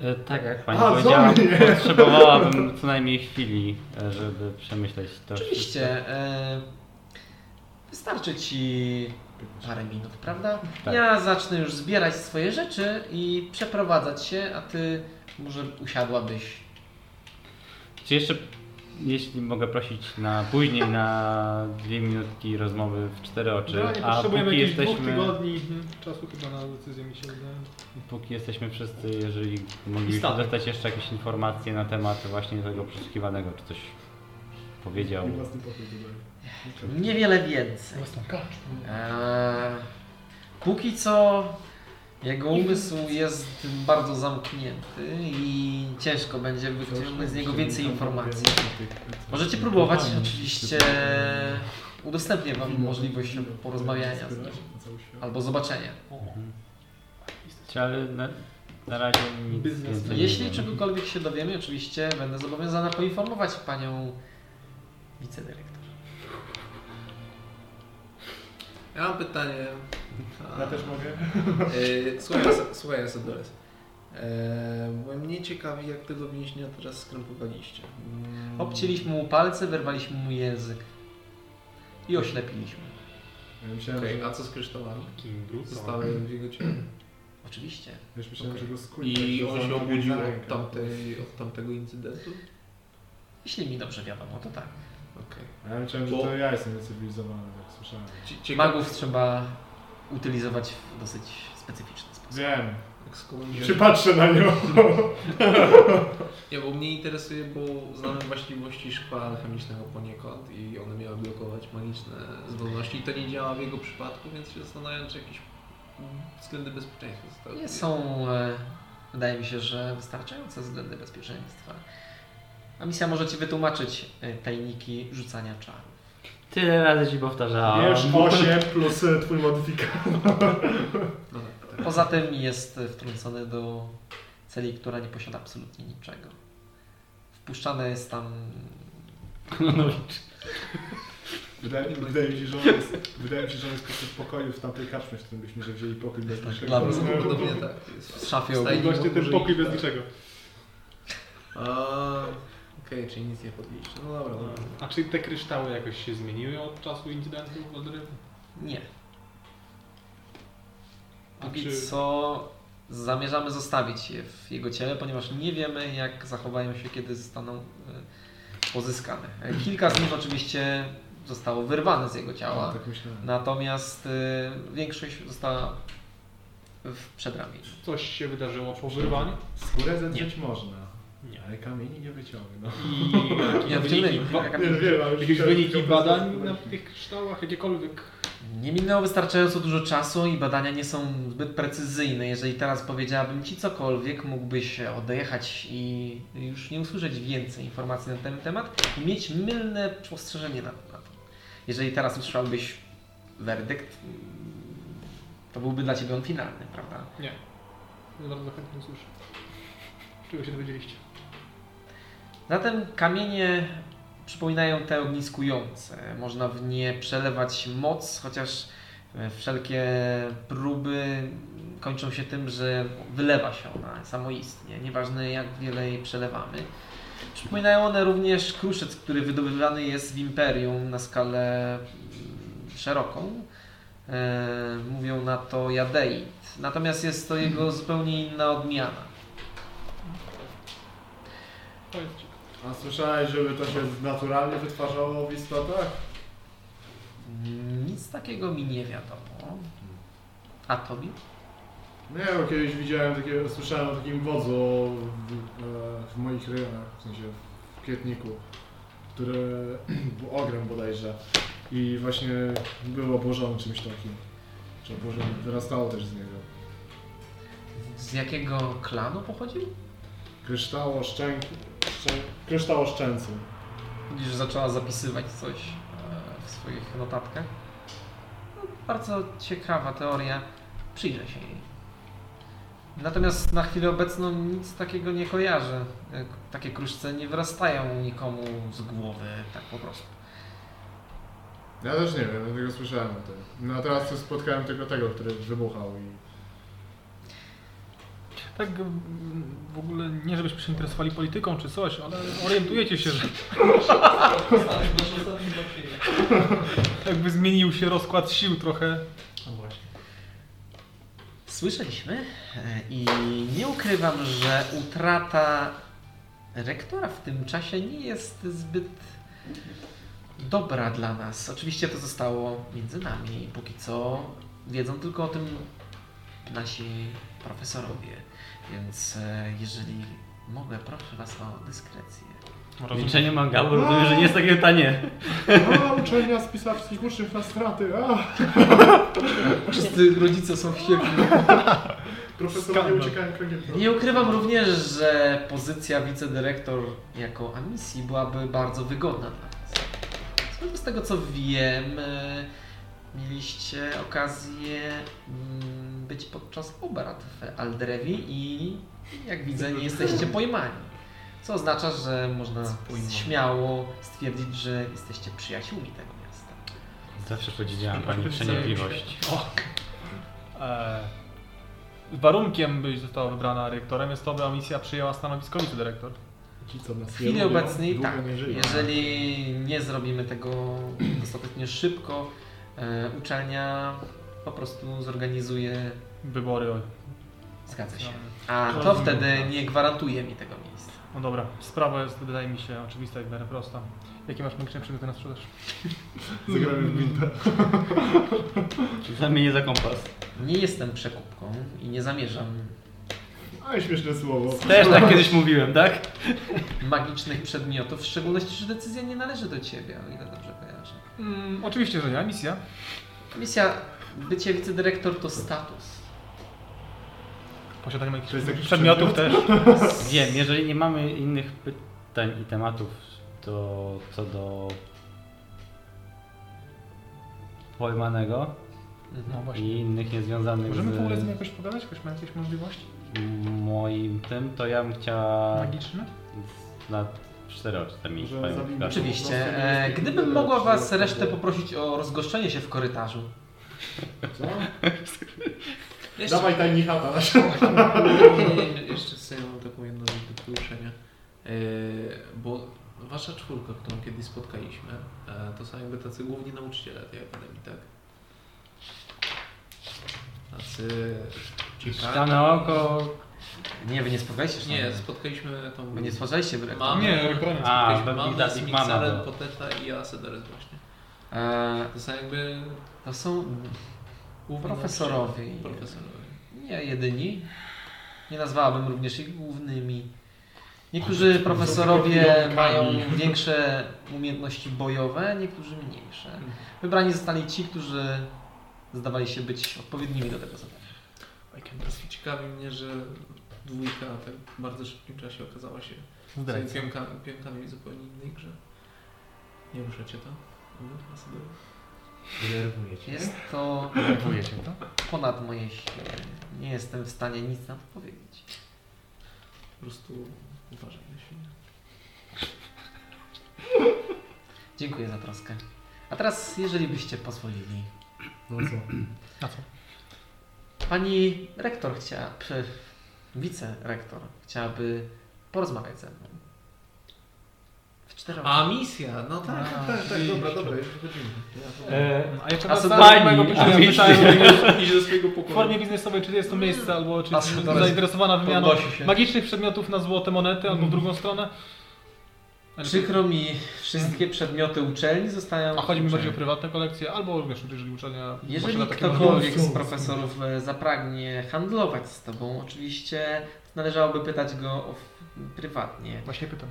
Speaker 3: E, tak jak pani
Speaker 6: A,
Speaker 3: powiedziała,
Speaker 6: zombie!
Speaker 3: potrzebowałabym co najmniej chwili, e, żeby przemyśleć to wszystko.
Speaker 1: Oczywiście. E, wystarczy Ci parę minut, prawda?
Speaker 3: Tak.
Speaker 1: Ja zacznę już zbierać swoje rzeczy i przeprowadzać się, a Ty może usiadłabyś.
Speaker 3: Czy jeszcze jeśli mogę prosić na później na dwie minutki rozmowy w cztery
Speaker 5: No,
Speaker 3: oczy,
Speaker 4: Generalnie
Speaker 3: Znaczy, a
Speaker 4: potrzebujemy
Speaker 3: póki
Speaker 4: jakichś dwóch
Speaker 3: jesteśmy,
Speaker 4: tygodni mhm, czasu chyba na decyzję mi się wydaje.
Speaker 3: póki jesteśmy wszyscy, jeżeli moglibyśmy
Speaker 4: statek.
Speaker 3: dostać jeszcze jakieś informacje na temat właśnie tego przesłuchiwanego, czy coś powiedział.
Speaker 6: I własny pokój tutaj.
Speaker 1: Niewiele więcej. Eee, póki co jego umysł jest bardzo zamknięty i ciężko będzie wyciągnąć z niego więcej informacji. Możecie próbować, oczywiście udostępnię Wam możliwość porozmawiania z nim albo zobaczenia.
Speaker 3: Czy- Ale na, na razie nic więcej nie
Speaker 1: Jeśli
Speaker 3: wiem.
Speaker 1: czegokolwiek się dowiemy, oczywiście będę zobowiązana poinformować Panią wicedyrektor.
Speaker 2: Ja mam pytanie.
Speaker 6: Ja też mogę.
Speaker 2: Yy, Słuchaj, Asa- słuchaj Asadores. Yy, Bo mnie ciekawi, jak tego więźnia teraz skrępowaliście. Mm.
Speaker 1: Obcięliśmy mu palce, wyrwaliśmy mu język i oślepiliśmy.
Speaker 6: Ja myślałem,
Speaker 2: Okej,
Speaker 6: że,
Speaker 2: a co z kryształami?
Speaker 4: Kim Bruce? No.
Speaker 2: Zostały w jego ciele.
Speaker 1: Oczywiście.
Speaker 6: wiesz, myślałem, że go skuli.
Speaker 2: I on się obudził od, tamtej, od tamtego incydentu?
Speaker 1: Jeśli mi dobrze wiadomo, to tak.
Speaker 2: Okej.
Speaker 6: Ja myślałem, że
Speaker 2: Bo-
Speaker 6: to ja jestem niecywilizowany, jak słyszałem.
Speaker 2: Cie- Ciekawe,
Speaker 1: Magów trzeba utylizować w dosyć specyficzny sposób.
Speaker 6: Wiem.
Speaker 2: jak skomunizm-
Speaker 6: Się patrzę na nią.
Speaker 2: Nie, bo mnie interesuje, bo znamy właściwości szkła alchemicznego poniekąd i one miały blokować magiczne zdolności i to nie działa w jego przypadku, więc się zastanawiam, czy jakieś mm, względy bezpieczeństwa zostały.
Speaker 1: Nie są, e, wydaje mi się, że wystarczające względy bezpieczeństwa. A misja może Ci wytłumaczyć e, tajniki rzucania czarów.
Speaker 3: Tyle razy ci powtarzałem.
Speaker 6: Wiesz,
Speaker 4: no.
Speaker 6: 8 plus e, twój modyfikat.
Speaker 2: No tak, tak.
Speaker 1: Poza tym jest wtrącony do celi, która nie posiada absolutnie niczego. Wpuszczane jest tam...
Speaker 3: No
Speaker 6: Wydaje, wydaje, mi się, że on jest, wydaje mi się, że on jest po prostu w pokoju w tamtej karczmie, w którym byśmy że wzięli pokój bez
Speaker 4: tak
Speaker 1: dla
Speaker 6: naszego.
Speaker 1: mnie.
Speaker 2: Podobnie tak.
Speaker 1: W
Speaker 2: Jest.
Speaker 1: szafie
Speaker 2: Stajni
Speaker 1: obok.
Speaker 4: Właśnie ten
Speaker 2: Użyj-
Speaker 4: pokój bez niczego.
Speaker 3: tak.
Speaker 2: A, Okej, czyli nic nie podliście. No dobra, dobra.
Speaker 4: A czy te kryształy jakoś się zmieniły od czasu incydentu w Odry?
Speaker 1: Nie.
Speaker 4: A
Speaker 1: Póki
Speaker 4: czy-
Speaker 1: co zamierzamy zostawić je w jego ciele, ponieważ nie wiemy, jak zachowają się, kiedy zostaną e, pozyskane. E, Kilka z nich oczywiście zostało wyrwane z jego ciała,
Speaker 6: Tak myślałem.
Speaker 1: natomiast e, większość została w przedramieniu.
Speaker 4: Coś się wydarzyło po wyrwaniu
Speaker 6: Skórę zedrzeć można,
Speaker 4: Nie.
Speaker 6: ale kamieni nie No. wyciągną.
Speaker 4: i
Speaker 1: Ja
Speaker 4: jakieś wyniki,
Speaker 1: wciągnę-
Speaker 4: ba-
Speaker 1: jaka-
Speaker 4: jakieś wyniki badań na tych kryształach, jakiekolwiek.
Speaker 1: Nie minęło wystarczająco dużo czasu i badania nie są zbyt precyzyjne. Jeżeli teraz powiedziałabym Ci cokolwiek, mógłbyś odejechać i już nie usłyszeć więcej informacji na ten temat i mieć mylne spostrzeżenie na na to. Jeżeli teraz usłyszałbyś werdykt, to byłby dla Ciebie on finalny, prawda?
Speaker 4: Nie Bardzo chętnie słyszę. Czego się dowiedzieliście?
Speaker 1: Zatem kamienie przypominają te ogniskujące. Można w nie przelewać moc, chociaż e, wszelkie próby kończą się tym, że wylewa się ona samoistnie, nieważne jak wiele jej przelewamy. Przypominają one również kruszec, który wydobywany jest w imperium na skalę mm, szeroką. E, mówią na to jadeit. Natomiast jest to jego zupełnie inna odmiana.
Speaker 4: Powiedzcie.
Speaker 6: A słyszałeś, żeby to się naturalnie wytwarzało w istotach?
Speaker 1: Nic takiego mi nie wiadomo. A tobie?
Speaker 6: No ja bo kiedyś widziałem takie, słyszałem o takim wodzu w, e, w moich rejonach, w sensie w Kwietniku, który był ogrem bodajże i właśnie był obłożony czymś takim. Czy obłożony, wyrastało też z niego.
Speaker 1: Z jakiego klanu pochodził?
Speaker 6: Kryształo szczęk... Szczę... Kryształo szczęcy.
Speaker 1: Widzisz, że zaczęła zapisywać coś e, w swoich notatkach. No, bardzo ciekawa teoria. Przyjrzę się jej. Natomiast na chwilę obecną nic takiego nie kojarzę. E, k- Takie kruszce nie wyrastają nikomu z głowy, tak po prostu.
Speaker 6: Ja też nie wiem, dlatego słyszałem o tym. No a teraz spotkałem tylko tego, który wybuchał i...
Speaker 4: Tak mm, w ogóle nie żebyśmy się interesowali polityką czy coś, ale orientujecie się, że jakby zmienił się rozkład sił trochę.
Speaker 2: No właśnie.
Speaker 1: Słyszeliśmy e, i nie ukrywam, że utrata rektora w tym czasie nie jest zbyt dobra dla nas. Oczywiście to zostało między nami. Póki co wiedzą tylko o tym nasi profesorowie. Więc e, jeżeli mogę, proszę Was o dyskrecję.
Speaker 3: Milczenie manga, bo rozumiem, że nie jest takie pytanie.
Speaker 8: A, uczelnia z pisarskich uczniów na straty, a!
Speaker 1: Wszyscy rodzice są wściekli.
Speaker 8: Profesorowie uciekają kręgiem.
Speaker 1: Nie ukrywam również, że pozycja wicedyrektor jako amisji byłaby bardzo wygodna dla nas. Zgodnie z tego co wiem, e, mieliście okazję mm, być podczas obrad w Aldrewi i jak widzę nie jesteście pojmani. Co oznacza, że można śmiało stwierdzić, że jesteście przyjaciółmi tego miasta.
Speaker 3: Zawsze podziwiałem pani przenikliwość.
Speaker 5: E, warunkiem, byś została wybrana rektorem, jest to, by misja przyjęła stanowisko wicedyrektor.
Speaker 8: Ci, co nas
Speaker 1: W chwili
Speaker 8: jerują,
Speaker 1: obecnej
Speaker 8: długo
Speaker 1: tak.
Speaker 8: nie żyją.
Speaker 1: Jeżeli nie zrobimy tego dostatnio szybko, e, uczelnia po prostu zorganizuje.
Speaker 5: Wybory.
Speaker 1: Zgadza się. A to wtedy nie gwarantuje mi tego miejsca.
Speaker 5: No dobra, sprawa jest, wydaje mi się, oczywista i w miarę prosta. Jakie masz magiczne przedmioty na sprzedaż?
Speaker 8: Zagramy w gwintę.
Speaker 3: Zamienię za kompas.
Speaker 1: Nie jestem przekupką i nie zamierzam
Speaker 8: Aj, śmieszne słowo.
Speaker 3: Też tak kiedyś mówiłem, tak?
Speaker 1: magicznych przedmiotów, w szczególności, że decyzja nie należy do ciebie, o ile dobrze kojarzę.
Speaker 5: Mm, oczywiście, że nie, misja.
Speaker 1: Misja, bycie wicedyrektor to status.
Speaker 5: Posiadanie magicznych
Speaker 8: jest jakiś
Speaker 5: przedmiotów też.
Speaker 3: Wiem, jeżeli nie mamy innych pytań i tematów, to co do pojmanego
Speaker 1: Mhm.
Speaker 5: No właśnie.
Speaker 3: i innych niezwiązanych
Speaker 5: Możemy
Speaker 3: z
Speaker 5: w ogóle z nim jakoś pogadać? Ktoś ma jakieś możliwości
Speaker 3: moim tym, to ja bym chciała
Speaker 5: magiczne?
Speaker 3: na cztery oczy tam mieć.
Speaker 8: Że
Speaker 3: powiem
Speaker 8: zabijmy.
Speaker 3: tak.
Speaker 8: Czyli-
Speaker 1: Oczywiście. E, gdybym mogła was resztę poprosić o rozgoszczenie się w korytarzu.
Speaker 8: Co?
Speaker 2: Jeszcze,
Speaker 8: Dawaj tajni chata.
Speaker 2: nie, nie, nie, jeszcze sobie mam taką jedną rzecz do poruszenia. E, bo wasza czwórka, którą kiedyś spotkaliśmy, e, to są jakby tacy główni nauczyciele tej akademii, tak? Tacy ciekawi.
Speaker 3: Ściane oko.
Speaker 1: Nie, wy nie spotkaliście się?
Speaker 2: Nie,
Speaker 1: na-
Speaker 2: spotkaliśmy tą...
Speaker 1: Wy nie stwarzaliście dyrektora.
Speaker 2: Mamy,
Speaker 5: Nie, reklamę.
Speaker 3: A,
Speaker 2: spotkaliśmy
Speaker 3: Big
Speaker 2: mamy
Speaker 3: Daddy
Speaker 2: z
Speaker 3: Mama
Speaker 2: Mixarem,
Speaker 3: była.
Speaker 2: Poteta i Asedares właśnie.
Speaker 1: E,
Speaker 2: To są jakby
Speaker 1: to są
Speaker 2: główni
Speaker 1: Profesorowie.
Speaker 2: nauczyciele. Profesorowie.
Speaker 1: nie jedyni. Nie nazwałabym również ich głównymi. Niektórzy profesorowie mają większe umiejętności bojowe, niektórzy mniejsze. Wybrani zostali ci, którzy zdawali się być odpowiednimi do tego zadania.
Speaker 2: Ciekawi mnie, że dwójka tak w bardzo szybkim czasie okazała się
Speaker 5: Zdrajca.
Speaker 2: pionkami, pionkami w zupełnie innej grze. Nie muszę cię to. Dobra, sobie.
Speaker 14: Denerwujecie.
Speaker 1: Jest to
Speaker 14: Denerwujecie to?
Speaker 1: ponad moje siły. Nie jestem w stanie nic na to powiedzieć.
Speaker 2: Po prostu uważaj na siebie.
Speaker 1: Dziękuję za troskę. A teraz, jeżeli byście pozwolili,
Speaker 8: No co?
Speaker 5: Na co?
Speaker 1: Pani rektor chciała, przy, wicerektor chciałaby porozmawiać ze mną. W czterech.
Speaker 2: A misja, no tak.
Speaker 8: Tak, tak, tak, dobra, dobra, już wychodzimy.
Speaker 3: E,
Speaker 5: A jeszcze
Speaker 1: A
Speaker 5: raz
Speaker 1: co
Speaker 3: pani?
Speaker 5: mojego
Speaker 3: A
Speaker 5: pytania
Speaker 3: mi się-
Speaker 5: pytałem
Speaker 8: Idź do swojego
Speaker 5: w formie biznesowej, czy jest to miejsce, albo czy
Speaker 1: A
Speaker 5: jest
Speaker 1: to jest-
Speaker 5: zainteresowana wymianą
Speaker 1: podnosi się.
Speaker 5: magicznych przedmiotów na złote monety, albo w drugą stronę. Ale-
Speaker 1: Przykro mi, wszystkie przedmioty uczelni zostają.
Speaker 5: A chodzi mi bardziej o
Speaker 1: uczelni.
Speaker 5: prywatne kolekcje, albo również jeżeli uczelnia
Speaker 1: Jeżeli
Speaker 5: posiada takie
Speaker 1: ktokolwiek z profesorów e, zapragnie handlować z Tobą, oczywiście należałoby pytać go o f- prywatnie.
Speaker 5: Właśnie pytam.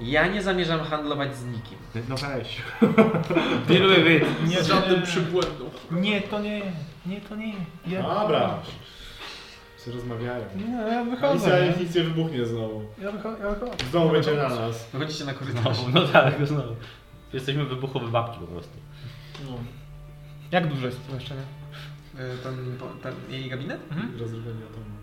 Speaker 1: Ja nie zamierzam handlować z nikim.
Speaker 8: No weź.
Speaker 3: Dealuj wy.
Speaker 5: Nie,
Speaker 2: Z żadnym przybłędą.
Speaker 5: Nie, to nie, nie, to nie. Ja,
Speaker 8: Dobra. Się rozmawiają.
Speaker 5: Nie, no, ja
Speaker 8: Misja
Speaker 5: wychodzę.
Speaker 8: ich nic nie wybuchnie znowu.
Speaker 5: Ja, wycho- ja wychodzę.
Speaker 8: Znowu będzie na nas.
Speaker 1: Wychodzicie na korytarz.
Speaker 3: Znowu, no tak, znowu. Jesteśmy wybuchowe babki po prostu.
Speaker 2: No.
Speaker 5: Jak duże jest to pomieszczenie?
Speaker 1: E, Ten, ten jej gabinet?
Speaker 8: Rozrywanie atomu.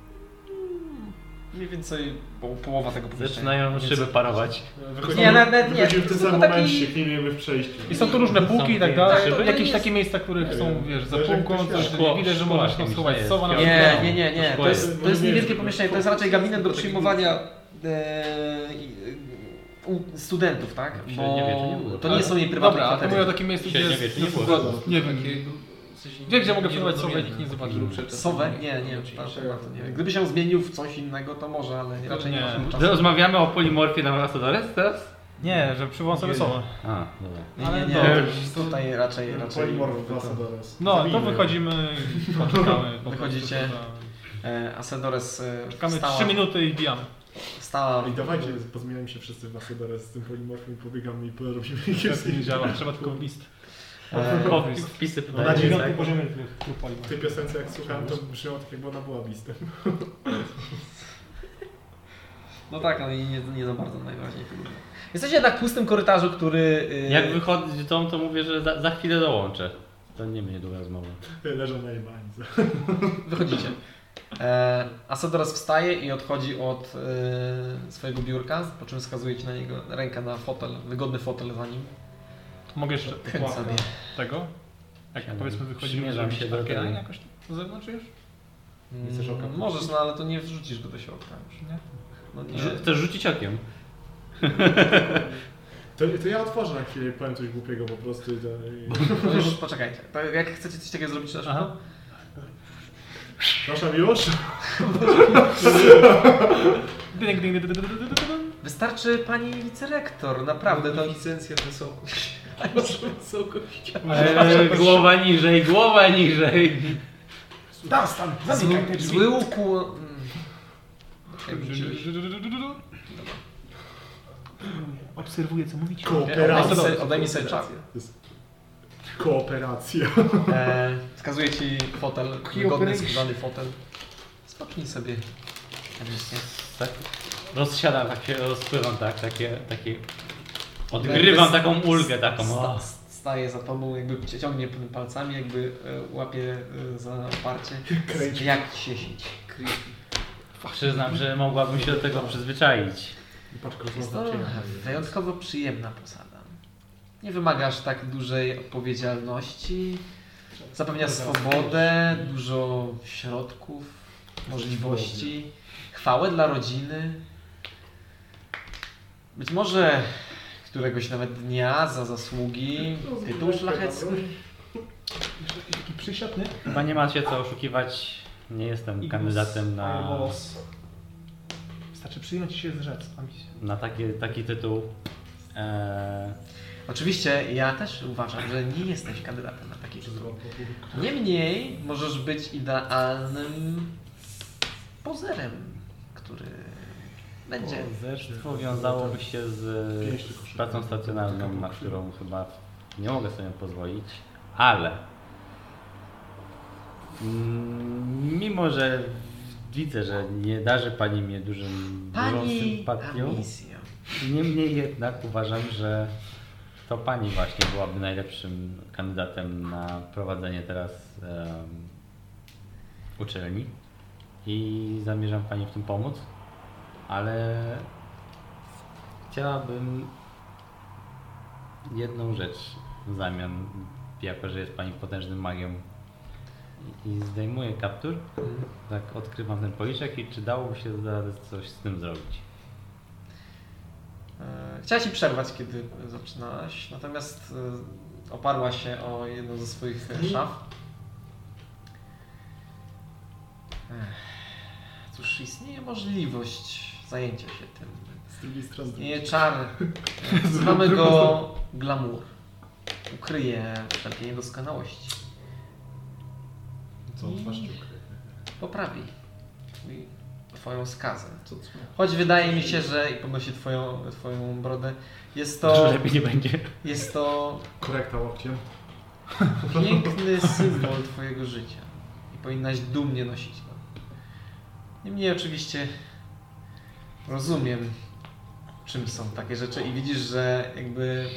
Speaker 1: Mniej więcej po- połowa tego pomieszczenia.
Speaker 3: Zaczynają szyby parować.
Speaker 8: Wychodzimy-
Speaker 1: Nie, nawet nie.
Speaker 8: Wychodzimy w tym
Speaker 1: To
Speaker 8: samym
Speaker 1: taki-
Speaker 8: momencie, kliniemy w przejściu.
Speaker 5: I są tu różne półki i tak dalej.
Speaker 3: Tak, to
Speaker 5: Jakieś
Speaker 1: jest-
Speaker 5: takie miejsca, których
Speaker 8: Nie
Speaker 5: są,
Speaker 8: wiem.
Speaker 5: wiesz, za
Speaker 8: Zależy, jak
Speaker 5: półką,
Speaker 8: ktoś
Speaker 5: coś
Speaker 3: jest.
Speaker 5: nie widać, że
Speaker 3: Szkoła
Speaker 5: możesz tam
Speaker 3: jakimś
Speaker 5: schować
Speaker 3: jest.
Speaker 5: sowa na
Speaker 1: Nie,
Speaker 3: Ja-
Speaker 1: nie, nie, nie. To
Speaker 3: Szkoła
Speaker 1: jest,
Speaker 8: jest-
Speaker 1: to jest niewielkie
Speaker 8: jest-
Speaker 1: pomieszczenie. To jest raczej gabinet do przyjmowania e, i- u- studentów, tak?
Speaker 3: W
Speaker 1: Bo
Speaker 3: średniowieczu nie było. tak?
Speaker 1: to tak- nie są jej prywatne
Speaker 5: Dobra, a to mówię o
Speaker 1: kwatery.
Speaker 5: takim miejscu, gdzie jest...
Speaker 3: Średniowiecznie nie było.
Speaker 5: Nie wiem.
Speaker 2: Takiego sensie nie-
Speaker 5: Wiem, gdzie mogę
Speaker 2: nie
Speaker 5: przerwać sowę,
Speaker 2: rozmawiamy
Speaker 5: nikt nie
Speaker 2: na
Speaker 5: zobaczy.
Speaker 2: takich rzeczach.
Speaker 1: Sowę? Nie, nie, proszę bardzo, nie. Gdyby się zmienił w coś innego, to może, ale raczej nie
Speaker 5: nie.
Speaker 1: ma czasu.
Speaker 3: Rozmawiamy o polimorfie na Rasodores teraz?
Speaker 5: Nie, że przywołam sobie sowę.
Speaker 3: A, dobra.
Speaker 1: Nie,
Speaker 5: Ale
Speaker 1: nie, nie,
Speaker 5: to-
Speaker 1: tutaj raczej, raczej...
Speaker 8: Polimorf
Speaker 1: to-
Speaker 8: Lasadores.
Speaker 5: No, to wychodzimy i poczekamy. po
Speaker 1: Wychodzicie.
Speaker 5: prostu, tak.
Speaker 1: E, Asedores e,
Speaker 5: Czekamy
Speaker 1: wstała-
Speaker 5: 3 minuty i bijamy.
Speaker 1: Wstała,
Speaker 8: I dawajcie, pozmieniamy się wszyscy w Lasadores z tym polimorfem, pobiegamy i porobimy
Speaker 5: Teraz
Speaker 8: jakieś...
Speaker 5: nie działa, trzeba tylko list.
Speaker 1: e,
Speaker 3: O, wpisy pytań.
Speaker 8: Na dziewiątym
Speaker 3: tak?
Speaker 8: poziomie W tej piosence jak słuchałem, to brzmiało tak jakby ona była listem.
Speaker 1: No tak, ale nie, nie za bardzo najwyraźniej to lubię. Jesteście na pustym korytarzu, który... y,
Speaker 3: Jak wychodzę z domu, to mówię, że za, za chwilę dołączę. To nie będzie długa rozmowa.
Speaker 8: Leżą na jebanice.
Speaker 1: Wychodzicie. E, Asedoras wstaje i odchodzi od e, swojego biurka, po czym wskazuje ci na niego rękę na fotel, wygodny fotel za nim.
Speaker 5: Mogę jeszcze
Speaker 1: Chęć
Speaker 5: ła,
Speaker 1: sobie.
Speaker 5: tego? Jak
Speaker 3: Siadam.
Speaker 5: powiedzmy wychodzimy,
Speaker 3: Przymierzam
Speaker 5: zrobić
Speaker 3: się do
Speaker 5: takie
Speaker 3: tego.
Speaker 5: danie jakoś tam na zewnątrz już?
Speaker 1: Mm, Możesz, no ale to nie wrzucisz go do środka już, nie? No nie.
Speaker 3: Rzu- Chcesz rzucić okiem?
Speaker 8: To, to ja otworzę na chwilę i powiem coś głupiego po prostu i to... I...
Speaker 1: To już poczekajcie. To jak chcecie coś takiego zrobić, to na szybko.
Speaker 8: Proszę już?
Speaker 5: Dynk, dynk, dynk, dynk, dynk, dynk, dynk.
Speaker 1: Wystarczy pani wicerektor, naprawdę to...
Speaker 14: Licencja wysokość.
Speaker 2: Całkowicie.
Speaker 3: Eee, głowa niżej, głowa niżej.
Speaker 8: Dastan, zamykaj te
Speaker 1: Zły,
Speaker 8: drzwi.
Speaker 1: zły ukłon... mm. Okej, wróciłeś.
Speaker 2: Obserwuję, co mówicie.
Speaker 1: Odejmij
Speaker 8: Kooperacja.
Speaker 1: sobie- Odejmij sobie czas.
Speaker 8: Kooperacja.
Speaker 1: E, wskazuję ci fotel, wygodny, skórzany fotel. Spocznij sobie. Edycznie.
Speaker 3: Tak. Rozsiadam, tak się rozpływam, tak, takie, takie... Odgrywam taką ulgę, taką.
Speaker 1: Sta,
Speaker 3: O.
Speaker 1: staje za tobą, jakby cię ciągnie palcami, jakby e, łapie e, za oparcie. Jak się siedzi.
Speaker 3: Przyznam, że mogłabym się do tego przyzwyczaić.
Speaker 8: Patrz,
Speaker 1: Jest to
Speaker 8: rozmowa przyjemna.
Speaker 1: wyjątkowo przyjemna posada. Nie wymagasz tak dużej odpowiedzialności. Zapewnia swobodę, dużo środków, możliwości, chwałę dla rodziny. Być może któregoś nawet dnia za zasługi, tytuł szlachecki.
Speaker 5: Przysiadny?
Speaker 3: Chyba nie macie co oszukiwać. Nie jestem kandydatem na,
Speaker 5: Wystarczy przyjąć się z rzec, a mi się...
Speaker 3: na taki, taki tytuł. Eee,
Speaker 1: Oczywiście ja też uważam, że nie jesteś kandydatem na taki tytuł. Niemniej możesz być idealnym pozerem, który będzie.
Speaker 3: Pozerstwo wiązałoby się z pracą stacjonarną, na którą chyba nie mogę sobie pozwolić, ale mm, mimo, że widzę, że nie darzy Pani mnie dużym, dużą
Speaker 1: Pani
Speaker 3: sympatią,
Speaker 1: Amisja.
Speaker 3: niemniej jednak uważam, że to Pani właśnie byłaby najlepszym kandydatem na prowadzenie teraz em, uczelni i zamierzam Pani w tym pomóc, ale chciałabym jedną rzecz w zamian, jako że jest Pani potężnym magiem i- i zdejmuję kaptur, tak odkrywam ten policzek i czy dałoby się zaraz coś z tym zrobić.
Speaker 1: E, Chciała ci przerwać, kiedy zaczynałaś, natomiast e, oparła się o jedną ze swoich e, szaf. Ech, Cóż, istnieje możliwość zajęcia się tym.
Speaker 8: Z drugiej strony.
Speaker 1: Nie czar. Zwamy go glamour. Ukryje wszelkie niedoskonałości.
Speaker 8: Co twarz ci ukryje?
Speaker 1: Poprawi twój- twoją skazę.
Speaker 8: Co co?
Speaker 1: Choć wydaje mi się, że i podnosi twoją, twoją brodę. Jest
Speaker 3: Że
Speaker 1: to,
Speaker 3: lepiej nie będzie.
Speaker 1: jest to
Speaker 8: Korekta łokciem.
Speaker 1: piękny symbol twojego życia. I powinnaś dumnie nosić go. Niemniej oczywiście rozumiem, czym są takie rzeczy i widzisz, że jakby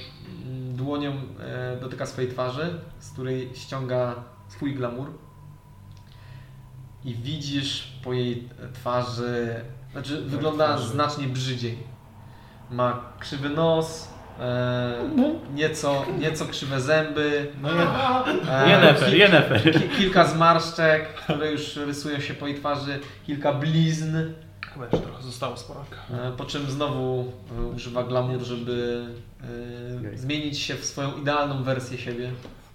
Speaker 1: mm, dłonią e, dotyka swojej twarzy, z której ściąga swój glamour. I widzisz po jej e, twarzy, znaczy
Speaker 5: Tak,
Speaker 1: wygląda znacznie brzydziej. Ma krzywy nos, e, nieco, nieco krzywe zęby.
Speaker 5: No nie,
Speaker 1: E,
Speaker 8: no,
Speaker 3: Jenefer,
Speaker 1: ki-
Speaker 3: Jenefer.
Speaker 1: ki- Kilka zmarszczek, które już rysują się po jej twarzy, kilka blizn,
Speaker 5: chyba jeszcze trochę zostało z poranka.
Speaker 1: e, po czym znowu e, używa glamour, żeby e, zmienić się w swoją idealną wersję siebie.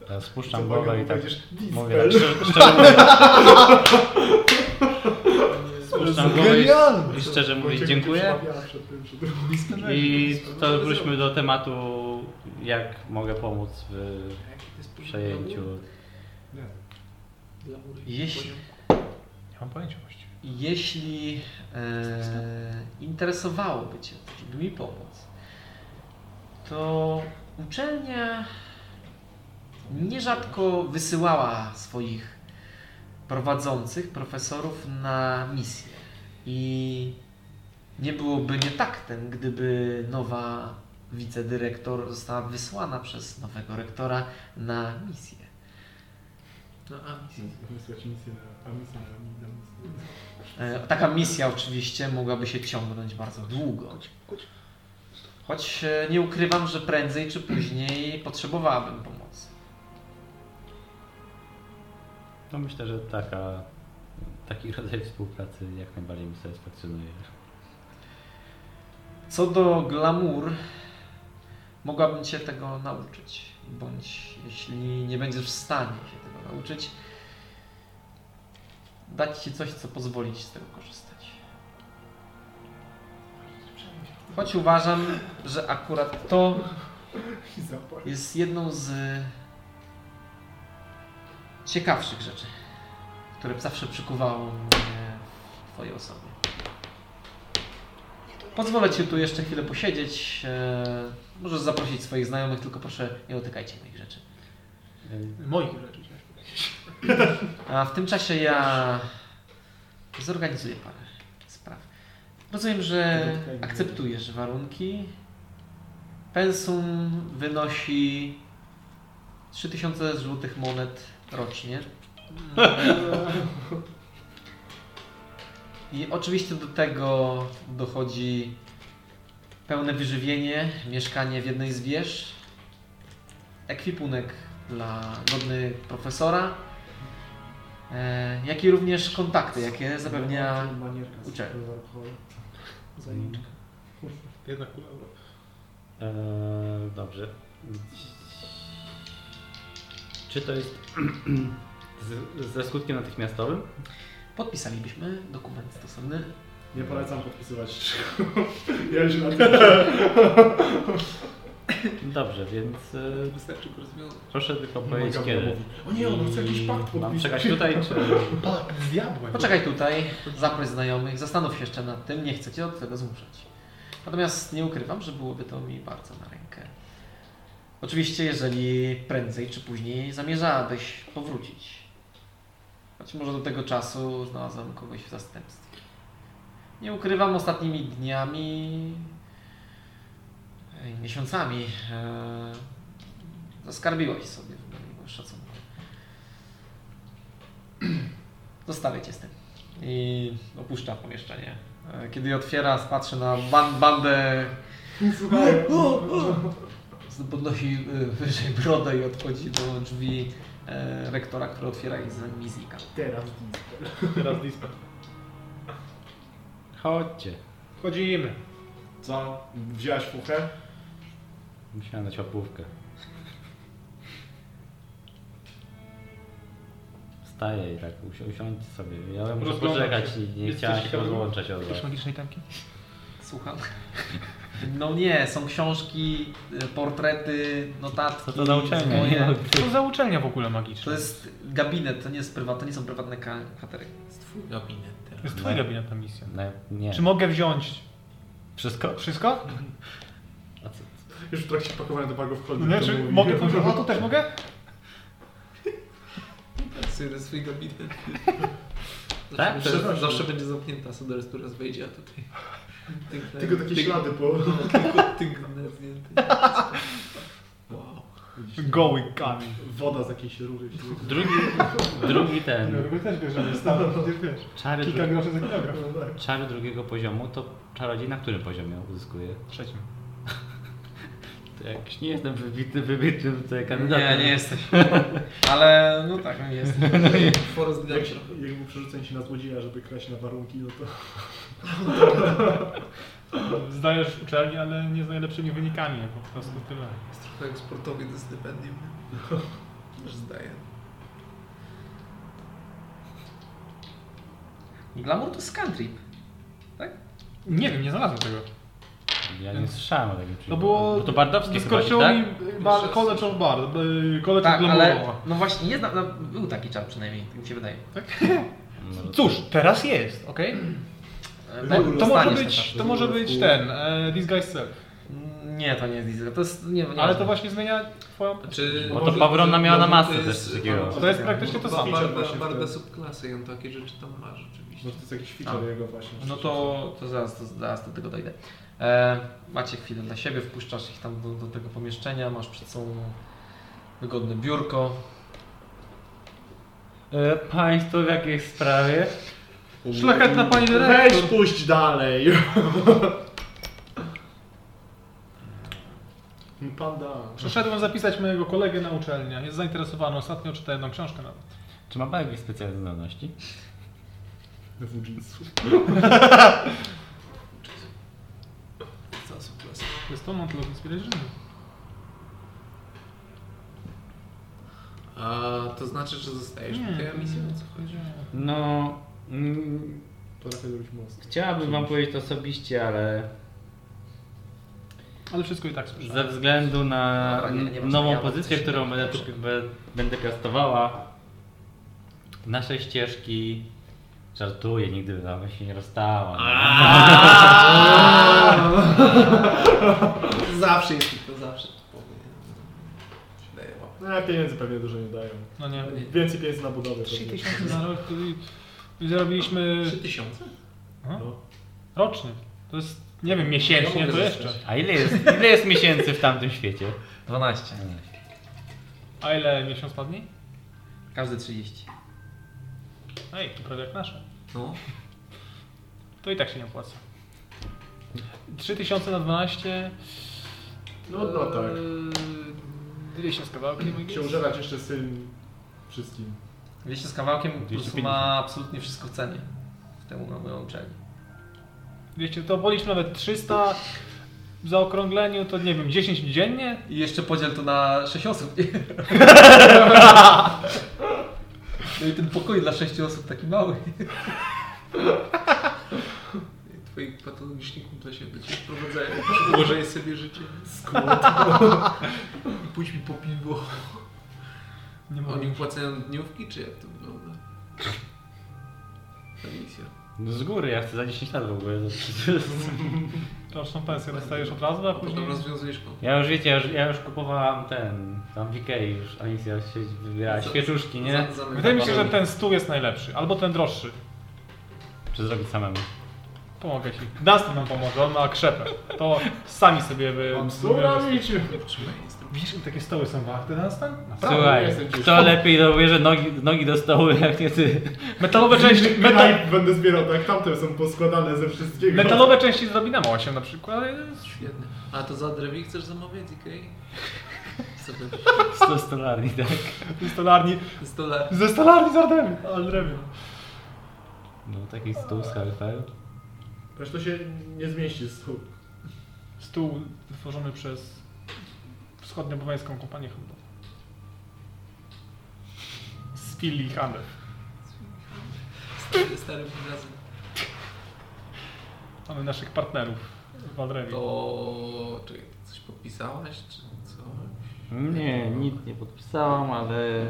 Speaker 3: Ja spuszczam głowę i tak
Speaker 6: Będziesz
Speaker 3: mówię,
Speaker 6: dispel.
Speaker 3: tak szczerze, szczerze mówiąc. Spuszczam głowę
Speaker 6: Genialne!
Speaker 3: i, i szczerze mówiąc
Speaker 6: Wojciech
Speaker 3: dziękuję.
Speaker 6: będzie przemawiała przed tym, przed drugim.
Speaker 3: I to wróćmy do tematu, jak mogę pomóc w przejęciu.
Speaker 1: Jeśli,
Speaker 5: Nie mam pojęcia właściwie.
Speaker 1: jeśli e, interesowałoby Cię, żeby mi pomóc, to uczelnia nierzadko wysyłała swoich prowadzących profesorów na misje. I nie byłoby nietaktem, gdyby nowa wicedyrektor została wysłana przez nowego rektora na misję.
Speaker 2: No a misję.
Speaker 6: Wysłać misję na- a misję na- na misję.
Speaker 1: E, Taka misja oczywiście mogłaby się ciągnąć bardzo długo. Choć e, nie ukrywam, że prędzej czy później potrzebowałabym pomocy.
Speaker 3: To No myślę, że taka, taki rodzaj współpracy jak najbardziej mi satysfakcjonuje.
Speaker 1: Co do glamour, mogłabym Cię tego nauczyć. Bądź jeśli nie będziesz w stanie się tego nauczyć, dać Ci coś, co pozwoli Ci z tego korzystać. Choć uważam, że akurat to
Speaker 6: I zapłać.
Speaker 1: jest jedną z e, ciekawszych rzeczy, które zawsze przykuwało mnie w Twojej osobie. Pozwolę Ci tu jeszcze chwilę posiedzieć. e, Możesz zaprosić swoich znajomych, tylko proszę nie dotykajcie moich rzeczy.
Speaker 2: Moich rzeczy. tak.
Speaker 1: A w tym czasie ja zorganizuję parę spraw. Rozumiem, że akceptujesz warunki. Pensum wynosi 3000 złotych monet rocznie. I oczywiście do tego dochodzi pełne wyżywienie, mieszkanie w jednej z wież, ekwipunek dla godny profesora, e, jak i również kontakty, jakie zapewnia
Speaker 6: Manierka z
Speaker 1: uczelnia.
Speaker 6: alkoholu. Zajęczka.
Speaker 4: Jedna kula euro.
Speaker 3: Eee, dobrze. Czy to jest z, ze skutkiem natychmiastowym?
Speaker 1: Podpisalibyśmy dokument stosowny.
Speaker 6: Nie polecam podpisywać. Ja już na tym.
Speaker 3: Dobrze, więc e,
Speaker 2: Wystarczy go rozwiązać.
Speaker 3: proszę tylko
Speaker 6: Nie
Speaker 3: powiedzieć
Speaker 6: mogę
Speaker 3: kiedy.
Speaker 6: mówić. O nie, on chce jakiś
Speaker 3: I
Speaker 6: pakt
Speaker 3: Mam
Speaker 6: podpisać.
Speaker 3: czekać tutaj, czy...
Speaker 6: Pakt z diabłem.
Speaker 1: Poczekaj tutaj, zaproś znajomych, zastanów się jeszcze nad tym, nie chcę cię do tego zmuszać. Natomiast nie ukrywam, że byłoby to mi bardzo na rękę. Oczywiście, jeżeli prędzej czy później zamierzałabyś powrócić. Choć może do tego czasu znalazłem kogoś w zastępstwie. Nie ukrywam, ostatnimi dniami i miesiącami e, zaskarbiłaś sobie w moim szacunku. Zostawię cię z tym. I opuszcza pomieszczenie. E, Kiedy je otwiera, patrzy na ban bandę,
Speaker 6: Słuchaj.
Speaker 1: podnosi y, wyżej brodę i odchodzi do drzwi e, rektora, który otwiera i za nimi znika.
Speaker 6: Teraz.
Speaker 5: Teraz dispel.
Speaker 3: Chodźcie.
Speaker 5: Wchodzimy.
Speaker 6: Co? Wzięłaś fuchę?
Speaker 3: Musiałem dać łapówkę. Wstaję i tak usi- usiądźcie sobie. Ja muszę
Speaker 4: Rozglądam
Speaker 3: poczekać,
Speaker 4: się.
Speaker 3: nie, nie
Speaker 4: Jest
Speaker 3: chciałem
Speaker 4: coś
Speaker 3: się
Speaker 4: ciekawego?
Speaker 3: rozłączać od was.
Speaker 5: Jakieś magicznej temki?
Speaker 1: Słucham. No nie, są książki, y, portrety, notatki.
Speaker 3: Co to za uczelnia?
Speaker 1: moje-
Speaker 5: Co za uczelnia w ogóle
Speaker 1: To
Speaker 5: magiczna?
Speaker 1: jest gabinet, to nie jest prywatne, to nie są prywatne ka- katery.
Speaker 2: Jest twój gabinet
Speaker 5: To
Speaker 2: teraz.
Speaker 5: jest twój gabinet na misję.
Speaker 3: No, nie.
Speaker 5: Czy mogę wziąć
Speaker 3: Wszystko?
Speaker 5: wszystko?
Speaker 3: A co?
Speaker 6: Już w trakcie pakowania do bagów
Speaker 5: No
Speaker 6: kolby.
Speaker 5: nie, czy mogę powiedzieć, o to też mogę?
Speaker 2: Pracuje na swój gabinet.
Speaker 3: Tak?
Speaker 2: Zawsze,
Speaker 6: Przepraszam.
Speaker 2: zawsze, zawsze będzie zamknięta Sodor, która wejdzie, a tutaj... tynk-
Speaker 6: Tylko takie
Speaker 2: tynk-
Speaker 6: ślady po...
Speaker 2: Tylko tynk zdjęty. Wow.
Speaker 5: Goły kamień.
Speaker 6: Woda z jakiejś rury. się-
Speaker 3: Drugi, drugi ten.
Speaker 5: Robię też bierzemy stawę, przecież wiesz.
Speaker 3: Czary,
Speaker 5: Kilka
Speaker 3: dru,
Speaker 5: groszy za kilogram.
Speaker 6: No tak.
Speaker 3: czary drugiego poziomu to czarodziej na którym poziomie uzyskuje?
Speaker 5: Trzecim.
Speaker 3: To jak nie jestem wybitnym, wybitnym tutaj kandydatem.
Speaker 1: Nie, nie jesteś. Ale no tak, no jest.
Speaker 2: Forrest Gump
Speaker 6: Jak,
Speaker 2: trochę.
Speaker 6: jak był przerzucenie się na złodzieja, żeby kraść na warunki, no to...
Speaker 5: Zdajesz uczelnię, ale nie z najlepszymi wynikami, po prostu tyle.
Speaker 2: Jest trochę jak sportowiec ze stypendium. Też zdaję.
Speaker 1: Glamour to scantrip.
Speaker 5: Nie wiem, nie znalazłem tego.
Speaker 3: Ja nie słyszałem o takim
Speaker 5: To
Speaker 3: przypadku.
Speaker 5: było...
Speaker 3: Bo No to bardowskie chyba,
Speaker 5: Wyskoczyło
Speaker 3: tak?
Speaker 5: mi bar, Znaczy, College of Bard, y, College
Speaker 1: Tak,
Speaker 5: of Glamourowa.
Speaker 1: ale no właśnie, nie znam, no, był taki czar przynajmniej, tak mi się wydaje.
Speaker 3: Może
Speaker 5: Cóż, teraz jest, okej?
Speaker 1: E,
Speaker 5: Bo-
Speaker 1: tak,
Speaker 5: no To może
Speaker 1: dostaniesz ten
Speaker 5: być,
Speaker 1: czar.
Speaker 5: to może być ten, e, Disguise Self.
Speaker 1: Nie, to nie jest diesel, to jest, nie,
Speaker 3: No
Speaker 1: nie
Speaker 5: Ale to właśnie zmienia twoją...
Speaker 2: Czy
Speaker 3: Znaczy, Bo to
Speaker 2: może-
Speaker 3: Pawrona
Speaker 2: czy-
Speaker 3: miała na
Speaker 2: może
Speaker 3: masę
Speaker 2: to jest-
Speaker 3: też takiego.
Speaker 5: To jest praktycznie to samo.
Speaker 2: Barda,
Speaker 8: właśnie w
Speaker 2: barda
Speaker 8: tym.
Speaker 2: subklasy i on takie rzeczy tam ma rzeczywiście.
Speaker 6: no
Speaker 8: Może to jest jakiś feature jego właśnie.
Speaker 1: No to, to zaraz, to zaraz do tego dojdę. E, macie chwilę dla siebie, wpuszczasz ich tam do, do tego pomieszczenia, masz przed sobą wygodne biurko.
Speaker 3: E, państwo w jakiej sprawie?
Speaker 5: Szlachetna pani
Speaker 6: Weź
Speaker 5: dyrektor.
Speaker 6: puść dalej! Panda.
Speaker 5: Przyszedłem zapisać mojego kolegę na uczelnię. Jest zainteresowany. Ostatnio czyta jedną książkę nawet.
Speaker 3: Czy ma pan jakieś specjalne zdolności?
Speaker 2: Za subklasy.
Speaker 5: Jest to Montlock Inspiration.
Speaker 2: A to znaczy, że zostajesz
Speaker 5: Nie.
Speaker 2: po tej emisji? O co chodzi?
Speaker 3: No... Mm,
Speaker 8: Potrafię zrobić most.
Speaker 3: chciałabym wam powiedzieć to osobiście, ale
Speaker 5: Ale wszystko i tak słyszę.
Speaker 3: ze względu na
Speaker 1: Dobra, nie- nie masz
Speaker 3: nową
Speaker 1: miała,
Speaker 3: pozycję,
Speaker 1: coś
Speaker 3: którą
Speaker 1: nie
Speaker 3: będę,
Speaker 1: dobrze.
Speaker 3: tu, be- będę kastowała, nasze ścieżki... Żartuję, nigdy by nam się nie rozstała. no.
Speaker 2: Zawsze jest to, zawsze to powiem. Się daje łapę.
Speaker 6: No, pieniędzy pewnie dużo nie dają.
Speaker 5: No nie.
Speaker 6: Więcej pieniędzy na budowę. pewnie.
Speaker 5: 3000 na rok i- i zarobiliśmy
Speaker 2: 3000?
Speaker 6: No.
Speaker 5: rocznie. To jest, nie wiem, miesięcznie to jeszcze.
Speaker 3: A ile jest, ile jest miesięcy w tamtym świecie?
Speaker 1: 12,
Speaker 5: A ile miesiąc padnie?
Speaker 1: każdy 30.
Speaker 5: Ej, to prawie jak nasze.
Speaker 2: No.
Speaker 5: To i tak się nie opłaca. 3000 na 12.
Speaker 6: No, no tak.
Speaker 5: Eee, 200 z kawałkiem. I
Speaker 6: Się użerać jeszcze z tym wszystkim.
Speaker 1: Wiecie, z kawałkiem po prostu
Speaker 3: 250.
Speaker 1: ma absolutnie wszystko w cenie. W temu na moją uczelnię.
Speaker 5: 200, to policzmy nawet 300. W zaokrągleniu to nie wiem, 10 dziennie?
Speaker 1: I jeszcze podziel to na 6 osób. No i ten pokój dla 6 osób taki mały.
Speaker 2: Twoi patologiczni kumple się do ciebie wprowadzają. Przyłożaj sobie życie.
Speaker 6: Skład.
Speaker 2: I pójdź mi po piwo.
Speaker 6: No,
Speaker 5: Nie
Speaker 2: Oni upłacają dniówki, czy jak to wygląda? Ta misja.
Speaker 3: No z góry, ja chcę za 10 lat w ogóle.
Speaker 5: To już są pensje, dostajesz od
Speaker 6: No
Speaker 5: razu, a
Speaker 2: A potem
Speaker 5: No, później...
Speaker 2: rozwiązujesz kontrakt.
Speaker 3: Ja już wiecie, ja już, ja już kupowałam ten, tam w Ikei już Alicja się wybierała
Speaker 2: Co?
Speaker 3: świeczuszki, nie?
Speaker 2: Za- zamykam.
Speaker 5: Wydaje mi się, że ten stół jest najlepszy, albo ten droższy.
Speaker 3: Czy zrobić samemu?
Speaker 5: Pomogę ci. Dunstan nam pomoże, on ma krzepę. To sami sobie wy...
Speaker 6: Mam surawić.
Speaker 5: Wiesz, ile takie stoły są warte, Dunstan?
Speaker 3: Słuchaj, kto lepiej dobierze nogi, nogi do stołu, jak nie ty?
Speaker 5: Metalowe części, metal,
Speaker 6: Metal będę zbierał, tak? Tamte są poskładane ze wszystkiego.
Speaker 5: metalowe części z Robinama 8 na przykład. ale jest-
Speaker 2: Świetnie. A to za drewi chcesz zamawiać, Ikei? Co to jest?
Speaker 3: 100 stolarni, tak?
Speaker 5: Z stolarni,
Speaker 2: Z dolarów.
Speaker 5: ze stolarni z Ardemi. Ale drewno.
Speaker 3: No taki stół z HFL.
Speaker 6: Przecież to się nie zmieści z stóp.
Speaker 5: Stół tworzony przez wschodniobowańską kompanię handlową. Z Philly Handel.
Speaker 2: Stary, stary razem.
Speaker 5: Mamy naszych partnerów w Aldremi.
Speaker 2: To... Czekaj, ty coś podpisałaś, czy co?
Speaker 3: Nie, nic nie podpisałam, ale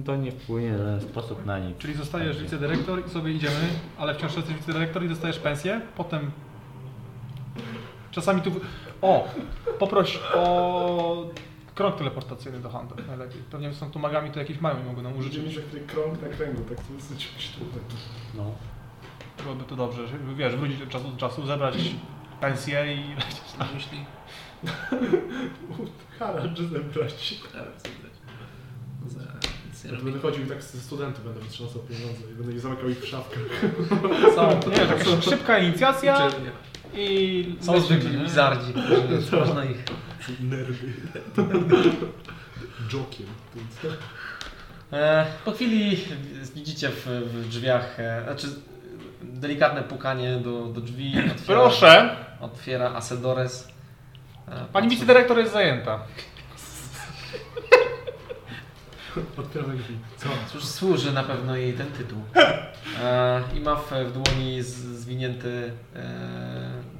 Speaker 3: E, to nie wpłynie w żaden sposób na nic.
Speaker 5: Czyli zostajesz
Speaker 1: Tak.
Speaker 5: wicedyrektor i sobie idziemy, ale wciąż jesteś wicedyrektor i dostajesz pensję, potem czasami tu... O! Poproś o krąg teleportacyjny do handlu najlepiej. Pewnie są tu magami, to jakieś mają i mogą nam użyć.
Speaker 6: Użycie mi taki krąg na kręgu, tak to dosyć sztuczne.
Speaker 3: No.
Speaker 5: Byłoby to dobrze, żeby wiesz, wrócić od czasu do czasu, zebrać pensję i lecieć.
Speaker 2: Na myśli?
Speaker 6: Harald, że zebrać.
Speaker 2: Prawie zabrać. Za... Nic nie
Speaker 6: Ja tu
Speaker 2: robię.
Speaker 6: będę chodził i tak ze studentów będę wytrząsał pieniądze i będę ich zamykał ich w szafkach.
Speaker 5: Są, nie, taka szybka inicjacja
Speaker 2: Uczelnia.
Speaker 5: i...
Speaker 1: Znaczy, Są
Speaker 5: lecimy,
Speaker 1: zwykli
Speaker 5: nie?
Speaker 1: wizardzi, którzy można ich
Speaker 6: Nerwy. Jokiem.
Speaker 1: E, Po chwili widzicie w, w drzwiach, e, znaczy delikatne pukanie do, do drzwi. Otwiera,
Speaker 5: Proszę!
Speaker 1: Otwiera Asedores. E,
Speaker 5: Pani
Speaker 1: patrzy-
Speaker 5: wicedyrektor jest zajęta.
Speaker 6: Otwieram drzwi. Co?
Speaker 1: Cóż, służy na pewno jej ten tytuł. E, I ma w, w dłoni z, zwinięty e,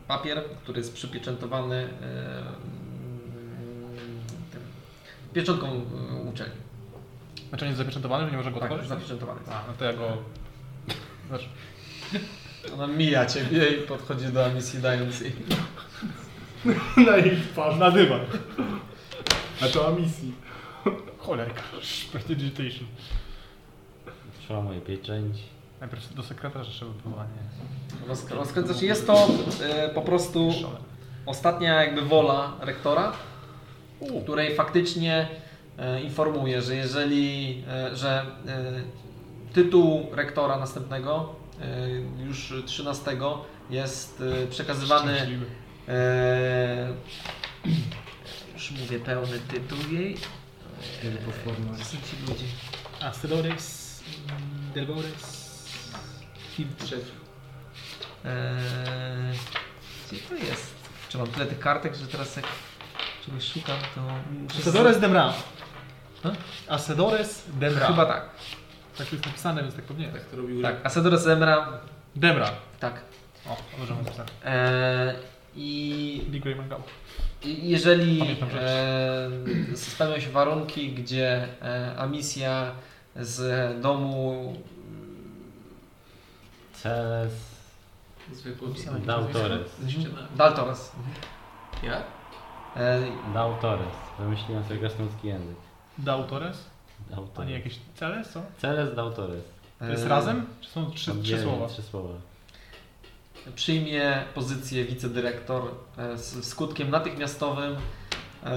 Speaker 1: papier, który jest przypieczętowany e, mm, tym, pieczątką e, uczelni.
Speaker 5: Znaczy nie jest zapieczętowany, że nie można go
Speaker 1: Tak,
Speaker 5: otworzyć?
Speaker 1: zapieczętowany.
Speaker 5: A, no to ja go... Znaczy,
Speaker 1: Ona mija ciebie i podchodzi do misji dając jej.
Speaker 6: Na jej twarz, na dywan. A to o misji.
Speaker 5: cholerka, prestidigitation.
Speaker 8: Szła moje pieczęć.
Speaker 5: Najpierw do sekretarza trzeba było, a nie...
Speaker 1: Rozk- Rozkręcasz. Jest to e, po prostu
Speaker 5: Szalę.
Speaker 1: ostatnia jakby wola rektora, której faktycznie e, informuje, że jeżeli, e, że e, tytuł rektora następnego, e, już 13, jest e, przekazywany.
Speaker 5: Szczęśliwy.
Speaker 1: E, już mówię pełny tytuł jej.
Speaker 15: Tylko formalnie.
Speaker 1: Są ci ludzie.
Speaker 16: Astedores, Delbores, Hiltrzew.
Speaker 1: Eee, gdzie to jest? Czy mam tyle tych kartek, że teraz jak czegoś szukam, to muszę...
Speaker 5: Asedores Demra.
Speaker 1: Ha?
Speaker 5: Asedores Demra.
Speaker 1: Chyba tak.
Speaker 5: Tak tu jest napisane, więc tak pewnie jest.
Speaker 2: To robił
Speaker 1: Tak, Asadores Emra,
Speaker 5: Demra.
Speaker 1: tak.
Speaker 5: O, dobrze mam napisane.
Speaker 1: Eee, I
Speaker 5: Big Ray Mangao.
Speaker 1: i- jeżeli
Speaker 5: Pamiętam, że
Speaker 1: eee, spełnią się warunki, gdzie e, Amisja z domu...
Speaker 8: Celes.
Speaker 2: zwykły.
Speaker 8: Dał Torres.
Speaker 1: Daltores.
Speaker 2: Ja?
Speaker 1: Eee,
Speaker 8: Dał Torres. Wymyśliłem sobie gasnącki język.
Speaker 5: Dał Torres?
Speaker 8: Dał
Speaker 5: To nie
Speaker 8: Torres.
Speaker 5: jakieś cele, co?
Speaker 8: Celes dał Torres.
Speaker 5: To jest
Speaker 1: eee,
Speaker 5: razem? Czy są trzy,
Speaker 8: Tam
Speaker 5: trzy
Speaker 8: dziewięć,
Speaker 5: słowa?
Speaker 8: Trzy słowa.
Speaker 1: przyjmie pozycję wicedyrektor e, z skutkiem natychmiastowym. E,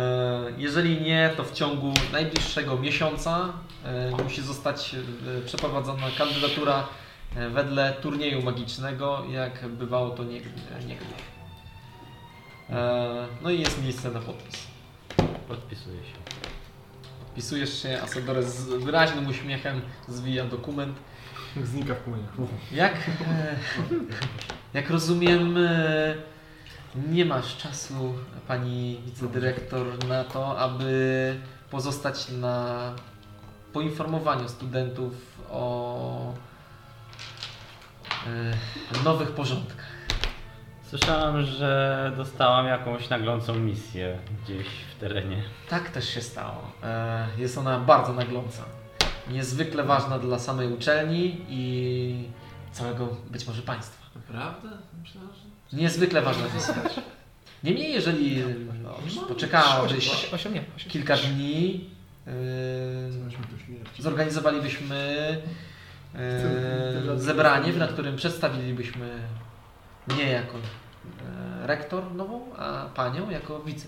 Speaker 1: Jeżeli nie, to w ciągu najbliższego miesiąca e, musi zostać e, przeprowadzona kandydatura e, wedle turnieju magicznego, jak bywało to nieg- niegdyś. E, No i jest miejsce na podpis.
Speaker 8: Podpisuję się.
Speaker 1: Wpisujesz się, Asadores z wyraźnym uśmiechem zwija dokument.
Speaker 6: Znika w płomieniach.
Speaker 1: Jak, e, jak rozumiem, e, nie masz czasu, pani wicedyrektor, na to, aby pozostać na poinformowaniu studentów o e, nowych porządkach.
Speaker 8: Słyszałem, że dostałam jakąś naglącą misję gdzieś w terenie.
Speaker 1: Tak też się stało. E, Jest ona bardzo nagląca. Niezwykle ważna dla samej uczelni i całego być może państwa.
Speaker 2: Naprawdę? Myślałem, że...
Speaker 1: Niezwykle ważna postać. Niemniej, jeżeli no, poczekałabyś
Speaker 5: no, Osiem nie. Osiem.
Speaker 1: kilka dni,
Speaker 6: Zobaczmy do śmierci.
Speaker 1: yy, zorganizowalibyśmy yy, zebranie, na którym przedstawilibyśmy mnie jako yy, rektor nową, a panią jako wice.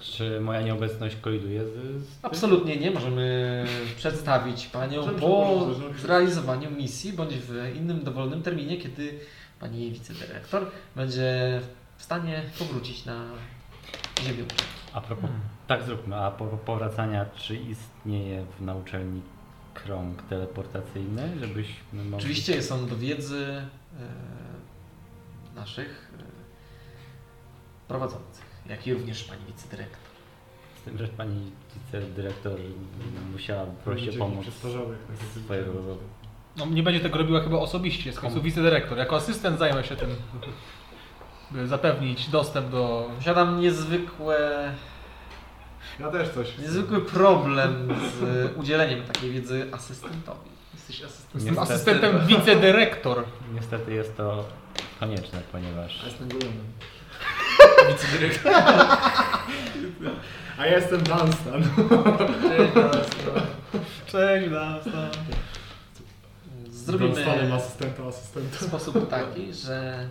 Speaker 8: Czy moja nieobecność koliduje z... z tym?
Speaker 1: Absolutnie nie możemy przedstawić panią
Speaker 6: Możemy
Speaker 1: po
Speaker 6: przełożyć, żeby-
Speaker 1: zrealizowaniu misji bądź w innym dowolnym terminie, kiedy pani wicedyrektor będzie w stanie powrócić na ziemię.
Speaker 8: A propos, tak zróbmy, a po powracania, czy istnieje w nauczelni krąg teleportacyjny, żebyśmy mogli...
Speaker 1: Oczywiście jest on do wiedzy e, naszych e, prowadzących, jak i również pani wicedyrektor.
Speaker 8: Z tym, że pani wicedyrektor musiała prosić
Speaker 6: Ludzie
Speaker 8: o pomoc
Speaker 6: przestarzałych, tak jak-
Speaker 8: swojego...
Speaker 5: No nie będzie tego robiła chyba osobiście, jest w końcu wicedyrektor. Jako asystent zajmę się tym, by zapewnić dostęp do...
Speaker 1: Posiadam niezwykłe,
Speaker 6: Ja też coś.
Speaker 1: niezwykły problem z udzieleniem takiej wiedzy asystentowi.
Speaker 2: Jesteś asystentem.
Speaker 5: Jestem
Speaker 8: Niestety.
Speaker 5: asystentem wicedyrektor.
Speaker 8: Niestety jest to konieczne, ponieważ...
Speaker 15: Jestem golemem.
Speaker 6: A ja jestem Dunstan.
Speaker 5: Cześć, Lasta.
Speaker 1: Zrobimy
Speaker 6: Dunstanem asystenta asystenta.
Speaker 1: w sposób taki, że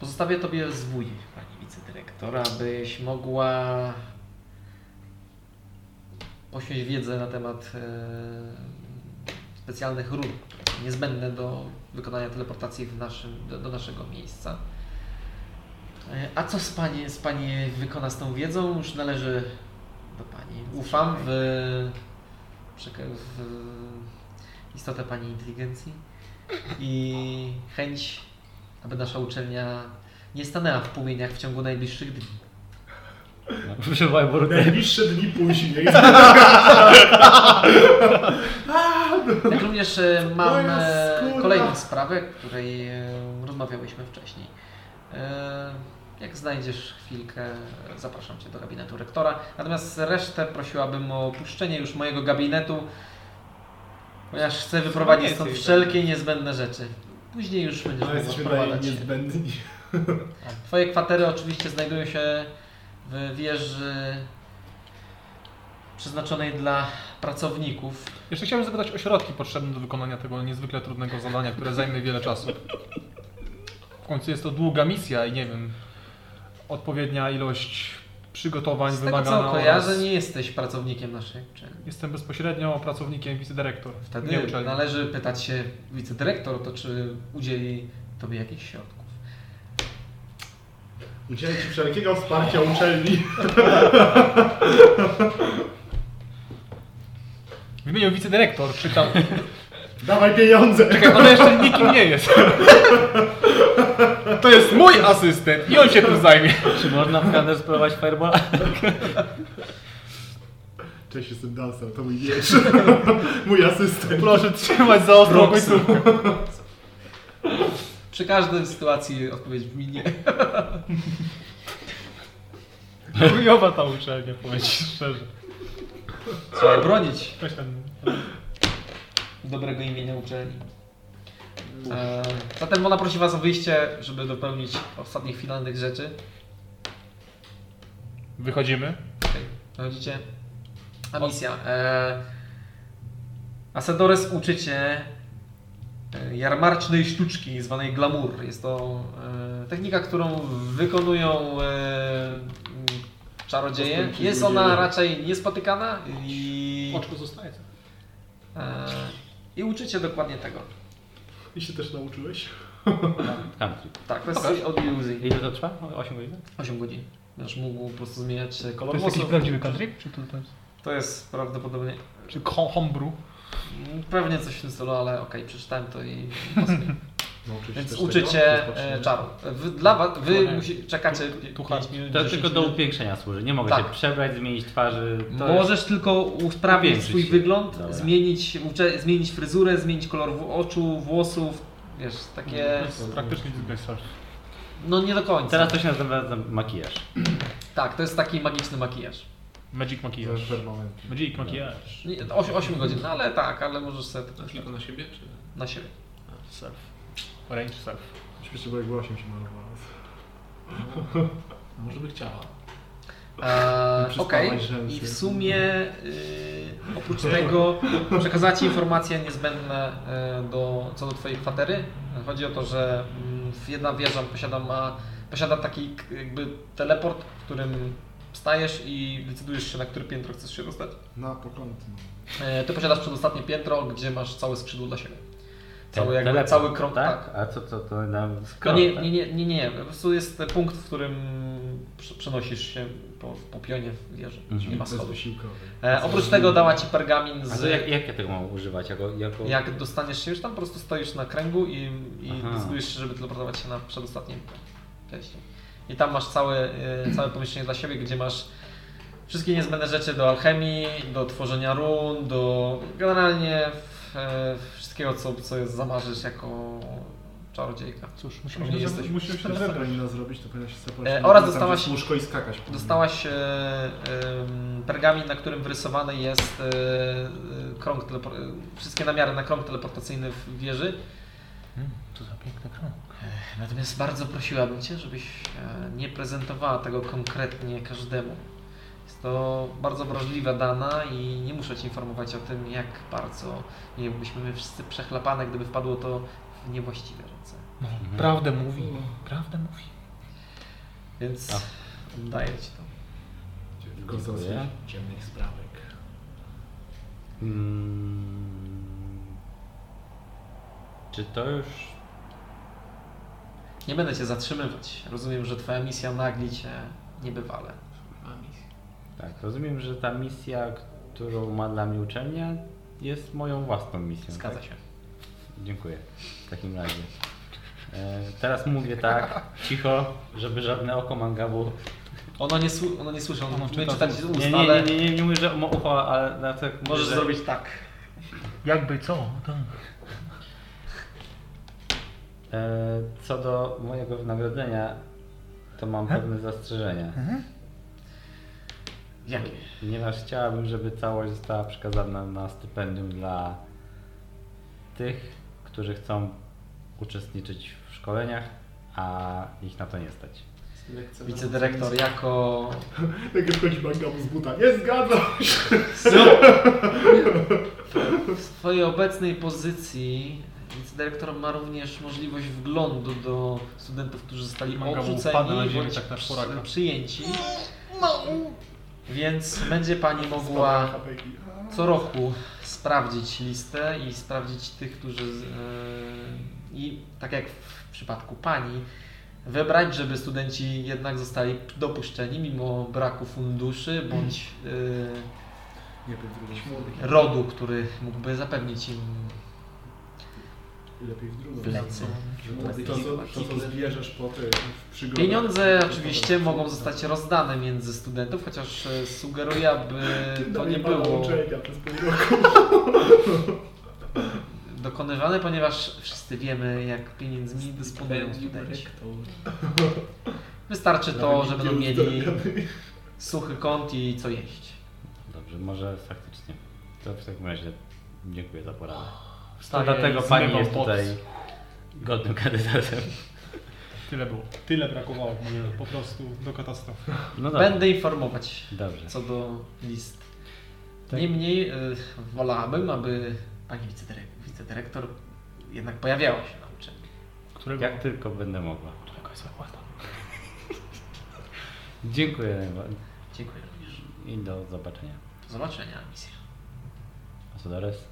Speaker 1: pozostawię Tobie zwój, Pani Wicedyrektor, abyś mogła posiąść wiedzę na temat e, specjalnych run, które są niezbędne do wykonania teleportacji w naszym, do, do naszego miejsca. E, A co z pani, z pani wykona z tą wiedzą? Już należy do Pani. Ufam w, przeka- w istotę Pani inteligencji i chęć, aby nasza uczelnia nie stanęła w płomieniach w ciągu najbliższych dni.
Speaker 3: No, Przywołaj burtę.
Speaker 6: Najbliższe dni później.
Speaker 1: Jak również e, mam
Speaker 6: Moja
Speaker 1: e,
Speaker 6: skóra.
Speaker 1: kolejną sprawę, o której e, rozmawiałyśmy wcześniej. E, Jak znajdziesz chwilkę, e, zapraszam Cię do gabinetu rektora. Natomiast resztę prosiłabym o opuszczenie już mojego gabinetu, ponieważ chcę wyprowadzić stąd
Speaker 4: jesteś,
Speaker 1: wszelkie niezbędne rzeczy. Później już będziesz
Speaker 6: No
Speaker 1: mógł
Speaker 6: jesteśmy tutaj
Speaker 1: odprowadzać się.
Speaker 6: niezbędni.
Speaker 1: Twoje kwatery oczywiście znajdują się w wieży przeznaczonej dla pracowników.
Speaker 5: Jeszcze chciałem zapytać o środki potrzebne do wykonania tego niezwykle trudnego zadania, które zajmie wiele czasu. W końcu jest to długa misja i nie wiem, odpowiednia ilość przygotowań
Speaker 1: Z tego
Speaker 5: wymagana
Speaker 1: co kojarzę,
Speaker 5: oraz-
Speaker 1: nie jesteś pracownikiem naszej uczelni.
Speaker 5: Jestem bezpośrednio pracownikiem wicedyrektor.
Speaker 1: Wtedy
Speaker 5: nie uczelni.
Speaker 1: należy pytać się wicedyrektor o to, czy udzieli Tobie jakichś środków.
Speaker 6: Udzielę Ci wszelkiego wsparcia uczelni.
Speaker 5: W imieniu wicedyrektor czytam.
Speaker 6: Dawaj pieniądze.
Speaker 5: Czekaj, ona jeszcze nikim nie jest. To jest mój asystent i on się tym zajmie.
Speaker 3: Czy można w kader spróbować fireballa?
Speaker 6: Cześć, jestem Dancer, to mój miecz. mój asystent.
Speaker 5: Proszę trzymać za ostrą
Speaker 6: Roxy.
Speaker 5: końcówkę.
Speaker 1: Przy każdej sytuacji odpowiedź brzmi nie.
Speaker 5: Chujowa ta uczelnia, powiem ci szczerze.
Speaker 1: Trzeba bronić
Speaker 5: Weź ten...
Speaker 1: dobrego imienia uczelni. E, zatem ona prosi Was o wyjście, żeby dopełnić ostatnich finalnych rzeczy.
Speaker 5: Wychodzimy.
Speaker 1: Widzicie? A misja. E, Asedores uczy cię e, jarmarcznej sztuczki zwanej glamour. Jest to e, technika, którą wykonują e, m, czarodzieje.
Speaker 6: Postępki
Speaker 1: Jest
Speaker 6: ludzie.
Speaker 1: ona raczej niespotykana i,
Speaker 4: Oczko zostaje.
Speaker 1: e, i uczy cię dokładnie tego.
Speaker 6: I się też nauczyłeś?
Speaker 3: Country.
Speaker 1: Tak, to jest coś od iluzji.
Speaker 3: Ile to trwa? 8 godzin?
Speaker 1: 8 godzin. Będziesz mógł po prostu zmieniać
Speaker 5: To
Speaker 1: kolor
Speaker 5: jest jakiś
Speaker 1: włosów.
Speaker 5: prawdziwy country? Czy to, to jest...
Speaker 1: To jest prawdopodobnie
Speaker 5: Czy ho- homebrew?
Speaker 1: mm, pewnie coś w tym stylu, ale okej, przeczytałem to i pasuje.
Speaker 6: Nauczyłeś
Speaker 1: Więc
Speaker 6: też
Speaker 1: uczycie
Speaker 6: tego? To jest
Speaker 1: e,
Speaker 6: patrzenie.
Speaker 1: czaru. Wy, dla was, wy
Speaker 5: Tu-
Speaker 1: musi, czekacie pi-
Speaker 5: tu
Speaker 1: pięć
Speaker 5: hard.
Speaker 1: minut,
Speaker 3: To
Speaker 1: 10
Speaker 3: tylko do
Speaker 1: minut.
Speaker 3: upiększenia służy. Nie mogę
Speaker 1: Tak.
Speaker 3: się przebrać, zmienić twarzy. To
Speaker 1: Możesz tylko usprawnić
Speaker 3: Upiększyć
Speaker 1: swój
Speaker 3: się.
Speaker 1: wygląd,
Speaker 3: Dobra.
Speaker 1: zmienić, ucze, zmienić fryzurę, zmienić kolor w oczu, włosów, wiesz, takie...
Speaker 5: To
Speaker 3: Mhm.
Speaker 5: jest praktycznie disguise.
Speaker 1: No nie do końca.
Speaker 3: jest... Teraz to się nazywa makijaż.
Speaker 1: Tak, to jest taki magiczny makijaż.
Speaker 5: Magic makijaż.
Speaker 14: Permanent.
Speaker 5: Magic makijaż.
Speaker 1: 8, 8 godzin, no ale tak, ale możesz sobie
Speaker 2: To tylko na siebie, czy...
Speaker 1: na siebie.
Speaker 5: Surf. Orange surf.
Speaker 6: Oczywiście, bo jak była 8 się malowała.
Speaker 2: Może by chciała.
Speaker 1: Eee, Okej,
Speaker 6: Przyspawać rzęsy.
Speaker 1: i w sumie yy, oprócz tego przekazała Ci informacje niezbędne yy, do, co do Twojej kwatery. Chodzi o to, że mm, jedna wieża posiada, ma, posiada taki k- jakby teleport, w którym wstajesz i decydujesz się, na które piętro chcesz się dostać.
Speaker 14: Na początku.
Speaker 1: Yy, Ty posiadasz przedostatnie piętro, gdzie masz całe skrzydło dla siebie. Cały,
Speaker 3: Te-
Speaker 1: jakby,
Speaker 3: teleport,
Speaker 1: cały krąg, tak.
Speaker 3: tak? A co, co to nam
Speaker 1: No
Speaker 3: skrót,
Speaker 1: nie,
Speaker 3: tak?
Speaker 1: nie, nie, nie, nie, po prostu jest punkt, w którym prze- przenosisz się po, po pionie wieży,
Speaker 3: Mhm.
Speaker 1: czyli ma
Speaker 6: Bez
Speaker 1: schody.
Speaker 6: wysiłkowej.
Speaker 1: E, oprócz tego dała ci pergamin
Speaker 3: A
Speaker 1: z.
Speaker 3: to jak, jak ja tego mam używać? Jako, jako...
Speaker 1: Jak dostaniesz się już tam, po prostu stoisz na kręgu i, i
Speaker 3: Aha.
Speaker 1: decydujesz się, żeby teleportować się na przedostatnim pierścień. I tam masz całe, e, całe pomieszczenie dla siebie, gdzie masz wszystkie niezbędne rzeczy do alchemii, do tworzenia run, do generalnie w, e, wszystkiego, co, co jest zamarzysz jako czarodziejka.
Speaker 5: Cóż,
Speaker 1: Nie
Speaker 5: musimy się
Speaker 1: jesteś-
Speaker 6: Musimy się rozebrać zrobić, to powinno się separować.
Speaker 1: E,
Speaker 6: na
Speaker 1: oraz
Speaker 6: tam,
Speaker 1: dostałaś-
Speaker 6: przez łóżko i skakać. po nim.
Speaker 1: Dostałaś e, em, pergamin, na którym wyrysowany jest e, e, krąg telepor- e, wszystkie namiary na krąg teleportacyjny w wieży.
Speaker 5: Co za piękny krąg.
Speaker 1: Natomiast bardzo prosiłabym Cię, żebyś e, nie prezentowała tego konkretnie każdemu. Jest to bardzo wrażliwa dana i nie muszę Cię informować o tym, jak bardzo nie byliśmy my wszyscy przechlapane, gdyby wpadło to w niewłaściwe ręce.
Speaker 5: No, prawdę mówi. Prawdę mówi.
Speaker 1: Więc
Speaker 8: Tak.
Speaker 3: A.
Speaker 1: daję Ci to.
Speaker 6: Tylko z osób
Speaker 3: Dziękuję.
Speaker 6: ciemnych sprawek.
Speaker 3: Mm. Czy to już...
Speaker 1: Nie będę Cię zatrzymywać. Rozumiem, że Twoja misja nagli Cię niebywale.
Speaker 2: Kurwa, misja.
Speaker 3: Tak, rozumiem, że ta misja, którą ma dla mnie uczelnia, jest moją własną misją.
Speaker 1: Zgadza
Speaker 3: tak?
Speaker 1: się.
Speaker 3: Dziękuję. W takim razie. E, teraz mówię tak, cicho, żeby żadne oko mangabu
Speaker 1: Ono nie, słu- ono nie słyszy, ono
Speaker 5: Ono
Speaker 1: umie
Speaker 5: czyta
Speaker 1: czytać
Speaker 5: z
Speaker 1: ustawę.
Speaker 8: Nie, nie, nie, nie, nie, nie mówię, że ma ucho, ale na tak mówię,
Speaker 1: Możesz
Speaker 8: że...
Speaker 1: zrobić tak.
Speaker 5: Jakby co?
Speaker 8: E, co do mojego wynagrodzenia, to mam pewne zastrzeżenia.
Speaker 1: Jakie?
Speaker 8: Ponieważ chciałabym, żeby całość została przekazana na stypendium dla tych, którzy chcą uczestniczyć w szkoleniach, a ich na to nie stać.
Speaker 1: Wicedyrektor jako...
Speaker 17: Jak wchodzi Magdamu z buta. Nie zgadzam!
Speaker 1: W swojej obecnej pozycji wicedyrektor ma również możliwość wglądu do studentów, którzy zostali
Speaker 5: Manga mu upada na
Speaker 1: odrzuceni
Speaker 5: ziemi,
Speaker 1: bądź
Speaker 5: tak na czworaka.
Speaker 1: przyjęci. Więc będzie pani mogła co roku sprawdzić listę i sprawdzić tych, którzy. z- e, I tak jak w przypadku pani, wybrać, żeby studenci jednak zostali dopuszczeni mimo braku funduszy bądź
Speaker 18: Nie był drugi.
Speaker 1: e, rodu, który mógłby zapewnić im
Speaker 6: Lepiej w drugą.
Speaker 1: plecy.
Speaker 6: To, co, to, co zbierzesz po tym w przygodach.
Speaker 1: Pieniądze oczywiście mogą zostać rozdane między studentów, chociaż e, sugeruję, aby to nie było dokonywane, ponieważ wszyscy wiemy, jak pieniędzmi dysponują studenci. Wystarczy to, że będą mieli suchy kąt i co jeść.
Speaker 8: Dobrze, może faktycznie. To w takim razie dziękuję za poradę. To
Speaker 5: Wstaję
Speaker 8: dlatego
Speaker 5: i
Speaker 8: pani
Speaker 5: zmywam
Speaker 8: jest
Speaker 5: pot.
Speaker 8: tutaj godnym kandydatem.
Speaker 5: Tyle było.
Speaker 19: Tyle brakowało po prostu do katastrofy.
Speaker 8: No dobrze.
Speaker 1: Będę informować
Speaker 8: Dobrze.
Speaker 1: co do list. Niemniej y, wolałabym, aby pani wicedyrektor, wicedyrektor jednak pojawiała się na uczelni.
Speaker 5: Którego?
Speaker 8: Jak tylko tak będę mogła. Dziękuję najbardziej
Speaker 1: Dziękuję również.
Speaker 8: i do zobaczenia.
Speaker 1: Do zobaczenia, misja.
Speaker 8: A co do rest?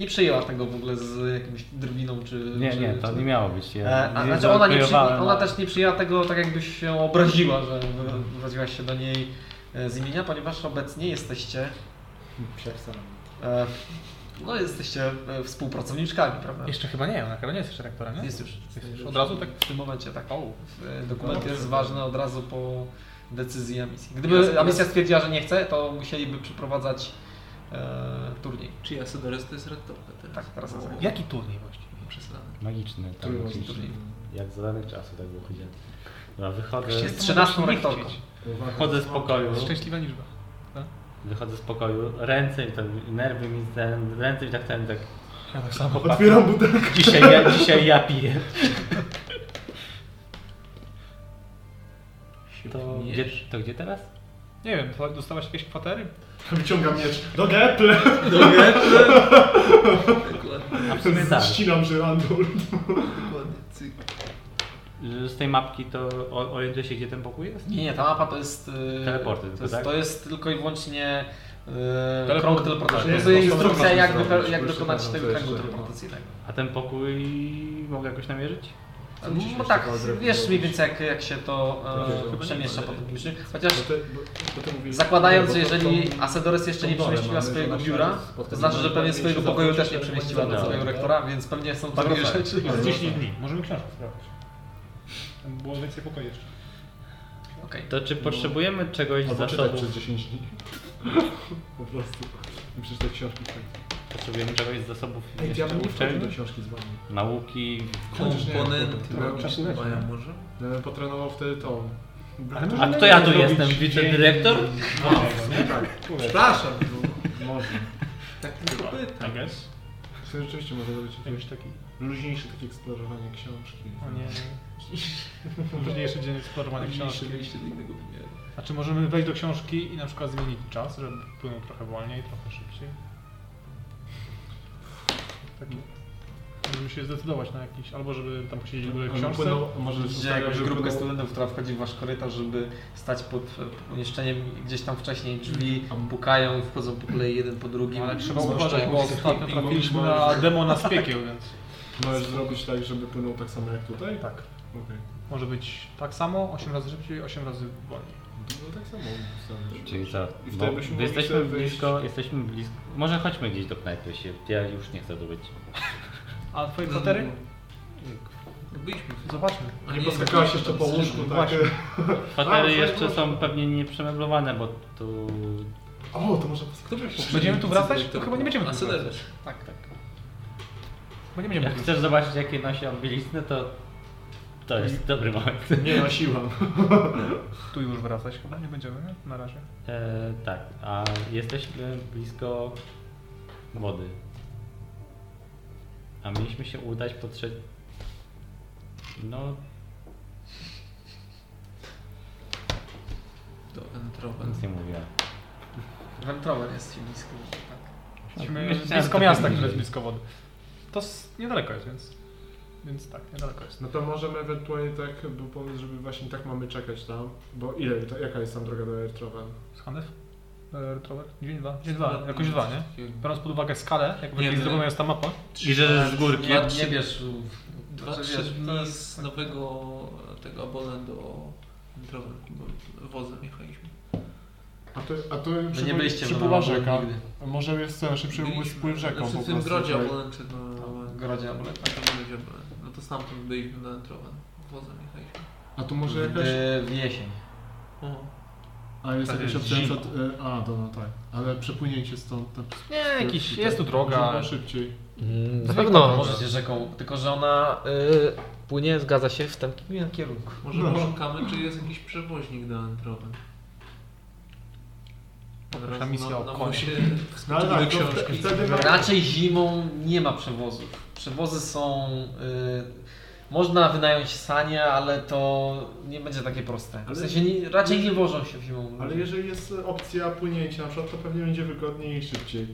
Speaker 1: Nie przyjęła tego w ogóle z jakąś drwiną czy...
Speaker 8: Nie,
Speaker 1: czy,
Speaker 8: nie, to
Speaker 1: czy...
Speaker 8: nie no. miało być. Ja
Speaker 1: E, a, znaczy ona, nie przy, ona też nie przyjęła tego tak jakbyś się obraziła, że wy- wyraziłaś się do niej e, z imienia, ponieważ obecnie jesteście, e, no jesteście e, współpracowniczkami, prawda?
Speaker 5: Jeszcze chyba nie, ona chyba nie jest jeszcze rektorem, nie?
Speaker 1: Jest już.
Speaker 5: Jest już. Od razu tak?
Speaker 1: W tym momencie, tak.
Speaker 5: O, no,
Speaker 1: E, Dokument jest ważny od razu po decyzji misji. Gdyby misja stwierdziła, że nie chce, to musieliby przeprowadzać e, turniej.
Speaker 2: Czy ja Sodores to jest rektorka teraz?
Speaker 1: Tak, teraz jest rektorka.
Speaker 5: Jaki turniej właściwie?
Speaker 2: Przesadne.
Speaker 8: Magiczny, tak,
Speaker 6: Trójmocny
Speaker 8: magiczny.
Speaker 1: turniej.
Speaker 8: Jak za danych czasów tak wychodzi. Dobra, wychodzę,
Speaker 1: Jest 13 rektorką.
Speaker 8: wychodzę z pokoju,
Speaker 5: Szczęśliwa liczba.
Speaker 8: wychodzę z pokoju, ręce i tam nerwy mi ten, ręce mi tak ten, tak
Speaker 5: Ja tak samo.
Speaker 17: Otwieram butelkę.
Speaker 8: dzisiaj ja, dzisiaj ja piję. To gdzie, to gdzie teraz?
Speaker 5: Nie wiem, to dostałaś jakieś kwatery?
Speaker 17: Wyciągam miecz. Do Geple!
Speaker 2: Dokładnie,
Speaker 8: Absolutnie tak.
Speaker 17: Ścinam żyrandol.
Speaker 2: dokładnie. Cyk.
Speaker 8: Z tej mapki to o- orientuję się gdzie ten pokój jest?
Speaker 1: Nie, nie, ta mapa to jest. e,
Speaker 8: Teleporty
Speaker 1: to
Speaker 8: tylko,
Speaker 1: jest,
Speaker 8: tak?
Speaker 1: to jest tylko i wyłącznie e,
Speaker 5: Teleport-
Speaker 1: krąg teleportacyjny.
Speaker 5: tak,
Speaker 1: To jest
Speaker 17: to
Speaker 1: instrukcja,
Speaker 17: można
Speaker 1: jak,
Speaker 17: zrobić,
Speaker 1: wype-
Speaker 17: bo
Speaker 1: jak
Speaker 17: jeszcze
Speaker 1: dokonać
Speaker 17: tam
Speaker 1: tego
Speaker 17: coś
Speaker 1: kręgu
Speaker 17: trzeba.
Speaker 1: teleportacyjnego.
Speaker 8: A ten pokój mogę jakoś namierzyć?
Speaker 1: No,
Speaker 17: jeszcze
Speaker 1: tak,
Speaker 17: trzeba zrobić?
Speaker 1: wiesz mniej więcej, jak, jak się to e,
Speaker 17: Chyba
Speaker 1: przemieszcza
Speaker 17: nie,
Speaker 1: po tym
Speaker 17: ale-
Speaker 1: piszy. Chociaż
Speaker 17: Bo ty- bo- bo ty mówisz-
Speaker 1: zakładając,
Speaker 17: bo
Speaker 1: że
Speaker 17: to-
Speaker 1: jeżeli
Speaker 17: to-
Speaker 1: Asedores jeszcze nie
Speaker 17: tą dolę
Speaker 1: przemieściła
Speaker 17: mamy, że
Speaker 1: swojego
Speaker 17: nasza
Speaker 1: biura,
Speaker 17: jest
Speaker 1: to
Speaker 17: spotkanie
Speaker 1: znaczy, że pewnie
Speaker 17: najważniejsze
Speaker 1: swojego pokoju też nie
Speaker 17: zakończenie,
Speaker 1: przemieściła do
Speaker 8: tak.
Speaker 1: swojego rektora, więc pewnie są to dwie rzeczy.
Speaker 19: Jest 10 dni, możemy książkę sprawdzić. Tam Było więcej pokoi jeszcze.
Speaker 1: Okej.
Speaker 8: To czy potrzebujemy czegoś z
Speaker 6: Albo czytać
Speaker 8: zasobów?
Speaker 6: przez 10 dni. Po prostu. I przeczytać książki.
Speaker 8: Potrzebujemy czegoś z zasobów
Speaker 6: Ej, ja
Speaker 8: jeszcze
Speaker 6: bym nie wchodził do
Speaker 8: uczelni?
Speaker 6: książki z wami.
Speaker 8: Nauki,
Speaker 2: Komponenty
Speaker 6: Trochę czasu
Speaker 2: logiczne,
Speaker 6: leci.
Speaker 2: a ja może?
Speaker 6: Ja bym potrenował wtedy tą.
Speaker 8: A kto ja tu jestem? Wicedyrektor?
Speaker 5: No, tak.
Speaker 2: Przepraszam, no.
Speaker 6: Może.
Speaker 2: tak tylko pytam.
Speaker 19: Tak jest.
Speaker 6: W sumie rzeczywiście może zrobić jakieś taki luźniejsze takie eksplorowanie książki.
Speaker 5: O nie. Ważniejszy dzień eksplorowania książki.
Speaker 2: Oczywiście do innego wymiaru.
Speaker 5: A czy możemy wejść do książki i na przykład zmienić czas, żeby płynął trochę wolniej, trochę szybciej? Tak. Możemy się zdecydować na jakiś, albo żeby tam posiedzieć w książce.
Speaker 6: Płynął, a może
Speaker 1: Widzicie jakąś grupkę studentów, która wchodzi w wasz korytarz, żeby stać pod e, pomieszczeniem gdzieś tam wcześniej drzwi, pukają i wchodzą po kolei jeden po drugim.
Speaker 5: Mhm. No, Ale trzeba
Speaker 1: Zwłaszcza
Speaker 5: uważać,
Speaker 1: jak
Speaker 5: bo
Speaker 1: jesteś-
Speaker 5: ostatnio trafiliśmy na demona z piekieł, więc
Speaker 6: Możesz zrobić tak, żeby płynął tak samo jak tutaj?
Speaker 5: tak.
Speaker 6: Okej.
Speaker 5: Może być tak samo, 8 razy szybciej, 8 razy wolniej.
Speaker 6: No tak samo. ustawiasz.
Speaker 8: Czyli co?
Speaker 6: I
Speaker 8: Bo
Speaker 6: wtedy byśmy mogli
Speaker 8: jesteśmy
Speaker 6: sobie wyjść-
Speaker 8: blisko, jesteśmy blisko. Może chodźmy gdzieś do knajpy się. Ja już nie chcę tu być.
Speaker 5: A twoje kwatery?
Speaker 2: Byliśmy.
Speaker 5: Zobaczmy.
Speaker 2: A
Speaker 6: Nie poskakałaś jeszcze po łóżku, tak?
Speaker 5: Właśnie.
Speaker 6: A,
Speaker 8: Kwatery jeszcze
Speaker 6: proszę.
Speaker 8: są pewnie nieprzemeblowane, bo tu...
Speaker 6: O, to może poskakać.
Speaker 2: Kto był poprzednim
Speaker 5: Będziemy tu wracać? To
Speaker 2: dyrektorem?
Speaker 5: chyba nie będziemy tu
Speaker 2: A Syler
Speaker 5: wracać.
Speaker 2: też.
Speaker 5: Tak, tak. Bo nie będziemy
Speaker 8: Jak chcesz zobaczyć jakie nosi on bieliznę, to... To jest dobry moment.
Speaker 6: Nie nosiłam.
Speaker 5: tu już wracać, chyba nie będziemy, nie? Na razie.
Speaker 8: E, tak, a jesteśmy blisko wody. A mieliśmy się udać po trze... No,
Speaker 2: Do Entropen.
Speaker 8: nic nie mówiłem.
Speaker 1: Wentrower jest ci blisko. tak.
Speaker 5: Jesteśmy
Speaker 8: Myślałem,
Speaker 5: blisko
Speaker 8: że
Speaker 5: miasta,
Speaker 8: tak
Speaker 5: które jest
Speaker 8: bliżej.
Speaker 5: blisko wody. To s- niedaleko jest, więc... Więc tak, niedaleko jest.
Speaker 6: No to możemy ewentualnie tak, był pomysł, żeby właśnie tak mamy czekać tam. Bo ile, to, jaka jest tam droga do Airtrowen?
Speaker 5: Skanew? Retrower? Dzień dwa. Dzień dwa, jakoś dwa, nie? Biorąc pod uwagę skalę, jak
Speaker 2: Nie,
Speaker 5: będzie
Speaker 2: nie.
Speaker 5: zrobiona jest ta mapa,
Speaker 8: I że z górki.
Speaker 1: Nie, nie bierz.
Speaker 2: Dwa,
Speaker 1: znaczy,
Speaker 2: trzy
Speaker 1: wiesz, to
Speaker 5: no,
Speaker 2: dni
Speaker 1: jest
Speaker 2: z nowego tego abonent do Entropen, bo wozem jechaliśmy.
Speaker 6: A to, a to
Speaker 1: Wy no nie byliście na
Speaker 6: przypływa
Speaker 1: Nowogrodzie
Speaker 6: rzeka.
Speaker 1: nigdy.
Speaker 6: Może jest co, szybszy
Speaker 2: Byliśmy.
Speaker 6: spływ rzeką
Speaker 2: Znaczy,
Speaker 6: po
Speaker 2: W tym
Speaker 6: prostu.
Speaker 2: grodzie
Speaker 6: tak.
Speaker 2: abonent, czy no...
Speaker 1: W Grodzie Abonent.
Speaker 2: Tak, w grodzie abonent. No to stamtąd byliśmy na Entropen. Wozem jechaliśmy.
Speaker 6: A tu może jakaś...
Speaker 1: Gdy w jesień.
Speaker 2: O.
Speaker 6: A jest
Speaker 5: Tak,
Speaker 6: jakaś
Speaker 5: jest
Speaker 6: opcja na
Speaker 5: zima.
Speaker 6: przykład... y, A, to no tak. Ale przepłynięcie stąd... Tak,
Speaker 5: Nie, jakiś, jest tu
Speaker 6: Może
Speaker 5: droga.
Speaker 6: było szybciej.
Speaker 1: Mm, Na pewno możecie rzeką, tylko że ona y, płynie, zgadza się w takim kierunku.
Speaker 2: Może
Speaker 6: No.
Speaker 2: poszukamy, czy jest jakiś przewoźnik do Entropen.
Speaker 5: Poproszę misję
Speaker 2: no,
Speaker 5: o konie.
Speaker 6: No ale tak, to
Speaker 2: książki.
Speaker 6: wte- wtedy ma...
Speaker 1: Raczej zimą nie ma przewozów. Przewozy są. Y, można wynająć sanie, ale to nie będzie takie proste.
Speaker 6: Ale-
Speaker 1: W sensie nie, raczej nie wożą się zimą.
Speaker 6: Ale jeżeli jest opcja płynięcia na przykład, to pewnie będzie wygodniej i szybciej.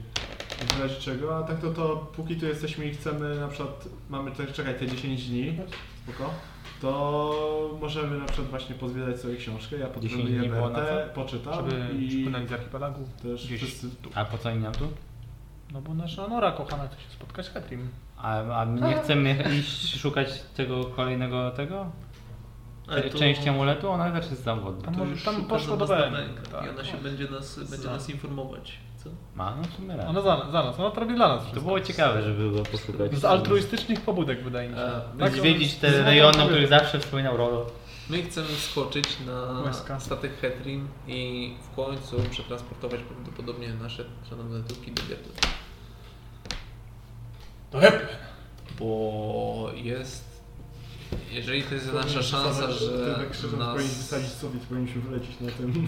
Speaker 6: W razie czego, a tak to to póki tu jesteśmy i chcemy na przykład, mamy tutaj czekać te 10 dni, spoko, to możemy na przykład właśnie pozwiedzać sobie książkę, ja
Speaker 8: 10 dni
Speaker 6: podpróbuję
Speaker 8: było na
Speaker 6: BRT,
Speaker 8: co?
Speaker 6: poczytam
Speaker 5: Żeby
Speaker 6: i
Speaker 5: przypłynęli z archipelagu.
Speaker 6: też
Speaker 5: gdzieś
Speaker 6: wszyscy...
Speaker 8: A po co oni nam tu?
Speaker 5: No bo nasza Nora kochana chce się spotkać z Hetrim.
Speaker 8: A, a my
Speaker 6: Tak.
Speaker 8: nie chcemy iść szukać tego kolejnego tego?
Speaker 6: E,
Speaker 2: Ale
Speaker 8: Te-
Speaker 2: to-
Speaker 8: Części amuletu? Ona też jest tam wodna.
Speaker 5: Tam,
Speaker 2: To
Speaker 5: może,
Speaker 2: już Tak.
Speaker 5: tam poszła do
Speaker 2: nas na
Speaker 5: BN.
Speaker 2: bank
Speaker 5: Tak.
Speaker 2: I ona się będzie nas, będzie nas informować. Co?
Speaker 8: Ma? No w sumie raz.
Speaker 5: Ona za, za nas, ona to robi dla nas
Speaker 8: To
Speaker 5: wszystko.
Speaker 8: było ciekawe, żeby go poszukać.
Speaker 5: Z altruistycznych pobudek wydaje mi się.
Speaker 2: E, my,
Speaker 8: Tak, Zwiedzić te rejony, o których zawsze wspominał Rolo.
Speaker 2: my chcemy skoczyć na
Speaker 5: Łezka.
Speaker 2: statek Hetrim i w końcu przetransportować prawdopodobnie nasze szanowne tuki do Gertu.
Speaker 5: To Hepler!
Speaker 2: Bo jest... Jeżeli to jest nasza szansa, że
Speaker 6: Wtedy krzyżem nas... powinien
Speaker 2: nas...
Speaker 6: wysadzić sobie, powinniśmy wylecieć na tym.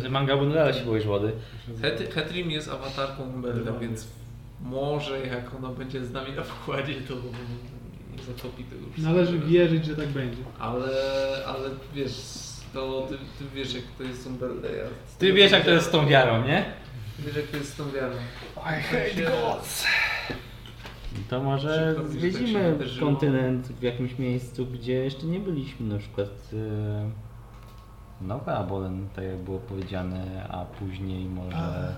Speaker 8: Z manga Bundala się boisz wody.
Speaker 2: Het- Hetrim jest awatarką Humberta,
Speaker 6: Dokładnie.
Speaker 2: więc może jak ona będzie z nami na pokładzie, to nie zatopi tego już.
Speaker 20: Należy wierzyć, że tak będzie.
Speaker 2: Ale, ale wiesz, to ty, ty wiesz jak to jest Umberleja.
Speaker 8: Ty wiesz jak to jest z tą wiarą, nie?
Speaker 2: Ty wiesz jak to jest z tą wiarą.
Speaker 5: I hate gods!
Speaker 8: To może
Speaker 2: Szybko
Speaker 3: tak
Speaker 2: widzisz, jak się
Speaker 8: zwiedzimy
Speaker 2: wydarzyło.
Speaker 8: kontynent w jakimś miejscu, gdzie jeszcze nie byliśmy, na przykład e, Nowy Abolen, tak jak było powiedziane, a później może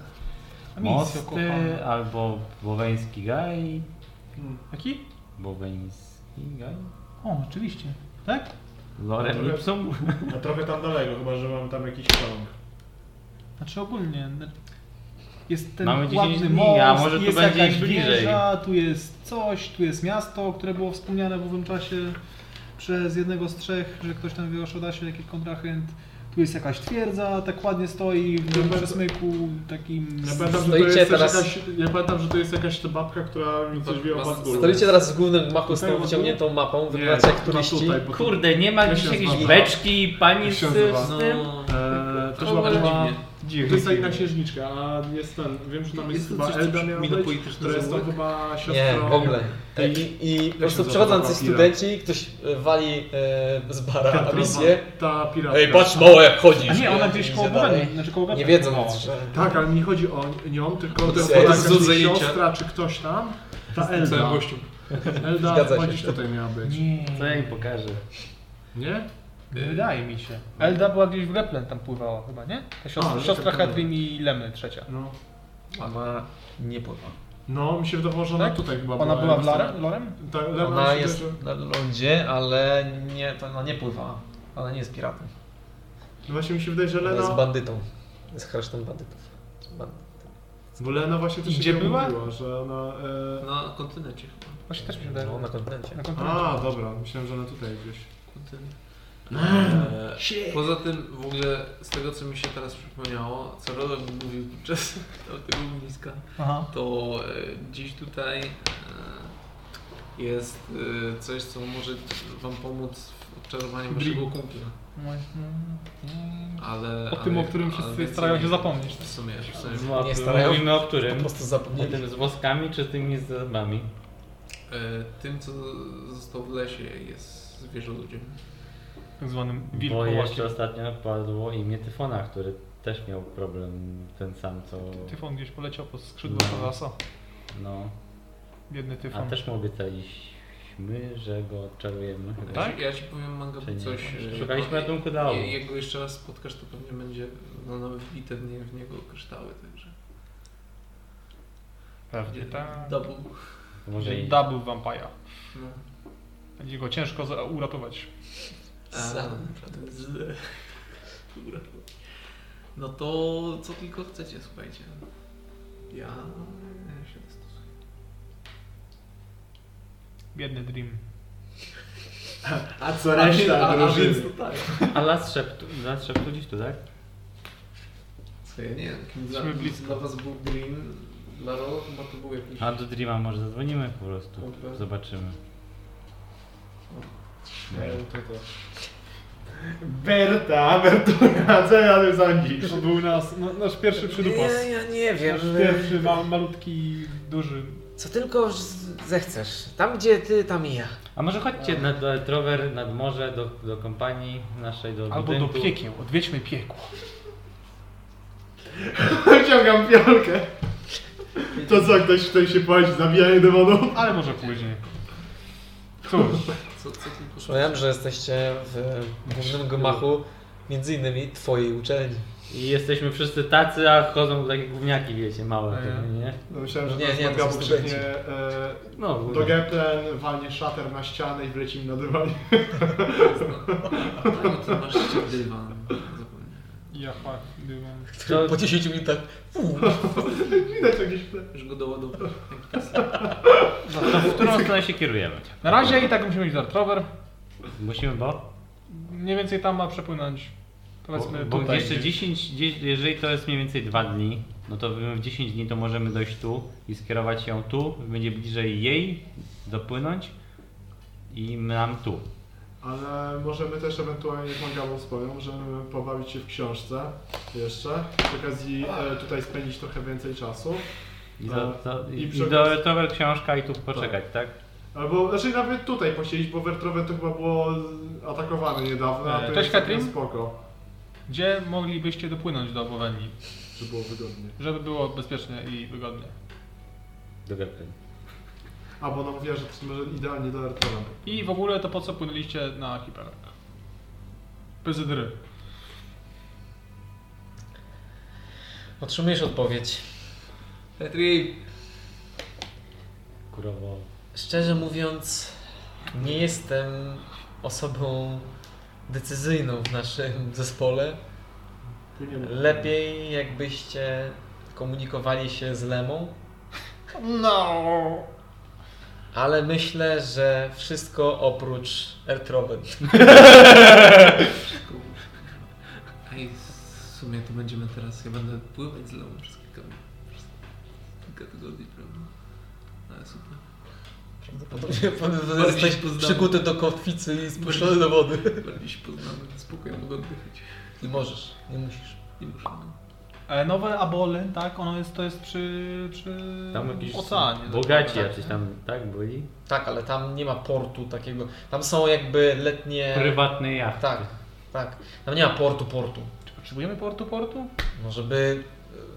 Speaker 5: A misjo,
Speaker 8: Mosty
Speaker 5: kochana.
Speaker 8: albo Boweński Gaj.
Speaker 5: Jaki?
Speaker 8: Boweński Gaj?
Speaker 5: O, oczywiście. Tak?
Speaker 8: Lorem
Speaker 6: Trochę-
Speaker 8: Lipsum?
Speaker 6: A trochę tam daleko, chyba że mam tam jakiś ciąg.
Speaker 5: Znaczy ogólnie n- jest ten
Speaker 8: Mamy
Speaker 5: Mamy
Speaker 8: 10
Speaker 5: ładny
Speaker 8: dni,
Speaker 5: most,
Speaker 8: a może tu
Speaker 5: jest
Speaker 8: będzie
Speaker 5: jakaś
Speaker 8: ich bliżej.
Speaker 5: wieża, tu jest coś, tu jest miasto, które było wspomniane w owym czasie przez jednego z trzech, że ktoś tam wie o Szodasie, jakiś kontrahent. Tu jest jakaś twierdza, tak ładnie stoi w tym
Speaker 6: Dobra.
Speaker 5: przesmyku takim...
Speaker 6: Ja pamiętam, że to
Speaker 1: Stoicie
Speaker 6: jest też
Speaker 1: teraz-
Speaker 6: jakaś, ja pamiętam, że to jest jakaś ta babka, która mi coś wie o
Speaker 2: Was-
Speaker 6: Badgulu.
Speaker 1: Stoicie teraz z głównym mapą, z
Speaker 6: Tutaj
Speaker 1: tą
Speaker 6: w
Speaker 1: wyciągniętą mapą,
Speaker 6: Nie,
Speaker 1: wyglądacie jak
Speaker 6: chyba
Speaker 1: turyści.
Speaker 6: tutaj, bo tu-
Speaker 8: Kurde, nie ma
Speaker 6: Jak
Speaker 8: gdzieś
Speaker 6: się
Speaker 8: jakiejś
Speaker 6: nazywa?
Speaker 8: beczki, pani
Speaker 6: Jak
Speaker 8: z,
Speaker 6: się
Speaker 8: z
Speaker 6: nazywa?
Speaker 8: tym?
Speaker 2: No,
Speaker 6: Eee,
Speaker 2: to
Speaker 6: to
Speaker 2: chyba
Speaker 6: chyba
Speaker 2: była...
Speaker 6: była...
Speaker 2: dziwnie.
Speaker 6: To jest ta inna księżniczka, a jest ten, wiem, że tam jest,
Speaker 2: Jest to
Speaker 6: chyba
Speaker 2: coś, co
Speaker 6: Elda
Speaker 2: brzmi
Speaker 6: miała
Speaker 2: na
Speaker 6: być,
Speaker 2: polityczny
Speaker 6: która jest tam
Speaker 2: zaułek?
Speaker 6: chyba siostrą...
Speaker 1: Nie, w ogóle.
Speaker 6: Tak.
Speaker 1: I, i po prostu przychodzą ci studenci, ktoś e, wali e, z bara
Speaker 6: Ta,
Speaker 1: misję.
Speaker 6: ta piratka.
Speaker 1: Ej, patrz mało jak chodzisz.
Speaker 5: A nie, ona
Speaker 1: I
Speaker 5: gdzieś
Speaker 1: idzie
Speaker 5: koło
Speaker 1: dalej.
Speaker 5: Bogany, znaczy koło
Speaker 1: Nie
Speaker 5: Bogany.
Speaker 1: wiedząc, że...
Speaker 6: Tak, ale mi nie chodzi o nią, tylko
Speaker 1: To jest-
Speaker 6: to jest
Speaker 1: to jest
Speaker 6: ta czy
Speaker 2: zajęcia.
Speaker 6: siostra, czy ktoś tam. Ta
Speaker 2: Całym
Speaker 8: No.
Speaker 6: Elda.
Speaker 2: gościu.
Speaker 6: Elda
Speaker 1: Zgadza się.
Speaker 6: chyba gdzieś tutaj miała być.
Speaker 5: Nie,
Speaker 8: Co ja im pokażę?
Speaker 6: Nie?
Speaker 5: wydaje mi się. Elda była gdzieś w Geplen, tam pływała chyba, nie? Ta siostra,
Speaker 6: A, że
Speaker 5: siostra
Speaker 6: tak było.
Speaker 5: Hetrim i Lemny trzecia.
Speaker 6: No.
Speaker 1: Ona nie pływa.
Speaker 6: No, mi się wydawało, że ona
Speaker 5: Tak?
Speaker 6: tutaj chyba
Speaker 5: Ona była w
Speaker 6: Elda.
Speaker 5: Lorem? Lorem?
Speaker 6: Tak,
Speaker 1: Ona
Speaker 6: Elda była-
Speaker 1: jest na lądzie, ale nie, to ona nie pływa. Ona nie jest piratem.
Speaker 6: No Właśnie mi się wydaje, że
Speaker 1: Ona jest
Speaker 6: Lena...
Speaker 1: bandytą. Jest hersztą bandytów. Bandyt.
Speaker 8: Bo Lena właśnie
Speaker 5: I
Speaker 8: też
Speaker 5: gdzie
Speaker 8: się
Speaker 5: była?
Speaker 8: mówiła, że ona... E...
Speaker 2: Na kontynencie chyba.
Speaker 5: Właśnie też mi się wydaje. że-
Speaker 1: No, na kontynencie.
Speaker 5: na kontynencie.
Speaker 8: A, dobra, myślałem, że ona tutaj gdzieś.
Speaker 2: Kontynent.
Speaker 8: No.
Speaker 2: Eee, poza tym w ogóle z tego co mi się teraz przypomniało, co Rodok mówił podczas tego ogniska,
Speaker 5: Aha.
Speaker 2: to e, gdzieś tutaj e, jest e, coś, co może wam pomóc w odczarowaniu waszego kumpla.
Speaker 5: Mój- mm, mm.
Speaker 2: Ale,
Speaker 5: O tym,
Speaker 2: ale,
Speaker 5: o którym
Speaker 2: ale
Speaker 5: wszyscy
Speaker 2: więcej
Speaker 5: starają
Speaker 2: nie-
Speaker 5: się zapomnieć. No.
Speaker 2: W sumie, w sumie.
Speaker 1: Nie starają.
Speaker 3: Mówimy o którym?
Speaker 1: Po prostu
Speaker 3: O
Speaker 1: zapomnieli.
Speaker 3: tym z włoskami czy tymi z zębami?
Speaker 2: E, tym, co został w lesie, jest zwierzę ludziem.
Speaker 5: Tak zwanym
Speaker 3: Bo jeszcze
Speaker 5: wilkołakiem.
Speaker 3: ostatnio padło imię Tyfona, który też miał problem ten sam co...
Speaker 5: Tyfon gdzieś poleciał pod skrzydło
Speaker 3: No.
Speaker 5: Tadasa.
Speaker 3: No,
Speaker 5: Biedny
Speaker 3: a
Speaker 5: tyfon.
Speaker 3: też mu obiecaliśmy, że go odczarujemy chyba.
Speaker 2: Ja, ci- ja ci powiem, manga,
Speaker 3: Czy nie?
Speaker 2: coś... e,
Speaker 3: Szukaliśmy
Speaker 2: je-
Speaker 3: ratunku dla obu.
Speaker 2: je- Jak go jeszcze raz spotkasz, to pewnie będzie no, no, wbite w, nie, w niego kryształy, także...
Speaker 5: Pewnie tak.
Speaker 2: Double.
Speaker 3: To Może i...
Speaker 5: Double vampire.
Speaker 2: No.
Speaker 5: Będzie go ciężko za- uratować.
Speaker 2: A, z- Dobra. No to co tylko chcecie, słuchajcie. Ja ja się dostosuję.
Speaker 5: Biedny Dream.
Speaker 6: A co reszta
Speaker 2: a, a
Speaker 6: drużyny?
Speaker 2: więc to tak.
Speaker 3: A las szeptu, las szeptu dziś tu, tak?
Speaker 2: Co ja nie wiem, kim dla,
Speaker 5: Jesteśmy blisko.
Speaker 2: dla was był Green, dla Rolo chyba to był jakiś...
Speaker 3: A do Dreama może zadzwonimy po prostu.
Speaker 2: Dobra.
Speaker 3: Zobaczymy.
Speaker 6: no Berta, Bertura, co ja tym sądzisz?
Speaker 5: To był nas, no, nasz pierwszy przydupas.
Speaker 14: Nie, ja nie wiem.
Speaker 5: Nasz pierwszy ma, malutki, duży.
Speaker 14: Co tylko z- zechcesz. Tam gdzie ty, tam i ja.
Speaker 3: A może chodźcie na do Etrower, nad morze, do, do kompanii naszej, do
Speaker 5: Albo do
Speaker 3: budynku.
Speaker 5: piekieł. Odwiedźmy piekło.
Speaker 6: Wyciągam fiolkę. To co, ktoś tutaj się płaci, zabijanie demonów?
Speaker 5: Ale może później. Cóż,
Speaker 2: Co, co tylko
Speaker 1: Przypomniałem, że jesteście w głównym gmachu między innymi twojej uczelni.
Speaker 3: I jesteśmy wszyscy tacy, a chodzą takie gówniaki, wiecie, małe
Speaker 5: A ja.
Speaker 3: pewnie, nie?
Speaker 6: No, myślałem, że
Speaker 1: Nie,
Speaker 6: nie,
Speaker 1: nie,
Speaker 6: nie,
Speaker 1: to
Speaker 6: to
Speaker 1: są
Speaker 6: poprzednie. e,
Speaker 3: No, w
Speaker 6: Do
Speaker 3: ogóle.
Speaker 6: Geplen walnie szater na ścianę i wlecimy na dywan.
Speaker 2: No to masz jeszcze dywan. Zapomniałem.
Speaker 5: ja fakt, dywan.
Speaker 14: No.
Speaker 3: To-
Speaker 1: Po 10 minutach
Speaker 6: Widać jakieś ple.
Speaker 2: Już go doładował.
Speaker 3: to w którą stronę się kierujemy?
Speaker 5: Na razie i tak musimy iść do Artrover.
Speaker 3: Musimy, bo?
Speaker 5: Mniej więcej tam ma przepłynąć. Powiedzmy
Speaker 3: bo, bo
Speaker 5: tutaj.
Speaker 3: jeszcze
Speaker 5: gdzieś.
Speaker 3: 10, gdzieś- jeżeli to jest mniej więcej 2 dni, no to w w 10 dni to możemy dojść tu i skierować ją tu, będzie bliżej jej, dopłynąć i nam tu.
Speaker 6: Ale możemy też ewentualnie, jak Magabo wspomniał, możemy pobawić się w książce jeszcze. Przy okazji e, tutaj spędzić trochę więcej czasu.
Speaker 3: I,
Speaker 6: Tak.
Speaker 3: do, to,
Speaker 6: I
Speaker 3: i, i
Speaker 6: przy
Speaker 3: do
Speaker 6: okazji-
Speaker 3: Etrower książka i tu poczekać, tak?
Speaker 6: Albo, znaczy nawet tutaj posiedzieć, bo Wertrowe to chyba było z- atakowane niedawno, a to
Speaker 5: E, też
Speaker 6: jest całkiem
Speaker 5: Katrin?
Speaker 6: spoko,
Speaker 5: Gdzie moglibyście dopłynąć do Wowenii,
Speaker 6: że było wygodnie.
Speaker 5: żeby było bezpiecznie i wygodnie?
Speaker 3: Do Geplen.
Speaker 6: A bo ona mówiła, że to może idealnie do Wertrowe.
Speaker 5: I w ogóle to po co płynęliście na Hiper? Pyzydry.
Speaker 1: otrzymujesz odpowiedź.
Speaker 2: Petri,
Speaker 3: Kurowo.
Speaker 1: Szczerze mówiąc, nie jestem osobą decyzyjną w naszym zespole. Lepiej jakbyście komunikowali się z Lemą.
Speaker 5: No.
Speaker 1: Ale myślę, że wszystko oprócz Ertroben.
Speaker 2: A i w sumie to będziemy teraz, ja będę pływać z Leon przez kilka, przez kilka tygodni, prawda? No, Ale super.
Speaker 1: Prawdopodobnie
Speaker 2: Bardziej
Speaker 1: jesteś
Speaker 2: poznamy.
Speaker 1: przykuty do kotwicy i spuszczony do wody.
Speaker 2: Bardziej się poznamy, spokojnie mogę oddychać.
Speaker 1: Nie możesz, nie musisz.
Speaker 2: Nie muszę. No.
Speaker 5: E, nowe abole, tak? Ono jest, to jest przy, przy
Speaker 3: Tam jakiś
Speaker 5: oceanie.
Speaker 3: bogaci
Speaker 5: tak?
Speaker 3: jacyś tam, tak, byli?
Speaker 1: Tak, ale tam nie ma portu takiego. Tam są jakby letnie.
Speaker 3: Prywatny jachty.
Speaker 1: Tak, tak. Tam nie ma portu, portu.
Speaker 5: Czy potrzebujemy portu portu?
Speaker 1: No żeby.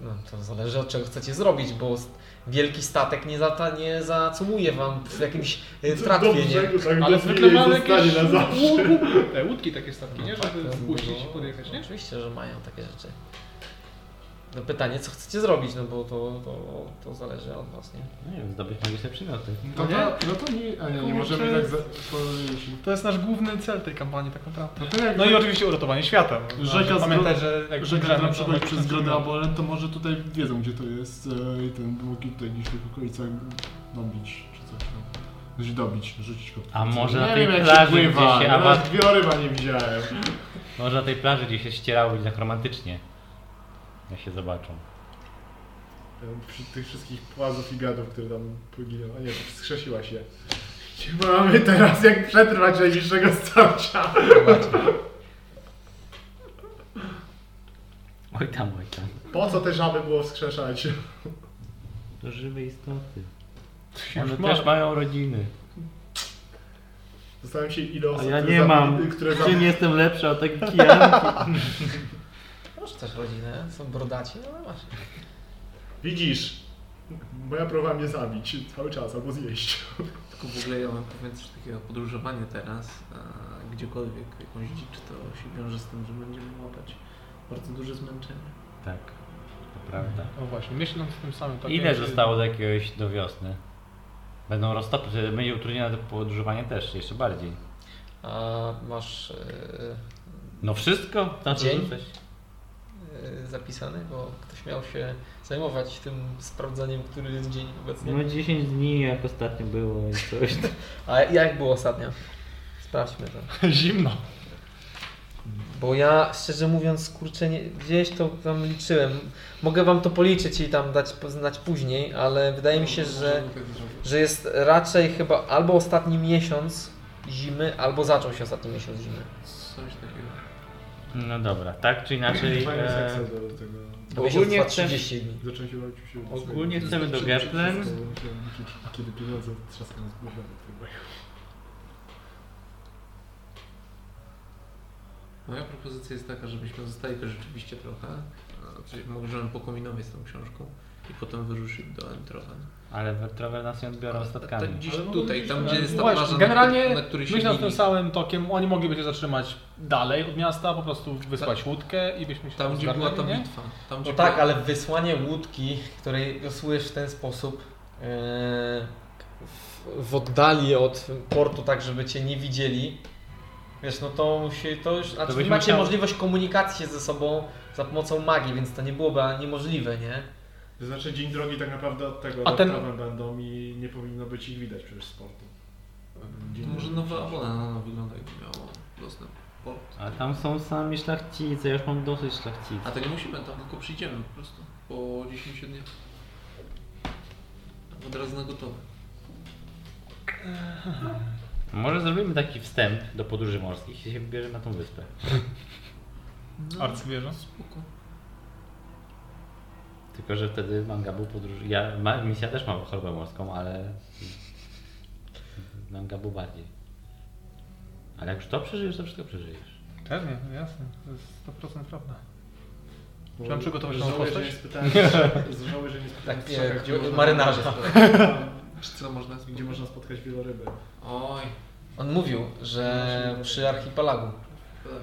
Speaker 1: No to zależy od czego chcecie zrobić, bo s- wielki statek nie, zata, nie zacumuje wam w jakimś e, tratwie, nie?
Speaker 6: brzegu, tak
Speaker 5: Ale
Speaker 6: do
Speaker 5: zwykle
Speaker 6: chwili i
Speaker 5: mamy
Speaker 6: zostanie
Speaker 5: jakieś
Speaker 6: na zawsze.
Speaker 5: łu- te łódki takie statki, nie?
Speaker 1: tak,
Speaker 5: Żeby
Speaker 1: to
Speaker 5: wpuścić
Speaker 1: było-
Speaker 5: i podjechać, nie?
Speaker 1: Oczywiście, że mają takie rzeczy. No pytanie, co chcecie zrobić, no bo to, to, to zależy od was, nie?
Speaker 8: No Nie wiem, zdobyć magiczne przymioty.
Speaker 6: No
Speaker 5: nie?
Speaker 6: to, no to nie, a nie, nie możemy tak za, powiedzieć.
Speaker 5: To jest nasz główny cel tej kampanii tak naprawdę.
Speaker 6: No to jak
Speaker 5: No i oczywiście uratowanie świata. bo
Speaker 6: Rzeka
Speaker 5: należy
Speaker 6: z
Speaker 5: pamiętać,
Speaker 6: gro-
Speaker 5: że jak
Speaker 6: Rzeka
Speaker 5: bierzemy,
Speaker 6: na
Speaker 5: to
Speaker 6: przykład
Speaker 5: magiczne
Speaker 6: przez Grodę
Speaker 5: przymioty.
Speaker 6: Abolen, to może tutaj wiedzą gdzie to jest e, i ten długi tutaj gdzieś w tych okolicach dobić czy coś tam. Gdzieś dobić, rzucić go.
Speaker 8: A może
Speaker 6: nie
Speaker 8: na
Speaker 6: wiem,
Speaker 8: tej
Speaker 6: jak
Speaker 8: plaży,
Speaker 6: się pływa,
Speaker 8: gdzie się
Speaker 6: nawet
Speaker 8: awat-
Speaker 6: wioryba nie widziałem.
Speaker 8: Może na tej plaży, gdzie się ścierało i tak romantycznie. Jak się zobaczą.
Speaker 6: Przy tych wszystkich płazów i gadów, które tam poginęły. A nie, skrzesiła się. Gdzie mamy teraz jak przetrwać najbliższego starcia?
Speaker 8: Oj tam, oj tam.
Speaker 6: Po co te żaby było wskrzeszać?
Speaker 8: To żywe istoty.
Speaker 6: Już
Speaker 8: One
Speaker 6: ma-
Speaker 8: też mają rodziny.
Speaker 6: Zastanawiam się ile
Speaker 8: A
Speaker 6: osób,
Speaker 8: ja
Speaker 6: które
Speaker 8: nie
Speaker 6: za-
Speaker 8: mam.
Speaker 6: które za...
Speaker 8: Czym jestem lepszy od takich kijanki?
Speaker 1: Masz też rodzinę, są brodaci, no ale masz.
Speaker 6: Widzisz, moja próba mnie zabić cały czas albo zjeść.
Speaker 2: Tylko w ogóle ja mam powiem coś takiego podróżowanie teraz, a gdziekolwiek jakąś dzicz, to się wiąże z tym, że będziemy łapać bardzo duże zmęczenie.
Speaker 8: Tak, to prawda.
Speaker 5: No właśnie, myśląc w tym samym tak
Speaker 8: Ile
Speaker 5: jakby-
Speaker 8: zostało do jakiegoś do wiosny? Będą roztopy, że będzie utrudnione do podróżowania też, jeszcze bardziej.
Speaker 1: A masz yy,
Speaker 8: No wszystko? Na co
Speaker 1: Dzień?
Speaker 8: rzucać?
Speaker 1: yy, zapisany, bo ktoś miał się zajmować tym sprawdzeniem, który jest dzień obecnie.
Speaker 8: No 10 dni jak ostatnio było i coś.
Speaker 1: A jak było ostatnio? Sprawdźmy to.
Speaker 5: Zimno.
Speaker 1: Bo ja szczerze mówiąc, kurczę, nie, gdzieś to tam liczyłem. Mogę wam to policzyć i tam dać znać później, ale wydaje mi się, że,
Speaker 2: tak
Speaker 1: że jest raczej chyba albo ostatni miesiąc zimy, albo zaczął się ostatni miesiąc zimy.
Speaker 2: Coś takiego.
Speaker 8: No dobra, tak czy inaczej.
Speaker 6: Fajny
Speaker 8: E,
Speaker 6: seks do tego.
Speaker 1: Bo
Speaker 8: Ogólnie
Speaker 1: miesiąc trwa
Speaker 8: chcę-
Speaker 1: 30 dni.
Speaker 6: Zacząłem się bawić się.
Speaker 8: Ogólnie chcemy do Geplen.
Speaker 6: Kiedy pieniądze trzaskają z głowy.
Speaker 2: Moja propozycja jest taka, żebyśmy zostali to rzeczywiście trochę, a, czyli możemy pokombinować z tą książką i potem wyruszyć do Entrofen.
Speaker 8: ale wertrowe nas nie odbiorą
Speaker 2: Tak
Speaker 8: statkami.
Speaker 2: dziś
Speaker 5: Ale mogą
Speaker 2: tutaj,
Speaker 5: być-
Speaker 2: tam gdzie jest ta
Speaker 5: Właśnie,
Speaker 2: plaża,
Speaker 5: generalnie
Speaker 2: na, na której się
Speaker 5: Myśląc tym
Speaker 2: linii-
Speaker 5: samym tokiem, oni mogliby się zatrzymać dalej od miasta, po prostu wysłać łódkę i byśmy się
Speaker 2: Tam gdzie była ta
Speaker 5: zgarnęli, nie?
Speaker 2: bitwa. Tam, gdzie
Speaker 1: No tak,
Speaker 2: była-
Speaker 1: ale wysłanie łódki, której wiosłujesz w ten sposób e, w- w oddali od portu, tak żeby cię nie widzieli, wiesz, no to musi, to już, znaczy
Speaker 8: byś
Speaker 1: nie macie
Speaker 8: musiał-
Speaker 1: możliwość komunikacji się ze sobą za pomocą magii, więc to nie byłoby ani niemożliwe, nie?
Speaker 6: To znaczy dzień drogi tak naprawdę od tego
Speaker 5: A
Speaker 6: do
Speaker 5: ten-
Speaker 6: prawem będą i nie powinno być ich widać przecież z portu. Dzień
Speaker 2: Może
Speaker 6: drogi.
Speaker 2: nowa abona no, no, wygląda jakby miało dostęp. Port.
Speaker 8: A tam są sami szlachcice, ja już mam dosyć szlachcic.
Speaker 2: A to nie musimy tam, tylko przyjdziemy po prostu po 10 dniach. Od razu na gotowe.
Speaker 8: Może zrobimy taki wstęp do podróży morskich i się wybierzemy na tą wyspę.
Speaker 5: Arcywieża.
Speaker 2: No, Spoko.
Speaker 8: Tylko, że wtedy manga był podróż. Ja, ma, misja też ma chorobę morską, ale. Manga był bardziej. Ale jak już to przeżyjesz, to wszystko przeżyjesz.
Speaker 5: Pewnie, jasne, to jest 100% prawda.
Speaker 6: Bo
Speaker 5: Trzeba przygotować tą
Speaker 6: żałuję, że
Speaker 5: postać?
Speaker 6: nie spytałem, żałuję, że nie spytałem
Speaker 1: Tak,
Speaker 6: Strzaka,
Speaker 1: jak
Speaker 6: gdzie można-
Speaker 1: marynarza.
Speaker 2: Czy co można
Speaker 6: Gdzie można spotkać wielorybę.
Speaker 2: Oj.
Speaker 1: On mówił, że przy archipelagu.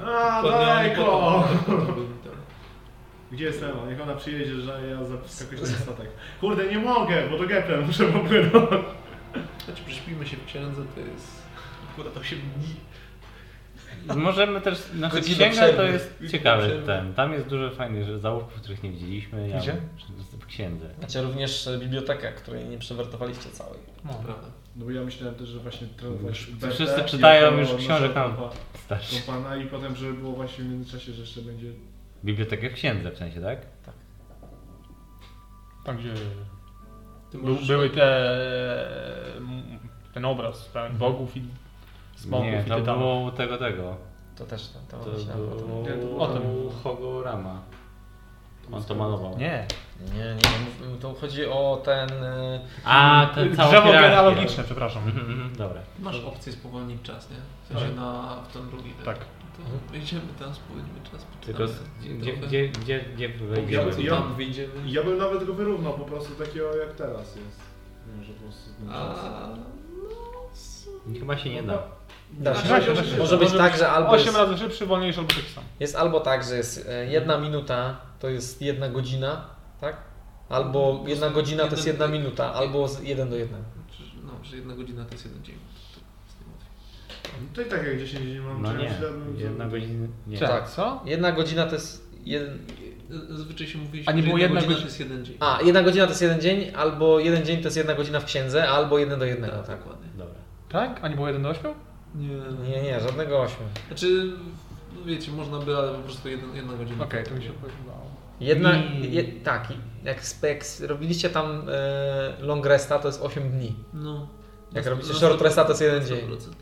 Speaker 6: A,
Speaker 2: Podmiany
Speaker 6: daleko!
Speaker 2: potok, potok był tam.
Speaker 6: Gdzie jest Ema? Niech ona przyjedzie, że ja zapiskakuję na statek. Kurde, nie mogę, bo do Geplen muszę popłynąć.
Speaker 2: Znaczy przyśpijmy się w księdze, to jest akurat 8 dni.
Speaker 8: Możemy też. Znaczy,
Speaker 1: Godzina
Speaker 8: księga to
Speaker 1: przerwy.
Speaker 8: jest ciekawy
Speaker 2: Przerwy.
Speaker 8: ten. Tam jest dużo fajnych że- załóg, których nie widzieliśmy. Ja
Speaker 5: Gdzie?
Speaker 8: W księdze.
Speaker 1: Macie również e, bibliotekę, której nie przewertowaliście całej.
Speaker 5: No.
Speaker 2: Prawda.
Speaker 6: No bo ja myślałem też, że No właśnie trenować
Speaker 8: wszyscy
Speaker 6: Bertę
Speaker 8: czytają
Speaker 6: jako
Speaker 8: już książek
Speaker 6: naszego
Speaker 8: tam.
Speaker 6: kompa-
Speaker 8: Starszy.
Speaker 6: kompana No i potem, żeby było właśnie w międzyczasie, że jeszcze będzie...
Speaker 8: Bibliotekę w księdze w sensie, tak?
Speaker 5: Tam gdzie
Speaker 2: Ty
Speaker 5: był,
Speaker 2: możesz, tak-
Speaker 5: były te... m, ten obraz, tak, bogów i smoków
Speaker 8: nie,
Speaker 5: i
Speaker 8: to
Speaker 5: tytanów.
Speaker 8: było u tego, tego.
Speaker 1: To też to, to,
Speaker 8: To
Speaker 1: myślałem o tym.
Speaker 8: było
Speaker 6: Nie, to było
Speaker 8: o
Speaker 5: tam.
Speaker 8: tym Hogorama. On to malował.
Speaker 5: Nie.
Speaker 1: Nie, nie, mów- to chodzi o ten... e,
Speaker 8: A, ten Mhm. cały
Speaker 5: Y, Drzewo genealogiczne, przepraszam.
Speaker 8: Dobra.
Speaker 2: masz opcję spowolnić czas, nie? W sensie na, w ten drugi. ten.
Speaker 5: Tak.
Speaker 2: To idziemy tam, spowolnimy czas,
Speaker 8: Tylko
Speaker 2: poczytamy.
Speaker 8: z, gdzie, gdzie, gdzie, gdzie
Speaker 6: Ja-
Speaker 8: wejdziemy?
Speaker 6: ja-
Speaker 2: tam wyjdziemy.
Speaker 6: Ja bym nawet go wyrównał po prostu takiego jak teraz jest. Nie, że po prostu...
Speaker 2: A, no,
Speaker 8: Chyba się nie da.
Speaker 1: Da
Speaker 6: się,
Speaker 1: się.
Speaker 6: da się,
Speaker 1: Może,
Speaker 6: da się.
Speaker 1: być tak, że albo
Speaker 5: 8
Speaker 1: jest,
Speaker 5: razy szybszy, wolniejszy albo taki sam.
Speaker 1: jest albo tak, że jest e, jedna minuta to jest jedna godzina, tak? Albo jedna godzina to jest jedna minuta, albo z- jeden do jednego.
Speaker 2: Czy- No, że jedna godzina to jest jeden dzień. To jest niełatwiej.
Speaker 6: To i tak jak 10 dni mam
Speaker 3: No
Speaker 6: czegoś
Speaker 3: nie,
Speaker 6: dawno-
Speaker 3: jedna godzina. Nie.
Speaker 1: Tak.
Speaker 5: co?
Speaker 1: Jedna godzina to jest jeden...
Speaker 2: Zazwyczaj się mówi,
Speaker 5: A nie
Speaker 2: że
Speaker 5: było
Speaker 2: jedna
Speaker 5: jedna
Speaker 2: godzina
Speaker 5: godzi-
Speaker 2: to jest jeden dzień.
Speaker 1: A, jedna godzina to jest jeden dzień, albo jeden dzień to jest jedna godzina w księdze, albo jeden do jednego,
Speaker 2: tak,
Speaker 1: tak?
Speaker 2: dokładnie.
Speaker 3: Dobra.
Speaker 5: Tak? A nie było 1 do 8?
Speaker 2: Nie.
Speaker 1: Nie, nie, żadnego ośmiu.
Speaker 2: Znaczy, no wiecie, można by, ale po prostu jedna, jedna godzina.
Speaker 5: Okej, to mi się podobało.
Speaker 1: Jedna,
Speaker 3: Mm.
Speaker 1: je, tak, jak, spe- jak s- robiliście tam e, long resta, to jest 8 dni.
Speaker 2: No.
Speaker 1: Jak
Speaker 2: Na-
Speaker 1: robicie
Speaker 2: na
Speaker 1: short
Speaker 2: 100%.
Speaker 1: resta, to jest jeden dzień.
Speaker 2: 100%.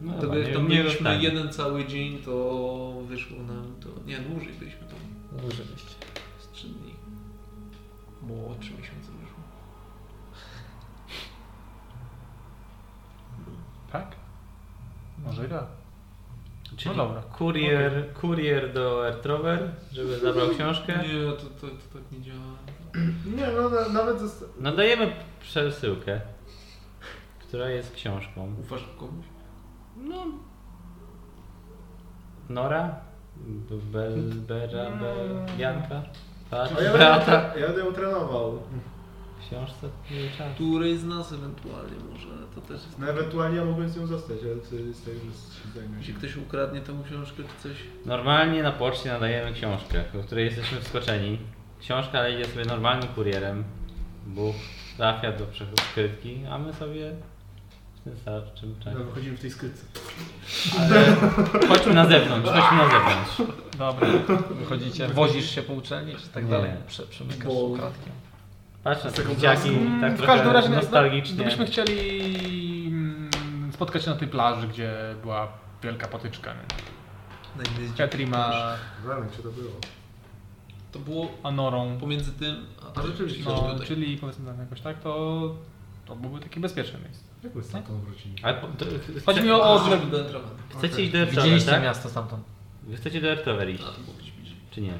Speaker 3: No dobra,
Speaker 2: Gdyby
Speaker 3: nie-
Speaker 2: to
Speaker 3: nie
Speaker 2: mieliśmy
Speaker 3: rozstanie.
Speaker 2: jeden cały dzień, to wyszło nam to. Nie, dłużej byliśmy tam.
Speaker 1: Duży byście.
Speaker 2: Z 3 dni. Bo 3 miesiące wyszło.
Speaker 5: Tak? Może i tak.
Speaker 3: Czyli
Speaker 5: No dobra.
Speaker 3: Kurier, kurier do Ertrover, żeby zabrał książkę.
Speaker 2: Nie, to, to, to tak nie działa.
Speaker 6: Nie, no na, nawet zosta-
Speaker 3: No dajemy przesyłkę, która jest książką.
Speaker 2: Ufasz komuś?
Speaker 3: No. Nora? Bel, Bera, Bel, Janka? Tak,
Speaker 6: A ja
Speaker 3: brata.
Speaker 6: będę, ja będę trenował.
Speaker 3: W książce nie trzeba.
Speaker 2: Któryś z nas ewentualnie może, to też jest...
Speaker 6: No ewentualnie ja mogłem z nią zostać, ale wtedy z tego, że się zajmę.
Speaker 2: Jeśli ktoś ukradnie tą książkę czy coś...
Speaker 3: Normalnie na poczcie nadajemy książkę, do której jesteśmy wskoczeni. Książka ale idzie sobie normalnym kurierem. Bóg trafia do przechu- skrytki, a my sobie w tym starczym
Speaker 5: Tak.
Speaker 6: No,
Speaker 3: czasie.
Speaker 6: wychodzimy w tej skrytce.
Speaker 3: Ale No, chodźmy na zewnątrz, chodźmy na zewnątrz.
Speaker 5: Dobra.
Speaker 1: Wychodzicie, wozisz się po uczelni, czy tak
Speaker 3: Nie.
Speaker 1: dalej? Prze, przemykasz
Speaker 2: Bo-
Speaker 1: ukradkiem.
Speaker 3: Patrz na te dzieciaki, tak
Speaker 5: Mm, w
Speaker 3: trochę
Speaker 5: każdym razie nas-
Speaker 3: nostalgicznie.
Speaker 5: gdybyśmy chcieli mm, spotkać się na tej plaży, gdzie była wielka potyczka. nie?
Speaker 2: Na inny dzień.
Speaker 5: Katrima
Speaker 6: Rany, czy to było?
Speaker 2: To było
Speaker 5: Anorą.
Speaker 2: pomiędzy tym... A,
Speaker 6: A rzeczywiście,
Speaker 2: no,
Speaker 5: No,
Speaker 2: tutaj.
Speaker 5: czyli powiedzmy tam jakoś tak, to, to byłby takie bezpieczne miejsce.
Speaker 6: Jak my stamtąd wrócili?
Speaker 3: Ale po- to-
Speaker 5: Chodzi mi o odległość.
Speaker 2: żeby byłem trawany.
Speaker 3: Chcecie iść do Ertover,
Speaker 1: Widzieliście
Speaker 3: tak?
Speaker 1: miasto stamtąd.
Speaker 3: Wy chcecie do Ertover
Speaker 2: A,
Speaker 3: iść,
Speaker 2: to było gdzieś bliżej.
Speaker 3: czy nie?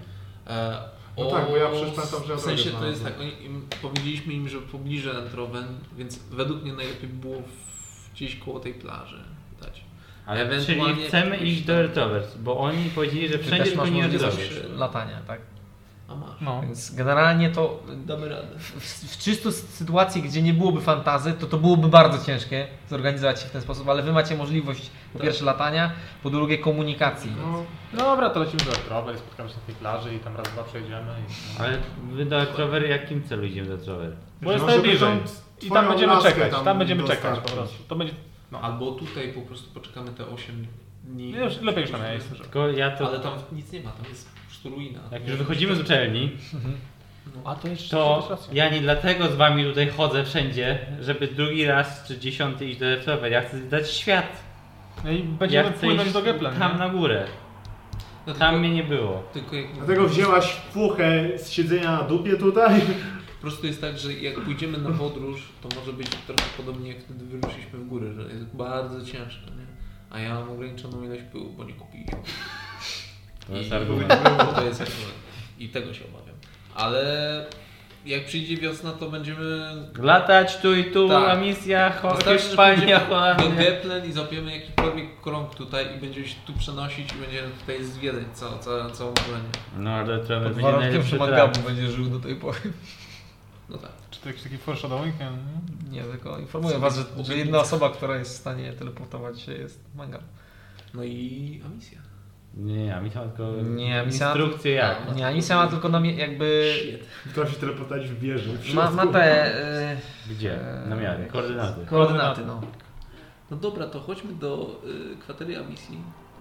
Speaker 2: E,
Speaker 6: No
Speaker 2: o-
Speaker 6: tak, bo ja przecież pamiętam, że ja
Speaker 2: W sensie
Speaker 6: drogę
Speaker 2: to jest tak,
Speaker 6: znalazłem.
Speaker 2: oni, im, powiedzieliśmy im, że pobliże Entroven, więc według mnie najlepiej by było w, gdzieś koło tej plaży dać.
Speaker 3: Ale
Speaker 2: Ewentualnie
Speaker 3: czyli chcemy
Speaker 2: jakoś
Speaker 3: iść do
Speaker 2: tam-
Speaker 3: Ertrovers, bo oni powiedzieli, że
Speaker 1: Ty
Speaker 3: wszędzie
Speaker 1: też
Speaker 3: tylko
Speaker 1: masz
Speaker 3: nie
Speaker 1: możliwość
Speaker 3: Ertrovers.
Speaker 1: latania, tak?
Speaker 2: A masz. no,
Speaker 5: No.
Speaker 1: Więc generalnie to
Speaker 2: Damy radę.
Speaker 1: w, w czysto s- sytuacji, gdzie nie byłoby fantazy, to to byłoby bardzo ciężkie zorganizować się w ten sposób, ale wy macie możliwość po
Speaker 2: Tak.
Speaker 1: pierwsze latania, po drugie komunikacji.
Speaker 5: Dobra, to lecimy do Ertrover i spotkamy się na tej plaży i tam raz, dwa przejdziemy. I,
Speaker 3: Ale wy do Ertrover, jakim celu idziemy do Ertrover?
Speaker 5: Bo jest
Speaker 6: Może
Speaker 5: najbliżej.
Speaker 6: będą
Speaker 5: I
Speaker 6: twoją
Speaker 5: tam będziemy
Speaker 6: laskę
Speaker 5: czekać, tam, będziemy czekać po
Speaker 6: dostarczyć.
Speaker 5: prostu. To będzie... No, albo...
Speaker 2: Albo tutaj po prostu poczekamy te 8 dni.
Speaker 3: No
Speaker 5: Nie, już lepiej już na miejscu. że-
Speaker 3: Tylko ja to...
Speaker 2: Ale tam nic nie ma, tam jest po prostu ruina. No.
Speaker 3: Jak już wychodzimy z uczelni,
Speaker 5: A to jeszcze... masz
Speaker 3: to
Speaker 5: rację.
Speaker 3: ja nie dlatego z wami tutaj chodzę wszędzie, żeby drugi raz czy dziesiąty iść do Ertrover. Ja chcę dać świat.
Speaker 5: No i
Speaker 3: Ja
Speaker 5: będziemy
Speaker 3: chcę iść
Speaker 5: płynąć do Gepla,
Speaker 3: tam
Speaker 5: nie?
Speaker 3: na górę.
Speaker 2: No,
Speaker 3: Tam mnie nie było.
Speaker 2: tylko jak
Speaker 6: Dlatego wzięłaś puchę z siedzenia na dupie tutaj.
Speaker 2: Po prostu jest tak, że jak pójdziemy na podróż, to może być trochę podobnie jak wtedy wyruszyliśmy w górę, że jest bardzo ciężko, nie? A ja mam ograniczoną ilość pyłu, bo nie kupiliśmy.
Speaker 3: To jest
Speaker 2: I-
Speaker 3: argument.
Speaker 2: To jest argument. I tego się obawiam. Ale jak przyjdzie wiosna, to będziemy...
Speaker 3: Latać tu i tu,
Speaker 2: Tak.
Speaker 3: a misja, ho-
Speaker 2: Wystarczy, że
Speaker 3: Hiszpania,
Speaker 2: pójdziemy do
Speaker 3: Holandia.
Speaker 2: Geplen i złapiemy jakikolwiek krąg tutaj i będziemy się tu przenosić i będziemy tutaj zwiedzać całą, całą, całą Polonię.
Speaker 3: No ale Ertrover
Speaker 1: Pod
Speaker 3: będzie
Speaker 1: warunkiem,
Speaker 3: najlepszy
Speaker 1: że
Speaker 3: trap.
Speaker 1: Magabu będzie żył do tej pory.
Speaker 2: No tak.
Speaker 5: Czy to jakiś taki foreshadowing? nie?
Speaker 1: Nie, tylko informuję was, że, że jedna osoba, która jest w stanie teleportować się jest Magabu.
Speaker 2: No i Amisja.
Speaker 3: Nie, a mi to tylko
Speaker 1: Nie, mi sama-
Speaker 3: instrukcje jak.
Speaker 1: Nie, Anisia ma tylko na mie- jakby...
Speaker 6: Która się teleportać w wieży. w
Speaker 1: Ma, ma
Speaker 6: środku.
Speaker 1: te... y,
Speaker 3: Gdzie? Namiary, koordynaty.
Speaker 1: Koordynaty, no.
Speaker 2: No dobra, to chodźmy do y, kwatery Amisji.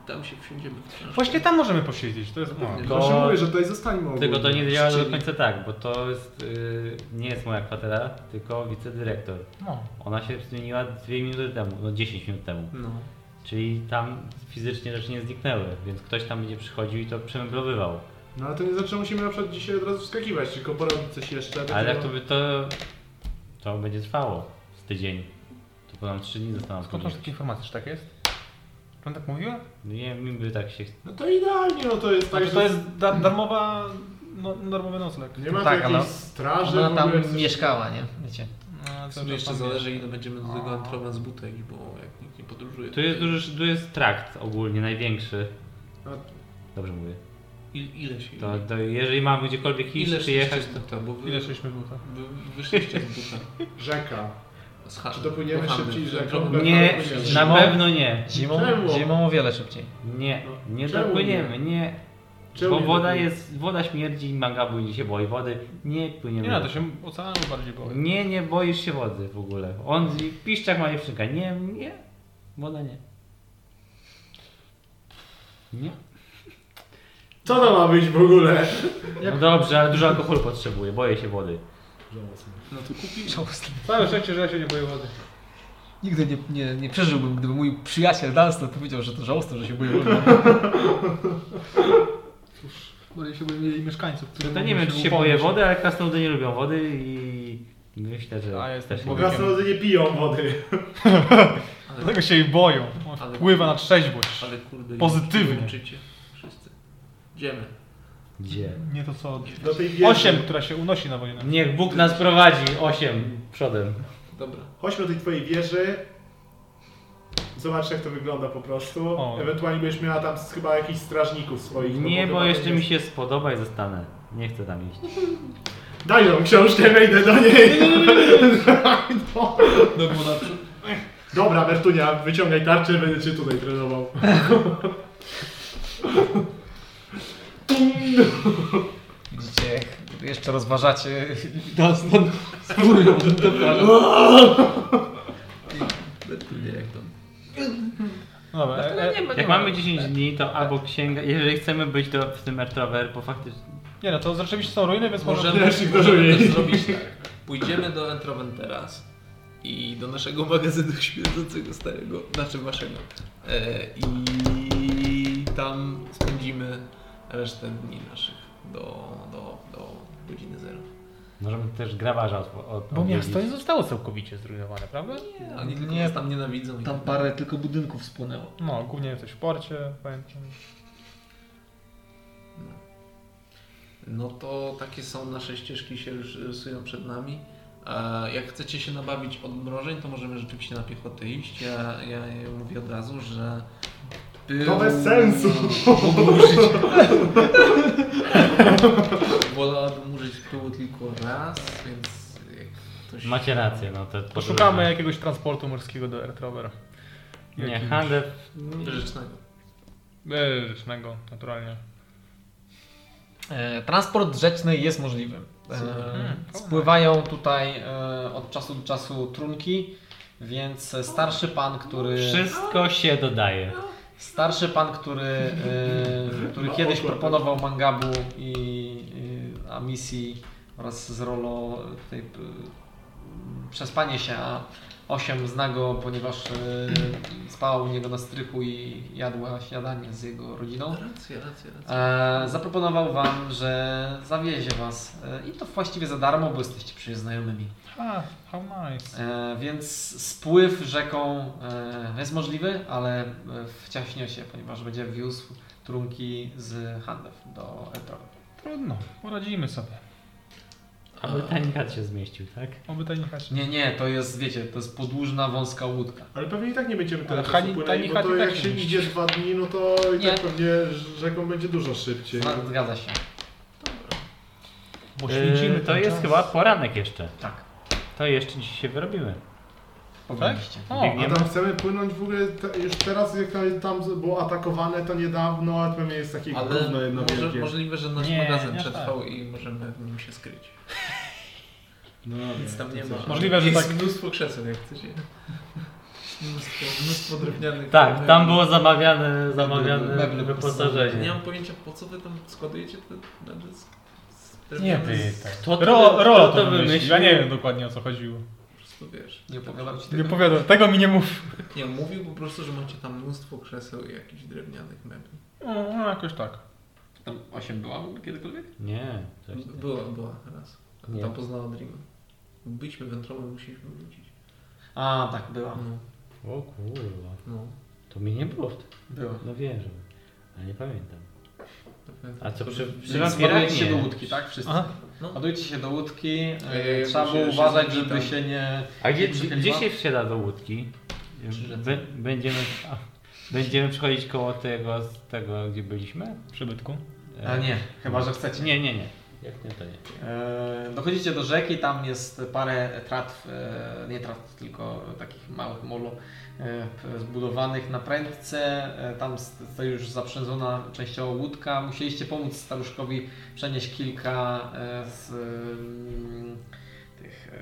Speaker 2: Tam się wsiądziemy w książkę.
Speaker 5: Właśnie tam możemy posiedzieć, to jest... No.
Speaker 2: Pewnie.
Speaker 6: Właśnie
Speaker 3: To-
Speaker 6: mówię, że tutaj zostańmy ogólnie.
Speaker 3: Tylko to nie działa do
Speaker 2: Czyli-
Speaker 3: końca tak, bo to jest, y, nie jest moja kwatera, tylko wicedyrektor.
Speaker 5: no.
Speaker 3: Ona się zmieniła 2 minuty temu, no 10 minut temu.
Speaker 2: No.
Speaker 3: Czyli tam fizycznie rzeczy nie zniknęły, więc ktoś tam będzie przychodził i to przemeblowywał.
Speaker 6: No ale to nie znaczy, że musimy na przykład dzisiaj od razu wskakiwać, tylko porobić coś jeszcze.
Speaker 3: Ale jak
Speaker 6: dlatego-
Speaker 3: to by to... to będzie trwało z tydzień. To ponad 3 dni zostaną
Speaker 5: Skąd masz takie informacje, czy tak jest? Czy on tak mówiła?
Speaker 3: Nie, mi by tak się...
Speaker 6: No to idealnie, no to jest tak, że-
Speaker 5: Znaczy, to jest da darmowa... No, darmowy nocleg.
Speaker 6: Nie ma
Speaker 1: Tak,
Speaker 6: tak,
Speaker 1: ale
Speaker 3: no.
Speaker 6: jakiejś straży,
Speaker 1: Ona
Speaker 6: w ogóle,
Speaker 1: tam
Speaker 6: coś-
Speaker 1: mieszkała, nie? Wiecie.
Speaker 5: No,
Speaker 2: W
Speaker 5: to
Speaker 2: sumie jeszcze
Speaker 5: tam
Speaker 2: zależy
Speaker 5: jest.
Speaker 2: ile będziemy do tego antrowa z butek, bo jak nikt nie podróżuje.
Speaker 3: Tu jest, duży, tu jest trakt ogólnie, największy.
Speaker 6: No.
Speaker 3: Dobrze mówię.
Speaker 2: Il, ile się...
Speaker 3: To, to jeżeli mamy gdziekolwiek iść,
Speaker 2: ile
Speaker 3: przyjechać,
Speaker 2: szliście z buta, bo wy,
Speaker 5: Tak. Ile szliśmy buta?
Speaker 2: wy, wyszliście z buta.
Speaker 8: Rzeka.
Speaker 2: Z ha-
Speaker 8: Czy dopłyniemy
Speaker 2: do handlu.
Speaker 8: szybciej rzeką?
Speaker 3: to... Nie, na
Speaker 1: Zimą?
Speaker 3: pewno nie.
Speaker 1: Zimą,
Speaker 8: Czemu?
Speaker 1: zimą o wiele szybciej.
Speaker 3: Nie, nie
Speaker 8: Czemu
Speaker 3: dopłyniemy, nie.
Speaker 8: Czemu
Speaker 3: Bo
Speaker 8: nie
Speaker 3: woda
Speaker 8: dopłyniemy?
Speaker 3: jest, woda śmierdzi i Magabu nie się boi wody. Nie płyniemy.
Speaker 5: Nie, no, to się oceanu bardziej boję.
Speaker 3: nie, nie boisz się wody w ogóle. On piszczak ma dziewczynka. Nie, nie. Woda nie. Nie.
Speaker 8: Co to ma być w ogóle?
Speaker 3: No dobrze, ale dużo alkoholu potrzebuję, boję się wody.
Speaker 2: No to kupi...
Speaker 4: Całe szczęście, że ja się nie boję wody.
Speaker 1: Nigdy nie, nie, nie przeżyłbym, gdyby mój przyjaciel Dunstan powiedział, że to żałosne, że się boję.
Speaker 4: Bardziej się boję jej mieszkańców, którzy
Speaker 3: No to nie
Speaker 4: mogą
Speaker 3: wiem, czy się
Speaker 4: upomnieć.
Speaker 3: boję wody, ale krasnoludy nie lubią wody i myślę, że
Speaker 5: A, jestem
Speaker 3: też nie
Speaker 5: Bo
Speaker 3: lubią.
Speaker 5: krasnoludy
Speaker 6: Krasnoludy nie piją wody.
Speaker 5: Dlatego się jej boją. On
Speaker 2: Ale-
Speaker 5: wpływa na trzeźwość.
Speaker 2: Ale kurde...
Speaker 5: Pozytywnie.
Speaker 2: Uczycie wszyscy. Idziemy.
Speaker 3: Gdzie?
Speaker 5: Nie to co...
Speaker 6: Do tej wieży.
Speaker 5: Osiem, która się unosi na wojnę.
Speaker 3: Niech Bóg nas prowadzi, osiem przodem.
Speaker 2: Dobra.
Speaker 6: Chodźmy do tej twojej wieży. Zobacz jak to wygląda po prostu.
Speaker 5: O.
Speaker 6: Ewentualnie będziesz miała tam z- chyba jakichś strażników swoich. no
Speaker 3: Nie,
Speaker 6: chyba
Speaker 3: bo
Speaker 6: to
Speaker 3: jeszcze
Speaker 6: jest-
Speaker 3: mi się spodoba i zostanę. Nie chcę tam iść.
Speaker 6: Daj nam książkę, wejdę do niej. No.
Speaker 2: No bo na przód.
Speaker 6: Dobra, Bertunia, wyciągaj tarczę, będę cię tutaj trenował.
Speaker 1: Widzicie, jak jeszcze rozważacie.
Speaker 5: No Dobra, e, e,
Speaker 3: Jak mamy 10 dni, to albo księga. Jeżeli chcemy być do, w tym Ertrower, bo faktycznie.
Speaker 5: nie no, to rzeczywiście są ruiny, więc może...
Speaker 2: Możemy,
Speaker 6: się
Speaker 2: możemy
Speaker 6: ignoruje.
Speaker 2: też zrobić tak. Pójdziemy do Entroven teraz i do naszego magazynu śmierdzącego starego, znaczy waszego. E, I tam spędzimy resztę dni naszych do, do, do godziny zero.
Speaker 3: Możemy No, też grabarza od, od,
Speaker 5: Bo
Speaker 3: odwiedzić.
Speaker 5: miasto nie zostało całkowicie zrujnowane, prawda?
Speaker 2: Nie, oni tylko
Speaker 1: Nie.
Speaker 2: nas tam nienawidzą. i
Speaker 1: Tam
Speaker 2: tak.
Speaker 1: parę tylko budynków spłonęło.
Speaker 5: No, głównie coś w porcie, pamiętam.
Speaker 2: No to takie są nasze ścieżki się już rysują przed nami. E, Jak chcecie się nabawić odmrożeń, to możemy rzeczywiście na piechotę iść. Ja, ja mówię od razu, że był...
Speaker 6: To bez sensu.
Speaker 2: Mógł użyć... Wolałabym użyć pyłu tylko raz, więc jak ktoś...
Speaker 3: Macie rację, no to.
Speaker 5: Poszukamy jakiegoś transportu morskiego do Ertrover.
Speaker 3: Nie,
Speaker 5: jakimś-
Speaker 3: handel.
Speaker 2: Rzecznego.
Speaker 5: E, Rzecznego, naturalnie.
Speaker 1: E, Transport rzeczny jest możliwy. E, Spływają tutaj e, od czasu do czasu trunki, więc starszy pan, który.
Speaker 3: Wszystko się dodaje.
Speaker 1: Starszy pan, który, e, który kiedyś proponował mangabu i y, a misji oraz z rolo tej, p- przespanie się, a 8 zna go, ponieważ e, spała u niego na strychu i jadła śniadanie z jego rodziną.
Speaker 2: Racja, racja, racja.
Speaker 1: E, zaproponował wam, że zawiezie was e, i to właściwie za darmo, bo jesteście przecież znajomymi.
Speaker 5: Ah, how nice.
Speaker 1: E, więc spływ rzeką e, jest możliwy, ale e, wciaśnie się, ponieważ będzie wiózł trunki z Handew do Etrowy.
Speaker 5: Trudno, poradzimy sobie.
Speaker 3: Aby tańkat się zmieścił, tak?
Speaker 5: Oby tajni chaci.
Speaker 1: Nie, nie, to jest, wiecie, to jest podłużna, wąska łódka.
Speaker 6: Ale pewnie i tak nie będziemy tyle
Speaker 5: Ale Hani-
Speaker 6: czasu płynęli,
Speaker 5: Tani
Speaker 6: bo to
Speaker 5: Hani
Speaker 6: jak
Speaker 5: tak
Speaker 6: się
Speaker 5: nie
Speaker 6: idzie dwa dni, no to i
Speaker 1: Nie.
Speaker 6: tak pewnie rzeką będzie dużo szybciej.
Speaker 1: Zna- No, Zgadza się.
Speaker 5: E,
Speaker 3: Yy, to jest chyba poranek jeszcze.
Speaker 1: Tak.
Speaker 3: To jeszcze dziś się wyrobimy.
Speaker 1: Powinniście.
Speaker 5: O,
Speaker 6: A tam chcemy płynąć w ogóle te, już teraz, jak tam- tam było atakowane to niedawno, a pewnie jest takie
Speaker 2: Ale
Speaker 6: gówno jedno
Speaker 2: może,
Speaker 6: wielkie.
Speaker 2: możliwe, że nasz
Speaker 5: Nie,
Speaker 2: magazyn
Speaker 5: nie
Speaker 2: przetrwał
Speaker 3: tak.
Speaker 2: i możemy w nim się skryć.
Speaker 6: No,
Speaker 2: Nic tam nie ma.
Speaker 5: Możliwe, że
Speaker 2: jest
Speaker 5: tak.
Speaker 2: mnóstwo krzeseł, jak chcecie. Mnóstwo, mnóstwo drewnianych.
Speaker 3: Tak, tam było zamawiane, zamawiane
Speaker 1: Meble
Speaker 2: Nie mam
Speaker 3: wyposażenie.
Speaker 2: pojęcia, po co wy tam składujecie te na dysk. z
Speaker 5: Nie,
Speaker 2: drewniane
Speaker 5: ty.
Speaker 2: z-
Speaker 5: tak.
Speaker 3: Kto
Speaker 5: Ro, ro
Speaker 3: kto
Speaker 5: to wymyślił. Ja nie wiem dokładnie o co chodziło.
Speaker 2: Po prostu wiesz. Tak.
Speaker 1: Nie opowiadam ci
Speaker 5: Nie
Speaker 1: tego.
Speaker 5: powiadam, tego mi nie mów.
Speaker 2: Nie, mówił po prostu, że macie tam mnóstwo krzeseł i jakichś drewnianych mebli.
Speaker 5: No, jakoś tak.
Speaker 4: Tam 8 była kiedykolwiek?
Speaker 3: Nie, coś tam.
Speaker 2: Była, była raz.
Speaker 3: Nie.
Speaker 2: Tam poznała Dreama. Byliśmy wędrowym, musieliśmy wrócić.
Speaker 1: A, tak, była.
Speaker 2: No,
Speaker 3: O kurwa.
Speaker 2: no.
Speaker 3: To mnie nie było wtedy.
Speaker 1: Była.
Speaker 3: No wiem, że było. ale nie pamiętam.
Speaker 2: to pamiętam.
Speaker 3: A co
Speaker 2: To
Speaker 3: przy,
Speaker 2: był-
Speaker 3: przy wampirach
Speaker 1: Ładujcie
Speaker 3: nie.
Speaker 1: się do łódki, tak? Wszyscy.
Speaker 5: Aha.
Speaker 1: Ładujcie się do łódki. e,
Speaker 2: Ej, jakby
Speaker 1: Trzeba
Speaker 2: się-
Speaker 1: było
Speaker 2: się
Speaker 1: uważać,
Speaker 2: zbić
Speaker 1: żeby
Speaker 2: tam.
Speaker 1: się nie...
Speaker 3: A gdzie,
Speaker 1: Przy
Speaker 3: gdzie,
Speaker 1: tym
Speaker 3: gdzie
Speaker 1: dwa-
Speaker 3: się wsiada do łódki? Be, będziemy, a, będziemy przechodzić koło tego, z tego gdzie byliśmy?
Speaker 5: Przybytku.
Speaker 3: E,
Speaker 1: A nie, chyba że chcecie.
Speaker 3: Nie, nie, nie. Jak nie, to nie.
Speaker 1: E, Dochodzicie do rzeki, tam jest parę tratw, e, nie tratw, tylko takich małych molo e, p- zbudowanych na prędce. E, Tam s- stoi już zaprzężona częściowo łódka. Musieliście pomóc staruszkowi przenieść kilka e, z mm, tych e,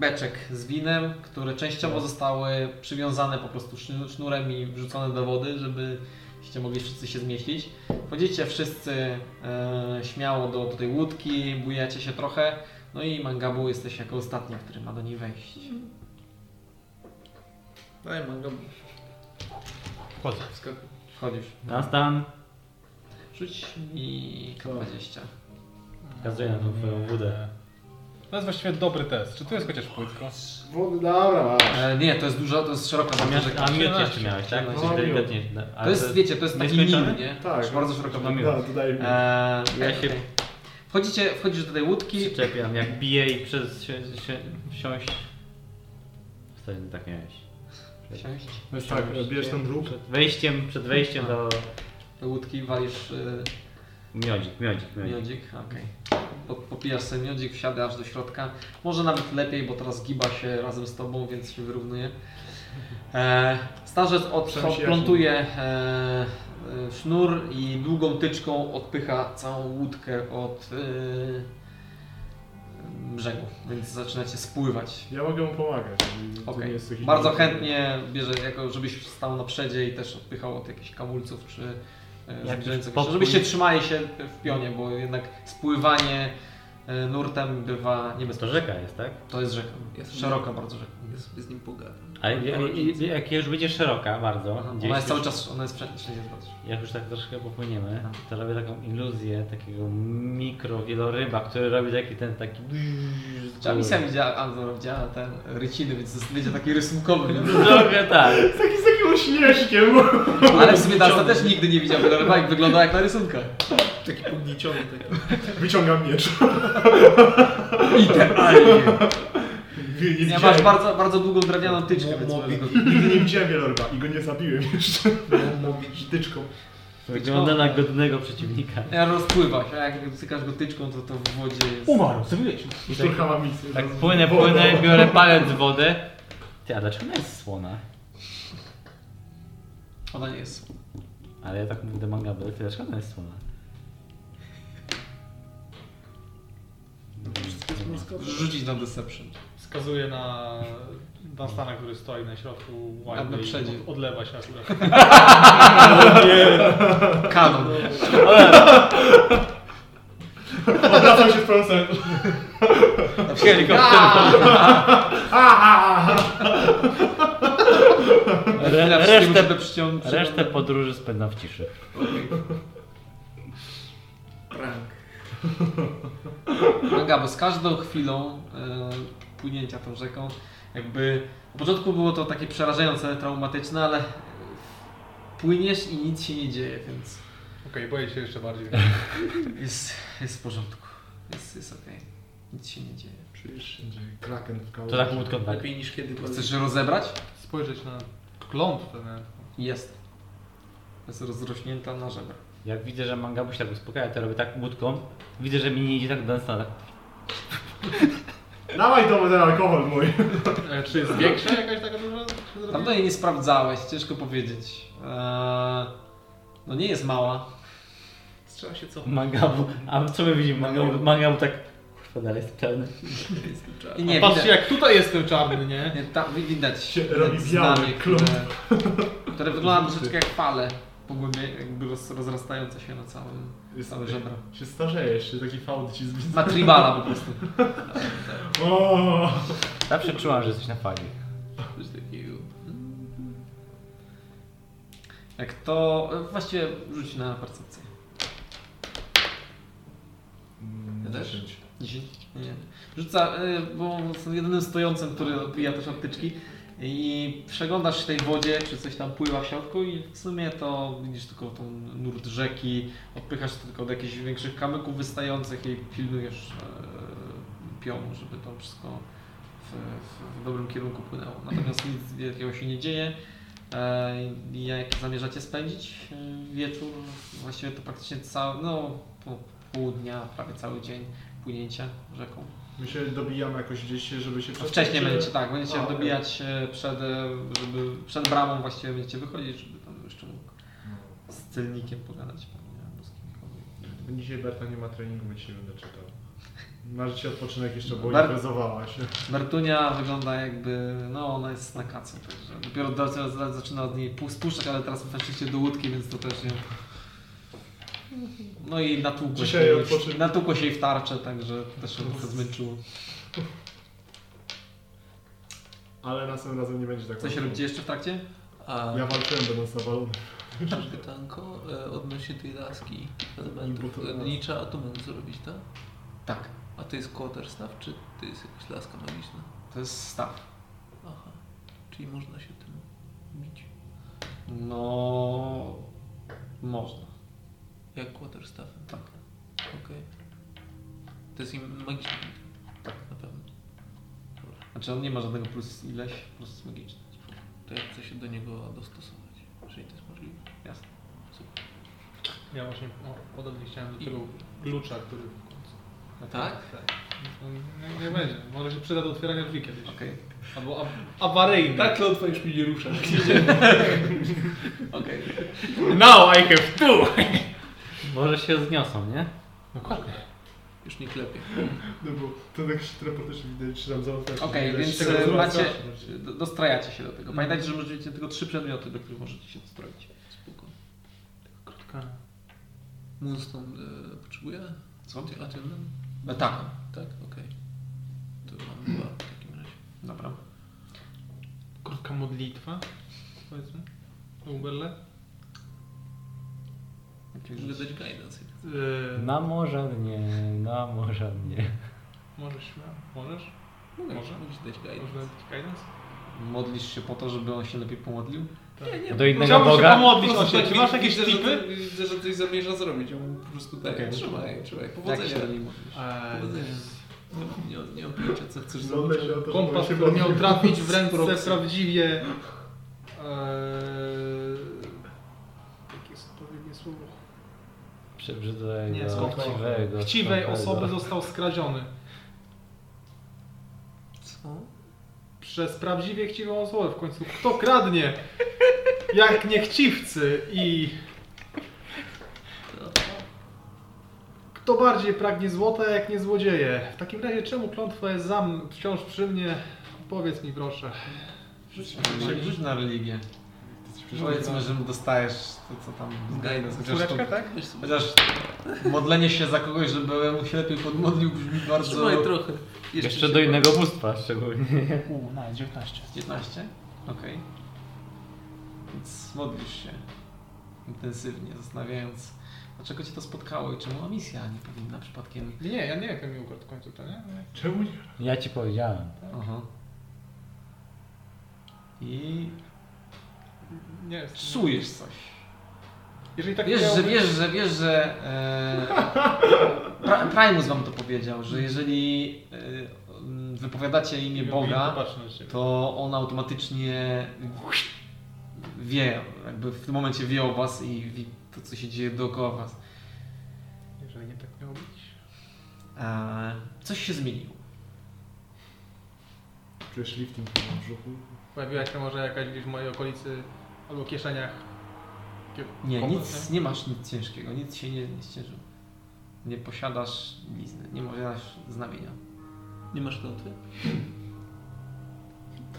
Speaker 1: beczek z winem, które częściowo zostały przywiązane po prostu sznu- sznurem i wrzucone do wody, żebyście mogli wszyscy się zmieścić. Wchodzicie wszyscy e, śmiało do, do tej łódki, bujacie się trochę. No i Mangabu jesteś jako ostatni, który ma do niej wejść.
Speaker 2: Daj, mango.
Speaker 3: Wchodzę.
Speaker 2: Wskakuj.
Speaker 1: Wchodzisz.
Speaker 3: Nas tam.
Speaker 1: Rzuć mi K20.
Speaker 3: Wskazuję na tą twoją wódę.
Speaker 4: To jest właściwie dobry test. Czy tu jest chociaż płytko?
Speaker 6: Wody, dobra, masz.
Speaker 1: E, nie, to jest dużo, to jest szeroka
Speaker 3: A, miałeś,
Speaker 1: rzeka.
Speaker 3: a miód jeszcze miałeś, tak?
Speaker 1: No,
Speaker 3: Coś
Speaker 6: miód.
Speaker 3: delikatnie. no, ale
Speaker 1: To jest, wiecie, to jest taki
Speaker 3: nieskończony?
Speaker 1: mil, nie?
Speaker 6: Tak.
Speaker 1: Bardzo szeroka
Speaker 3: No, miód.
Speaker 6: No, dodaj mi.
Speaker 1: Eee,
Speaker 3: Ja
Speaker 1: okej,
Speaker 3: się-
Speaker 1: okej. Wchodzicie, wchodzisz do tej łódki.
Speaker 3: Przyczepiam, jak bije i przez się, się, wsiąść. Wtedy tak miałeś.
Speaker 1: Siąść
Speaker 6: No jest tak, bierzesz ten druk.
Speaker 3: Przed wejściem, przed wejściem do
Speaker 1: do łódki, walisz y,
Speaker 3: miodzik, miodzik, miodzik.
Speaker 1: miodzik. Okej. Po- Popijasz sobie miodzik, wsiadasz do środka. Może nawet lepiej, bo teraz giba się razem z tobą, więc się wyrównuje. E, starzec od,
Speaker 6: Przynajmniej się
Speaker 1: odplątuje e, e, sznur i długą tyczką odpycha całą łódkę od e, brzegu, więc zaczynacie spływać.
Speaker 6: Ja mogę mu pomagać. To
Speaker 1: Okej.
Speaker 6: nie jest jakiś
Speaker 1: Bardzo
Speaker 6: duży-
Speaker 1: chętnie bierze, jako żebyś stał na przedzie i też odpychał od jakichś kamulców czy e,
Speaker 3: Jak
Speaker 1: zbliżających
Speaker 3: popój-
Speaker 1: się. Żebyście trzymali się w pionie, bo jednak spływanie e, nurtem bywa
Speaker 3: To
Speaker 1: niebezpieczne.
Speaker 3: rzeka jest, tak?
Speaker 1: To jest rzeka.
Speaker 2: Jest-
Speaker 1: Szeroka bardzo rzeka.
Speaker 2: Ja sobie z nim pogadam.
Speaker 3: A jak, jak już będzie szeroka bardzo,
Speaker 1: Aha,
Speaker 3: gdzieś
Speaker 1: Ona jest
Speaker 3: już-
Speaker 1: cały czas, ona jest wszędzie. wszędzie jest bardzo szeroka.
Speaker 3: jak już tak troszkę popłyniemy, to robię taką iluzję takiego mikro wieloryba, który robi taki ten taki...
Speaker 1: Czy misja widziała, Anzor widziała ten ryciny, więc jest- będzie taki rysunkowy. więc-
Speaker 3: Trochę tak.
Speaker 6: Taki z takim uśmieszkiem.
Speaker 1: Ale w sumie Dasta też nigdy nie widział wieloryba i wygląda jak na rysunkach.
Speaker 2: Taki podnieciony tak. taki.
Speaker 6: Wyciągam miecz.
Speaker 1: I ten alien.
Speaker 6: Nie,
Speaker 1: Nie,
Speaker 6: widziałem-
Speaker 1: masz bardzo, bardzo długą drewnianą tyczkę, więc możesz go
Speaker 6: Nigdy nie widziałem wieloryba i go nie zabiłem jeszcze. Mówić tyczką.
Speaker 3: Wygląda na godnego przeciwnika.
Speaker 1: Ja rozpływa się, a jak sykasz go tyczką, to to w wodzie jest.
Speaker 6: Umarł, zrobiłeś. Szturcha ma misję.
Speaker 3: Tak płynę, płynę, biorę palec z wody. Ty, a dlaczego ona jest słona?
Speaker 1: Ona nie jest.
Speaker 3: Ale ja tak mówię do manga, bo ty dlaczego ona jest słona?
Speaker 1: Rzucić na deception.
Speaker 4: Wskazuję na Dunstana, który stoi na środku
Speaker 1: A na
Speaker 4: łajdy i
Speaker 1: przedzie.
Speaker 4: od, odlewa się akurat.
Speaker 1: Kanon.
Speaker 6: Odwracam się w twoją stronę.
Speaker 3: Re,
Speaker 1: Resztę
Speaker 3: resztę,
Speaker 1: by przyciągnął.
Speaker 3: resztę podróży spędzam w ciszy.
Speaker 2: Prank.
Speaker 1: Manga, bo z każdą chwilą e, płynięcia tą rzeką, jakby. Na początku było to takie przerażające, traumatyczne, ale płyniesz i nic się nie dzieje, więc
Speaker 4: Okej, boję się jeszcze bardziej.
Speaker 1: jest, jest w porządku. Jest, jest okej. Nic się nie dzieje.
Speaker 6: Czujesz, że kraken w kałuży.
Speaker 3: To tak łódką tak.
Speaker 2: Lepiej niż kiedykolwiek.
Speaker 1: Chcesz rozebrać?
Speaker 4: Spojrzeć na klątwę. na-
Speaker 1: Jest. Jest rozrośnięta na żebra.
Speaker 3: Jak widzę, że manga się tak uspokaja, to robię tak łódką. Widzę, że mi nie idzie tak dęsna. Tak.
Speaker 6: Dawaj to ten alkohol mój.
Speaker 4: E, Czy jest większa jakaś taka duża? Czy zrobię?
Speaker 1: Dawno jej nie sprawdzałeś, ciężko powiedzieć. Eee, no nie jest mała.
Speaker 2: Trzeba się cofnąć.
Speaker 3: Mangabu. A co my widzimy? Mangabu, mangabu tak... Kurwa, dalej jest pełny.
Speaker 1: I nie, widać,
Speaker 4: Patrzcie, jak tutaj jest ten czarny, nie?
Speaker 1: nie, tam wi- widać,
Speaker 6: Się
Speaker 1: widać
Speaker 6: robi biały
Speaker 1: znamie,
Speaker 6: klub.
Speaker 1: które, które wygląda troszeczkę jak fale pogłębie, jakby roz, rozrastające się na całym, całe żebra.
Speaker 6: Się starzejesz, się taki fałd ci zbić.
Speaker 1: Ma tribala po prostu.
Speaker 6: O,
Speaker 3: Zawsze czułam, że jesteś na fali.
Speaker 2: Coś takiego.
Speaker 1: Jak to, właściwie rzuć na percepcję.
Speaker 2: Ja
Speaker 6: Mm,
Speaker 2: też?
Speaker 1: 10? Nie. Rzuca, y, bo są jedynym stojącym, który odbija też od tyczki. I przeglądasz się tej wodzie, czy coś tam pływa w środku i w sumie to widzisz tylko tą nurt rzeki, odpychasz tylko od jakichś większych kamyków wystających i pilnujesz e, pionu, żeby to wszystko w, w, w dobrym kierunku płynęło. Natomiast nic wielkiego się nie dzieje. E, i jak zamierzacie spędzić e, wieczór? Właściwie to praktycznie cały, no po pół dnia, prawie cały dzień płynięcia rzeką.
Speaker 8: My się dobijamy jakoś gdzieś, żeby się
Speaker 1: A
Speaker 8: przespać,
Speaker 1: wcześniej
Speaker 8: czy-
Speaker 1: będziecie tak, będziecie
Speaker 8: A, okej.
Speaker 1: dobijać się przed, e, żeby, przed bramą właściwie będziecie wychodzić, żeby tam jeszcze mógł z celnikiem pogadać pewnie albo z kimkolwiek.
Speaker 8: Dzisiaj Berta nie ma treningu, więc się będę czytał. Marzy ci odpoczynek jeszcze, bo
Speaker 1: Ber-
Speaker 8: imprezowała się.
Speaker 1: Bertunia wygląda jakby, no ona jest na kacu, także dopiero Dorcia za- zaczyna od niej pół spuszczać, ale teraz weszliście do łódki, więc to też nie. No i natłukło się,
Speaker 8: Dzisiaj No.
Speaker 1: jej-
Speaker 8: odpoczy-
Speaker 1: natłukło się jej w tarczę, także też się trochę zmęczyło.
Speaker 8: Ale następnym razem nie będzie tak.
Speaker 1: Co się
Speaker 8: łatwo.
Speaker 1: robicie jeszcze w trakcie?
Speaker 2: A
Speaker 8: Ja walczyłem będąc nawalony.
Speaker 2: masz pytanko e, odnośnie tej laski elementów.
Speaker 8: Nie, bo to-
Speaker 2: E, Licza atomem zrobić, tak?
Speaker 1: Tak.
Speaker 2: A to jest quarterstaff, czy to jest jakaś laska magiczna?
Speaker 1: To jest staw.
Speaker 2: Aha. Czyli można się tym bić.
Speaker 1: No... Można.
Speaker 2: Jak quarterstaffem.
Speaker 1: Tak.
Speaker 2: Okej. To jest im magiczny.
Speaker 1: Tak.
Speaker 2: Na pewno.
Speaker 1: Znaczy on nie ma żadnego plus ileś, plus magiczny.
Speaker 2: To ja chcę się do niego dostosować. Jeżeli to jest możliwe.
Speaker 1: Jasne.
Speaker 2: Super.
Speaker 5: Ja właśnie o, podobnie chciałem do tego klucza, który w końcu.
Speaker 2: Tak?
Speaker 5: No, nie, nie będzie. Może się przyda do otwierania drzwi kiedyś.
Speaker 1: Okej.
Speaker 5: Albo ab awaryjny.
Speaker 2: Tak, klątwa już mi nie rusza.
Speaker 1: Okej.
Speaker 2: Now I have two!
Speaker 3: Może się zniosą, nie?
Speaker 5: Dokładnie.
Speaker 2: Już nie klepie.
Speaker 8: No bo to tak się teleportycznie widać, czy tam załatwiasz.
Speaker 1: Okej,
Speaker 8: Widać,
Speaker 1: więc
Speaker 8: czego
Speaker 1: e,
Speaker 8: załatwiasz.
Speaker 1: macie, do- dostrajacie się do
Speaker 2: No.
Speaker 1: tego. Pamiętajcie, że możecie tylko trzy przedmioty, do których możecie się dostroić.
Speaker 2: Spoko.
Speaker 5: Krótka.
Speaker 2: Moonstone e, potrzebuje?
Speaker 1: Co?
Speaker 2: Ty- A ty no?
Speaker 1: E, tak,
Speaker 2: Tak, okej. To mam dwa w takim razie.
Speaker 1: dobra.
Speaker 5: Krótka modlitwa, powiedzmy. Uberle.
Speaker 1: Jakieś-
Speaker 2: Mogę dać guidance.
Speaker 5: Yy,
Speaker 3: Y, Na morze nie, na morze nie.
Speaker 5: Możesz, śmiało. możesz?
Speaker 2: Mogę,
Speaker 5: Może?
Speaker 2: Możesz dać
Speaker 5: Można
Speaker 2: guidance.
Speaker 5: dać guidance?
Speaker 1: Modlisz się po to, żeby on się lepiej pomodlił?
Speaker 2: Nie, nie.
Speaker 3: Do innego
Speaker 5: Chciałbym się
Speaker 3: Boga?
Speaker 5: pomodlić
Speaker 2: po
Speaker 5: o
Speaker 2: prostu
Speaker 5: siebie.
Speaker 2: tak
Speaker 5: Czy masz jakieś
Speaker 2: widzę, że
Speaker 5: tipy?
Speaker 2: ty- Widzę, że coś zamierza zrobić. Ja mu po prostu daję.
Speaker 1: Okej.
Speaker 2: Trzymaj, trzymaj.
Speaker 1: Jak
Speaker 2: Powodzenia.
Speaker 1: się do niej modlisz?
Speaker 2: Powodzenia. Tak Nie, nie, nie mam pojęcia, co chcesz
Speaker 8: No,
Speaker 2: zrobić.
Speaker 8: myślę o to, żeby
Speaker 5: Kompas,
Speaker 8: się
Speaker 5: który miał
Speaker 8: podnieść.
Speaker 5: trafić w ręce
Speaker 2: Proxy.
Speaker 5: prawdziwie...
Speaker 2: E,
Speaker 5: Eee, jakie jest odpowiednie słowo?
Speaker 3: Przebrzydłego,
Speaker 5: Nie, spoko.
Speaker 3: chciwego.
Speaker 5: Chciwej
Speaker 3: skromnego.
Speaker 5: osoby został skradziony.
Speaker 2: Co?
Speaker 5: Przez prawdziwie chciwą osobę w końcu. Kto kradnie? Jak niechciwcy i... Kto bardziej pragnie złota, jak nie złodzieje? W takim razie czemu klątwa jest za mną, wciąż przy mnie? Powiedz mi proszę.
Speaker 1: Rzuć, rzuć na religię. Powiedzmy, że dostajesz to, co tam z guidance. Chociaż, to,
Speaker 5: Córeczka, tak?
Speaker 2: Wiesz co,
Speaker 1: chociaż modlenie się za kogoś, żeby mu się lepiej podmodlił brzmi bardzo...
Speaker 2: Trzymaj trochę.
Speaker 3: Jeszcze
Speaker 2: się
Speaker 3: do innego bóstwa szczególnie.
Speaker 1: 15? Okej. Więc modlisz się intensywnie, zastanawiając, dlaczego cię to spotkało i czemu misja nie powinna przypadkiem.
Speaker 5: Nie, ja nie wiem, jak mi ukradł w końcu to, nie?
Speaker 8: Czemu nie?
Speaker 3: Ja ci powiedziałem.
Speaker 1: Aha. I
Speaker 5: Nie jest.
Speaker 1: czujesz coś.
Speaker 5: Jeżeli tak
Speaker 1: Wiesz,
Speaker 5: miało
Speaker 1: że
Speaker 5: być-
Speaker 1: wiesz, że wiesz, że e, pra, Primus wam to powiedział, że jeżeli e, m, wypowiadacie imię Boga,
Speaker 4: Popatrz na siebie.
Speaker 1: to on automatycznie wie, jakby w tym momencie wie o was i wie to, co się dzieje dookoła was.
Speaker 5: Jeżeli nie tak miało być.
Speaker 1: E, coś się zmieniło.
Speaker 8: Czujesz lifting w brzuchu?
Speaker 5: Pojawiła się może jakaś gdzieś w mojej okolicy albo kieszeniach. Takie
Speaker 1: Nie,
Speaker 5: pomocy.
Speaker 1: nic, nie masz nic ciężkiego, nic się nie, nie ścieżyło. Nie posiadasz blizny, nie posiadasz znamienia.
Speaker 2: Nie masz klątwy?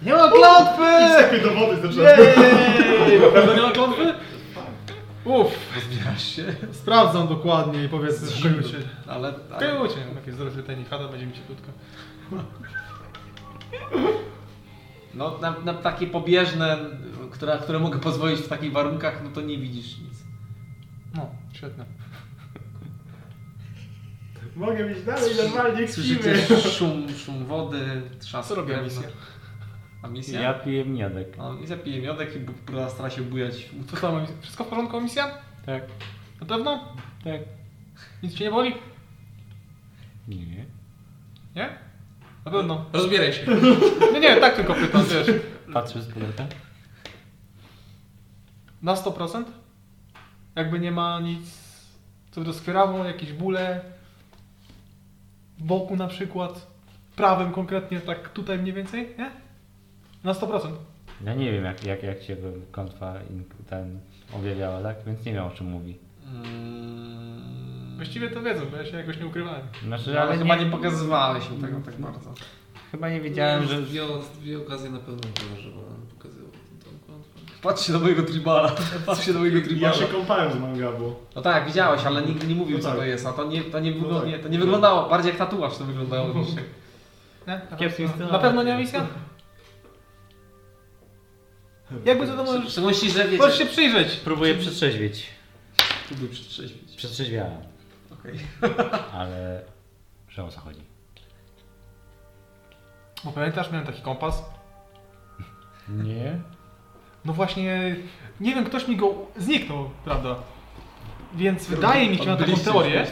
Speaker 5: Nie ma klątwy!
Speaker 8: Jakie dowody zaczęły?
Speaker 5: Jej! Na pewno nie ma klątwy? Uff,
Speaker 1: Rozbierasz się,
Speaker 5: sprawdzam dokładnie i powiedz, że tak kogo cię.
Speaker 1: ale tak.
Speaker 5: Kogo cię? Jakieś zrozumienie chata będzie mi ciepłutko.
Speaker 1: No, na, na takie pobieżne, które, które mogę pozwolić w takich warunkach, no to nie widzisz nic.
Speaker 5: No, świetne.
Speaker 8: Mogę mieć dalej normalnie
Speaker 1: Słyszycie
Speaker 8: krzywy.
Speaker 1: szum, szum wody, trzask.
Speaker 5: Co robi
Speaker 1: krewna.
Speaker 5: misja?
Speaker 1: A misja?
Speaker 3: Ja piję miodek.
Speaker 1: No, misja pije miodek i bu- bu- stara się bujać.
Speaker 5: Co tam? emis- Wszystko w porządku, misja?
Speaker 3: Tak,
Speaker 5: Na pewno?
Speaker 3: tak.
Speaker 5: Nic cię nie boli?
Speaker 3: Nie.
Speaker 5: Nie? Na pewno. No
Speaker 2: Rozbieraj się.
Speaker 3: No.
Speaker 5: Nie, nie, tak tylko pytam, wiesz.
Speaker 3: Patrzę z pilota.
Speaker 5: Na 100%? Jakby nie ma nic, co by doskwierało, jakieś bóle w boku na przykład, prawym konkretnie, tak tutaj mniej więcej, nie? Na 100%.
Speaker 3: Ja nie wiem, jak, jak, jak się klątwa ink- ten objawiała, tak? Więc nie wiem, o czym mówi.
Speaker 1: Mm, No,
Speaker 5: Właściwie to wiedzą, bo ja się jakoś nie ukrywałem.
Speaker 3: Znaczy,
Speaker 1: ale,
Speaker 3: ale
Speaker 1: chyba nie pokazywałeś mi tego tak bardzo.
Speaker 3: chyba nie wiedziałem, że...
Speaker 2: Dwie, dwie okazje na pewno było, żeby on pokazywał tą klątwę.
Speaker 1: Patrz się do mojego tribala. Patrz się do mojego tribala.
Speaker 6: Ja się kąpałem z mangabu.
Speaker 1: No tak, widziałeś, ale nikt nie mówił
Speaker 6: No
Speaker 1: co
Speaker 6: tak.
Speaker 1: to jest, a to nie, to nie,
Speaker 6: No
Speaker 1: wygląda,
Speaker 6: tak.
Speaker 1: nie, to nie wyglądało, bardziej jak tatuaż to wyglądało niż...
Speaker 5: Nie?
Speaker 3: Kiepskim stylem.
Speaker 5: Na pewno nie misja? Jakby to
Speaker 6: No,
Speaker 1: W
Speaker 5: możesz,
Speaker 1: szczególności, że wiecie...
Speaker 5: możesz się przyjrzeć.
Speaker 3: Próbuję przetrzeźwieć.
Speaker 1: Próbuj przetrzeźwić.
Speaker 3: Przetrzeźwiałem,
Speaker 1: Okej.
Speaker 3: ale... Że o co chodzi?
Speaker 5: Bo pamiętasz, miałem taki kompas.
Speaker 3: Nie?
Speaker 5: No właśnie, nie wiem, ktoś mi go zniknął, prawda? Więc wydaje mi się, mam taką teorię,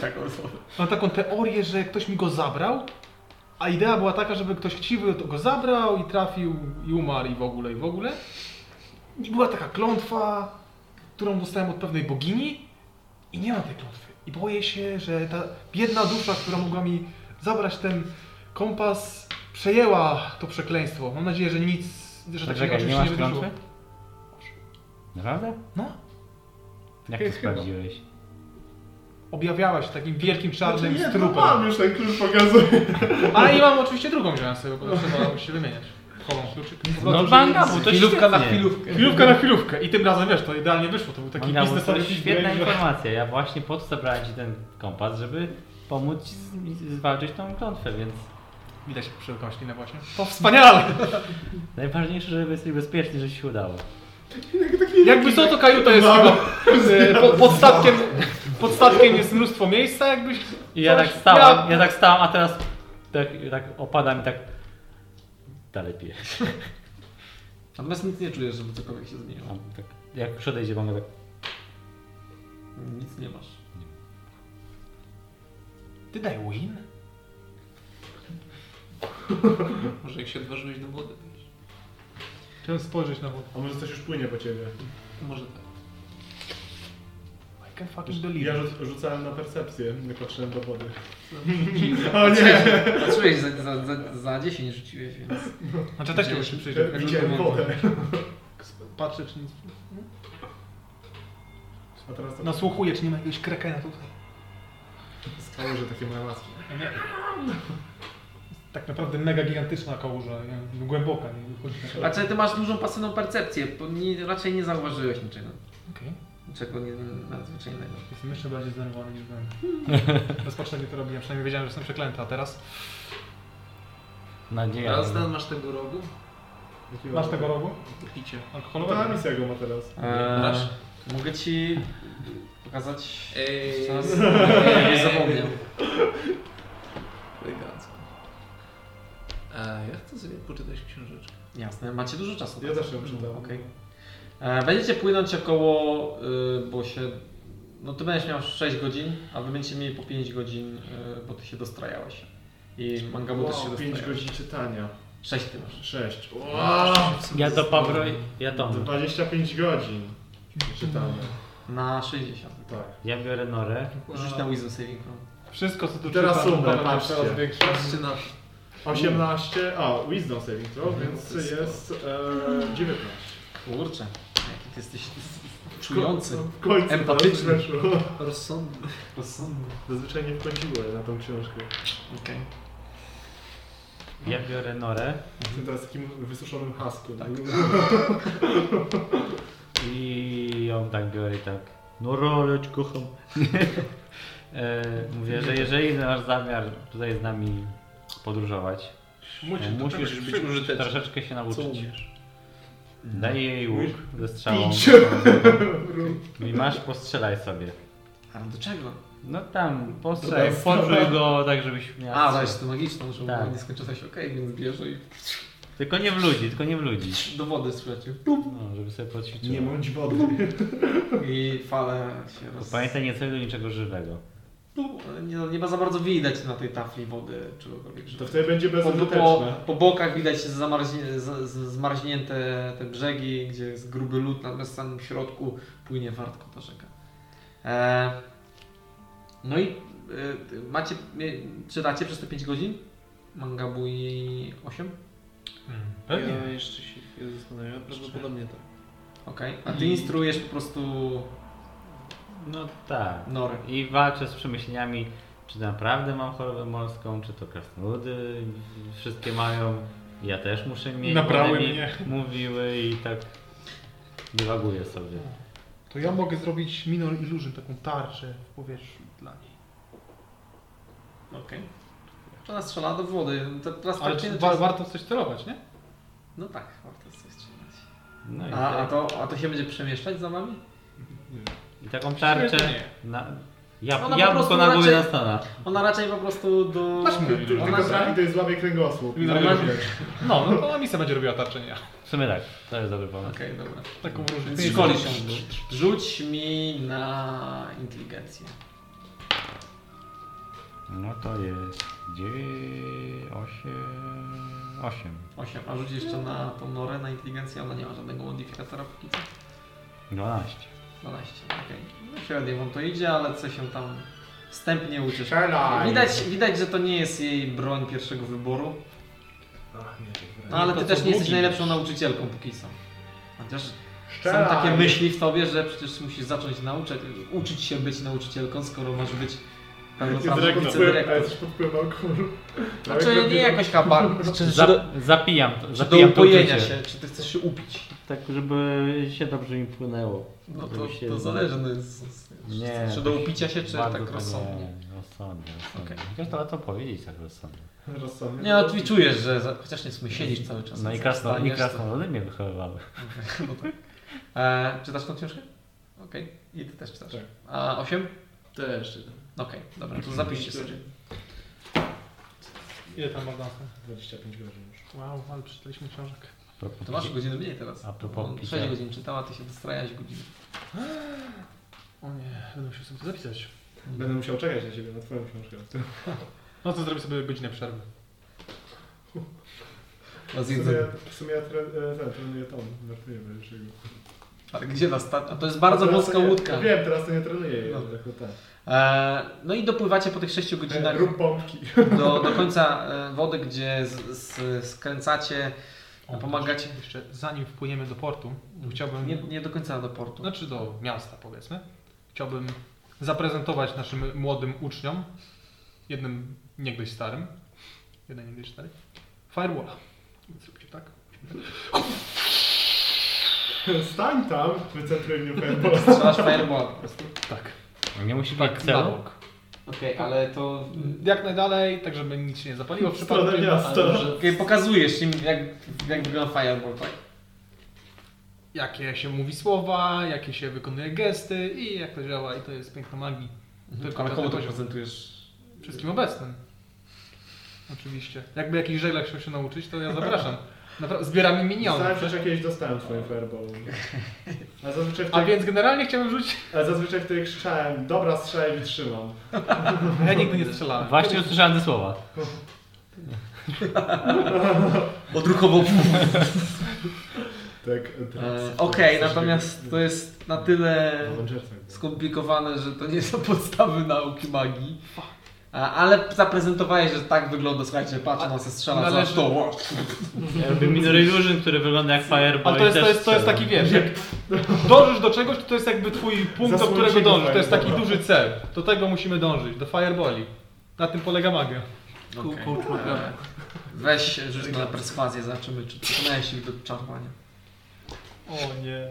Speaker 5: mam taką teorię, że ktoś mi go zabrał, a idea była taka, żeby ktoś chciwy to go zabrał i trafił i umarł i w ogóle, i w ogóle. I była taka klątwa, którą dostałem od pewnej bogini i nie mam tej klątwy. I boję się, że ta biedna dusza, która mogła mi zabrać ten kompas, przejęła to przekleństwo. Mam nadzieję, że nic, że tak się
Speaker 3: Czekaj, nie
Speaker 5: oczywiście
Speaker 3: masz
Speaker 5: nie wydarzyło.
Speaker 3: klątwy? Naprawdę?
Speaker 5: No.
Speaker 3: Jak to
Speaker 5: Chyba.
Speaker 3: sprawdziłeś?
Speaker 5: objawiała się takim wielkim czarnym
Speaker 6: Znaczy, nie, no
Speaker 5: strupem.
Speaker 6: mam już ten klucz pokazuje.
Speaker 5: Ale i mam oczywiście drugą wziąłem sobie, bo trzeba się wymieniać. Chowam kluczyk.
Speaker 3: No mangabu, to
Speaker 1: Chwilówka na
Speaker 3: świetnie.
Speaker 1: chwilówkę.
Speaker 5: Chwilówka na chwilówkę i tym razem wiesz, to idealnie wyszło, to był taki
Speaker 3: Mangabu, to
Speaker 5: biznesowy biznes.
Speaker 3: świetna informacja. Ja właśnie po to zabrałem ci ten kompas, żeby pomóc ci z- zwalczyć tą klątwę, więc
Speaker 5: Widać przy koślinę właśnie. To wspaniale!
Speaker 3: najważniejsze, żeby jesteś bezpieczny, że ci się udało.
Speaker 5: Jakby co to kajuta jest chyba e, po, pod statkiem, pod statkiem jest mnóstwo miejsca jakbyś
Speaker 3: I ja
Speaker 5: coś-
Speaker 3: tak stałem, ja tak stałem, a teraz tak, tak opadam i tak dalej piję.
Speaker 1: Natomiast nic nie czujesz, żeby cokolwiek się zmieniło.
Speaker 3: A Tak, jak przedejdzie mam tak,
Speaker 1: Nic nie masz.
Speaker 5: Ty daj win?
Speaker 2: Może jak się odważyłeś do wody, wiesz.
Speaker 5: Chciałem spojrzeć na wodę.
Speaker 6: A może coś już płynie po ciebie?
Speaker 2: Może tak.
Speaker 5: I can fucking
Speaker 6: Ja
Speaker 5: believe. it.
Speaker 6: rzu- rzucałem na percepcję, nie patrzyłem do wody.
Speaker 1: O nie! Patrzyłeś za, za, za, za 10 rzuciłeś, więc...
Speaker 5: Znaczy też nie muszę przyjrzeć.
Speaker 6: Widziałem wodę.
Speaker 5: Patrzę czy nic.
Speaker 6: A teraz to
Speaker 5: Nasłuchuję czy nie ma jakiegoś krekena tutaj.
Speaker 6: stało, że takie małe łaski.
Speaker 5: Tak naprawdę mega gigantyczna kałuża, nie? głęboka. Nie? Chodzi na to.
Speaker 1: Raczej ty masz dużą pasywną percepcję, bo nie, raczej nie zauważyłeś niczego.
Speaker 5: Okej.
Speaker 1: Niczego nie, nadzwyczajnego.
Speaker 5: Jestem jeszcze bardziej zdenerwowany niż byłem. Rozpoczęli to robiłem, przynajmniej wiedziałem, że jestem przeklęty, a teraz
Speaker 3: nadzieja.
Speaker 2: Teraz Dan masz tego rogu?
Speaker 6: Jakiego- No,
Speaker 5: masz tego rogu
Speaker 2: Picie.
Speaker 6: Ta
Speaker 5: alkoholowego.
Speaker 6: misja go ma teraz.
Speaker 1: Eee, mogę ci pokazać...
Speaker 2: Ej,
Speaker 1: Czas, żebyś zapomniał.
Speaker 2: Elegancko. A ja chcę sobie poczytać książeczkę.
Speaker 1: Jasne, macie dużo czasu.
Speaker 6: Ja też ją czytałem.
Speaker 1: Okej. E, Będziecie płynąć około, y, bo się. No ty będziesz miał 6 godzin, a wy będziecie mieli po 5 godzin, y, bo ty się dostrajałeś. I Mangabu też się
Speaker 6: Wow, 5
Speaker 1: dostrajał.
Speaker 6: godzin czytania.
Speaker 1: 6 ty masz.
Speaker 6: 6. Wow,
Speaker 3: Ja do Pawro, ja Tom.
Speaker 6: 25 godzin czytania.
Speaker 1: Na 60.
Speaker 6: Tak.
Speaker 3: Ja biorę no, norę.
Speaker 1: Rzuć na Wisdom Saving Throw.
Speaker 5: Wszystko co tu
Speaker 6: Teraz
Speaker 5: czytam,
Speaker 6: sumę,
Speaker 5: powiem, że
Speaker 6: patrzcie.
Speaker 5: coraz większe.
Speaker 2: Patrzcie na
Speaker 6: 18, a Wisdom Saving Throw, więc
Speaker 2: to jest
Speaker 6: jest e, 19.
Speaker 1: Kurczę, jaki ty jesteś czujący.
Speaker 6: No, W końcu
Speaker 1: Empatyczny.
Speaker 6: to weszło.
Speaker 2: rozsądne.
Speaker 6: Zazwyczaj nie wchodziłem na tą książkę.
Speaker 1: Okej.
Speaker 3: Ja biorę norę
Speaker 6: Jestem teraz takim wysuszonym haskiem.
Speaker 1: Tak.
Speaker 3: i ją tak biorę i tak. Noro, leć kocham. E, Mówię, że jeżeli masz zamiar tutaj z nami podróżować,
Speaker 4: Musisz,
Speaker 3: e,
Speaker 4: do
Speaker 3: musisz
Speaker 4: czegoś
Speaker 3: być
Speaker 4: przy- użyteczny.
Speaker 3: troszeczkę się
Speaker 4: Co
Speaker 3: nauczyć.
Speaker 4: umiesz?
Speaker 3: Daję jej łuk ze strzałą. I masz, postrzelaj sobie.
Speaker 1: Ale do czego?
Speaker 3: No tam, postrzelaj, formuj go tak, żebyś miał.
Speaker 1: A, zaś to magiczną, żeby
Speaker 3: Tak.
Speaker 1: była nieskończoność. Okej, więc bierze i
Speaker 3: Tylko nie w ludzi, tylko nie w ludzi.
Speaker 1: do wody słuchajcie.
Speaker 3: No, żeby sobie poćwiczył.
Speaker 6: Nie mądź wody.
Speaker 1: I fale się roz...
Speaker 3: Pamiętaj, nie celuj do niczego żywego.
Speaker 1: Nie, no nie ma za bardzo widać na tej tafli wody czegokolwiek. żeby-
Speaker 6: To wtedy będzie
Speaker 1: po, po,
Speaker 6: bezużyteczne.
Speaker 1: po bokach widać zamarznie, z, z, zmarznięte te brzegi, gdzie jest gruby lód, natomiast w samym środku płynie wartko ta rzeka. E, no i e, macie, mie- czytacie przez te 5 godzin? Mangabu i 8?
Speaker 4: Pewnie.
Speaker 2: Ja jeszcze się chwilę zastanawiam, prawdopodobnie tak.
Speaker 1: Okej. A ty
Speaker 3: I-
Speaker 1: instruujesz po prostu
Speaker 3: No tak.
Speaker 1: norę.
Speaker 3: I walczę z przemyśleniami, czy naprawdę mam chorobę morską, czy to krasnoludy wszystkie mają. Ja też muszę mieć. bo
Speaker 4: Nabrały
Speaker 3: one mi
Speaker 4: mnie.
Speaker 3: Mówiły i tak dywaguję sobie.
Speaker 5: To ja mogę zrobić Minor Illusion, taką tarczę w powietrzu dla niej.
Speaker 1: Okej. Ona strzela do wody. Te- Teraz
Speaker 4: Ale
Speaker 1: praktycznie
Speaker 4: czy wa-
Speaker 1: to jest...
Speaker 4: warto w coś celować, nie?
Speaker 1: No tak, warto jest coś strzelać.
Speaker 3: No i,
Speaker 1: A, a,
Speaker 3: tak,
Speaker 1: to, a to się będzie przemieszczać za wami?
Speaker 3: i taką tarczę.
Speaker 4: Nie.
Speaker 3: Na, ja,
Speaker 1: Ona po
Speaker 3: ja
Speaker 1: prostu
Speaker 3: na głowie
Speaker 1: raczej-
Speaker 3: na stona.
Speaker 1: Ona raczej po prostu do...
Speaker 4: Masz mówię, że-
Speaker 1: Ona
Speaker 6: Tylko trafi to jest złamie kręgosłup.
Speaker 4: Minor
Speaker 6: Normalnie.
Speaker 4: No, no to ona misja będzie robiła tarczę, nie ja.
Speaker 3: W sumie tak, to jest dobry pomysł.
Speaker 1: Okej, dobra.
Speaker 4: Taką różnicę.
Speaker 1: Szkoli się. Rzuć mi na inteligencję.
Speaker 3: No to jest 8. 8.
Speaker 1: 8, a rzuć jeszcze na tą norę, na inteligencję, ona nie ma żadnego modyfikatora póki co.
Speaker 3: 12.
Speaker 1: 12, okej. No średnio wam to idzie, ale coś się tam wstępnie uczysz.
Speaker 4: Tak.
Speaker 6: Strzelaj.
Speaker 1: Widać, widać, że to nie jest jej broń pierwszego wyboru,
Speaker 6: Ach, nie.
Speaker 1: no, ale
Speaker 4: To
Speaker 1: ty
Speaker 4: co
Speaker 1: też nie jesteś
Speaker 4: drugi?
Speaker 1: najlepszą nauczycielką póki co. Chociaż są
Speaker 6: Strzelaj.
Speaker 1: takie myśli w tobie, że przecież musisz zacząć nauczać, uczyć się być nauczycielką, skoro masz być pełnoprawną
Speaker 6: Dyrektor. Ale
Speaker 1: wicedyrektorem.
Speaker 6: jesteś pod wpływem alkoholu.
Speaker 1: Znaczy nie jakaś kabar, czy, czy,
Speaker 3: Za,
Speaker 1: do,
Speaker 3: zapijam to.
Speaker 1: czy do
Speaker 3: Zapijam to
Speaker 1: upojenia
Speaker 3: uczucie.
Speaker 1: się, czy ty chcesz się upić.
Speaker 3: Tak, żeby się dobrze mi płynęło.
Speaker 1: No to,
Speaker 3: Żeby się-
Speaker 1: to zależy, no, z, z,
Speaker 3: Nie,
Speaker 1: czy do
Speaker 3: tak
Speaker 1: upicia się, czy
Speaker 3: bardzo
Speaker 1: tak
Speaker 3: to
Speaker 1: rozsądnie.
Speaker 3: Nie, rozsądnie, rozsądnie.
Speaker 1: Okej.
Speaker 3: Chociaż to łatwo powiedzieć tak rozsądnie.
Speaker 6: Rozsądnie.
Speaker 1: Nie, no ty czujesz, że za, chociaż nie w sumie siedzisz cały czas.
Speaker 3: No i
Speaker 1: jak
Speaker 3: krasno, i
Speaker 1: wstaniesz, to-
Speaker 3: krasnoludy mnie wychowywały.
Speaker 1: No tak. E, czytasz tą książkę? Okej. I ty też czytasz.
Speaker 6: Tak.
Speaker 1: A 8?
Speaker 2: To jeszcze.
Speaker 1: Okej, dobra, to zapiszcie sobie.
Speaker 4: Ile tam ma dansa?
Speaker 6: 25 godzin już.
Speaker 5: Wow, ale przeczytaliśmy książek.
Speaker 3: Propos
Speaker 1: To masz
Speaker 3: picia.
Speaker 1: godzinę mniej teraz.
Speaker 3: A propos
Speaker 1: On
Speaker 3: picia.
Speaker 1: 6 godzin czytał, a ty się dostrajałeś godzinę.
Speaker 4: O nie, będę musiał sobie to zapisać.
Speaker 6: Będę musiał czekać na ciebie, na twoją książkę.
Speaker 4: No to zrobię sobie godzinę przerwy.
Speaker 1: Na
Speaker 6: W sumie,
Speaker 1: zjedzenie.
Speaker 6: w sumie ja tre- e, ten, trenuję tą, żartuję Wojciechego.
Speaker 1: Ale gdzie na stat... A to jest bardzo
Speaker 6: Teraz
Speaker 1: wąska
Speaker 6: to nie-
Speaker 1: łódka.
Speaker 6: Wiem, teraz to nie trenuję,
Speaker 1: No.
Speaker 6: ale jako tak.
Speaker 1: E, no i dopływacie po tych 6 godzinach.
Speaker 6: Rób pompki.
Speaker 1: do, do końca e, wody, gdzie z, z, skręcacie,
Speaker 4: O,
Speaker 1: pomagacie.
Speaker 4: Tak, Jeszcze zanim wpłyniemy do portu, chciałbym.
Speaker 1: Nie, nie do końca do portu.
Speaker 4: Znaczy do miasta powiedzmy. Chciałbym zaprezentować naszym młodym uczniom, jednym niegdyś starym, jeden niegdyś stary, firewalla. Więc róbcie tak.
Speaker 6: Stań tam, wycentruj mnie fireball.
Speaker 1: Strzelasz fireball po prostu.
Speaker 4: Tak.
Speaker 3: Nie musi być
Speaker 4: Tak, na
Speaker 3: celu.
Speaker 4: bok.
Speaker 1: Okej, ale to...
Speaker 4: Jak najdalej, tak żeby nic się nie zapaliło w
Speaker 6: W stronę
Speaker 4: przypadku.
Speaker 6: miasta.
Speaker 1: Okej, pokazujesz im jak, jak wygląda fireball, tak?
Speaker 4: Jakie się mówi słowa, jakie się wykonuje gesty i jak to działa i to jest piękna magii. Tylko
Speaker 1: Mhm. Ale
Speaker 4: na
Speaker 1: komu to
Speaker 4: ten poziom.
Speaker 1: prezentujesz?
Speaker 4: Wszystkim obecnym. Oczywiście. Jakby jakiś żeglach chciał się nauczyć, to ja zapraszam. Napra- zbieramy miniony.
Speaker 6: Stałem przecież jakieś dostałem twoim fireball. A zazwyczaj, w
Speaker 4: A
Speaker 6: tej,
Speaker 4: więc generalnie chciałbym rzucić.
Speaker 6: a zazwyczaj w tej krzyczałem, dobra strzelaj i trzymam.
Speaker 4: Ja nigdy nie strzelałem.
Speaker 3: Właśnie usłyszałem te słowa.
Speaker 1: Odruchowo.
Speaker 6: Tak.
Speaker 1: E, Okej, natomiast to jest na tyle
Speaker 6: Skup...
Speaker 1: skomplikowane, że to nie są podstawy nauki magii. A, ale zaprezentowałeś, że tak wygląda, słuchajcie, patrz, ona se strzela za
Speaker 4: należy-
Speaker 1: to.
Speaker 3: Ja Robię Minor Illusion, który wygląda jak Fireball
Speaker 5: Ale to jest,
Speaker 3: i
Speaker 5: to
Speaker 3: też
Speaker 5: jest, to jest
Speaker 3: strzelam.
Speaker 5: taki, wiesz, jak dążysz do czegoś, to to jest jakby twój punkt, do
Speaker 6: Zasłoń
Speaker 5: którego
Speaker 6: się
Speaker 5: dążysz. To
Speaker 6: tutaj,
Speaker 5: jest taki
Speaker 6: dobra.
Speaker 5: duży cel. Do tego musimy dążyć, do fireballi. Na tym polega magia.
Speaker 1: Okej.
Speaker 2: Cool, cool, cool.
Speaker 1: E, Weź rzuć na perswazję, zobaczymy, czy przekonałeś ich do czarowania.
Speaker 5: O nie.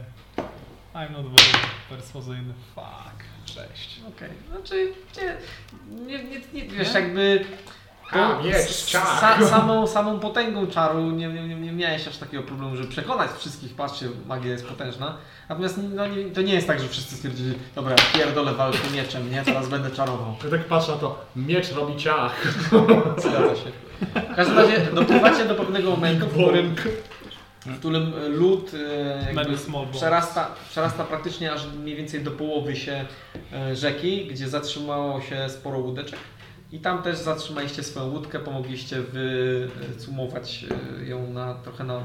Speaker 5: I'm not very persuasyjny. Fuck. Cześć.
Speaker 1: Okej, znaczy, nie, nie, nie, nie wiesz, jakby...
Speaker 6: A, miecz,
Speaker 1: s-
Speaker 6: czar.
Speaker 1: sa, samą, samą potęgą czaru nie, nie, nie, nie miałeś aż takiego problemu, żeby przekonać wszystkich, patrzcie, magia jest potężna. Natomiast no, nie, to nie jest tak, że wszyscy stwierdzili, dobra, pierdolę walkę mieczem, nie, teraz będę czarował.
Speaker 6: Ja tak patrzę na to, miecz robi ciach.
Speaker 1: Zgadza się. W każdym razie dopływacie do pewnego momentu, w którym w którym lód e, jakby
Speaker 4: Mega small bones.
Speaker 1: przerasta, przerasta praktycznie aż mniej więcej do połowy się e, rzeki, gdzie zatrzymało się sporo łódeczek. I tam też zatrzymaliście swoją łódkę, pomogliście wycumować e, ją na, trochę na,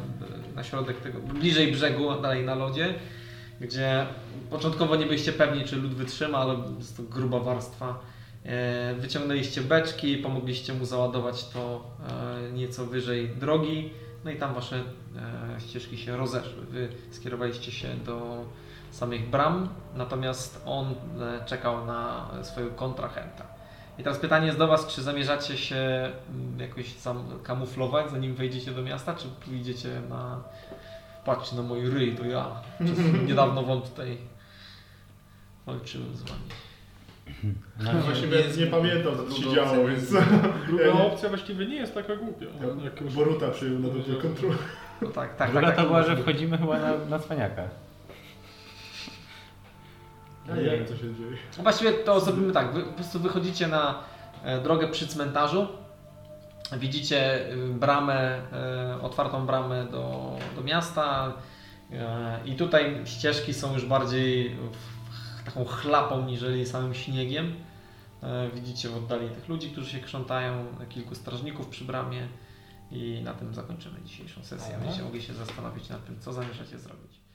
Speaker 1: na środek tego, bliżej brzegu, a dalej na lodzie, gdzie początkowo nie byliście pewni, czy lód wytrzyma, ale jest to gruba warstwa. E, Wyciągnęliście beczki, pomogliście mu załadować to e, nieco wyżej drogi, no i tam wasze e, ścieżki się rozeszły. Wy skierowaliście się do samych bram, natomiast on e, czekał na e, swojego kontrahenta. I teraz pytanie jest do Was, czy zamierzacie się mm, jakoś sam kamuflować, zanim wejdziecie do miasta, czy pójdziecie na... Patrz na mój ryj, to ja. Przecież niedawno Wam tutaj walczyłem z Wami.
Speaker 3: No,
Speaker 6: Właśnie
Speaker 2: nie jest-
Speaker 6: nie, nie pamiętam, co się
Speaker 2: drugą
Speaker 6: działo,
Speaker 2: opcją
Speaker 6: więc...
Speaker 4: Druga
Speaker 6: Ja nie-
Speaker 4: opcja właściwie nie jest taka głupia. Jak już-
Speaker 6: Boruta przyjął na dobrze kontrolę.
Speaker 1: No tak, tak,
Speaker 3: Druga
Speaker 1: tak.
Speaker 3: to
Speaker 1: tak,
Speaker 3: była,
Speaker 1: tak.
Speaker 3: że wchodzimy chyba na, na cwaniaka.
Speaker 6: Ja nie wiem, co się dzieje.
Speaker 1: No Właściwie to zrobimy tak, wy po prostu wychodzicie na e, drogę przy cmentarzu, widzicie y, bramę, e, otwartą bramę do, do miasta e, i tutaj ścieżki są już bardziej w- w- taką chlapą niżeli samym śniegiem. E, Widzicie w oddali tych ludzi, którzy się krzątają, kilku strażników przy bramie i na tym zakończymy dzisiejszą sesję. Będziecie mogli się zastanowić nad tym, co zamierzacie zrobić.